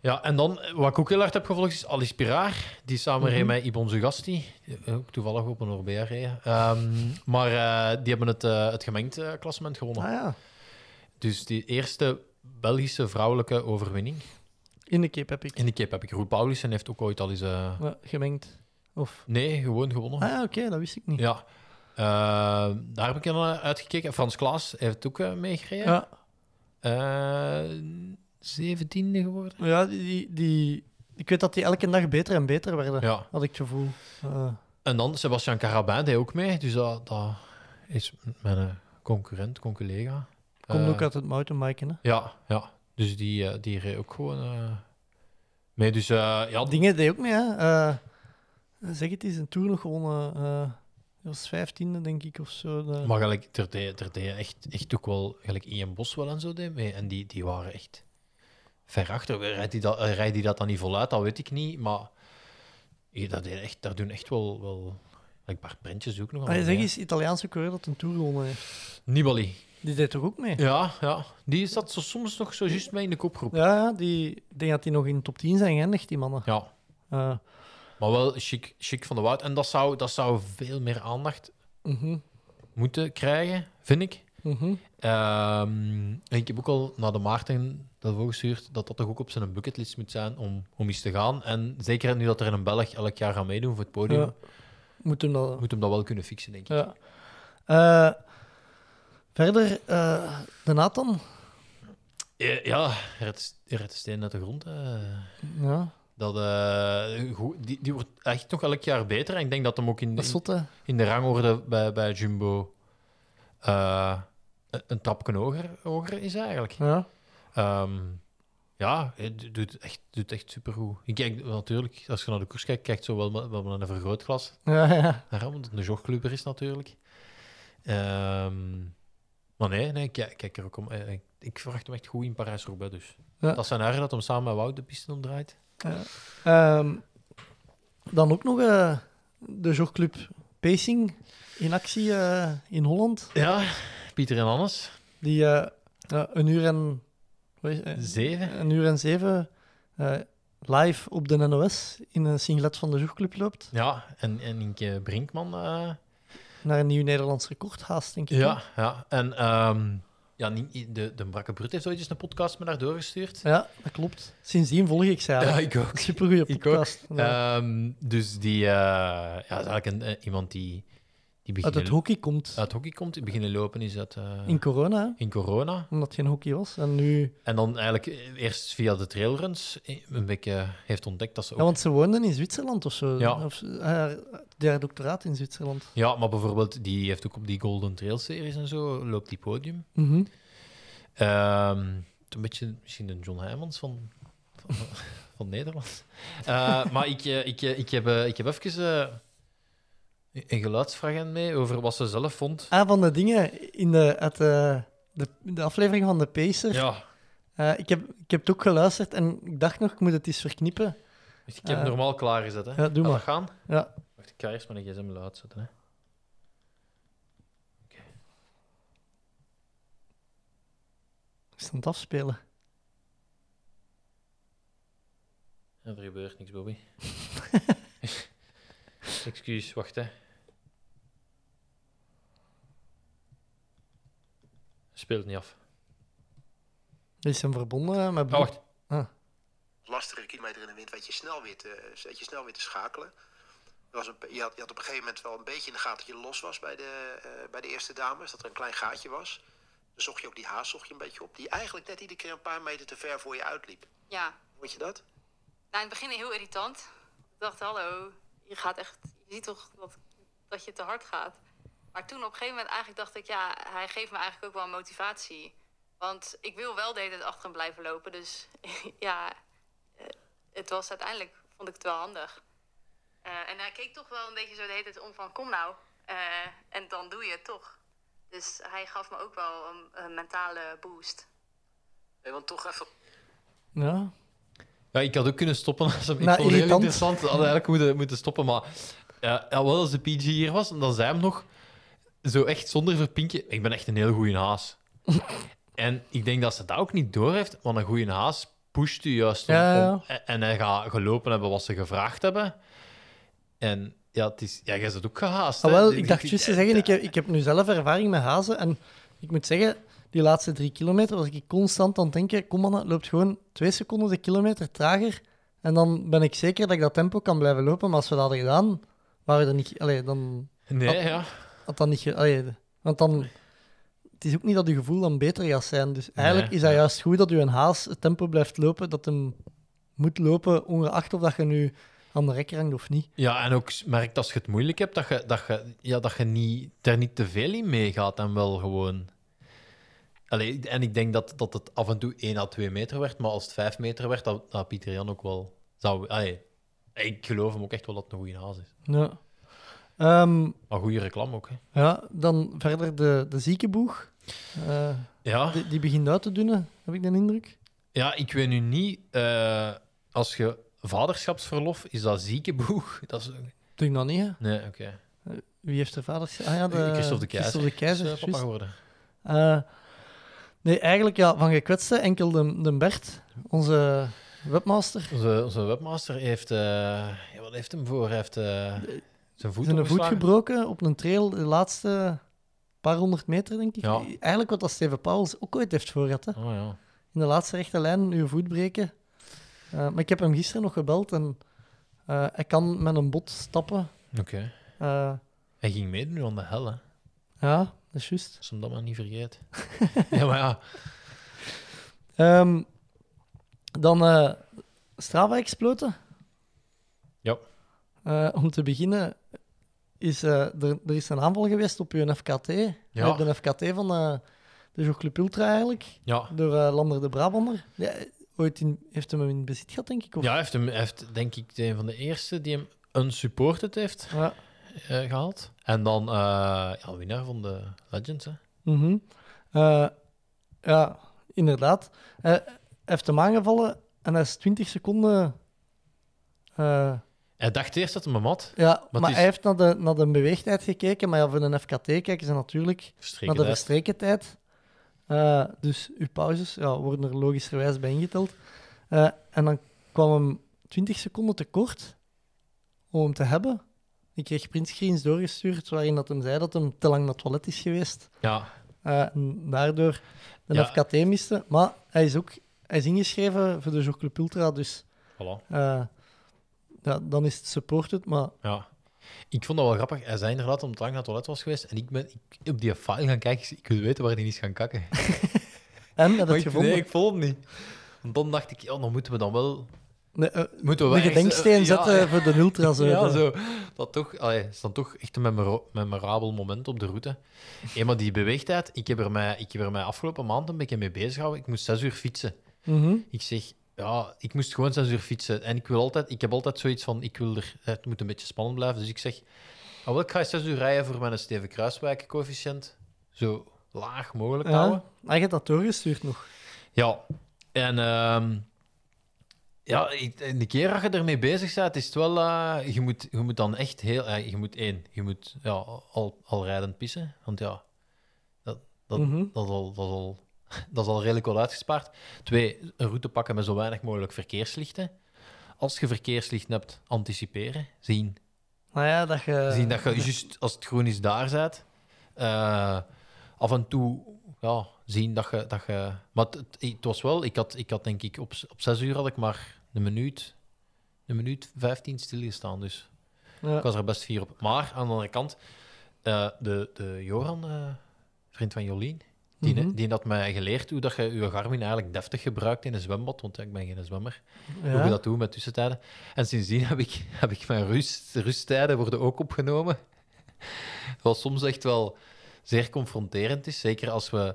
[SPEAKER 9] Ja, en dan, eh, wat ik ook heel hard heb gevolgd, is Alice Piraar. Die samen
[SPEAKER 7] Mhm.
[SPEAKER 9] reed met Ibon Sugasti. die Ook toevallig op een Orbea reed. Ehm, maar eh, die hebben het, eh, het gemengd eh, klassement gewonnen.
[SPEAKER 7] Ah ja,
[SPEAKER 9] Dus die eerste Belgische vrouwelijke overwinning.
[SPEAKER 7] in de cape heb ik
[SPEAKER 9] In de kip heb ik Roel Paulussen heeft ook ooit al eens eh,
[SPEAKER 7] ja, gemengd. Of...
[SPEAKER 9] Nee, gewoon gewonnen.
[SPEAKER 7] Ah ja, oké, dat wist ik niet.
[SPEAKER 9] Ja. Eh, daar heb ik naar uitgekeken. Frans Klaas heeft ook eh, meegereden. Eh,
[SPEAKER 7] Ja,
[SPEAKER 9] Zeventiende geworden.
[SPEAKER 7] ja die, die, die- ik weet dat die elke dag beter en beter werden,
[SPEAKER 9] Ja.
[SPEAKER 7] had ik het gevoel. Eh,
[SPEAKER 9] En dan Sebastian Carabin deed ook mee. Dus dat, dat is mijn eh, concurrent, collega.
[SPEAKER 7] komt
[SPEAKER 9] Eh,
[SPEAKER 7] ook uit het mountainbiken. Hè.
[SPEAKER 9] Ja, ja. Dus die, eh, die reed ook gewoon eh, mee. Dus eh, ja,
[SPEAKER 7] Dingen deed ook mee, hè. Eh, zeg het is een toer nog gewonnen. eh dat was vijftiende, denk ik, of zo. De-
[SPEAKER 9] maar gelijk, er deed, er deed echt, echt ook wel, gelijk Ian Bos wel en zo deed mee. En die, die waren echt ver achter. Rijdt die dat, eh, rijdt die dat dan niet voluit, dat weet ik niet. Maar hier, dat deed echt, daar doen echt wel, wel like, een paar printjes ook nog.
[SPEAKER 7] Ah,
[SPEAKER 9] allemaal
[SPEAKER 7] zeg
[SPEAKER 9] mee,
[SPEAKER 7] eens, Italiaanse coureur dat een toer gewonnen heeft.
[SPEAKER 9] hè. Nibali.
[SPEAKER 7] Die deed toch ook mee?
[SPEAKER 9] Ja, ja. Die zat zo, soms nog zo juist mee in de kopgroep.
[SPEAKER 7] Ja, ja, die, ik denk dat die nog in de top 10 zijn geëindigd, die mannen.
[SPEAKER 9] Ja.
[SPEAKER 7] Eh,
[SPEAKER 9] Maar wel chic, chic van de Wout. En dat zou, dat zou veel meer aandacht
[SPEAKER 7] mhm,
[SPEAKER 9] moeten krijgen, vind ik.
[SPEAKER 7] mhm.
[SPEAKER 9] Ehm, en ik heb ook al naar de Maarten daarvoor gestuurd dat dat toch ook op zijn bucketlist moet zijn om, om eens te gaan. En zeker nu dat er in een Belg elk jaar gaat meedoen voor het podium,
[SPEAKER 7] Ja. Moet hem eh, dat...
[SPEAKER 9] moet hem dat wel kunnen fixen, denk ik.
[SPEAKER 7] Ja. Eh, verder, eh, de Nathan.
[SPEAKER 9] Eh, Ja, hij redt- hij redt de steen uit de grond. eh.
[SPEAKER 7] Ja,
[SPEAKER 9] Dat, eh, goed, die, die wordt echt nog elk jaar beter. En ik denk dat hem ook in,
[SPEAKER 7] dat is
[SPEAKER 9] in,
[SPEAKER 7] zot, hè.
[SPEAKER 9] in de rangorde bij, bij Jumbo eh, een, een trapje hoger, hoger is eigenlijk.
[SPEAKER 7] Ja.
[SPEAKER 9] Ehm, ja, het doet echt, doet echt supergoed. Ik kijk natuurlijk, als je naar de koers kijkt, kijkt zo wel, met- wel met een vergrootglas
[SPEAKER 7] Ja, ja.
[SPEAKER 9] naar hem, omdat het een jogclubber is natuurlijk. Ehm, maar nee, nee kijk, kijk er ook om. Eh, Ik, ik verwacht hem echt goed in Parijs-Roubaix dus.
[SPEAKER 7] Ja.
[SPEAKER 9] Dat zijn haar dat hem samen met Wout de piste omdraait.
[SPEAKER 7] Ehm, dan ook nog eh, de jogclub Pacing in actie eh, in Holland.
[SPEAKER 9] Ja, Pieter en Hannes,
[SPEAKER 7] Die eh, ja, een uur en... wat is- eh,
[SPEAKER 9] zeven.
[SPEAKER 7] een uur en zeven eh, live op de NOS in een singlet van de jogclub loopt.
[SPEAKER 9] Ja, en, en Inke Brinkman. eh,
[SPEAKER 7] Naar een nieuw Nederlands record haast, denk ik.
[SPEAKER 9] ja, ja, en ehm, ja, niet- de, de Brakke Brut heeft ooit eens een podcast met haar doorgestuurd.
[SPEAKER 7] Ja, dat klopt. Sindsdien volg ik ze
[SPEAKER 9] Ja,
[SPEAKER 7] eigenlijk.
[SPEAKER 9] ik ook.
[SPEAKER 7] Supergoeie
[SPEAKER 9] Ik ook.
[SPEAKER 7] podcast. Ja.
[SPEAKER 9] Ehm, dus die eh, ja, is eigenlijk een, eh, iemand die, die
[SPEAKER 7] Uit
[SPEAKER 9] beginnen,
[SPEAKER 7] het hockey komt.
[SPEAKER 9] uit hockey komt. Die beginnen lopen is dat eh,
[SPEAKER 7] In corona, hè,
[SPEAKER 9] in corona.
[SPEAKER 7] omdat het geen hockey was. En nu...
[SPEAKER 9] En dan eigenlijk eh, eerst via de trailruns eh, een beetje heeft ontdekt dat ze ook...
[SPEAKER 7] Ja, want ze woonden in Zwitserland of zo.
[SPEAKER 9] Ja.
[SPEAKER 7] Of, eh, haar, haar doctoraat in Zwitserland.
[SPEAKER 9] Ja, maar bijvoorbeeld die heeft ook op die Golden Trail series en zo loopt die podium.
[SPEAKER 7] Mhm.
[SPEAKER 9] Ehm, een beetje misschien een John Heijmans van, van, van Nederland. Eh, maar ik, eh, ik, eh, ik, heb, eh, ik heb even eh, een- een geluidsvraag aan mee over wat ze zelf vond.
[SPEAKER 7] Ah, van de dingen in de, uit de, de, de aflevering van de Pacer.
[SPEAKER 9] Ja,
[SPEAKER 7] Eh, ik, heb, ik heb het ook geluisterd en ik dacht nog, ik moet het eens verknippen.
[SPEAKER 9] Dus ik heb hem
[SPEAKER 7] Eh,
[SPEAKER 9] normaal klaargezet. Hè.
[SPEAKER 7] ja, doe maar.
[SPEAKER 9] Gaat dat gaan?
[SPEAKER 7] Ja.
[SPEAKER 9] Wacht, ik ga eerst mijn gsm willen uitzetten. Hè.
[SPEAKER 7] Ik sta aan het afspelen.
[SPEAKER 9] Ja, er gebeurt niks, Bobby. Excuus, wacht hè. Speelt niet af.
[SPEAKER 7] Die zijn verbonden eh, met
[SPEAKER 9] Oh, wacht.
[SPEAKER 10] lastige kilometer in de wind, weet je snel weer te, weet je snel weer te schakelen. Er was een, je, had, je had op een gegeven moment wel een beetje in de gaten dat je los was bij de, eh, bij de eerste dames, dat er een klein gaatje was. Dan zocht je ook die haas zocht je een beetje op, die eigenlijk net iedere keer een paar meter te ver voor je uitliep.
[SPEAKER 11] Ja,
[SPEAKER 10] Vond je dat?
[SPEAKER 11] nou, in het begin heel irritant. Ik dacht, hallo, je gaat echt, je ziet toch dat, dat je te hard gaat. Maar toen op een gegeven moment eigenlijk dacht ik, ja, hij geeft me eigenlijk ook wel motivatie. Want ik wil wel de hele tijd achter hem blijven lopen. Dus ja, eh, het was uiteindelijk, vond ik het wel handig. Eh, en hij keek toch wel een beetje zo de hele tijd om van, kom nou. eh, en dan doe je het toch. Dus hij gaf me ook wel een, een mentale boost.
[SPEAKER 10] Nee, want toch even
[SPEAKER 7] Ja.
[SPEAKER 9] Ja, ik had ook kunnen stoppen. Als hem, ik
[SPEAKER 7] Nou,
[SPEAKER 9] vond het heel
[SPEAKER 7] irritant.
[SPEAKER 9] interessant. We hadden eigenlijk moeten, moeten stoppen. Maar ja, ja, wel als de PG hier was, dan zei hem nog zo echt zonder verpinkje. Ik ben echt een heel goede haas. en ik denk dat ze dat ook niet doorheeft. Want een goede haas pusht u juist. om-
[SPEAKER 7] Ja, ja.
[SPEAKER 9] om- en- en hij gaat gelopen hebben wat ze gevraagd hebben. En ja, het is, ja jij bent ook gehaast.
[SPEAKER 7] Ah,
[SPEAKER 9] hè.
[SPEAKER 7] wel,
[SPEAKER 9] Dit-
[SPEAKER 7] ik dacht
[SPEAKER 9] dit-
[SPEAKER 7] juist te zeggen, ik heb, ik heb nu zelf ervaring met hazen. En ik moet zeggen, die laatste drie kilometer was ik constant aan het denken... Kom mannen, het loopt gewoon twee seconden de kilometer trager. En dan ben ik zeker dat ik dat tempo kan blijven lopen. Maar als we dat hadden gedaan, waren we er niet... Allee, dan
[SPEAKER 9] Nee,
[SPEAKER 7] Oh.
[SPEAKER 9] ja.
[SPEAKER 7] had dat niet... ge- Allee, de- want dan... Het is ook niet dat je gevoel dan beter gaat zijn. Dus eigenlijk
[SPEAKER 9] Nee,
[SPEAKER 7] is dat
[SPEAKER 9] ja.
[SPEAKER 7] juist goed dat je een haas het tempo blijft lopen. Dat hem moet lopen, ongeacht of dat je nu aan de rekker hangt of niet.
[SPEAKER 9] Ja, en ook merk als je het moeilijk hebt, dat je, dat je, ja, dat je niet, er niet te veel in meegaat en wel gewoon... Allee, en ik denk dat, dat het af en toe 1 à 2 meter werd, maar als het 5 meter werd, dat, dat Pieter Jan ook wel zou... Allee, ik geloof hem ook echt wel dat het een goede haas is.
[SPEAKER 7] Ja. Ehm,
[SPEAKER 9] Maar goede reclame ook, hè.
[SPEAKER 7] ja, dan verder de, de ziekenboeg. Eh,
[SPEAKER 9] Ja.
[SPEAKER 7] die, die begint uit te dunnen, heb ik de indruk.
[SPEAKER 9] Ja, ik weet nu niet. eh, als je vaderschapsverlof, is dat ziekenboeg? Dat is...
[SPEAKER 7] Doe ik nog niet, hè?
[SPEAKER 9] Nee, oké.
[SPEAKER 7] Wie heeft er vader? Ah ja, de,
[SPEAKER 9] Christophe de Keizer.
[SPEAKER 7] Christophe de Keizer,
[SPEAKER 9] Is, eh, papa
[SPEAKER 7] juist.
[SPEAKER 9] geworden.
[SPEAKER 7] Eh, nee, eigenlijk ja, van gekwetste enkel de, de Bert, onze webmaster.
[SPEAKER 9] Onze, onze webmaster heeft. eh, ja, wat heeft hem voor? Hij heeft eh, zijn voet,
[SPEAKER 7] Zijn voet
[SPEAKER 9] omgeslagen.
[SPEAKER 7] gebroken op een trail de laatste paar honderd meter, denk ik.
[SPEAKER 9] Ja.
[SPEAKER 7] Eigenlijk wat dat Steven Pauwels ook ooit heeft voor gehad. hè.
[SPEAKER 9] Oh, ja.
[SPEAKER 7] In de laatste rechte lijn uw voet breken. Eh, maar ik heb hem gisteren nog gebeld en eh, hij kan met een bot stappen.
[SPEAKER 9] Oké.
[SPEAKER 7] Eh,
[SPEAKER 9] Hij ging mee nu aan de hel, hè?
[SPEAKER 7] ja, dat is juist.
[SPEAKER 9] Als hem dat maar niet vergeet. ja, maar ja.
[SPEAKER 7] Ehm, dan eh, Strava exploten.
[SPEAKER 9] Ja.
[SPEAKER 7] Eh, om te beginnen is eh, er, er is een aanval geweest op je FKT.
[SPEAKER 9] Ja.
[SPEAKER 7] Op de FKT van eh, de Jogclub Ultra eigenlijk.
[SPEAKER 9] Ja.
[SPEAKER 7] Door eh, Lander de Brabander. Ja, ooit in, heeft hem hem in bezit gehad, denk ik. Of?
[SPEAKER 9] ja, hij heeft, hem, hij heeft denk ik een van de eerste die hem unsupported heeft
[SPEAKER 7] Ja.
[SPEAKER 9] eh, gehaald. En dan eh, ja, winnaar van de Legends, hè?
[SPEAKER 7] Mhm. Eh, ja, inderdaad. Eh, Hij heeft hem aangevallen en hij is 20 seconden. eh,
[SPEAKER 9] Hij dacht eerst dat hij hem had.
[SPEAKER 7] Ja, maar,
[SPEAKER 9] het is-
[SPEAKER 7] hij heeft naar de, naar de beweegtijd gekeken. Maar ja, voor een FKT kijken ze natuurlijk naar de
[SPEAKER 9] Verstreken tijd.
[SPEAKER 7] verstreken tijd. Eh, dus uw pauzes ja, worden er logischerwijs bij ingeteld. Eh, en dan kwam hem 20 seconden tekort om hem te hebben. Ik kreeg printscreens doorgestuurd waarin dat hem zei dat hem te lang naar het toilet is geweest.
[SPEAKER 9] Ja,
[SPEAKER 7] Eh, en daardoor de
[SPEAKER 9] Ja.
[SPEAKER 7] FKT miste. Maar hij is ook hij is ingeschreven voor de Jogclub Ultra, dus
[SPEAKER 9] voilà.
[SPEAKER 7] eh, ja, dan is het supported. Maar
[SPEAKER 9] Ja. Ik vond dat wel grappig. Hij zei inderdaad omdat het lang naar het toilet was geweest. En ik ben ik, op die file gaan kijken. Ik zei, Ik wil weten waar hij is gaan kakken.
[SPEAKER 7] en heb
[SPEAKER 9] Maar
[SPEAKER 7] het
[SPEAKER 9] ik,
[SPEAKER 7] gevonden.
[SPEAKER 9] Nee, ik vond hem niet. Want dan dacht ik, ja, dan moeten we dan wel...
[SPEAKER 7] Nee, eh,
[SPEAKER 9] Moeten we
[SPEAKER 7] de
[SPEAKER 9] wel ergens-
[SPEAKER 7] gedenksteen
[SPEAKER 9] eh, ja,
[SPEAKER 7] zetten voor de ultra. Zo.
[SPEAKER 9] Ja,
[SPEAKER 7] Dat-
[SPEAKER 9] zo. Dat toch, allee, is dan toch echt een memora- memorabel moment op de route. Hé, maar die beweegtijd, ik heb, er mij, ik heb er mij afgelopen maand een beetje mee bezig gehouden. Ik moest zes uur fietsen.
[SPEAKER 7] Mhm.
[SPEAKER 9] Ik zeg, ja, ik moest gewoon zes uur fietsen. En ik, wil altijd, ik heb altijd zoiets van, ik wil er, het moet een beetje spannend blijven. Dus ik zeg, ah, wel, ik ga zes uur rijden voor mijn Steven Kruiswijk-coëfficiënt. Zo laag mogelijk houden.
[SPEAKER 7] Ja. Hij heeft dat doorgestuurd nog.
[SPEAKER 9] Ja, en ehm, ja, ik- en de keer dat je ermee bezig bent, is het wel... eh, je, moet, je moet dan echt heel... eh, je moet één, je moet ja, al, al rijdend pissen. Want ja, dat, dat,
[SPEAKER 7] Mhm.
[SPEAKER 9] dat, is al, dat, is al, dat is al redelijk wel uitgespaard. Twee, een route pakken met zo weinig mogelijk verkeerslichten. Als je verkeerslichten hebt, anticiperen. Zien,
[SPEAKER 7] Nou ja, dat je...
[SPEAKER 9] zien dat je juist als het groen is daar bent. Eh, af en toe ja, zien dat je... Dat je maar het, het- het was wel... Ik had, ik had denk ik... Op, z- op zes uur had ik maar een minuut... Een minuut vijftien stilgestaan, dus
[SPEAKER 7] Ja.
[SPEAKER 9] ik was er best fier op. Maar aan de andere kant, eh, de, de Joran, eh, vriend van Jolien, die,
[SPEAKER 7] Mhm.
[SPEAKER 9] die had mij geleerd hoe dat je je Garmin eigenlijk deftig gebruikt in een zwembad, want ja, ik ben geen zwemmer
[SPEAKER 7] Ja.
[SPEAKER 9] hoe je dat doet met tussentijden. En sindsdien heb ik, heb ik mijn rust, rusttijden worden ook opgenomen. Wat soms echt wel zeer confronterend is. Zeker als we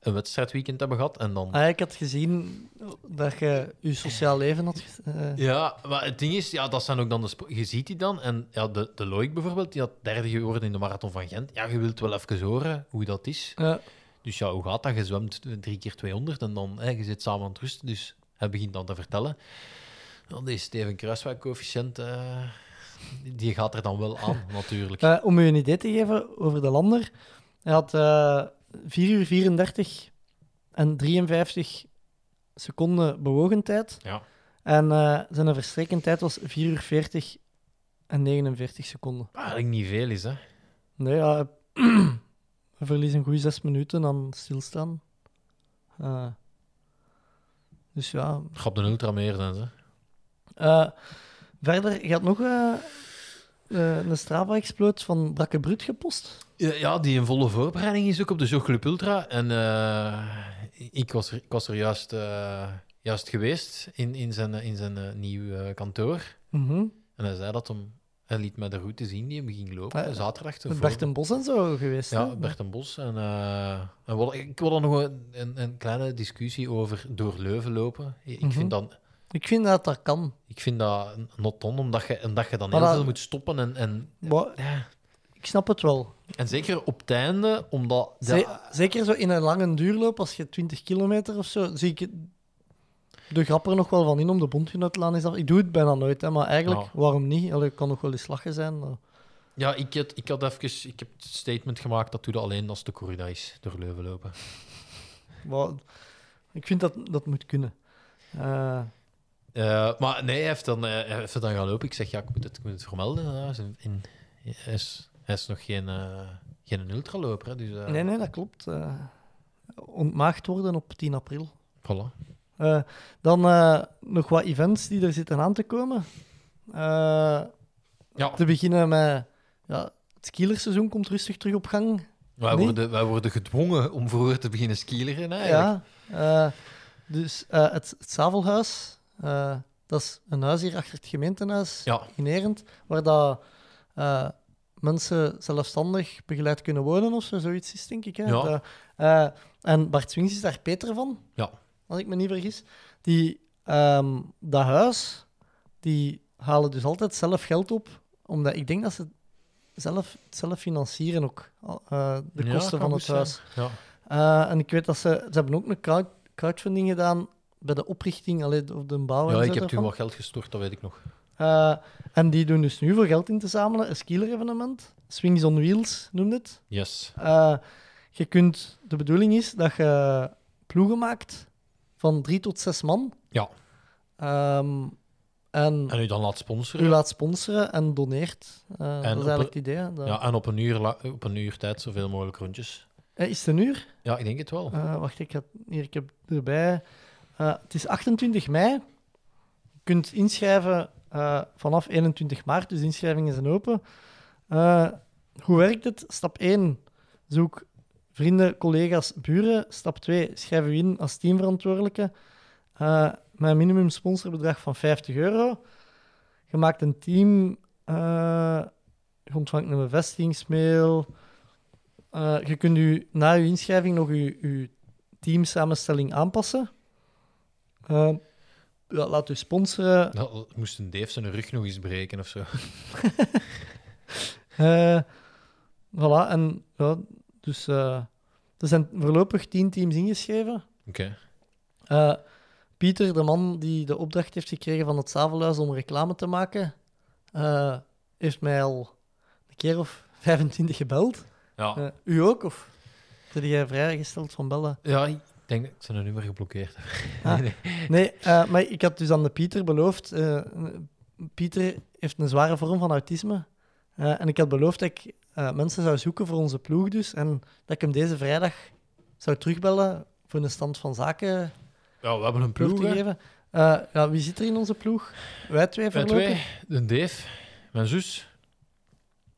[SPEAKER 9] een wedstrijdweekend hebben gehad. En dan...
[SPEAKER 7] Ah, ik had gezien dat je je sociaal leven had... ges- eh,
[SPEAKER 9] Ja, maar het ding is, ja, dat zijn ook dan de spo- je ziet die dan. En ja, de, de Loïc bijvoorbeeld, die had derde geworden in de marathon van Gent. Ja, je wilt wel even horen hoe dat is.
[SPEAKER 7] ja.
[SPEAKER 9] Dus ja, hoe gaat dat? Je zwemt drie keer 200 en dan, hè, je zit samen aan het rusten. Dus hij begint dan te vertellen. Ja, die Steven Kruiswijk-coëfficiënt, eh, die gaat er dan wel aan, natuurlijk.
[SPEAKER 7] Eh, om u een idee te geven over de lander. Hij had eh 4 uur 34 en 53 seconden bewogen tijd.
[SPEAKER 9] Ja.
[SPEAKER 7] En eh, zijn verstrekkende tijd was 4 uur 40 en 49 seconden.
[SPEAKER 9] Wat eigenlijk niet veel is, hè.
[SPEAKER 7] Nee, ja, we verliezen een goede zes minuten aan stilstaan. Eh, dus ja,
[SPEAKER 9] Gaat op de ultra meer zijn, hè.
[SPEAKER 7] Eh, verder, je had nog eh, eh, een Strava-exploit van Brakke Brut gepost.
[SPEAKER 9] Ja, ja, die in volle voorbereiding is ook op de Jogclub Ultra. En eh, ik, was er, ik was er juist, eh, juist geweest in, in zijn, in zijn eh, nieuw eh, kantoor.
[SPEAKER 7] Mhm.
[SPEAKER 9] En hij zei dat hem, hij liet mij de route zien die hem ging lopen.
[SPEAKER 7] Ah,
[SPEAKER 9] zaterdag
[SPEAKER 7] Met
[SPEAKER 9] tevoren.
[SPEAKER 7] Bert en Bos en zo geweest.
[SPEAKER 9] Ja,
[SPEAKER 7] hè?
[SPEAKER 9] Bert en Bos. En, eh, en wat- ik wil dan nog een, een, een kleine discussie over door Leuven lopen. Ik,
[SPEAKER 7] Mhm.
[SPEAKER 9] vind, dat,
[SPEAKER 7] Ik vind dat dat kan.
[SPEAKER 9] ik vind dat not on, omdat je, omdat je dan
[SPEAKER 7] Maar
[SPEAKER 9] heel
[SPEAKER 7] dat-
[SPEAKER 9] veel moet stoppen. En, en,
[SPEAKER 7] Maar ik snap het wel.
[SPEAKER 9] en zeker op het einde, omdat...
[SPEAKER 7] Ze-
[SPEAKER 9] Ja,
[SPEAKER 7] Zeker zo in een lange duurloop, als je 20 kilometer of zo, zie ik het- de grap er nog wel van in om de bondgenoot te laten. is af- Ik doe het bijna nooit, hè, maar eigenlijk,
[SPEAKER 9] Ja.
[SPEAKER 7] waarom niet? Allee, ik kan nog wel eens lachen zijn. maar-
[SPEAKER 9] ja ik, had, ik had even... Ik heb het statement gemaakt dat doe dat alleen als de corrida is, door Leuven lopen.
[SPEAKER 7] Maar ik vind dat dat moet kunnen. Eh,
[SPEAKER 9] Eh, maar nee, hij heeft, dan, eh, hij heeft het dan gaan lopen. Ik zeg, ja, ik moet het, ik moet het vermelden. Hij is, een- in- hij is, hij is nog geen, eh geen ultraloper. Hè, dus, eh,
[SPEAKER 7] nee, nee, dat klopt. Eh, ontmaagd worden op 10 april.
[SPEAKER 9] Voilà.
[SPEAKER 7] Eh, dan eh, nog wat events die er zitten aan te komen. Eh,
[SPEAKER 9] Ja.
[SPEAKER 7] Te beginnen met... Ja, het skielersseizoen komt rustig terug op gang.
[SPEAKER 9] Wij,
[SPEAKER 7] Nee.
[SPEAKER 9] worden, wij worden gedwongen om vroeger te beginnen skileren. Eigenlijk.
[SPEAKER 7] Ja, eh, dus eh, het, het Zavelhuis, eh, dat is een huis hier achter het gemeentehuis
[SPEAKER 9] Ja.
[SPEAKER 7] in Erend, waar dat, eh, mensen zelfstandig begeleid kunnen wonen of zo, zoiets is, denk ik. Hè?
[SPEAKER 9] Ja.
[SPEAKER 7] Dat, eh, en Bart Swings is daar Peter van,
[SPEAKER 9] Ja.
[SPEAKER 7] als ik me niet vergis. Die, ehm, dat huis, die halen dus altijd zelf geld op, omdat ik denk dat ze zelf, zelf financieren ook, al- eh, de
[SPEAKER 9] Ja,
[SPEAKER 7] kosten
[SPEAKER 9] kan
[SPEAKER 7] van het
[SPEAKER 9] goed zijn.
[SPEAKER 7] huis.
[SPEAKER 9] Ja.
[SPEAKER 7] Eh, en ik weet dat ze... Ze hebben ook een crowd, crowdfunding gedaan bij de oprichting, allee, of de bouw en
[SPEAKER 9] Ja,
[SPEAKER 7] zo
[SPEAKER 9] ik heb toen
[SPEAKER 7] daarvan.
[SPEAKER 9] wat geld gestort, dat weet ik nog.
[SPEAKER 7] Eh, en die doen dus nu voor geld in te zamelen een skieler-evenement. Swings on Wheels noemde het.
[SPEAKER 9] Yes.
[SPEAKER 7] Eh, je kunt... De bedoeling is dat je ploegen maakt van drie tot zes man.
[SPEAKER 9] Ja.
[SPEAKER 7] Ehm, en
[SPEAKER 9] En u dan laat sponsoren.
[SPEAKER 7] u laat sponsoren en doneert. Eh, dat is
[SPEAKER 9] op
[SPEAKER 7] eigenlijk het
[SPEAKER 9] een-
[SPEAKER 7] idee. hè. Dat-
[SPEAKER 9] Ja, en op een, uur la- op een uur tijd zoveel mogelijk rondjes.
[SPEAKER 7] Eh, is het een uur?
[SPEAKER 9] Ja, ik denk het wel.
[SPEAKER 7] Eh, wacht, ik, had, hier, ik heb erbij. Eh, het is 28 mei. Je kunt inschrijven eh, vanaf 21 maart, dus inschrijvingen zijn open. Eh, hoe werkt het? Stap 1, zoek vrienden, collega's, buren. Stap 2, schrijf u in als teamverantwoordelijke. Eh mijn minimum sponsorbedrag van 50 euro. Je maakt een team, eh, je ontvangt een bevestigingsmail. Eh, je kunt u, na uw inschrijving nog uw, uw teamsamenstelling aanpassen. Eh, ja, laat u sponsoren.
[SPEAKER 9] Nou, moest een Dave zijn rug nog eens breken of zo.
[SPEAKER 7] Eh, voilà, en ja, dus eh, er zijn voorlopig tien teams ingeschreven.
[SPEAKER 9] Oké.
[SPEAKER 7] Eh, Pieter, de man die de opdracht heeft gekregen van het Zavelhuis om reclame te maken, eh, heeft mij al een keer of 25 gebeld.
[SPEAKER 9] Ja.
[SPEAKER 7] Eh, u ook? Of ben jij vrijgesteld van bellen?
[SPEAKER 9] ja, ik denk dat ik zijn nummer geblokkeerd heb.
[SPEAKER 7] Ah.
[SPEAKER 9] Nee,
[SPEAKER 7] Nee, eh, maar ik had dus aan de Pieter beloofd. eh, Pieter heeft een zware vorm van autisme. Eh, en ik had beloofd dat ik eh, mensen zou zoeken voor onze ploeg dus. En dat ik hem deze vrijdag zou terugbellen voor een stand van zaken
[SPEAKER 9] Ja, we hebben een
[SPEAKER 7] ploeg
[SPEAKER 9] ploeg.
[SPEAKER 7] te
[SPEAKER 9] hè.
[SPEAKER 7] geven. Eh, ja, wie zit er in onze ploeg? Wij twee
[SPEAKER 9] Wij
[SPEAKER 7] voorlopig.
[SPEAKER 9] twee, de Dave, mijn zus.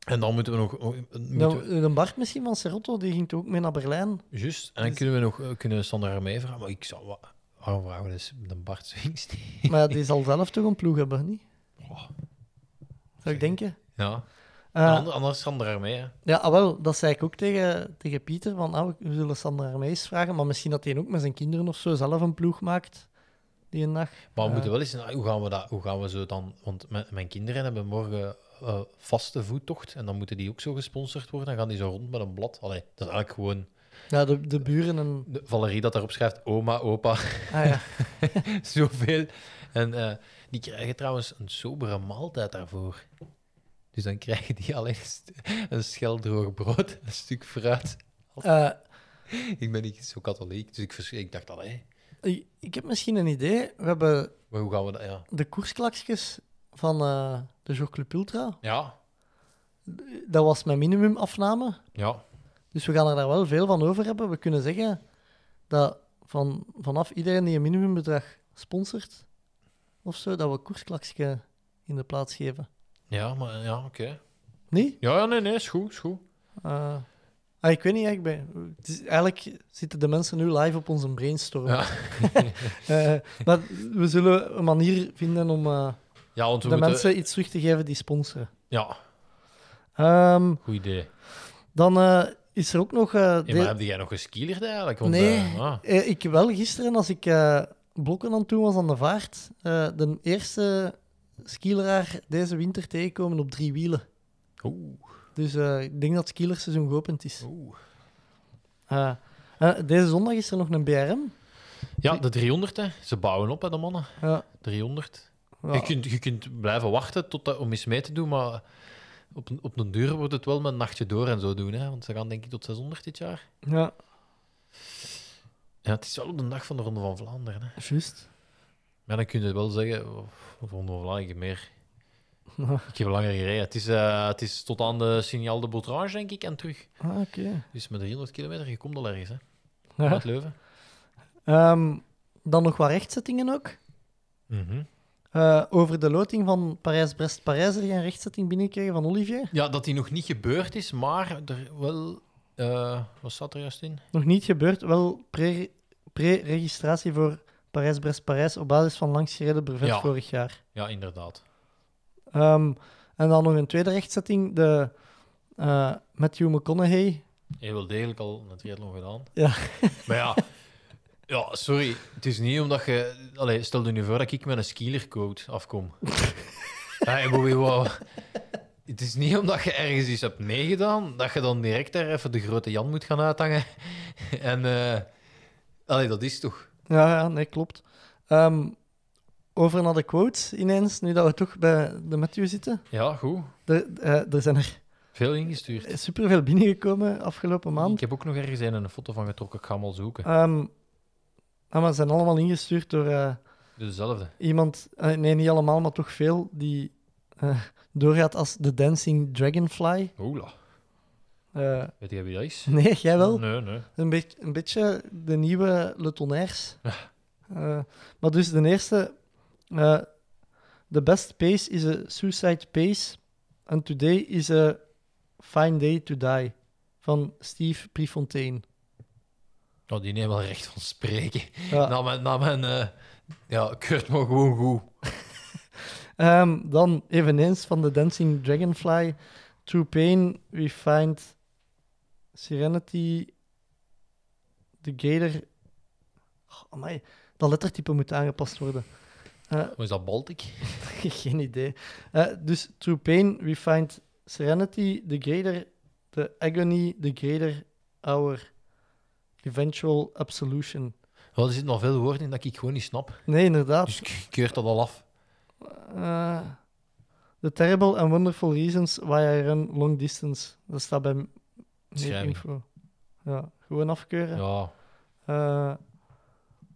[SPEAKER 9] En dan moeten we nog... oh, moeten
[SPEAKER 7] Dan,
[SPEAKER 9] we-
[SPEAKER 7] dan Bart misschien van Serotto, die ging toen ook mee naar Berlijn.
[SPEAKER 9] juist, en dan
[SPEAKER 7] dus-
[SPEAKER 9] kunnen we nog eh, kunnen we Sander haar meevragen. Maar ik zou... wa- Waarom vragen we dus de Bart Swings niet?
[SPEAKER 7] Maar ja, die zal zelf toch een ploeg hebben, niet?
[SPEAKER 9] Oh.
[SPEAKER 7] Zou ik denken.
[SPEAKER 9] Ja,
[SPEAKER 7] Eh,
[SPEAKER 9] En ander- anders Sander haar mee. hè.
[SPEAKER 7] ja, ah, wel, dat zei ik ook tegen, tegen Pieter. Van, ah, we zullen Sandra Armees vragen, maar misschien dat hij ook met zijn kinderen of zo zelf een ploeg maakt die een dag.
[SPEAKER 9] Maar we
[SPEAKER 7] Eh,
[SPEAKER 9] moeten wel eens... ah, Hoe gaan we, dat, hoe gaan we zo dan... Want mijn, mijn kinderen hebben morgen eh, vaste voettocht. En dan moeten die ook zo gesponsord worden. Dan gaan die zo rond met een blad. Allee, dat is eigenlijk gewoon...
[SPEAKER 7] Ja, de, de buren en...
[SPEAKER 9] de- Valerie dat daarop schrijft, oma, opa,
[SPEAKER 7] Ah ja,
[SPEAKER 9] zoveel. En eh, die krijgen trouwens een sobere maaltijd daarvoor. Dus dan krijgen die alleen st- een schel droog brood, een stuk fruit.
[SPEAKER 7] Eh,
[SPEAKER 9] Ik ben niet zo katholiek, dus ik, vers- ik dacht al, hé,
[SPEAKER 7] ik, ik heb misschien een idee. We hebben
[SPEAKER 9] maar hoe gaan we dat? Ja,
[SPEAKER 7] de koersklakjes van eh, de Jogclub Ultra.
[SPEAKER 9] ja,
[SPEAKER 7] Dat was mijn minimumafname.
[SPEAKER 9] ja.
[SPEAKER 7] Dus we gaan er daar wel veel van over hebben. We kunnen zeggen dat van, vanaf iedereen die een minimumbedrag sponsort, of zo, dat we koersklaksje in de plaats geven.
[SPEAKER 9] Ja, maar ja, oké.
[SPEAKER 7] Niet?
[SPEAKER 9] Ja, ja, nee, nee, is goed, is goed.
[SPEAKER 7] Eh, ah, ik weet niet, eigenlijk, bij- het is, eigenlijk zitten de mensen nu live op onze brainstorm.
[SPEAKER 9] Ja.
[SPEAKER 7] Eh, maar we zullen een manier vinden om eh,
[SPEAKER 9] Ja, want we
[SPEAKER 7] de
[SPEAKER 9] moeten...
[SPEAKER 7] mensen iets terug te geven die sponsoren.
[SPEAKER 9] Ja,
[SPEAKER 7] Ehm,
[SPEAKER 9] goed idee.
[SPEAKER 7] dan eh, is er ook nog... eh,
[SPEAKER 9] Hey,
[SPEAKER 7] de-
[SPEAKER 9] maar heb jij nog geskielerd eigenlijk? Want,
[SPEAKER 7] Nee.
[SPEAKER 9] eh, ah.
[SPEAKER 7] Eh, ik wel gisteren, als ik eh, blokken aan het doen was aan de vaart, eh, de eerste skileraar deze winter tegenkomen op drie wielen.
[SPEAKER 9] Oeh,
[SPEAKER 7] Dus eh, ik denk dat het skielersseizoen geopend is.
[SPEAKER 9] oeh.
[SPEAKER 7] Eh, eh, deze zondag is er nog een BRM.
[SPEAKER 9] Ja, de 300, hè. Ze bouwen op, hè, de mannen.
[SPEAKER 7] Ja,
[SPEAKER 9] 300.
[SPEAKER 7] ja.
[SPEAKER 9] Je, kunt, je kunt blijven wachten tot dat, om eens mee te doen, maar op, een- op den duur wordt het wel met een nachtje door en zo doen, hè. Want ze gaan denk ik tot 600 dit jaar.
[SPEAKER 7] ja
[SPEAKER 9] Ja, het is wel op de dag van de Ronde van Vlaanderen, hè.
[SPEAKER 7] juist.
[SPEAKER 9] Maar dan kun je wel zeggen, of, of Ronde van Vlaanderen, ik heb meer...
[SPEAKER 7] Ah,
[SPEAKER 9] Ik heb langer gereden. Het is, eh, het is tot aan de Signal de Botrange, denk ik, en terug.
[SPEAKER 7] Ah, oké.
[SPEAKER 9] Dus met 300 kilometer, je komt al ergens, hè.
[SPEAKER 7] Ja.
[SPEAKER 9] Uit Leuven.
[SPEAKER 7] Ehm, dan nog wat rechtzettingen ook.
[SPEAKER 9] Mhm.
[SPEAKER 7] Eh, over de loting van Parijs-Brest-Parijs er geen rechtzetting binnenkregen van Olivier.
[SPEAKER 9] Ja, dat die nog niet gebeurd is, maar er wel. eh, wat staat er juist in?
[SPEAKER 7] Nog niet gebeurd, wel pre- pre-registratie voor Parijs-Brest-Parijs op basis van langsgereden brevet
[SPEAKER 9] Ja.
[SPEAKER 7] vorig jaar.
[SPEAKER 9] Ja, inderdaad.
[SPEAKER 7] Ehm, en dan nog een tweede rechtzetting, de, eh Matthew McConaughey.
[SPEAKER 9] Heel wel degelijk al een triathlon gedaan.
[SPEAKER 7] Ja.
[SPEAKER 9] Maar ja, ja, sorry. Het is niet omdat je. Allee, stel je nu voor dat ik met een skielercoat afkom. hey, Bobby, wow. Het is niet omdat je ergens iets hebt meegedaan dat je dan direct daar even de grote Jan moet gaan uithangen. En. eh allee, dat is toch.
[SPEAKER 7] Ja, ja, nee, klopt. Ehm, over naar de quotes ineens, nu dat we toch bij de Matthew zitten.
[SPEAKER 9] Ja, goed.
[SPEAKER 7] Er, eh, er zijn er
[SPEAKER 9] Veel ingestuurd.
[SPEAKER 7] superveel binnengekomen afgelopen
[SPEAKER 9] Ik
[SPEAKER 7] maand.
[SPEAKER 9] heb ook nog ergens een een foto van getrokken. Ik ga hem al zoeken.
[SPEAKER 7] Ehm, ah, maar ze zijn allemaal ingestuurd door eh,
[SPEAKER 9] Dezelfde.
[SPEAKER 7] iemand, eh, nee, niet allemaal, maar toch veel, die eh, doorgaat als de Dancing Dragonfly.
[SPEAKER 9] Oula.
[SPEAKER 7] Eh,
[SPEAKER 9] Weet jij wie dat is?
[SPEAKER 7] nee, jij wel?
[SPEAKER 9] Nee, nee.
[SPEAKER 7] Een, beetje- een beetje de nieuwe Le Tonnerres. Eh, maar dus de eerste. eh, the best pace is a suicide pace. And today is a fine day to die. Van Steve Prefontaine.
[SPEAKER 9] Nou, die neemt wel recht van spreken.
[SPEAKER 7] Ja.
[SPEAKER 9] Na mijn... Na mijn eh, ja, keurt me gewoon goed.
[SPEAKER 7] Ehm, dan eveneens van de Dancing Dragonfly. Through pain we find serenity. The gator. Oh, amai, dat lettertype moet aangepast worden.
[SPEAKER 9] Hoe is dat, Baltic?
[SPEAKER 7] Geen idee. Eh, dus through pain we find serenity, the greater the agony, the greater our eventual absolution.
[SPEAKER 9] Wel, er zitten nog veel woorden in dat ik gewoon niet snap.
[SPEAKER 7] Nee, inderdaad.
[SPEAKER 9] Dus ik keurt dat al af.
[SPEAKER 7] Eh, the terrible and wonderful reasons why I run long distance. Dat staat bij m- meer
[SPEAKER 9] Schrijving.
[SPEAKER 7] info. Ja, gewoon afkeuren.
[SPEAKER 9] Ja,
[SPEAKER 7] Eh,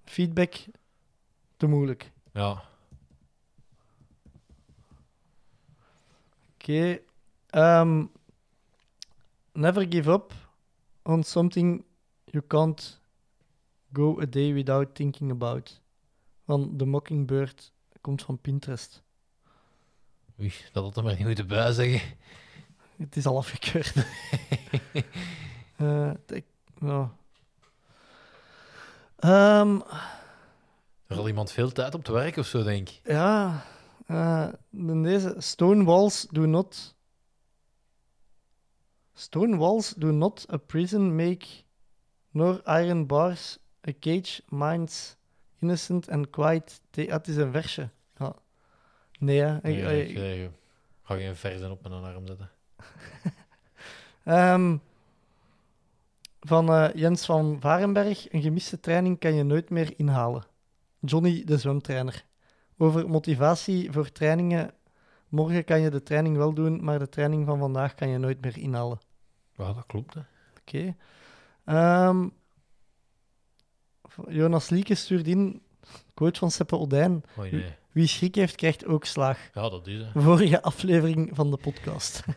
[SPEAKER 7] feedback, te moeilijk.
[SPEAKER 9] ja.
[SPEAKER 7] Oké. ehm, never give up on something you can't go a day without thinking about. Van The Mockingbird komt van Pinterest.
[SPEAKER 9] Oei, dat had er maar niet moeten bij zeggen.
[SPEAKER 7] Het is al afgekeurd. Eh, ik- ja. Ehm,
[SPEAKER 9] Er had iemand veel tijd op te werk of zo, denk ik.
[SPEAKER 7] ja. eh, dan deze. Stone walls do not... Stone walls do not a prison make, nor iron bars a cage minds innocent and quiet. Te- ah, het is een versje. Ja. Nee, hè. Ik-
[SPEAKER 9] Nee,
[SPEAKER 7] ik-
[SPEAKER 9] ik, eh, ik ga geen verzen op mijn arm zetten.
[SPEAKER 7] Ehm, van eh, Jens van Varenberg. Een gemiste training kan je nooit meer inhalen. Johnny, de zwemtrainer. Over motivatie voor trainingen. Morgen kan je de training wel doen, maar de training van vandaag kan je nooit meer inhalen.
[SPEAKER 9] Ja, dat klopt, hè.
[SPEAKER 7] Oké. Ehm, Jonas Lieke stuurt in, quote van Seppe Odijn.
[SPEAKER 9] Oei, Oh, nee.
[SPEAKER 7] Wie schrik heeft, krijgt ook slaag.
[SPEAKER 9] Ja, dat is, hè.
[SPEAKER 7] Vorige aflevering van de podcast.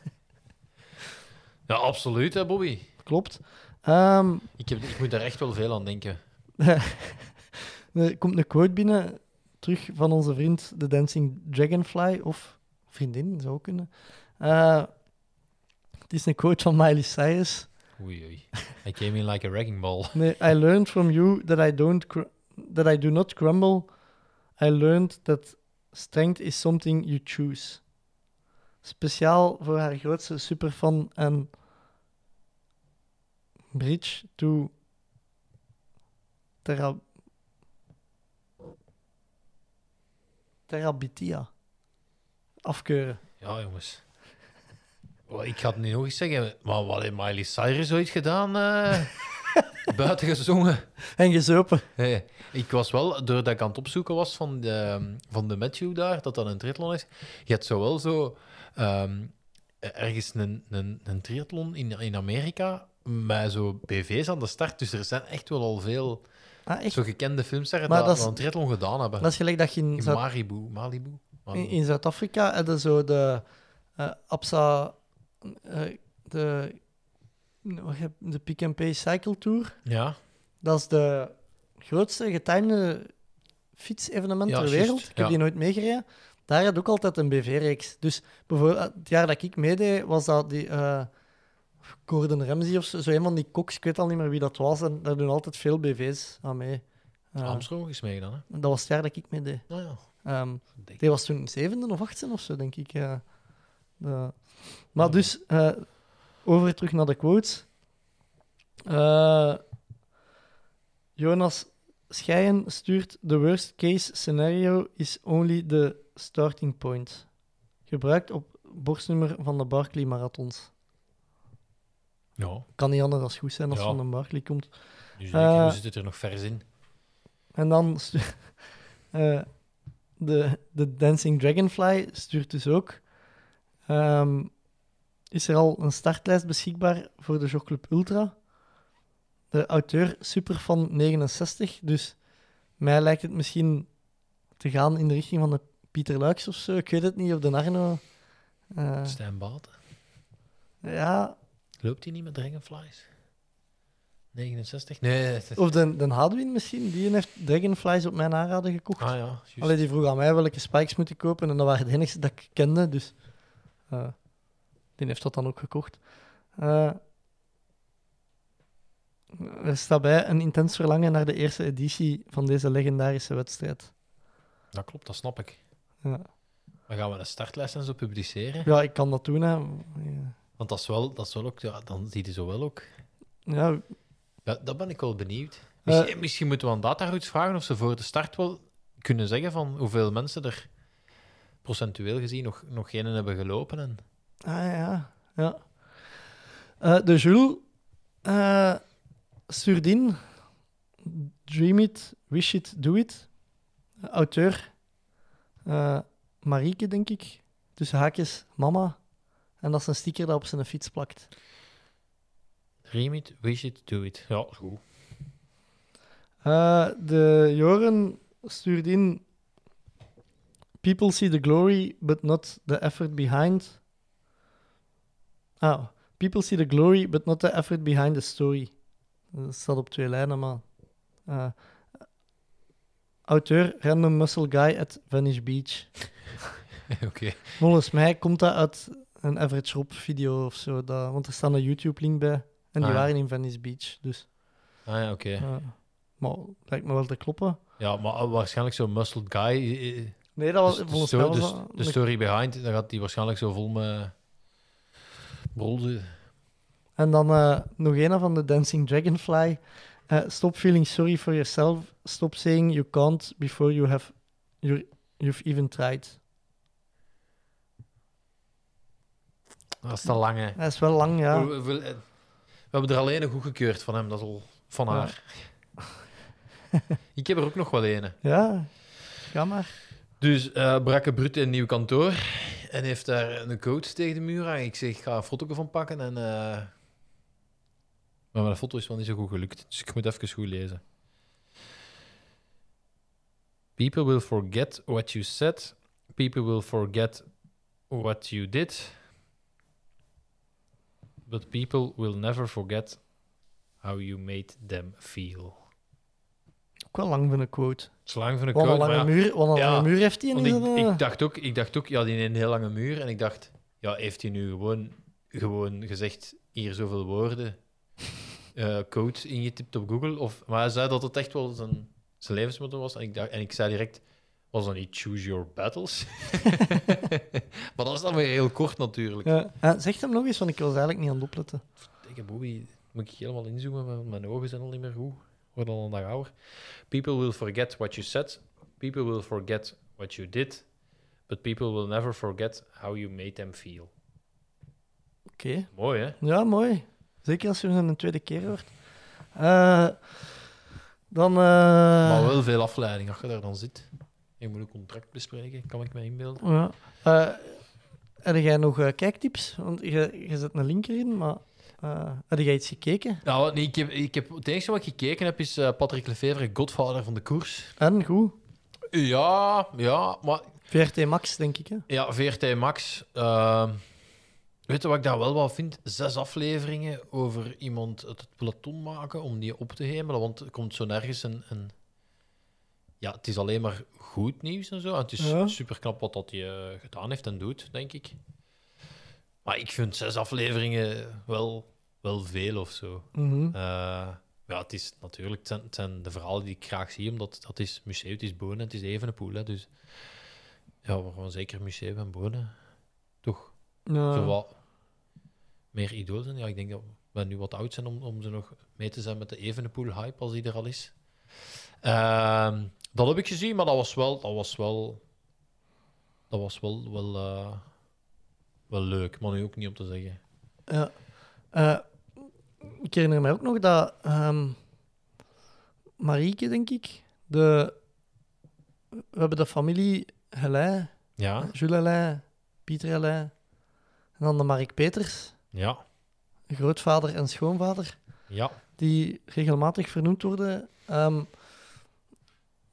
[SPEAKER 9] Ja, absoluut, hè, Bobby.
[SPEAKER 7] Klopt. Ehm,
[SPEAKER 9] Ik, heb, ik moet daar echt wel veel aan denken.
[SPEAKER 7] Er komt een quote binnen. terug van onze vriend, de Dancing Dragonfly, of vriendin, zou ook kunnen. Eh, het is een quote van Miley Cyrus.
[SPEAKER 9] Oei, oei. I came in like a wrecking ball.
[SPEAKER 7] Nee, I learned from you that I don't cr- that I do not crumble. I learned that strength is something you choose. Speciaal voor haar grootste superfan en bridge to Terra Terrabitia afkeuren.
[SPEAKER 9] Ja, jongens. Wel, ik ga het niet nog eens zeggen, maar wat heeft Miley Cyrus ooit gedaan? eh? buiten gezongen.
[SPEAKER 7] En gezopen.
[SPEAKER 9] Hé, ik was wel, doordat ik aan het opzoeken was van de, van de Matthew daar, dat dat een triathlon is, je hebt zo wel zo ehm, ergens een, een, een triathlon in, in Amerika met zo BV's aan de start. Dus er zijn echt wel al veel
[SPEAKER 7] Ah, echt?
[SPEAKER 9] zo gekende filmsterren
[SPEAKER 7] Maar
[SPEAKER 9] dat,
[SPEAKER 7] dat is-
[SPEAKER 9] dat een triathlon gedaan hebben.
[SPEAKER 7] Dat is gelijk dat je in
[SPEAKER 9] in
[SPEAKER 7] Zuid-
[SPEAKER 9] Maribu, Malibu.
[SPEAKER 7] In,
[SPEAKER 9] Malibu.
[SPEAKER 7] in Zuid-Afrika hadden zo de eh, Absa, eh, de, wat heb- de Pick and Pay Cycle Tour.
[SPEAKER 9] Ja,
[SPEAKER 7] Dat is de grootste getimede fietsevenement
[SPEAKER 9] Ja,
[SPEAKER 7] ter
[SPEAKER 9] juist,
[SPEAKER 7] wereld. Ik heb
[SPEAKER 9] ja.
[SPEAKER 7] die nooit meegereden. Daar had ook altijd een BV-reeks. Dus bijvoorbeeld, het jaar dat ik meedeed, was dat die eh, Gordon Ramsay of zo, zo een van die koks. Ik weet al niet meer wie dat was. En daar doen altijd veel BV's aan mee. Eh,
[SPEAKER 9] Armstrong is meegedaan, hè?
[SPEAKER 7] dat was het jaar dat ik meedeed.
[SPEAKER 9] Nou ja,
[SPEAKER 7] Ehm,
[SPEAKER 9] denk
[SPEAKER 7] die was toen zevende of achtste of zo, denk ik. ja. De- Maar dus, eh, over terug naar de quotes. Eh, Jonas Schijen stuurt: The worst case scenario is only the starting point. Gebruikt op borstnummer van de Barclay Marathons.
[SPEAKER 9] ja.
[SPEAKER 7] Kan niet anders dan goed zijn als
[SPEAKER 9] Ja.
[SPEAKER 7] van de Barclay komt.
[SPEAKER 9] Dus
[SPEAKER 7] Eh,
[SPEAKER 9] uh, zit het er nog vers in.
[SPEAKER 7] En dan stu- eh, de, de Dancing Dragonfly stuurt dus ook. ehm, is er al een startlijst beschikbaar voor de Jogclub Ultra? De auteur Superfan 69. Dus mij lijkt het misschien te gaan in de richting van de Pieter Luiks of zo. Ik weet het niet. Of de Arno. Eh,
[SPEAKER 9] Stijn Baat.
[SPEAKER 7] ja,
[SPEAKER 9] Loopt hij niet met Dragonflies? Ah, 69? Nee. dat is-
[SPEAKER 7] of de, de Hadwin misschien. Die heeft Dragonflies op mijn aanraden gekocht.
[SPEAKER 9] Ah ja, juist.
[SPEAKER 7] Allee, die vroeg aan mij welke spikes moet ik kopen. En dat waren de enigste dat ik kende. Dus eh, die heeft dat dan ook gekocht. Eh, er staat bij een intens verlangen naar de eerste editie van deze legendarische wedstrijd.
[SPEAKER 9] Dat klopt, dat snap ik.
[SPEAKER 7] Ja.
[SPEAKER 9] Maar gaan we de startlijst en zo publiceren?
[SPEAKER 7] Ja, ik kan dat doen. Hè.
[SPEAKER 9] Want dat is wel, dat is wel ook, ja, dan zie je zo wel ook.
[SPEAKER 7] Ja,
[SPEAKER 9] Dat, dat ben ik wel benieuwd. Misschien,
[SPEAKER 7] Eh.
[SPEAKER 9] misschien moeten we aan Dataroots vragen of ze voor de start wel kunnen zeggen van hoeveel mensen er procentueel gezien nog, nog geen hebben gelopen. En...
[SPEAKER 7] Ah ja, ja. Eh, de Jules eh stuurt in Dream It, Wish It, Do It. Auteur eh, Marieke, denk ik. Tussen haakjes mama. En dat is een sticker dat op zijn fiets plakt.
[SPEAKER 9] Dream it, wish it, do it. Ja, goed.
[SPEAKER 7] Eh, de Joren stuurt in People see the glory, but not the effort behind. Ah, people see the glory, but not the effort behind the story. Dat staat op twee lijnen, maar... eh, auteur, random muscle guy at Venice Beach.
[SPEAKER 9] Oké.
[SPEAKER 7] Volgens mij komt dat uit een Average Rob video of zo, dat, want er staat een YouTube-link bij. En die
[SPEAKER 9] Ah, ja.
[SPEAKER 7] waren in Venice Beach, dus...
[SPEAKER 9] Ah ja, oké.
[SPEAKER 7] eh, maar lijkt me wel te kloppen.
[SPEAKER 9] Ja, maar eh, waarschijnlijk zo'n muscled guy. eh, eh,
[SPEAKER 7] Nee, dat was
[SPEAKER 9] Dus de,
[SPEAKER 7] volgens
[SPEAKER 9] sto-
[SPEAKER 7] mij was
[SPEAKER 9] dus
[SPEAKER 7] dat
[SPEAKER 9] de
[SPEAKER 7] een-
[SPEAKER 9] story behind, dan gaat die waarschijnlijk zo vol met rollen.
[SPEAKER 7] En dan eh, nog een van de Dancing Dragonfly. Eh, stop feeling sorry for yourself. Stop saying you can't before you have you're- you've even tried.
[SPEAKER 9] Dat is te lang, hè.
[SPEAKER 7] Dat is wel lang, ja.
[SPEAKER 9] We, we- we hebben er alleen een goedgekeurd van hem, dat is al van
[SPEAKER 7] Ja.
[SPEAKER 9] haar. ik heb er ook nog wel een.
[SPEAKER 7] Ja, ga maar.
[SPEAKER 9] Dus eh brakke Brut in een nieuw kantoor en heeft daar een coach tegen de muur hangen. Ik zeg, ik ga een foto ervan pakken en... eh, Maar mijn foto is wel niet zo goed gelukt, dus ik moet even goed lezen. People will forget what you said. People will forget what you did. But people will never forget how you made them feel.
[SPEAKER 7] ook wel lang van een quote.
[SPEAKER 9] Slang van een
[SPEAKER 7] Wat een
[SPEAKER 9] quote.
[SPEAKER 7] lange,
[SPEAKER 9] maar ja,
[SPEAKER 7] muur, wat een
[SPEAKER 9] Ja,
[SPEAKER 7] lange muur heeft hij in
[SPEAKER 9] Want
[SPEAKER 7] zijn...
[SPEAKER 9] ik,
[SPEAKER 7] eh,
[SPEAKER 9] ik, dacht ook, ik dacht ook, ja, die heeft een heel lange muur. En ik dacht, ja, heeft hij nu gewoon, gewoon gezegd, hier zoveel woorden, eh, code ingetipt op Google? Of, maar hij zei dat het echt wel zijn, zijn levensmotto was. En ik, dacht, en ik zei direct, was dat niet choose your battles? maar dat is dan weer heel kort natuurlijk.
[SPEAKER 7] ja. Eh, zeg hem nog eens, want ik was eigenlijk niet aan het opletten.
[SPEAKER 9] Dikke boei, moet ik helemaal inzoomen, want mijn ogen zijn al niet meer goed. Worden al een dag ouder. People will forget what you said. People will forget what you did. But people will never forget how you made them feel.
[SPEAKER 7] Oké.
[SPEAKER 9] Mooi, hè?
[SPEAKER 7] Ja, mooi. Zeker als je hem een tweede keer hoort. Eh, dan... eh,
[SPEAKER 9] Maar wel veel afleiding als je daar dan zit. Je moet een contract bespreken, kan ik me inbeelden.
[SPEAKER 7] Ja. Eh, heb jij nog eh, kijktips? Want je, je zet een linker in, maar eh heb jij iets gekeken?
[SPEAKER 9] Nou, nee, ik heb, ik heb, het enige wat ik gekeken heb is eh, Patrick Lefevre, godvader van de koers.
[SPEAKER 7] En goed.
[SPEAKER 9] Ja, ja, maar
[SPEAKER 7] VRT Max, denk ik. Hè?
[SPEAKER 9] Ja, VRT Max. ehm, weet je wat ik daar wel wel vind? Zes afleveringen over iemand het, het peloton maken om die op te hemelen. Want er komt zo nergens een, een... Ja, het is alleen maar goed nieuws en zo. En het is
[SPEAKER 7] Ja.
[SPEAKER 9] super knap wat dat hij eh, gedaan heeft en doet, denk ik. Maar ik vind zes afleveringen wel, wel veel of zo.
[SPEAKER 7] Mhm.
[SPEAKER 9] Eh, ja, het is natuurlijk het zijn, het zijn de verhalen die ik graag zie, omdat dat is museum, het is Bonen, het is Evenepoel. Hè, dus ja, we gaan zeker museum en Bonen. Toch?
[SPEAKER 7] Ja.
[SPEAKER 9] Zo wat meer idool zijn. Ja, ik denk dat we nu wat oud zijn om, om ze nog mee te zijn met de Evenepoel-hype, als die er al is. Ehm, dat heb ik gezien, maar dat was wel... Dat was wel, dat was wel, wel, eh, wel leuk, maar nu ook niet om te zeggen.
[SPEAKER 7] Ja. Eh, ik herinner mij ook nog dat ehm, Marieke, denk ik, de, we hebben de familie Helijn,
[SPEAKER 9] Ja,
[SPEAKER 7] Jules Helijn, Pieter Helijn en dan de Mark Peters,
[SPEAKER 9] ja,
[SPEAKER 7] grootvader en schoonvader,
[SPEAKER 9] ja.
[SPEAKER 7] die regelmatig vernoemd worden. Ehm,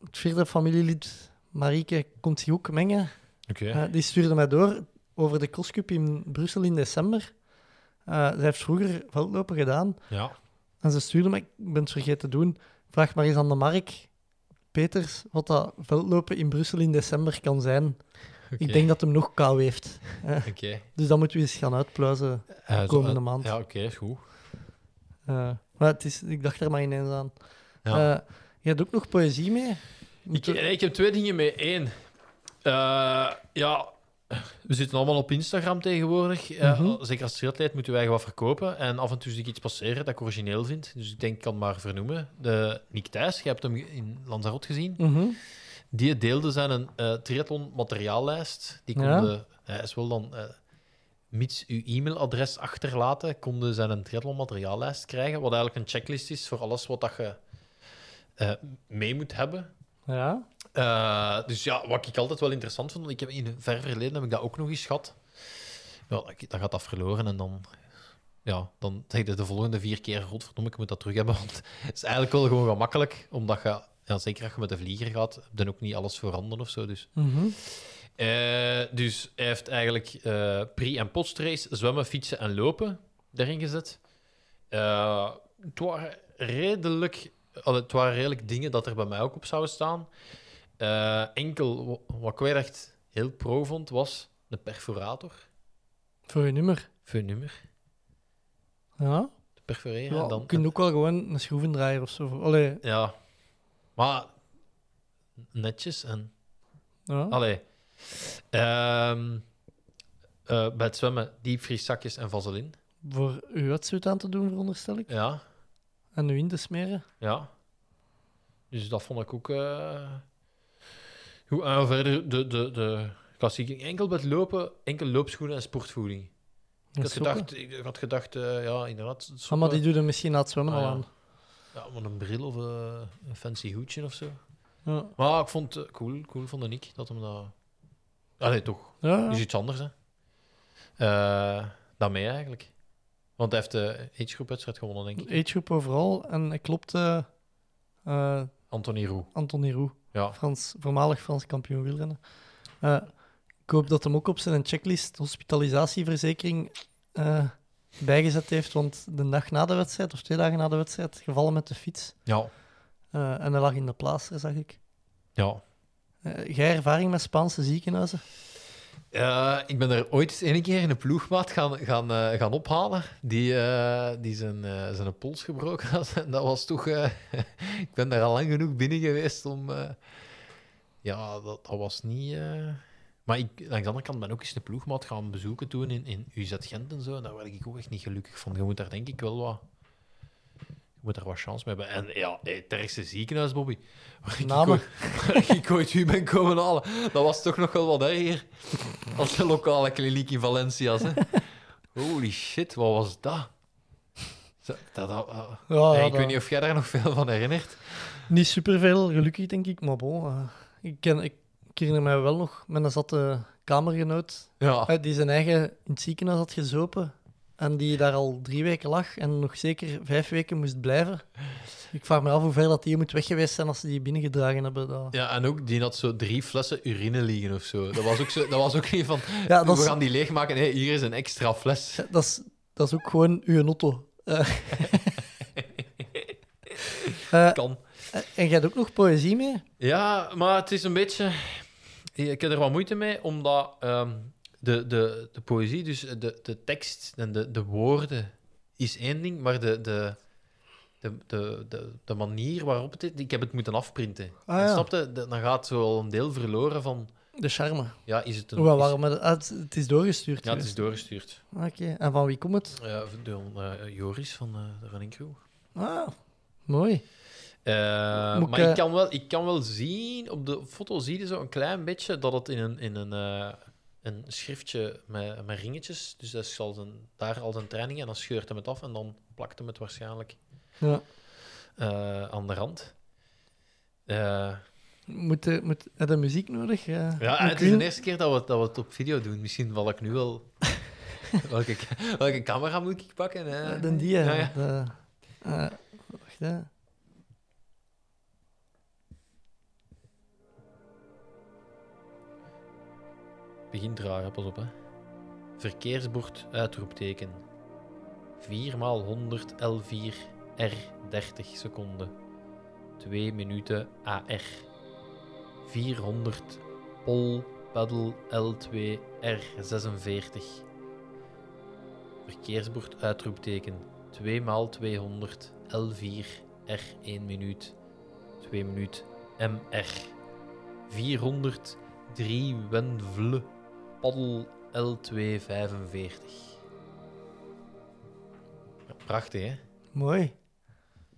[SPEAKER 7] het vierde familielid, Marieke, komt zich ook mengen.
[SPEAKER 9] Oké.
[SPEAKER 7] Eh, die stuurde mij door over de crosscup in Brussel in december. Eh, zij heeft vroeger veldlopen gedaan.
[SPEAKER 9] Ja,
[SPEAKER 7] En ze stuurde me, ik ben het vergeten te doen, vraag maar eens aan de Mark Peters wat dat veldlopen in Brussel in december kan zijn. Ik
[SPEAKER 9] Oké.
[SPEAKER 7] denk dat hem nog kou heeft.
[SPEAKER 9] oké.
[SPEAKER 7] Dus dat moeten we eens gaan uitpluizen.
[SPEAKER 9] Eh, zo,
[SPEAKER 7] komende
[SPEAKER 9] eh,
[SPEAKER 7] maand.
[SPEAKER 9] Ja, oké, is goed.
[SPEAKER 7] Eh, maar het is, ik dacht er maar ineens aan.
[SPEAKER 9] Ja.
[SPEAKER 7] Eh, je hebt ook nog poëzie mee?
[SPEAKER 9] ik, nee, ik heb twee dingen mee. Eén, eh, ja, we zitten allemaal op Instagram tegenwoordig. Eh,
[SPEAKER 7] Mhm.
[SPEAKER 9] Zeker als triatleet moeten wij wat verkopen. En af en toe zie ik iets passeren dat ik origineel vind. Dus ik denk, ik kan het maar vernoemen. De Nick Thijs, je hebt hem in Lanzarote gezien.
[SPEAKER 7] Mhm.
[SPEAKER 9] Die deelde zijn een eh triathlon materiaallijst. Die
[SPEAKER 7] Ja.
[SPEAKER 9] konden, hij is wel dan, eh, mits uw e-mailadres achterlaten, konden zijn een triathlon materiaallijst krijgen. Wat eigenlijk een checklist is voor alles wat dat je eh, mee moet hebben.
[SPEAKER 7] Ja.
[SPEAKER 9] Eh, dus ja, wat ik altijd wel interessant vond, want ik heb in een ver verleden heb ik dat ook nog eens gehad. Ja, dan gaat dat verloren en dan, ja, dan zeg je de volgende vier keer, godverdomme, ik moet dat terug hebben. Want het is eigenlijk wel gewoon gemakkelijk, omdat je, ja, zeker als je met de vlieger gaat, heb je dan ook niet alles voorhanden of zo. Dus,
[SPEAKER 7] Mhm.
[SPEAKER 9] Eh, dus hij heeft eigenlijk eh, pre- en postrace, zwemmen, fietsen en lopen daarin gezet. Eh, het, waren redelijk, allee, het waren redelijk dingen dat er bij mij ook op zouden staan. Eh, enkel wa- wat ik weer echt heel pro vond, was de perforator.
[SPEAKER 7] Voor je nummer.
[SPEAKER 9] Voor je nummer.
[SPEAKER 7] Ja.
[SPEAKER 9] Te perforeren.
[SPEAKER 7] ja
[SPEAKER 9] en
[SPEAKER 7] dan,
[SPEAKER 9] dan,
[SPEAKER 7] kun je ook wel gewoon een schroevendraaier of zo. voor- Allee,
[SPEAKER 9] ja. Maar netjes en
[SPEAKER 7] ja.
[SPEAKER 9] Allee. Ehm, eh, bij het zwemmen, diepvrieszakjes en vaseline.
[SPEAKER 7] voor uw wetsuit aan te doen, veronderstel ik.
[SPEAKER 9] Ja,
[SPEAKER 7] En uw in te smeren.
[SPEAKER 9] ja. Dus dat vond ik ook... eh, Goed, en verder de, de, de klassieke... Enkel bij het lopen, enkel loopschoenen en sportvoeding. Ik
[SPEAKER 7] En
[SPEAKER 9] had
[SPEAKER 7] sokken.
[SPEAKER 9] gedacht, ik had gedacht eh, ja, inderdaad...
[SPEAKER 7] Ah, maar
[SPEAKER 9] sokken.
[SPEAKER 7] die doet er misschien na het zwemmen
[SPEAKER 9] Ah,
[SPEAKER 7] al
[SPEAKER 9] ja.
[SPEAKER 7] aan.
[SPEAKER 9] Ja, maar een bril of eh, een fancy hoedje of zo.
[SPEAKER 7] Ja.
[SPEAKER 9] Maar ik vond het eh, cool, cool vond ik dat hem dat... Allee, toch.
[SPEAKER 7] Ja.
[SPEAKER 9] is iets anders, hè. Eh, dan mij eigenlijk. Want hij heeft eh, de agegroepwedstrijd gewonnen, denk ik.
[SPEAKER 7] Agegroep overal. En hij klopt eh eh
[SPEAKER 9] Anthony Roux.
[SPEAKER 7] Anthony Roux,
[SPEAKER 9] Ja.
[SPEAKER 7] Frans, voormalig Frans kampioen wielrennen. Eh, ik hoop dat hem ook op zijn checklist hospitalisatieverzekering eh, bijgezet heeft. Want de dag na de wedstrijd, of twee dagen na de wedstrijd, gevallen met de fiets.
[SPEAKER 9] Ja.
[SPEAKER 7] Eh, Eh, en dat lag in de plaaster, zag ik.
[SPEAKER 9] Ja.
[SPEAKER 7] Eh, jij ervaring met Spaanse ziekenhuizen?
[SPEAKER 9] Eh, ik ben er ooit één keer een ploegmaat gaan, gaan, eh, gaan ophalen. Die, eh, die zijn, eh, zijn pols gebroken had. En dat was toch. eh, ik ben daar al lang genoeg binnen geweest om. eh, ja, dat, dat was niet. eh, Maar ik, langs de andere kant ben ik ook eens een ploegmaat gaan bezoeken toen in, in UZ Gent en zo. En daar werd ik ook echt niet gelukkig van. Je moet daar denk ik wel wat. Je moet daar wat chance mee hebben. En ja, hey, het ergste ziekenhuis, Bobby. Waar ik,
[SPEAKER 7] Namen.
[SPEAKER 9] ooit, waar ik ooit u ben komen halen. Dat was toch nog wel wat erger als de lokale kliniek in Valencia. Hè. Holy shit, wat was dat? Zo, Dat, dat, eh,
[SPEAKER 7] Ja,
[SPEAKER 9] hey,
[SPEAKER 7] ja,
[SPEAKER 9] ik weet
[SPEAKER 7] dat-
[SPEAKER 9] niet of jij daar nog veel van herinnert.
[SPEAKER 7] Niet superveel, gelukkig denk ik, maar bon. eh, ik, ken, ik, ik herinner mij wel nog met een zatte kamergenoot
[SPEAKER 9] Ja.
[SPEAKER 7] eh, die zijn eigen in het ziekenhuis had gezopen en die daar al drie weken lag en nog zeker vijf weken moest blijven. Ik vraag me af hoe ver dat die moet weg geweest zijn als ze die binnengedragen hebben. Dat...
[SPEAKER 9] Ja, en ook die had zo drie flessen urine liggen of zo. Dat was ook, zo, dat was ook niet van.
[SPEAKER 7] Ja, dat
[SPEAKER 9] we
[SPEAKER 7] is-
[SPEAKER 9] gaan die leegmaken. Nee, hier is een extra fles.
[SPEAKER 7] Dat is, dat is ook gewoon uw notto. Eh. Eh,
[SPEAKER 9] Kan.
[SPEAKER 7] en jij hebt ook nog poëzie mee?
[SPEAKER 9] Ja, maar het is een beetje. eh, Ik heb er wat moeite mee, omdat ehm, de, de, de poëzie, dus de, de tekst en de, de woorden, is één ding, maar de, de, de, de, de, de manier waarop het is, ik heb het moeten afprinten.
[SPEAKER 7] Ah, ja.
[SPEAKER 9] Snap je? De- Dan gaat zo al een deel verloren van.
[SPEAKER 7] De charme.
[SPEAKER 9] Ja, is het een.
[SPEAKER 7] Hoewel,
[SPEAKER 9] is-
[SPEAKER 7] waarom? heb je- ah, het, het is doorgestuurd.
[SPEAKER 9] Ja, het is
[SPEAKER 7] geweest.
[SPEAKER 9] doorgestuurd.
[SPEAKER 7] Oké, en van wie komt het?
[SPEAKER 9] Ja, door eh, Joris van eh, de Running Crew.
[SPEAKER 7] Ah, mooi.
[SPEAKER 9] Eh,
[SPEAKER 7] Moet
[SPEAKER 9] maar
[SPEAKER 7] ik, eh,
[SPEAKER 9] ik, kan wel, ik kan wel zien, op de foto zie je zo een klein beetje dat het in een, in een, eh, een schriftje met, met ringetjes, dus dat is al zijn, daar al zijn training en dan scheurt hem het af en dan plakt hem het waarschijnlijk
[SPEAKER 7] Ja.
[SPEAKER 9] eh, aan de rand. Eh,
[SPEAKER 7] Moet, eh, moet, heb je muziek nodig? Eh, Ja,
[SPEAKER 9] ja, en het is de eerste keer dat we, het- dat we het op video doen. Misschien val ik nu wel. welke, ca- welke camera moet ik pakken? hè?
[SPEAKER 7] Dan die, hè.
[SPEAKER 9] Eh, Ja, ja.
[SPEAKER 7] De- eh, wacht, hè.
[SPEAKER 9] Begin dragen, pas op hè. Verkeersbord uitroepteken. 4 x 100 L4 R 30 seconden. 2 minuten AR. 400 Pol Paddle L2 R 46. Verkeersbord uitroepteken. 2 x 200 L4 R 1 minuut. 2 minuut MR. 400 3 Wenvle Paddel L245. Ja, prachtig, hè?
[SPEAKER 7] Mooi.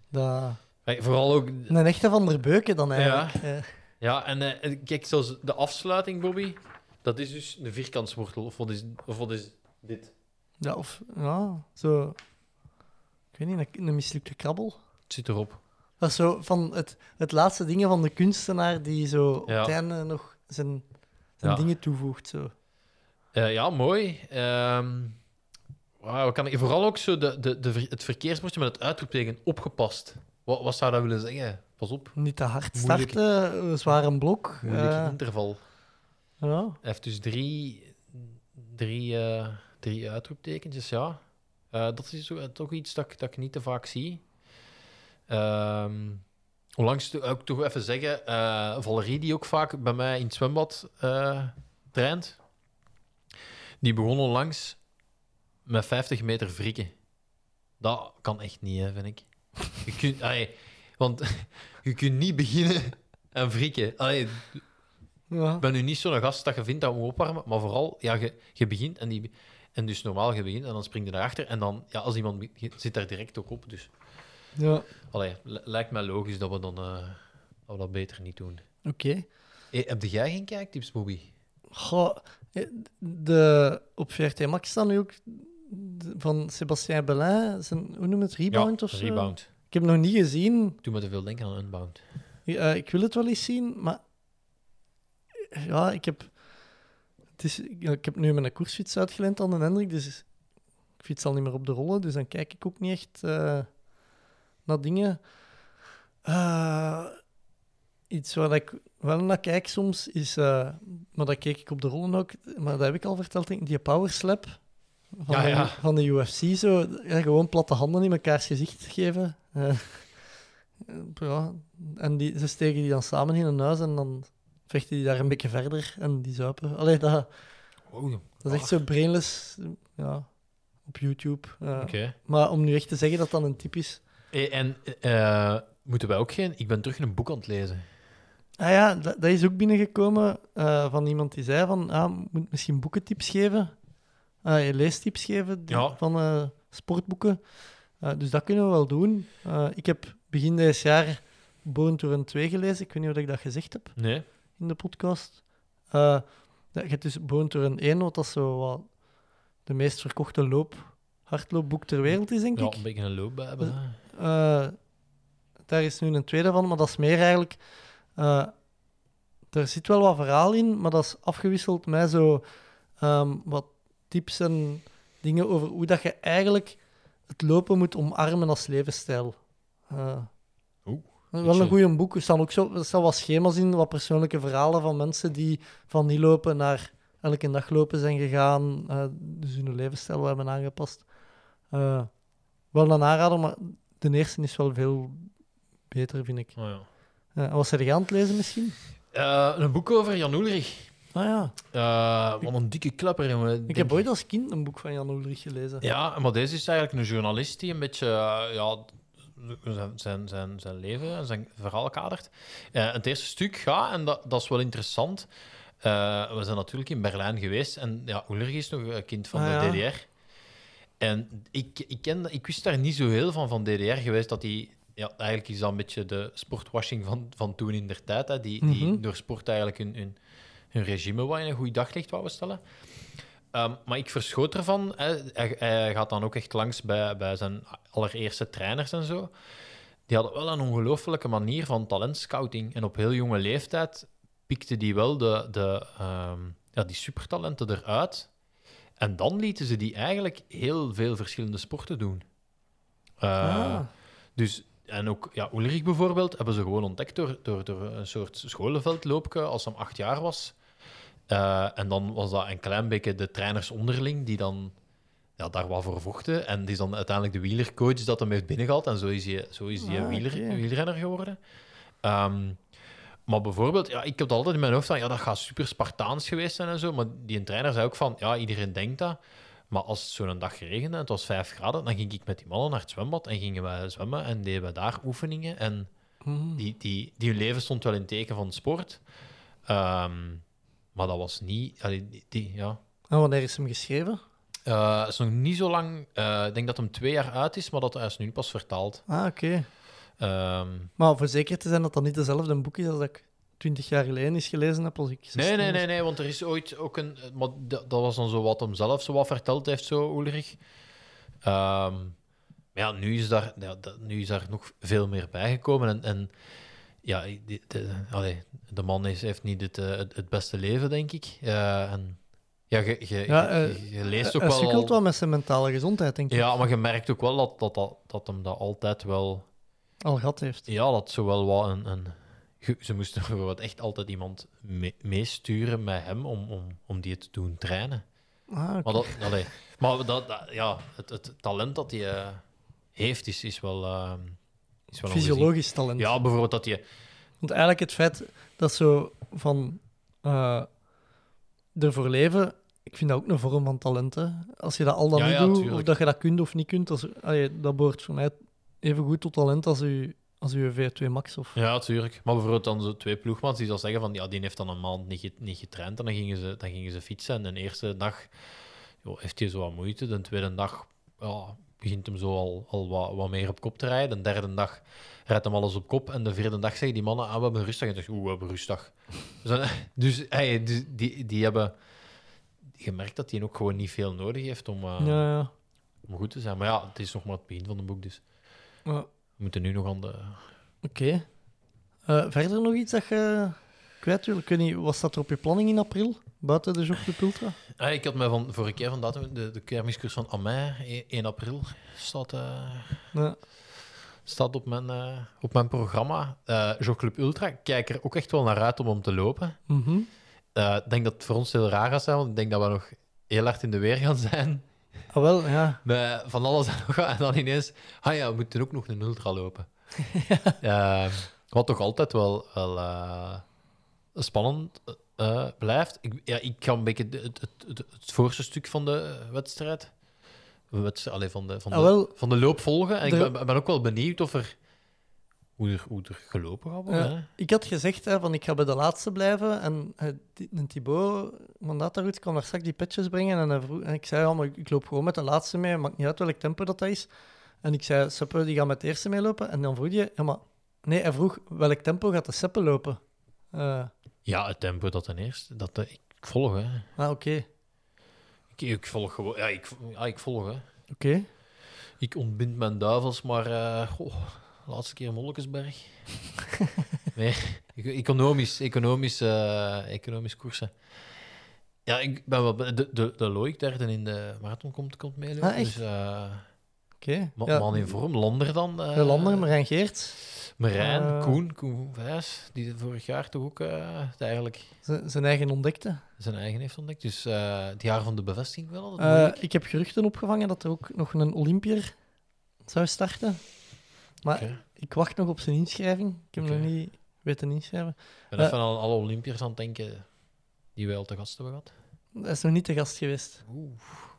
[SPEAKER 7] Dat...
[SPEAKER 9] Hey, vooral ook...
[SPEAKER 7] Een echte van der Beuken dan eigenlijk. eh.
[SPEAKER 9] Ja, en eh, en kijk, zoals de afsluiting, Bobby, dat is dus een vierkantswortel. Of wat is, of wat is dit?
[SPEAKER 7] Ja, of ja, zo. Ik weet niet, een, een mislukte krabbel.
[SPEAKER 9] Het zit erop.
[SPEAKER 7] Dat is zo van het, het laatste dingen van de kunstenaar die zo op
[SPEAKER 9] Ja.
[SPEAKER 7] het einde nog zijn, zijn
[SPEAKER 9] Ja.
[SPEAKER 7] dingen toevoegt. Zo.
[SPEAKER 9] Eh, ja, mooi. Ehm wauw, kan ik, vooral ook zo de, de, de, ver- het verkeersbordje met het uitroepteken opgepast. Wat, wat zou dat willen zeggen? Pas op.
[SPEAKER 7] Niet te hard
[SPEAKER 9] Moeilijk.
[SPEAKER 7] starten, eh, zwaar een blok.
[SPEAKER 9] Moeilijk
[SPEAKER 7] eh,
[SPEAKER 9] interval.
[SPEAKER 7] ja.
[SPEAKER 9] Hij heeft dus drie, drie, eh, drie uitroeptekentjes, ja. Eh, dat is zo- eh, toch iets dat, ik- dat ik niet te vaak zie. Ehm onlangs to- ook toch even zeggen, eh, Valerie, die ook vaak bij mij in het zwembad eh traint, die begon onlangs met 50 meter wrikken. Dat kan echt niet, hè, vind ik. Je kunt, allee, want je kunt niet beginnen en wrikken. Allee,
[SPEAKER 7] Ja.
[SPEAKER 9] ik ben nu niet zo'n gast dat je vindt dat we opwarmen, maar vooral, ja, je, je begint en, die, en dus normaal, je begint en dan spring je daarachter en dan, ja, als iemand be- je zit daar direct ook op. Dus,
[SPEAKER 7] ja. Oké.
[SPEAKER 9] allee, li- lijkt mij logisch dat we dan eh, dat, we dat beter niet doen. Eh, heb jij geen kijktips, Bobby?
[SPEAKER 7] Goh, eh, de, op VRT Max staan nu ook de- van Sebastien Belin, zijn, hoe noem je het, Rebound of zo?
[SPEAKER 9] Rebound.
[SPEAKER 7] Ik heb hem nog niet gezien.
[SPEAKER 9] Doe me te veel denken aan Unbound.
[SPEAKER 7] Eh, ik wil het wel eens zien, maar ja, ik heb, het is, ja, ik heb nu mijn koersfiets uitgeleend aan de Hendrik, dus ik fiets al niet meer op de rollen, dus dan kijk ik ook niet echt eh, naar dingen. Eh, iets waar ik wel naar kijk soms is, eh, maar dat keek ik op de rollen ook, maar dat heb ik al verteld, denk ik, die powerslap van,
[SPEAKER 9] Ja,
[SPEAKER 7] de-
[SPEAKER 9] ja.
[SPEAKER 7] van de UFC, zo, ja, gewoon platte handen in mekaars gezicht geven. Eh, Ja, en die, ze steken die dan samen in een huis en dan vechten die daar een beetje verder en die zuipen. Allee, dat,
[SPEAKER 9] Oeh,
[SPEAKER 7] dat is echt zo brainless ja, op YouTube. eh.
[SPEAKER 9] Oké.
[SPEAKER 7] Maar om nu echt te zeggen dat dat een typisch
[SPEAKER 9] Eh, En eh, moeten wij ook geen... Ik ben terug een boek aan het lezen.
[SPEAKER 7] Ah ja, dat, dat is ook binnengekomen eh, van iemand die zei van, ah, moet misschien boekentips geven, Eh, leestips geven die-
[SPEAKER 9] Ja.
[SPEAKER 7] van eh, sportboeken. Eh, dus dat kunnen we wel doen. Eh, ik heb begin dit jaar Born to Run 2 gelezen. Ik weet niet of ik dat gezegd heb
[SPEAKER 9] Nee.
[SPEAKER 7] in de podcast. Eh ja, je hebt dus Born to Run 1, wat dat zo wat de meest verkochte loop, hardloopboek ter wereld is, denk
[SPEAKER 9] Ja,
[SPEAKER 7] ik.
[SPEAKER 9] een beetje een loop bij hebben. hè.
[SPEAKER 7] Eh, daar is nu een tweede van, maar dat is meer eigenlijk. eh, er zit wel wat verhaal in, maar dat is afgewisseld met zo ehm, wat tips en dingen over hoe dat je eigenlijk het lopen moet omarmen als levensstijl. Eh,
[SPEAKER 9] Oeh,
[SPEAKER 7] wel
[SPEAKER 9] ietsje.
[SPEAKER 7] een goede boek. Er staan ook zo, er staan wat schema's in, wat persoonlijke verhalen van mensen die van niet lopen naar elke dag lopen zijn gegaan. eh, dus hun levensstijl wel hebben aangepast. Eh, wel een aanrader, maar de eerste is wel veel beter, vind ik.
[SPEAKER 9] Oh, ja.
[SPEAKER 7] Eh, en wat zijn jij aan het lezen misschien?
[SPEAKER 9] Eh, een boek over Jan Ulrich.
[SPEAKER 7] Ah ja,
[SPEAKER 9] Eh, wat een dikke klapper, jongen.
[SPEAKER 7] ik
[SPEAKER 9] Denk
[SPEAKER 7] heb ooit als kind een boek van Jan Ulrich gelezen.
[SPEAKER 9] Ja, maar deze is eigenlijk een journalist die een beetje eh, ja, zijn, zijn, zijn, zijn leven en zijn verhaal kadert. Eh, het eerste stuk gaat, en dat, dat is wel interessant. eh, we zijn natuurlijk in Berlijn geweest en ja, Ulrich is nog een kind van
[SPEAKER 7] Ah,
[SPEAKER 9] de
[SPEAKER 7] ja.
[SPEAKER 9] DDR. En ik, ik, ken, ik wist daar niet zo heel van van DDR geweest dat die. Ja, eigenlijk is dat een beetje de sportwashing van, van toen in der tijd. Hè, die, die
[SPEAKER 7] Mhm.
[SPEAKER 9] door sport eigenlijk hun, hun, hun regime wat in een goed daglicht wou stellen. Ehm, maar ik verschoot ervan. Hè. Hij, hij gaat dan ook echt langs bij, bij zijn allereerste trainers en zo. Die hadden wel een ongelofelijke manier van talentscouting. En op heel jonge leeftijd pikten die wel de, de, ehm, ja, die supertalenten eruit. En dan lieten ze die eigenlijk heel veel verschillende sporten doen. Eh,
[SPEAKER 7] Ah.
[SPEAKER 9] Dus, en ook ja, Ulrich bijvoorbeeld hebben ze gewoon ontdekt door, door, door een soort scholenveldloopje als hij acht jaar was. Eh, en dan was dat een klein beetje de trainers onderling die dan ja, daar wat voor vochten. En die is dan uiteindelijk de wielercoach dat hem heeft binnengehaald. En zo is hij, zo is hij
[SPEAKER 7] Ah,
[SPEAKER 9] een wieler,
[SPEAKER 7] oké.
[SPEAKER 9] wielrenner geworden. Ehm, maar bijvoorbeeld, ja, ik heb dat altijd in mijn hoofd van, ja, dat gaat super Spartaans geweest zijn en zo. Maar die trainer zei ook van, ja, iedereen denkt dat. Maar als het zo'n dag regende en het was vijf graden, dan ging ik met die mannen naar het zwembad en gingen wij zwemmen en deden wij daar oefeningen. En
[SPEAKER 7] Mhm.
[SPEAKER 9] die, die, die hun leven stond wel in het teken van sport. Ehm, maar dat was niet... allee, die, die- ja.
[SPEAKER 7] En wanneer is hem geschreven?
[SPEAKER 9] Eh, het is nog niet zo lang... eh, ik denk dat hem twee jaar uit is, maar dat hij is nu pas vertaald.
[SPEAKER 7] Ah, oké.
[SPEAKER 9] Ehm,
[SPEAKER 7] Maar voor zeker te zijn dat dat niet dezelfde boek is als dat ik twintig jaar geleden is gelezen heb als ik
[SPEAKER 9] nee,
[SPEAKER 7] 16
[SPEAKER 9] nee,
[SPEAKER 7] was.
[SPEAKER 9] nee, nee, want er is ooit ook een... eh, Maar dat, dat was dan zo wat hem zelf zo wat verteld heeft, zo, Ulrich. Ehm, maar ja, nu is, daar, ja, dat- nu is daar nog veel meer bijgekomen. En, en ja, die- de, allee, de man is, heeft niet het, eh, het, het beste leven, denk ik. Eh, en, ja, je, je,
[SPEAKER 7] Ja,
[SPEAKER 9] je-
[SPEAKER 7] eh,
[SPEAKER 9] je leest ook
[SPEAKER 7] Hij
[SPEAKER 9] wel... al-
[SPEAKER 7] sukkelt wel met zijn mentale gezondheid, denk ik.
[SPEAKER 9] Ja, maar je merkt ook wel dat, dat, dat, dat hem dat altijd wel...
[SPEAKER 7] Al gehad heeft.
[SPEAKER 9] Ja, dat zo wel wat een... een ge- ze moesten bijvoorbeeld echt altijd iemand me- meesturen met hem om, om, om die te doen trainen.
[SPEAKER 7] Ah, oké.
[SPEAKER 9] Maar dat, allee, maar dat, dat- ja, het, het talent dat hij eh, heeft is, is wel... ehm, is wel ongezien.
[SPEAKER 7] Fysiologisch talent.
[SPEAKER 9] Ja, bijvoorbeeld dat hij...
[SPEAKER 7] Want eigenlijk het feit dat zo van eh, ervoor leven, ik vind dat ook een vorm van talent. Hè. Als je dat al dan
[SPEAKER 9] Ja,
[SPEAKER 7] niet
[SPEAKER 9] ja,
[SPEAKER 7] doet,
[SPEAKER 9] tuurlijk.
[SPEAKER 7] of dat je dat kunt of niet kunt, als, allee, dat behoort voor mij even goed tot talent als je, als je V2 Max. Of,
[SPEAKER 9] Ja, natuurlijk. Maar bijvoorbeeld dan zo twee ploegmans die zal zeggen van... Ja, die heeft dan een maand niet, ge- niet getraind en dan gingen, ze, dan gingen ze fietsen. En de eerste dag joh, heeft hij zo wat moeite. De tweede dag ja, begint hem zo al, al wat, wat meer op kop te rijden. De derde dag rijdt hem alles op kop. En de vierde dag zeggen die mannen... Ah, we hebben een rustdag. En ik dacht, oeh, we hebben een rustdag. Dus, dan- dus, hey, dus die, die hebben... Je merkt dat hij ook gewoon niet veel nodig heeft om, eh,
[SPEAKER 7] ja, ja.
[SPEAKER 9] om goed te zijn. Maar ja, het is nog maar het begin van het boek, dus...
[SPEAKER 7] Ja.
[SPEAKER 9] We moeten nu nog aan de...
[SPEAKER 7] Oké. Eh, verder nog iets dat je kwijt wil? Ik weet niet, wat staat er op je planning in april? Buiten de Job de Ultra?
[SPEAKER 9] Ah, ik had mij van vorige keer van datum, de, de kermiscursus van Amijn, e- 1 april, staat, eh,
[SPEAKER 7] Ja.
[SPEAKER 9] staat op, mijn, eh, op mijn programma. eh Jogclub Ultra, ik kijk er ook echt wel naar uit om hem te lopen.
[SPEAKER 7] Mhm.
[SPEAKER 9] Eh, Ik denk dat het voor ons heel raar gaat zijn, want ik denk dat we nog heel hard in de weer gaan zijn.
[SPEAKER 7] Ah, wel, ja.
[SPEAKER 9] Met van alles en nog wat. En dan ineens, ah ja, we moeten ook nog een ultra lopen. Eh, wat toch altijd wel, wel eh, spannend eh, blijft. Ik, ja, ik ga een beetje de- het, het, het, het voorste stuk van de wedstrijd, wedstrijd allee, van, de, van, de,
[SPEAKER 7] Ah, wel.
[SPEAKER 9] van de loop volgen. En
[SPEAKER 7] De-
[SPEAKER 9] ik ben, ben ook wel benieuwd of er, hoe, er, hoe er gelopen gaat worden.
[SPEAKER 7] Ja.
[SPEAKER 9] hè.
[SPEAKER 7] Ik had gezegd hè, van ik ga bij de laatste blijven. En eh, die- een Thibaut Mandataroet kwam daar straks die petjes brengen. En, hij vroeg- en ik zei allemaal, ik loop gewoon met de laatste mee. Maakt niet uit welk tempo dat, dat is. En ik zei, Seppe die gaat met de eerste meelopen. En dan vroeg je, ja, maar nee, hij vroeg welk tempo gaat de Seppe lopen. Eh,
[SPEAKER 9] Ja, het tempo dat ten eerste. Dat, eh, ik volg, hè.
[SPEAKER 7] ah, oké.
[SPEAKER 9] Ik, ik volg gewoon. Ja, ik, ja, ik volg, hè.
[SPEAKER 7] Oké.
[SPEAKER 9] Ik ontbind mijn duivels, maar... eh, goh, laatste keer Mollekesberg. nee, ik- economisch, economisch, eh, economisch koersen. Ja, ik ben wel... be- De, de, de Loïc derde in de marathon komt, komt meelopen.
[SPEAKER 7] Ah, echt?
[SPEAKER 9] Dus, eh,
[SPEAKER 7] oké.
[SPEAKER 9] ma-
[SPEAKER 7] Ja,
[SPEAKER 9] man in vorm. Lander dan. eh,
[SPEAKER 7] De Lander, Marijn Geert.
[SPEAKER 9] Merijn,
[SPEAKER 7] Eh.
[SPEAKER 9] Koen, Koen Vijs. Die vorig jaar toch ook eh, het eigenlijk
[SPEAKER 7] Z- zijn eigen ontdekte.
[SPEAKER 9] zijn eigen heeft ontdekt. Dus eh, het jaar van de bevestiging wel. Dat
[SPEAKER 7] Eh, ik heb geruchten opgevangen dat er ook nog een Olympier zou starten. Maar
[SPEAKER 9] Oké.
[SPEAKER 7] ik wacht nog op zijn inschrijving. Ik heb hem
[SPEAKER 9] Oké.
[SPEAKER 7] nog niet weten inschrijven.
[SPEAKER 9] Ik ben
[SPEAKER 7] Eh.
[SPEAKER 9] even aan alle Olympiërs aan het denken die wij al te gast hebben gehad.
[SPEAKER 7] Hij is nog niet te gast geweest.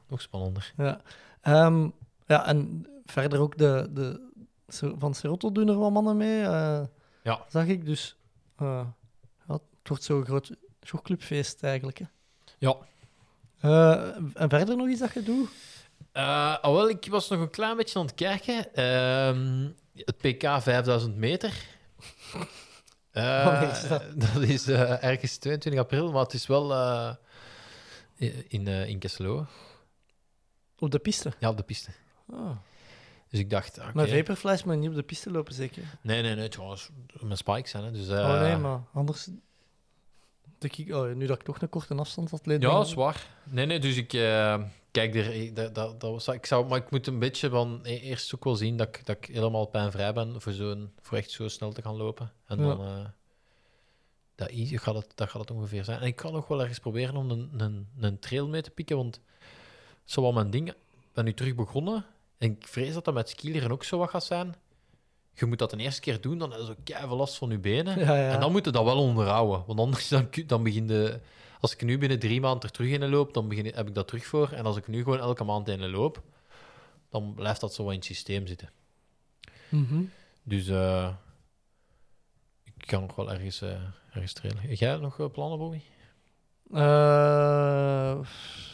[SPEAKER 9] Nog spannender.
[SPEAKER 7] Ja, Ehm, ja en verder ook de, de, Ser- van Serotto doen er wel mannen mee. eh,
[SPEAKER 9] Ja.
[SPEAKER 7] Zag ik dus. eh, ja, het wordt zo'n groot jogclubfeest eigenlijk. Hè.
[SPEAKER 9] Ja.
[SPEAKER 7] Eh, en verder nog iets dat je doet?
[SPEAKER 9] Eh alhoewel, ik was nog een klein beetje aan het kijken. Ehm, het PK 5000 meter. Eh,
[SPEAKER 7] Wanneer is dat?
[SPEAKER 9] dat is eh, ergens 22 april, maar het is wel eh, in, eh in Kesselo.
[SPEAKER 7] Op de piste.
[SPEAKER 9] Ja, op de piste.
[SPEAKER 7] Oh.
[SPEAKER 9] Dus ik dacht, oké.
[SPEAKER 7] Maar Vaporflies moet niet op de piste lopen, zeker?
[SPEAKER 9] Nee, nee, nee, trouwens, mijn spikes zijn. Hè, dus, eh,
[SPEAKER 7] oh nee, maar anders... De kick... oh, nu dat ik toch een korte afstand had leed.
[SPEAKER 9] Ja, zwaar. Nee, nee, dus ik eh, kijk er. ik- Dat, dat, dat was, ik zou, maar ik moet een beetje van e- eerst ook wel zien dat ik, dat ik helemaal pijnvrij ben voor, zo'n, voor echt zo snel te gaan lopen. En
[SPEAKER 7] Ja.
[SPEAKER 9] dan eh, dat, i- gaat het, dat gaat het ongeveer zijn. En ik kan nog wel ergens proberen om een, een, een trail mee te pikken, want dat is wel mijn ding. Ik ben nu terug begonnen en ik vrees dat dat met skileren ook zo wat gaat zijn. Je moet dat een eerste keer doen, dan is ook keihard last van je benen.
[SPEAKER 7] Ja, ja.
[SPEAKER 9] En dan moet je dat wel onderhouden. Want anders dan, ku- dan begin je... Als ik nu binnen drie maanden er terug in loop, dan begin, heb ik dat terug voor. En als ik nu gewoon elke maand in loop, dan blijft dat zo wat in het systeem zitten.
[SPEAKER 7] Mhm.
[SPEAKER 9] Dus eh, ik kan nog wel ergens, eh ergens trailen. Jij nog eh, plannen, Bobby?
[SPEAKER 7] Eh,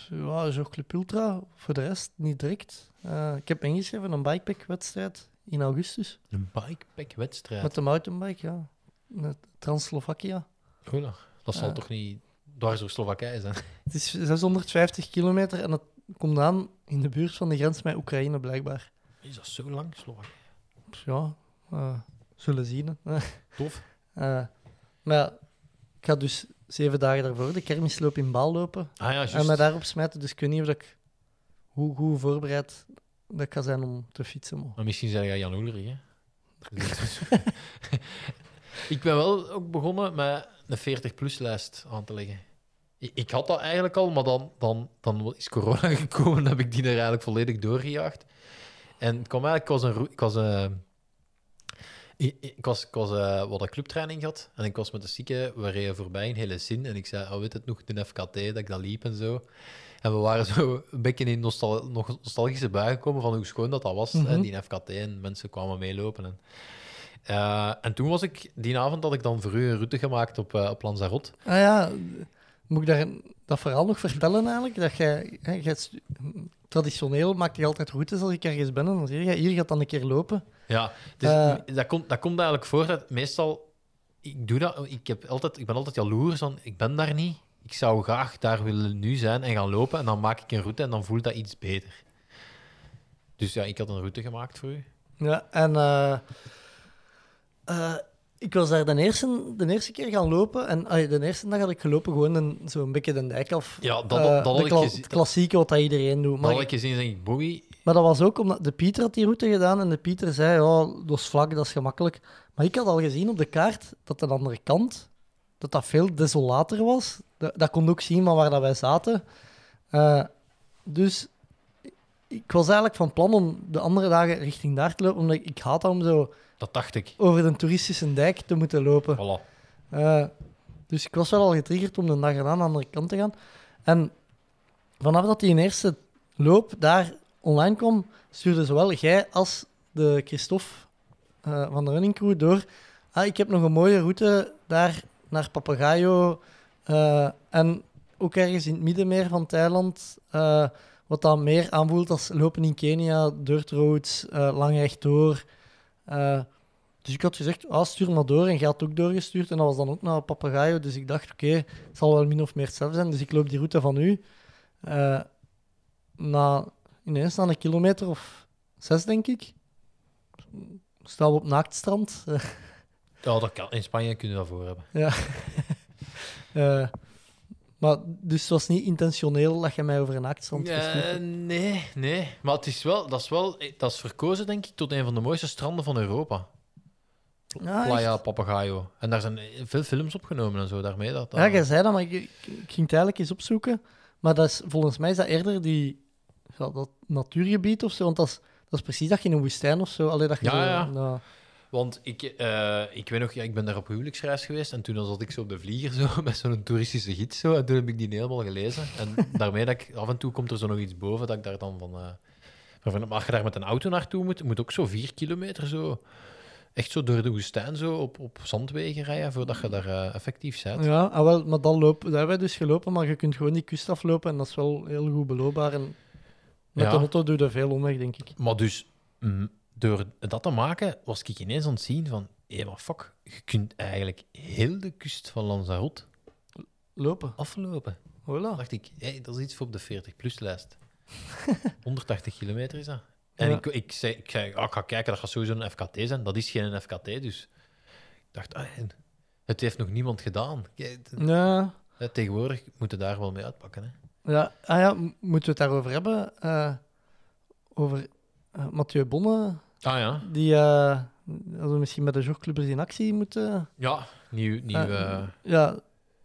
[SPEAKER 7] ja, Jogclub Ultra, voor de rest niet direct. Eh, ik heb me ingeschreven een bikepack-wedstrijd in augustus.
[SPEAKER 9] Een bikepack-wedstrijd.
[SPEAKER 7] Met de mountainbike, ja. Met Trans-Slovakia.
[SPEAKER 9] Goed, nou, dat zal
[SPEAKER 7] Ja.
[SPEAKER 9] toch niet dwars door Slowakije zijn?
[SPEAKER 7] Het is 650 kilometer en het komt aan in de buurt van de grens met Oekraïne, blijkbaar.
[SPEAKER 9] Is dat zo lang, Slowakije?
[SPEAKER 7] Dus ja, eh, zullen zien. hè.
[SPEAKER 9] Tof.
[SPEAKER 7] Eh, maar ja, ik ga dus zeven dagen daarvoor de kermisloop in Baal lopen.
[SPEAKER 9] Ah ja,
[SPEAKER 7] En
[SPEAKER 9] juist.
[SPEAKER 7] mij daarop smijten, dus ik weet niet of dat ik, hoe, hoe voorbereid dat ik ga zijn om te fietsen. maar-
[SPEAKER 9] Maar misschien zijn jij Jan Oelrich, hè? Dus ik ben wel ook begonnen met een 40-plus-lijst aan te leggen. I- Ik had dat eigenlijk al, maar dan, dan, dan is corona gekomen en heb ik die er eigenlijk volledig doorgejaagd. En het kwam eigenlijk, ik was, een, roe- ik was, eh, ik, ik was, ik was eh, wat een clubtraining gehad en ik was met de zieke, we reden voorbij in hele zin en ik zei, oh, weet het nog, de FKT, dat ik dat liep en zo. En we waren zo een beetje in nostal nog nostalgische bui gekomen van hoe schoon dat, dat was, hè,
[SPEAKER 7] Mhm.
[SPEAKER 9] die FKT. En mensen kwamen meelopen. En, eh, en toen was ik, die avond had ik dan voor u een route gemaakt op, eh, op Lanzarote.
[SPEAKER 7] Ah ja, moet ik daar dat verhaal nog vertellen eigenlijk? Dat jij, hè, jij stu- traditioneel maakt je altijd routes als ik ergens ben. En dan zeg je, hier gaat dan een keer lopen.
[SPEAKER 9] Ja, dus
[SPEAKER 7] Eh.
[SPEAKER 9] dat, komt, dat komt eigenlijk voor dat meestal... Ik, doe dat, ik, heb altijd, ik ben altijd jaloers van, ik ben daar niet. Ik zou graag daar willen nu zijn en gaan lopen. En dan maak ik een route en dan voelt dat iets beter. Dus ja, ik had een route gemaakt voor u.
[SPEAKER 7] Ja, en eh, eh, ik was daar de eerste, de eerste keer gaan lopen. En ah, de eerste dag had ik gelopen gewoon een- zo'n beetje de dijk af.
[SPEAKER 9] Ja, dat,
[SPEAKER 7] Eh,
[SPEAKER 9] dat had
[SPEAKER 7] de
[SPEAKER 9] ik
[SPEAKER 7] kla-
[SPEAKER 9] gezien.
[SPEAKER 7] Het klassieke wat dat iedereen doet.
[SPEAKER 9] Dat
[SPEAKER 7] Maar,
[SPEAKER 9] had ik gezien, denk ik, Bobby,
[SPEAKER 7] maar dat was ook omdat de Pieter had die route gedaan. En de Pieter zei, oh, dat is vlak, dat is gemakkelijk. Maar ik had al gezien op de kaart dat aan de andere kant dat dat veel desolater was. Dat, dat kon je ook zien van waar dat wij zaten. Eh, dus ik was eigenlijk van plan om de andere dagen richting daar te lopen, omdat ik, ik haat dat om zo
[SPEAKER 9] Dat dacht ik.
[SPEAKER 7] over de toeristische dijk te moeten lopen.
[SPEAKER 9] Voilà.
[SPEAKER 7] Eh, dus ik was wel al getriggerd om de dag erna aan de andere kant te gaan. En vanaf dat die eerste loop daar online kwam, stuurde zowel jij als de Christophe eh, van de Running Crew door. Ah, ik heb nog een mooie route daar naar Papagayo eh, en ook ergens in het middenmeer van Thailand. eh, wat dan meer aanvoelt als lopen in Kenia, dirt roads, eh, lang rechtdoor. Eh dus ik had gezegd, ah, stuur maar door. En jij had ook doorgestuurd. En dat was dan ook naar Papagayo. Dus ik dacht, oké, het zal wel min of meer hetzelfde zijn. Dus ik loop die route van u. eh, na, ineens na een kilometer of zes, denk ik, staan we op naaktstrand. Eh,
[SPEAKER 9] Ja, dat kan. In Spanje kunnen we dat voor hebben.
[SPEAKER 7] eh, maar dus het was niet intentioneel dat je mij over een naaktstrand
[SPEAKER 9] Eh,
[SPEAKER 7] besmeette.
[SPEAKER 9] nee, nee. Maar het is wel, dat, is wel, dat is verkozen, denk ik, tot een van de mooiste stranden van Europa.
[SPEAKER 7] Ah,
[SPEAKER 9] Playa
[SPEAKER 7] echt?
[SPEAKER 9] Papagayo. En daar zijn veel films opgenomen en zo daarmee. Dat,
[SPEAKER 7] Ja, jij zei dat, maar ik, ik, ik ging het eigenlijk eens opzoeken. Maar dat is, volgens mij is dat eerder die, ja, dat natuurgebied of zo. Want dat is, dat is precies dat je in een woestijn of zo. Alleen dat je
[SPEAKER 9] Ja,
[SPEAKER 7] zo-
[SPEAKER 9] ja.
[SPEAKER 7] nou,
[SPEAKER 9] Want ik, eh, ik weet nog, ja, ik ben daar op huwelijksreis geweest en toen zat ik zo op de vlieger zo, met zo'n toeristische gids. Zo, en toen heb ik die helemaal gelezen. En daarmee dat ik, af en toe komt er zo nog iets boven dat ik daar dan van... eh, maar van- maar als je daar met een auto naartoe moet, moet ook zo vier kilometer zo... Echt zo door de woestijn zo op, op zandwegen rijden voordat je daar eh, effectief bent.
[SPEAKER 7] Ja, ah, wel, maar dan lopen, daar hebben wij dus gelopen, maar je kunt gewoon die kust aflopen en dat is wel heel goed beloopbaar. En met
[SPEAKER 9] Ja.
[SPEAKER 7] de auto doe je daar veel omweg, denk ik.
[SPEAKER 9] Maar dus, mm, door dat te maken, was ik ineens aan het zien van... Hé, maar fuck, je kunt eigenlijk heel de kust van Lanzarote
[SPEAKER 7] Lopen,
[SPEAKER 9] aflopen. Dan
[SPEAKER 7] voilà.
[SPEAKER 9] dacht ik, hé, dat is iets voor op de 40-plus-lijst. 180 kilometer is dat. En
[SPEAKER 7] Ja.
[SPEAKER 9] ik, ik zei, ik, zei ah, ik ga kijken, dat gaat sowieso een FKT zijn. Dat is geen FKT, dus... Ik dacht, ah, en het heeft nog niemand gedaan. Kijk, het-
[SPEAKER 7] Ja,
[SPEAKER 9] hè, Tegenwoordig moeten we daar wel mee uitpakken. Hè.
[SPEAKER 7] ja, ah, ja m- moeten we het daarover hebben? Eh, over eh, Mathieu Bonne,
[SPEAKER 9] Ah ja.
[SPEAKER 7] die eh, dat we misschien met de jogclubbers in actie moeten.
[SPEAKER 9] Ja, nieuw, nieuw
[SPEAKER 7] Eh,
[SPEAKER 9] eh,
[SPEAKER 7] Ja,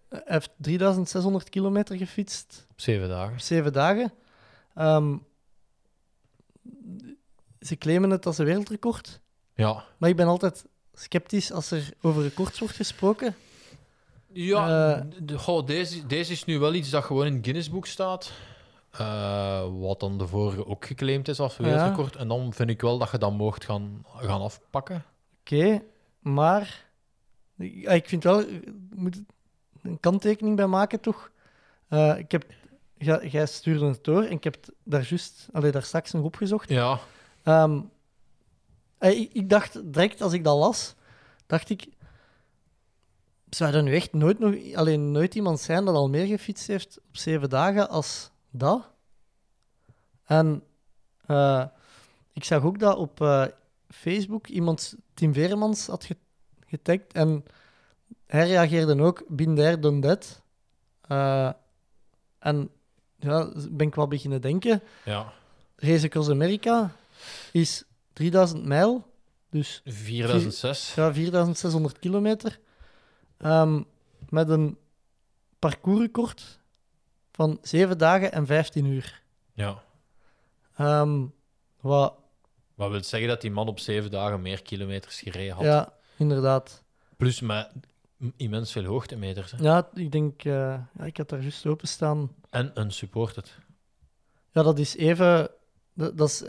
[SPEAKER 7] hij heeft 3600 kilometer gefietst.
[SPEAKER 9] op zeven dagen.
[SPEAKER 7] zeven dagen. Ehm, ze claimen het als een wereldrecord,
[SPEAKER 9] Ja.
[SPEAKER 7] maar ik ben altijd sceptisch als er over records wordt gesproken.
[SPEAKER 9] Ja,
[SPEAKER 7] Eh,
[SPEAKER 9] d- d- goh, deze, deze is nu wel iets dat gewoon in het Guinnessboek staat. Eh, wat dan de vorige ook geclaimd is als
[SPEAKER 7] Ja.
[SPEAKER 9] wereldrecord. En dan vind ik wel dat je dat moogt gaan, gaan afpakken.
[SPEAKER 7] Oké, maar ik ah, ik vind wel, je moet een kanttekening bij maken toch. Eh, ik heb, ja, jij stuurde het door en ik heb het daar juist, allee, daar straks nog opgezocht.
[SPEAKER 9] Ja,
[SPEAKER 7] Ehm, eh, ik, ik dacht direct als ik dat las, dacht ik. Zou er nu echt nooit, nog, alleen nooit iemand zijn dat al meer gefietst heeft op zeven dagen als dat? En eh, ik zag ook dat op eh, Facebook iemand, Tim Veremans, had ge- getagd en hij reageerde ook binnen there, done that. Eh, en ja, ben ik wel beginnen denken.
[SPEAKER 9] ja.
[SPEAKER 7] Race Across America is 3000 mijl, dus
[SPEAKER 9] 4006.
[SPEAKER 7] ja, 4600 kilometer, ehm, met een parcoursrecord van 7 dagen en 15 uur.
[SPEAKER 9] Ja.
[SPEAKER 7] Ehm, wat,
[SPEAKER 9] Wat wil zeggen dat die man op zeven dagen meer kilometers gereden had.
[SPEAKER 7] ja, inderdaad.
[SPEAKER 9] Plus met immens veel hoogtemeters. hè.
[SPEAKER 7] Ja, ik denk, eh, ja, ik had daar juist openstaan.
[SPEAKER 9] En een supported.
[SPEAKER 7] Ja, dat is even, dat, dat is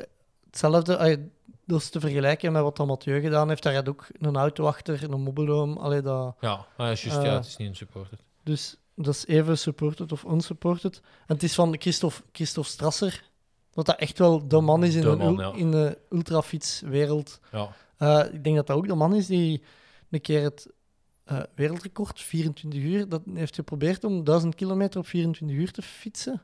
[SPEAKER 7] hetzelfde, ay, dat is te vergelijken met wat dat Mathieu gedaan heeft. Daar had ook een auto achter, een mobbeloom, allee, dat...
[SPEAKER 9] Ja, ah, ja, juist,
[SPEAKER 7] Eh.
[SPEAKER 9] ja, het is niet een supported.
[SPEAKER 7] Dus dat is even supported of unsupported. En het is van Christophe, Christophe Strasser, wat dat echt wel de man is in
[SPEAKER 9] De
[SPEAKER 7] de,
[SPEAKER 9] man,
[SPEAKER 7] ul-
[SPEAKER 9] ja.
[SPEAKER 7] in de ultrafietswereld.
[SPEAKER 9] Ja.
[SPEAKER 7] Eh, ik denk dat dat ook de man is die een keer het eh, wereldrecord, 24 uur, dat heeft geprobeerd om 1000 kilometer op 24 uur te fietsen.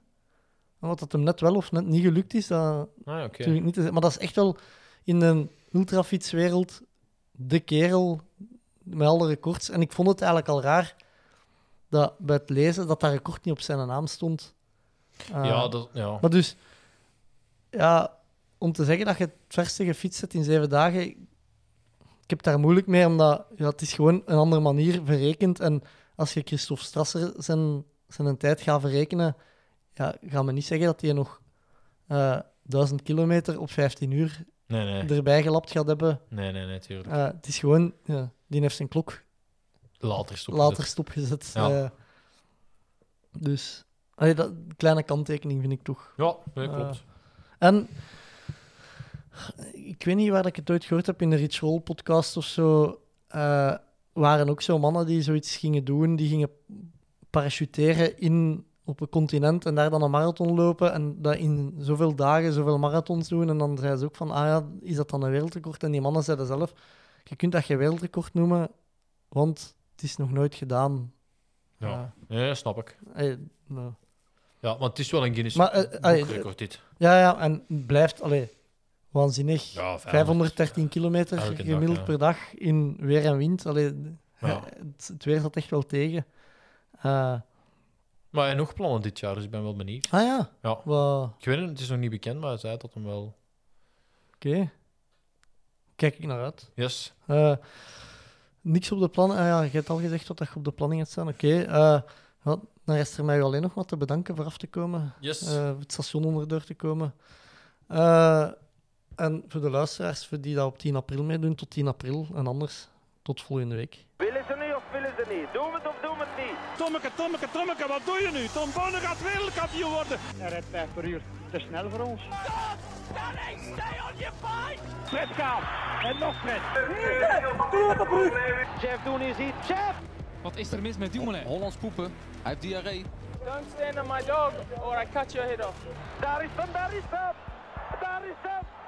[SPEAKER 7] En wat dat hem net wel of net niet gelukt is, dat
[SPEAKER 9] Ah, ja, oké.
[SPEAKER 7] natuurlijk niet te zeggen. Maar dat is echt wel in de ultrafietswereld de kerel met alle records. En ik vond het eigenlijk al raar dat bij het lezen dat dat record niet op zijn naam stond. Eh,
[SPEAKER 9] Ja, dat, ja.
[SPEAKER 7] Maar dus, ja, om te zeggen dat je het verste gefietst hebt in zeven dagen, ik heb daar moeilijk mee, omdat ja, het is gewoon een andere manier verrekend. En als je Christophe Strasser zijn, zijn tijd gaat verrekenen, ja, ga me niet zeggen dat hij nog eh 1000 kilometer op 15 uur
[SPEAKER 9] Nee, nee.
[SPEAKER 7] erbij gelapt gaat hebben.
[SPEAKER 9] Nee, nee, nee, tuurlijk.
[SPEAKER 7] Eh, het is gewoon, ja, die heeft zijn klok
[SPEAKER 9] Later stoppen.
[SPEAKER 7] later stopgezet.
[SPEAKER 9] Ja.
[SPEAKER 7] eh. dus, allee, dat kleine kanttekening vind ik toch.
[SPEAKER 9] Ja, nee,
[SPEAKER 7] Ah.
[SPEAKER 9] klopt.
[SPEAKER 7] En ik weet niet waar ik het ooit gehoord heb in de Rich Roll podcast of zo. eh, waren ook zo mannen die zoiets gingen doen. Die gingen parachuteren in, op een continent en daar dan een marathon lopen. En dat in zoveel dagen zoveel marathons doen. En dan zeiden ze ook van, ah ja, is dat dan een wereldrecord? En die mannen zeiden zelf, je kunt dat geen wereldrecord noemen, want het is nog nooit gedaan.
[SPEAKER 9] Ja.
[SPEAKER 7] Ja,
[SPEAKER 9] Nee, snap ik.
[SPEAKER 7] eh, nou.
[SPEAKER 9] Ja, maar het is wel een Guinness
[SPEAKER 7] Maar, eh, ah, eh,
[SPEAKER 9] record dit.
[SPEAKER 7] Ja, ja, en het blijft allee, waanzinnig.
[SPEAKER 9] Ja,
[SPEAKER 7] 513 kilometer
[SPEAKER 9] elke dag,
[SPEAKER 7] gemiddeld
[SPEAKER 9] ja.
[SPEAKER 7] per dag in weer en wind. Allee,
[SPEAKER 9] Ja.
[SPEAKER 7] het, het weer zat echt wel tegen. Eh,
[SPEAKER 9] Maar hij heeft nog plannen dit jaar, dus ik ben wel benieuwd.
[SPEAKER 7] ah ja,
[SPEAKER 9] Ja.
[SPEAKER 7] wel,
[SPEAKER 9] Ik weet het, het is nog niet bekend, maar hij zei dat hem wel...
[SPEAKER 7] oké. Kijk ik naar uit.
[SPEAKER 9] Yes.
[SPEAKER 7] Eh, niks op de plannen. Ah ja, je hebt al gezegd wat er op de planning gaat staan. Oké. eh, wat- dan rest er mij alleen nog wat te bedanken voor af te komen.
[SPEAKER 9] Yes.
[SPEAKER 7] eh, het station onderdoor te komen. Eh, en voor de luisteraars, voor die dat op 10 april meedoen, tot 10 april. En anders, tot volgende week.
[SPEAKER 1] Willen ze nu of willen ze niet? Doen we het of doen we het niet?
[SPEAKER 2] Tommeke, Tommeke, Tommeke, wat doe je nu? Tom Bonne gaat wereldkampioen worden.
[SPEAKER 3] Hij rijdt 5 per uur. Te snel voor ons.
[SPEAKER 2] Fred Kaap. En nog Fred.
[SPEAKER 1] Jeff Doen is iets. Jeff!
[SPEAKER 4] Wat is er mis met Dumoulin?
[SPEAKER 5] Hollands poepen. Hij heeft diarree.
[SPEAKER 6] Don't stand on my dog or I cut your head off.
[SPEAKER 1] Daar is hem, daar is hem! Daar is hem!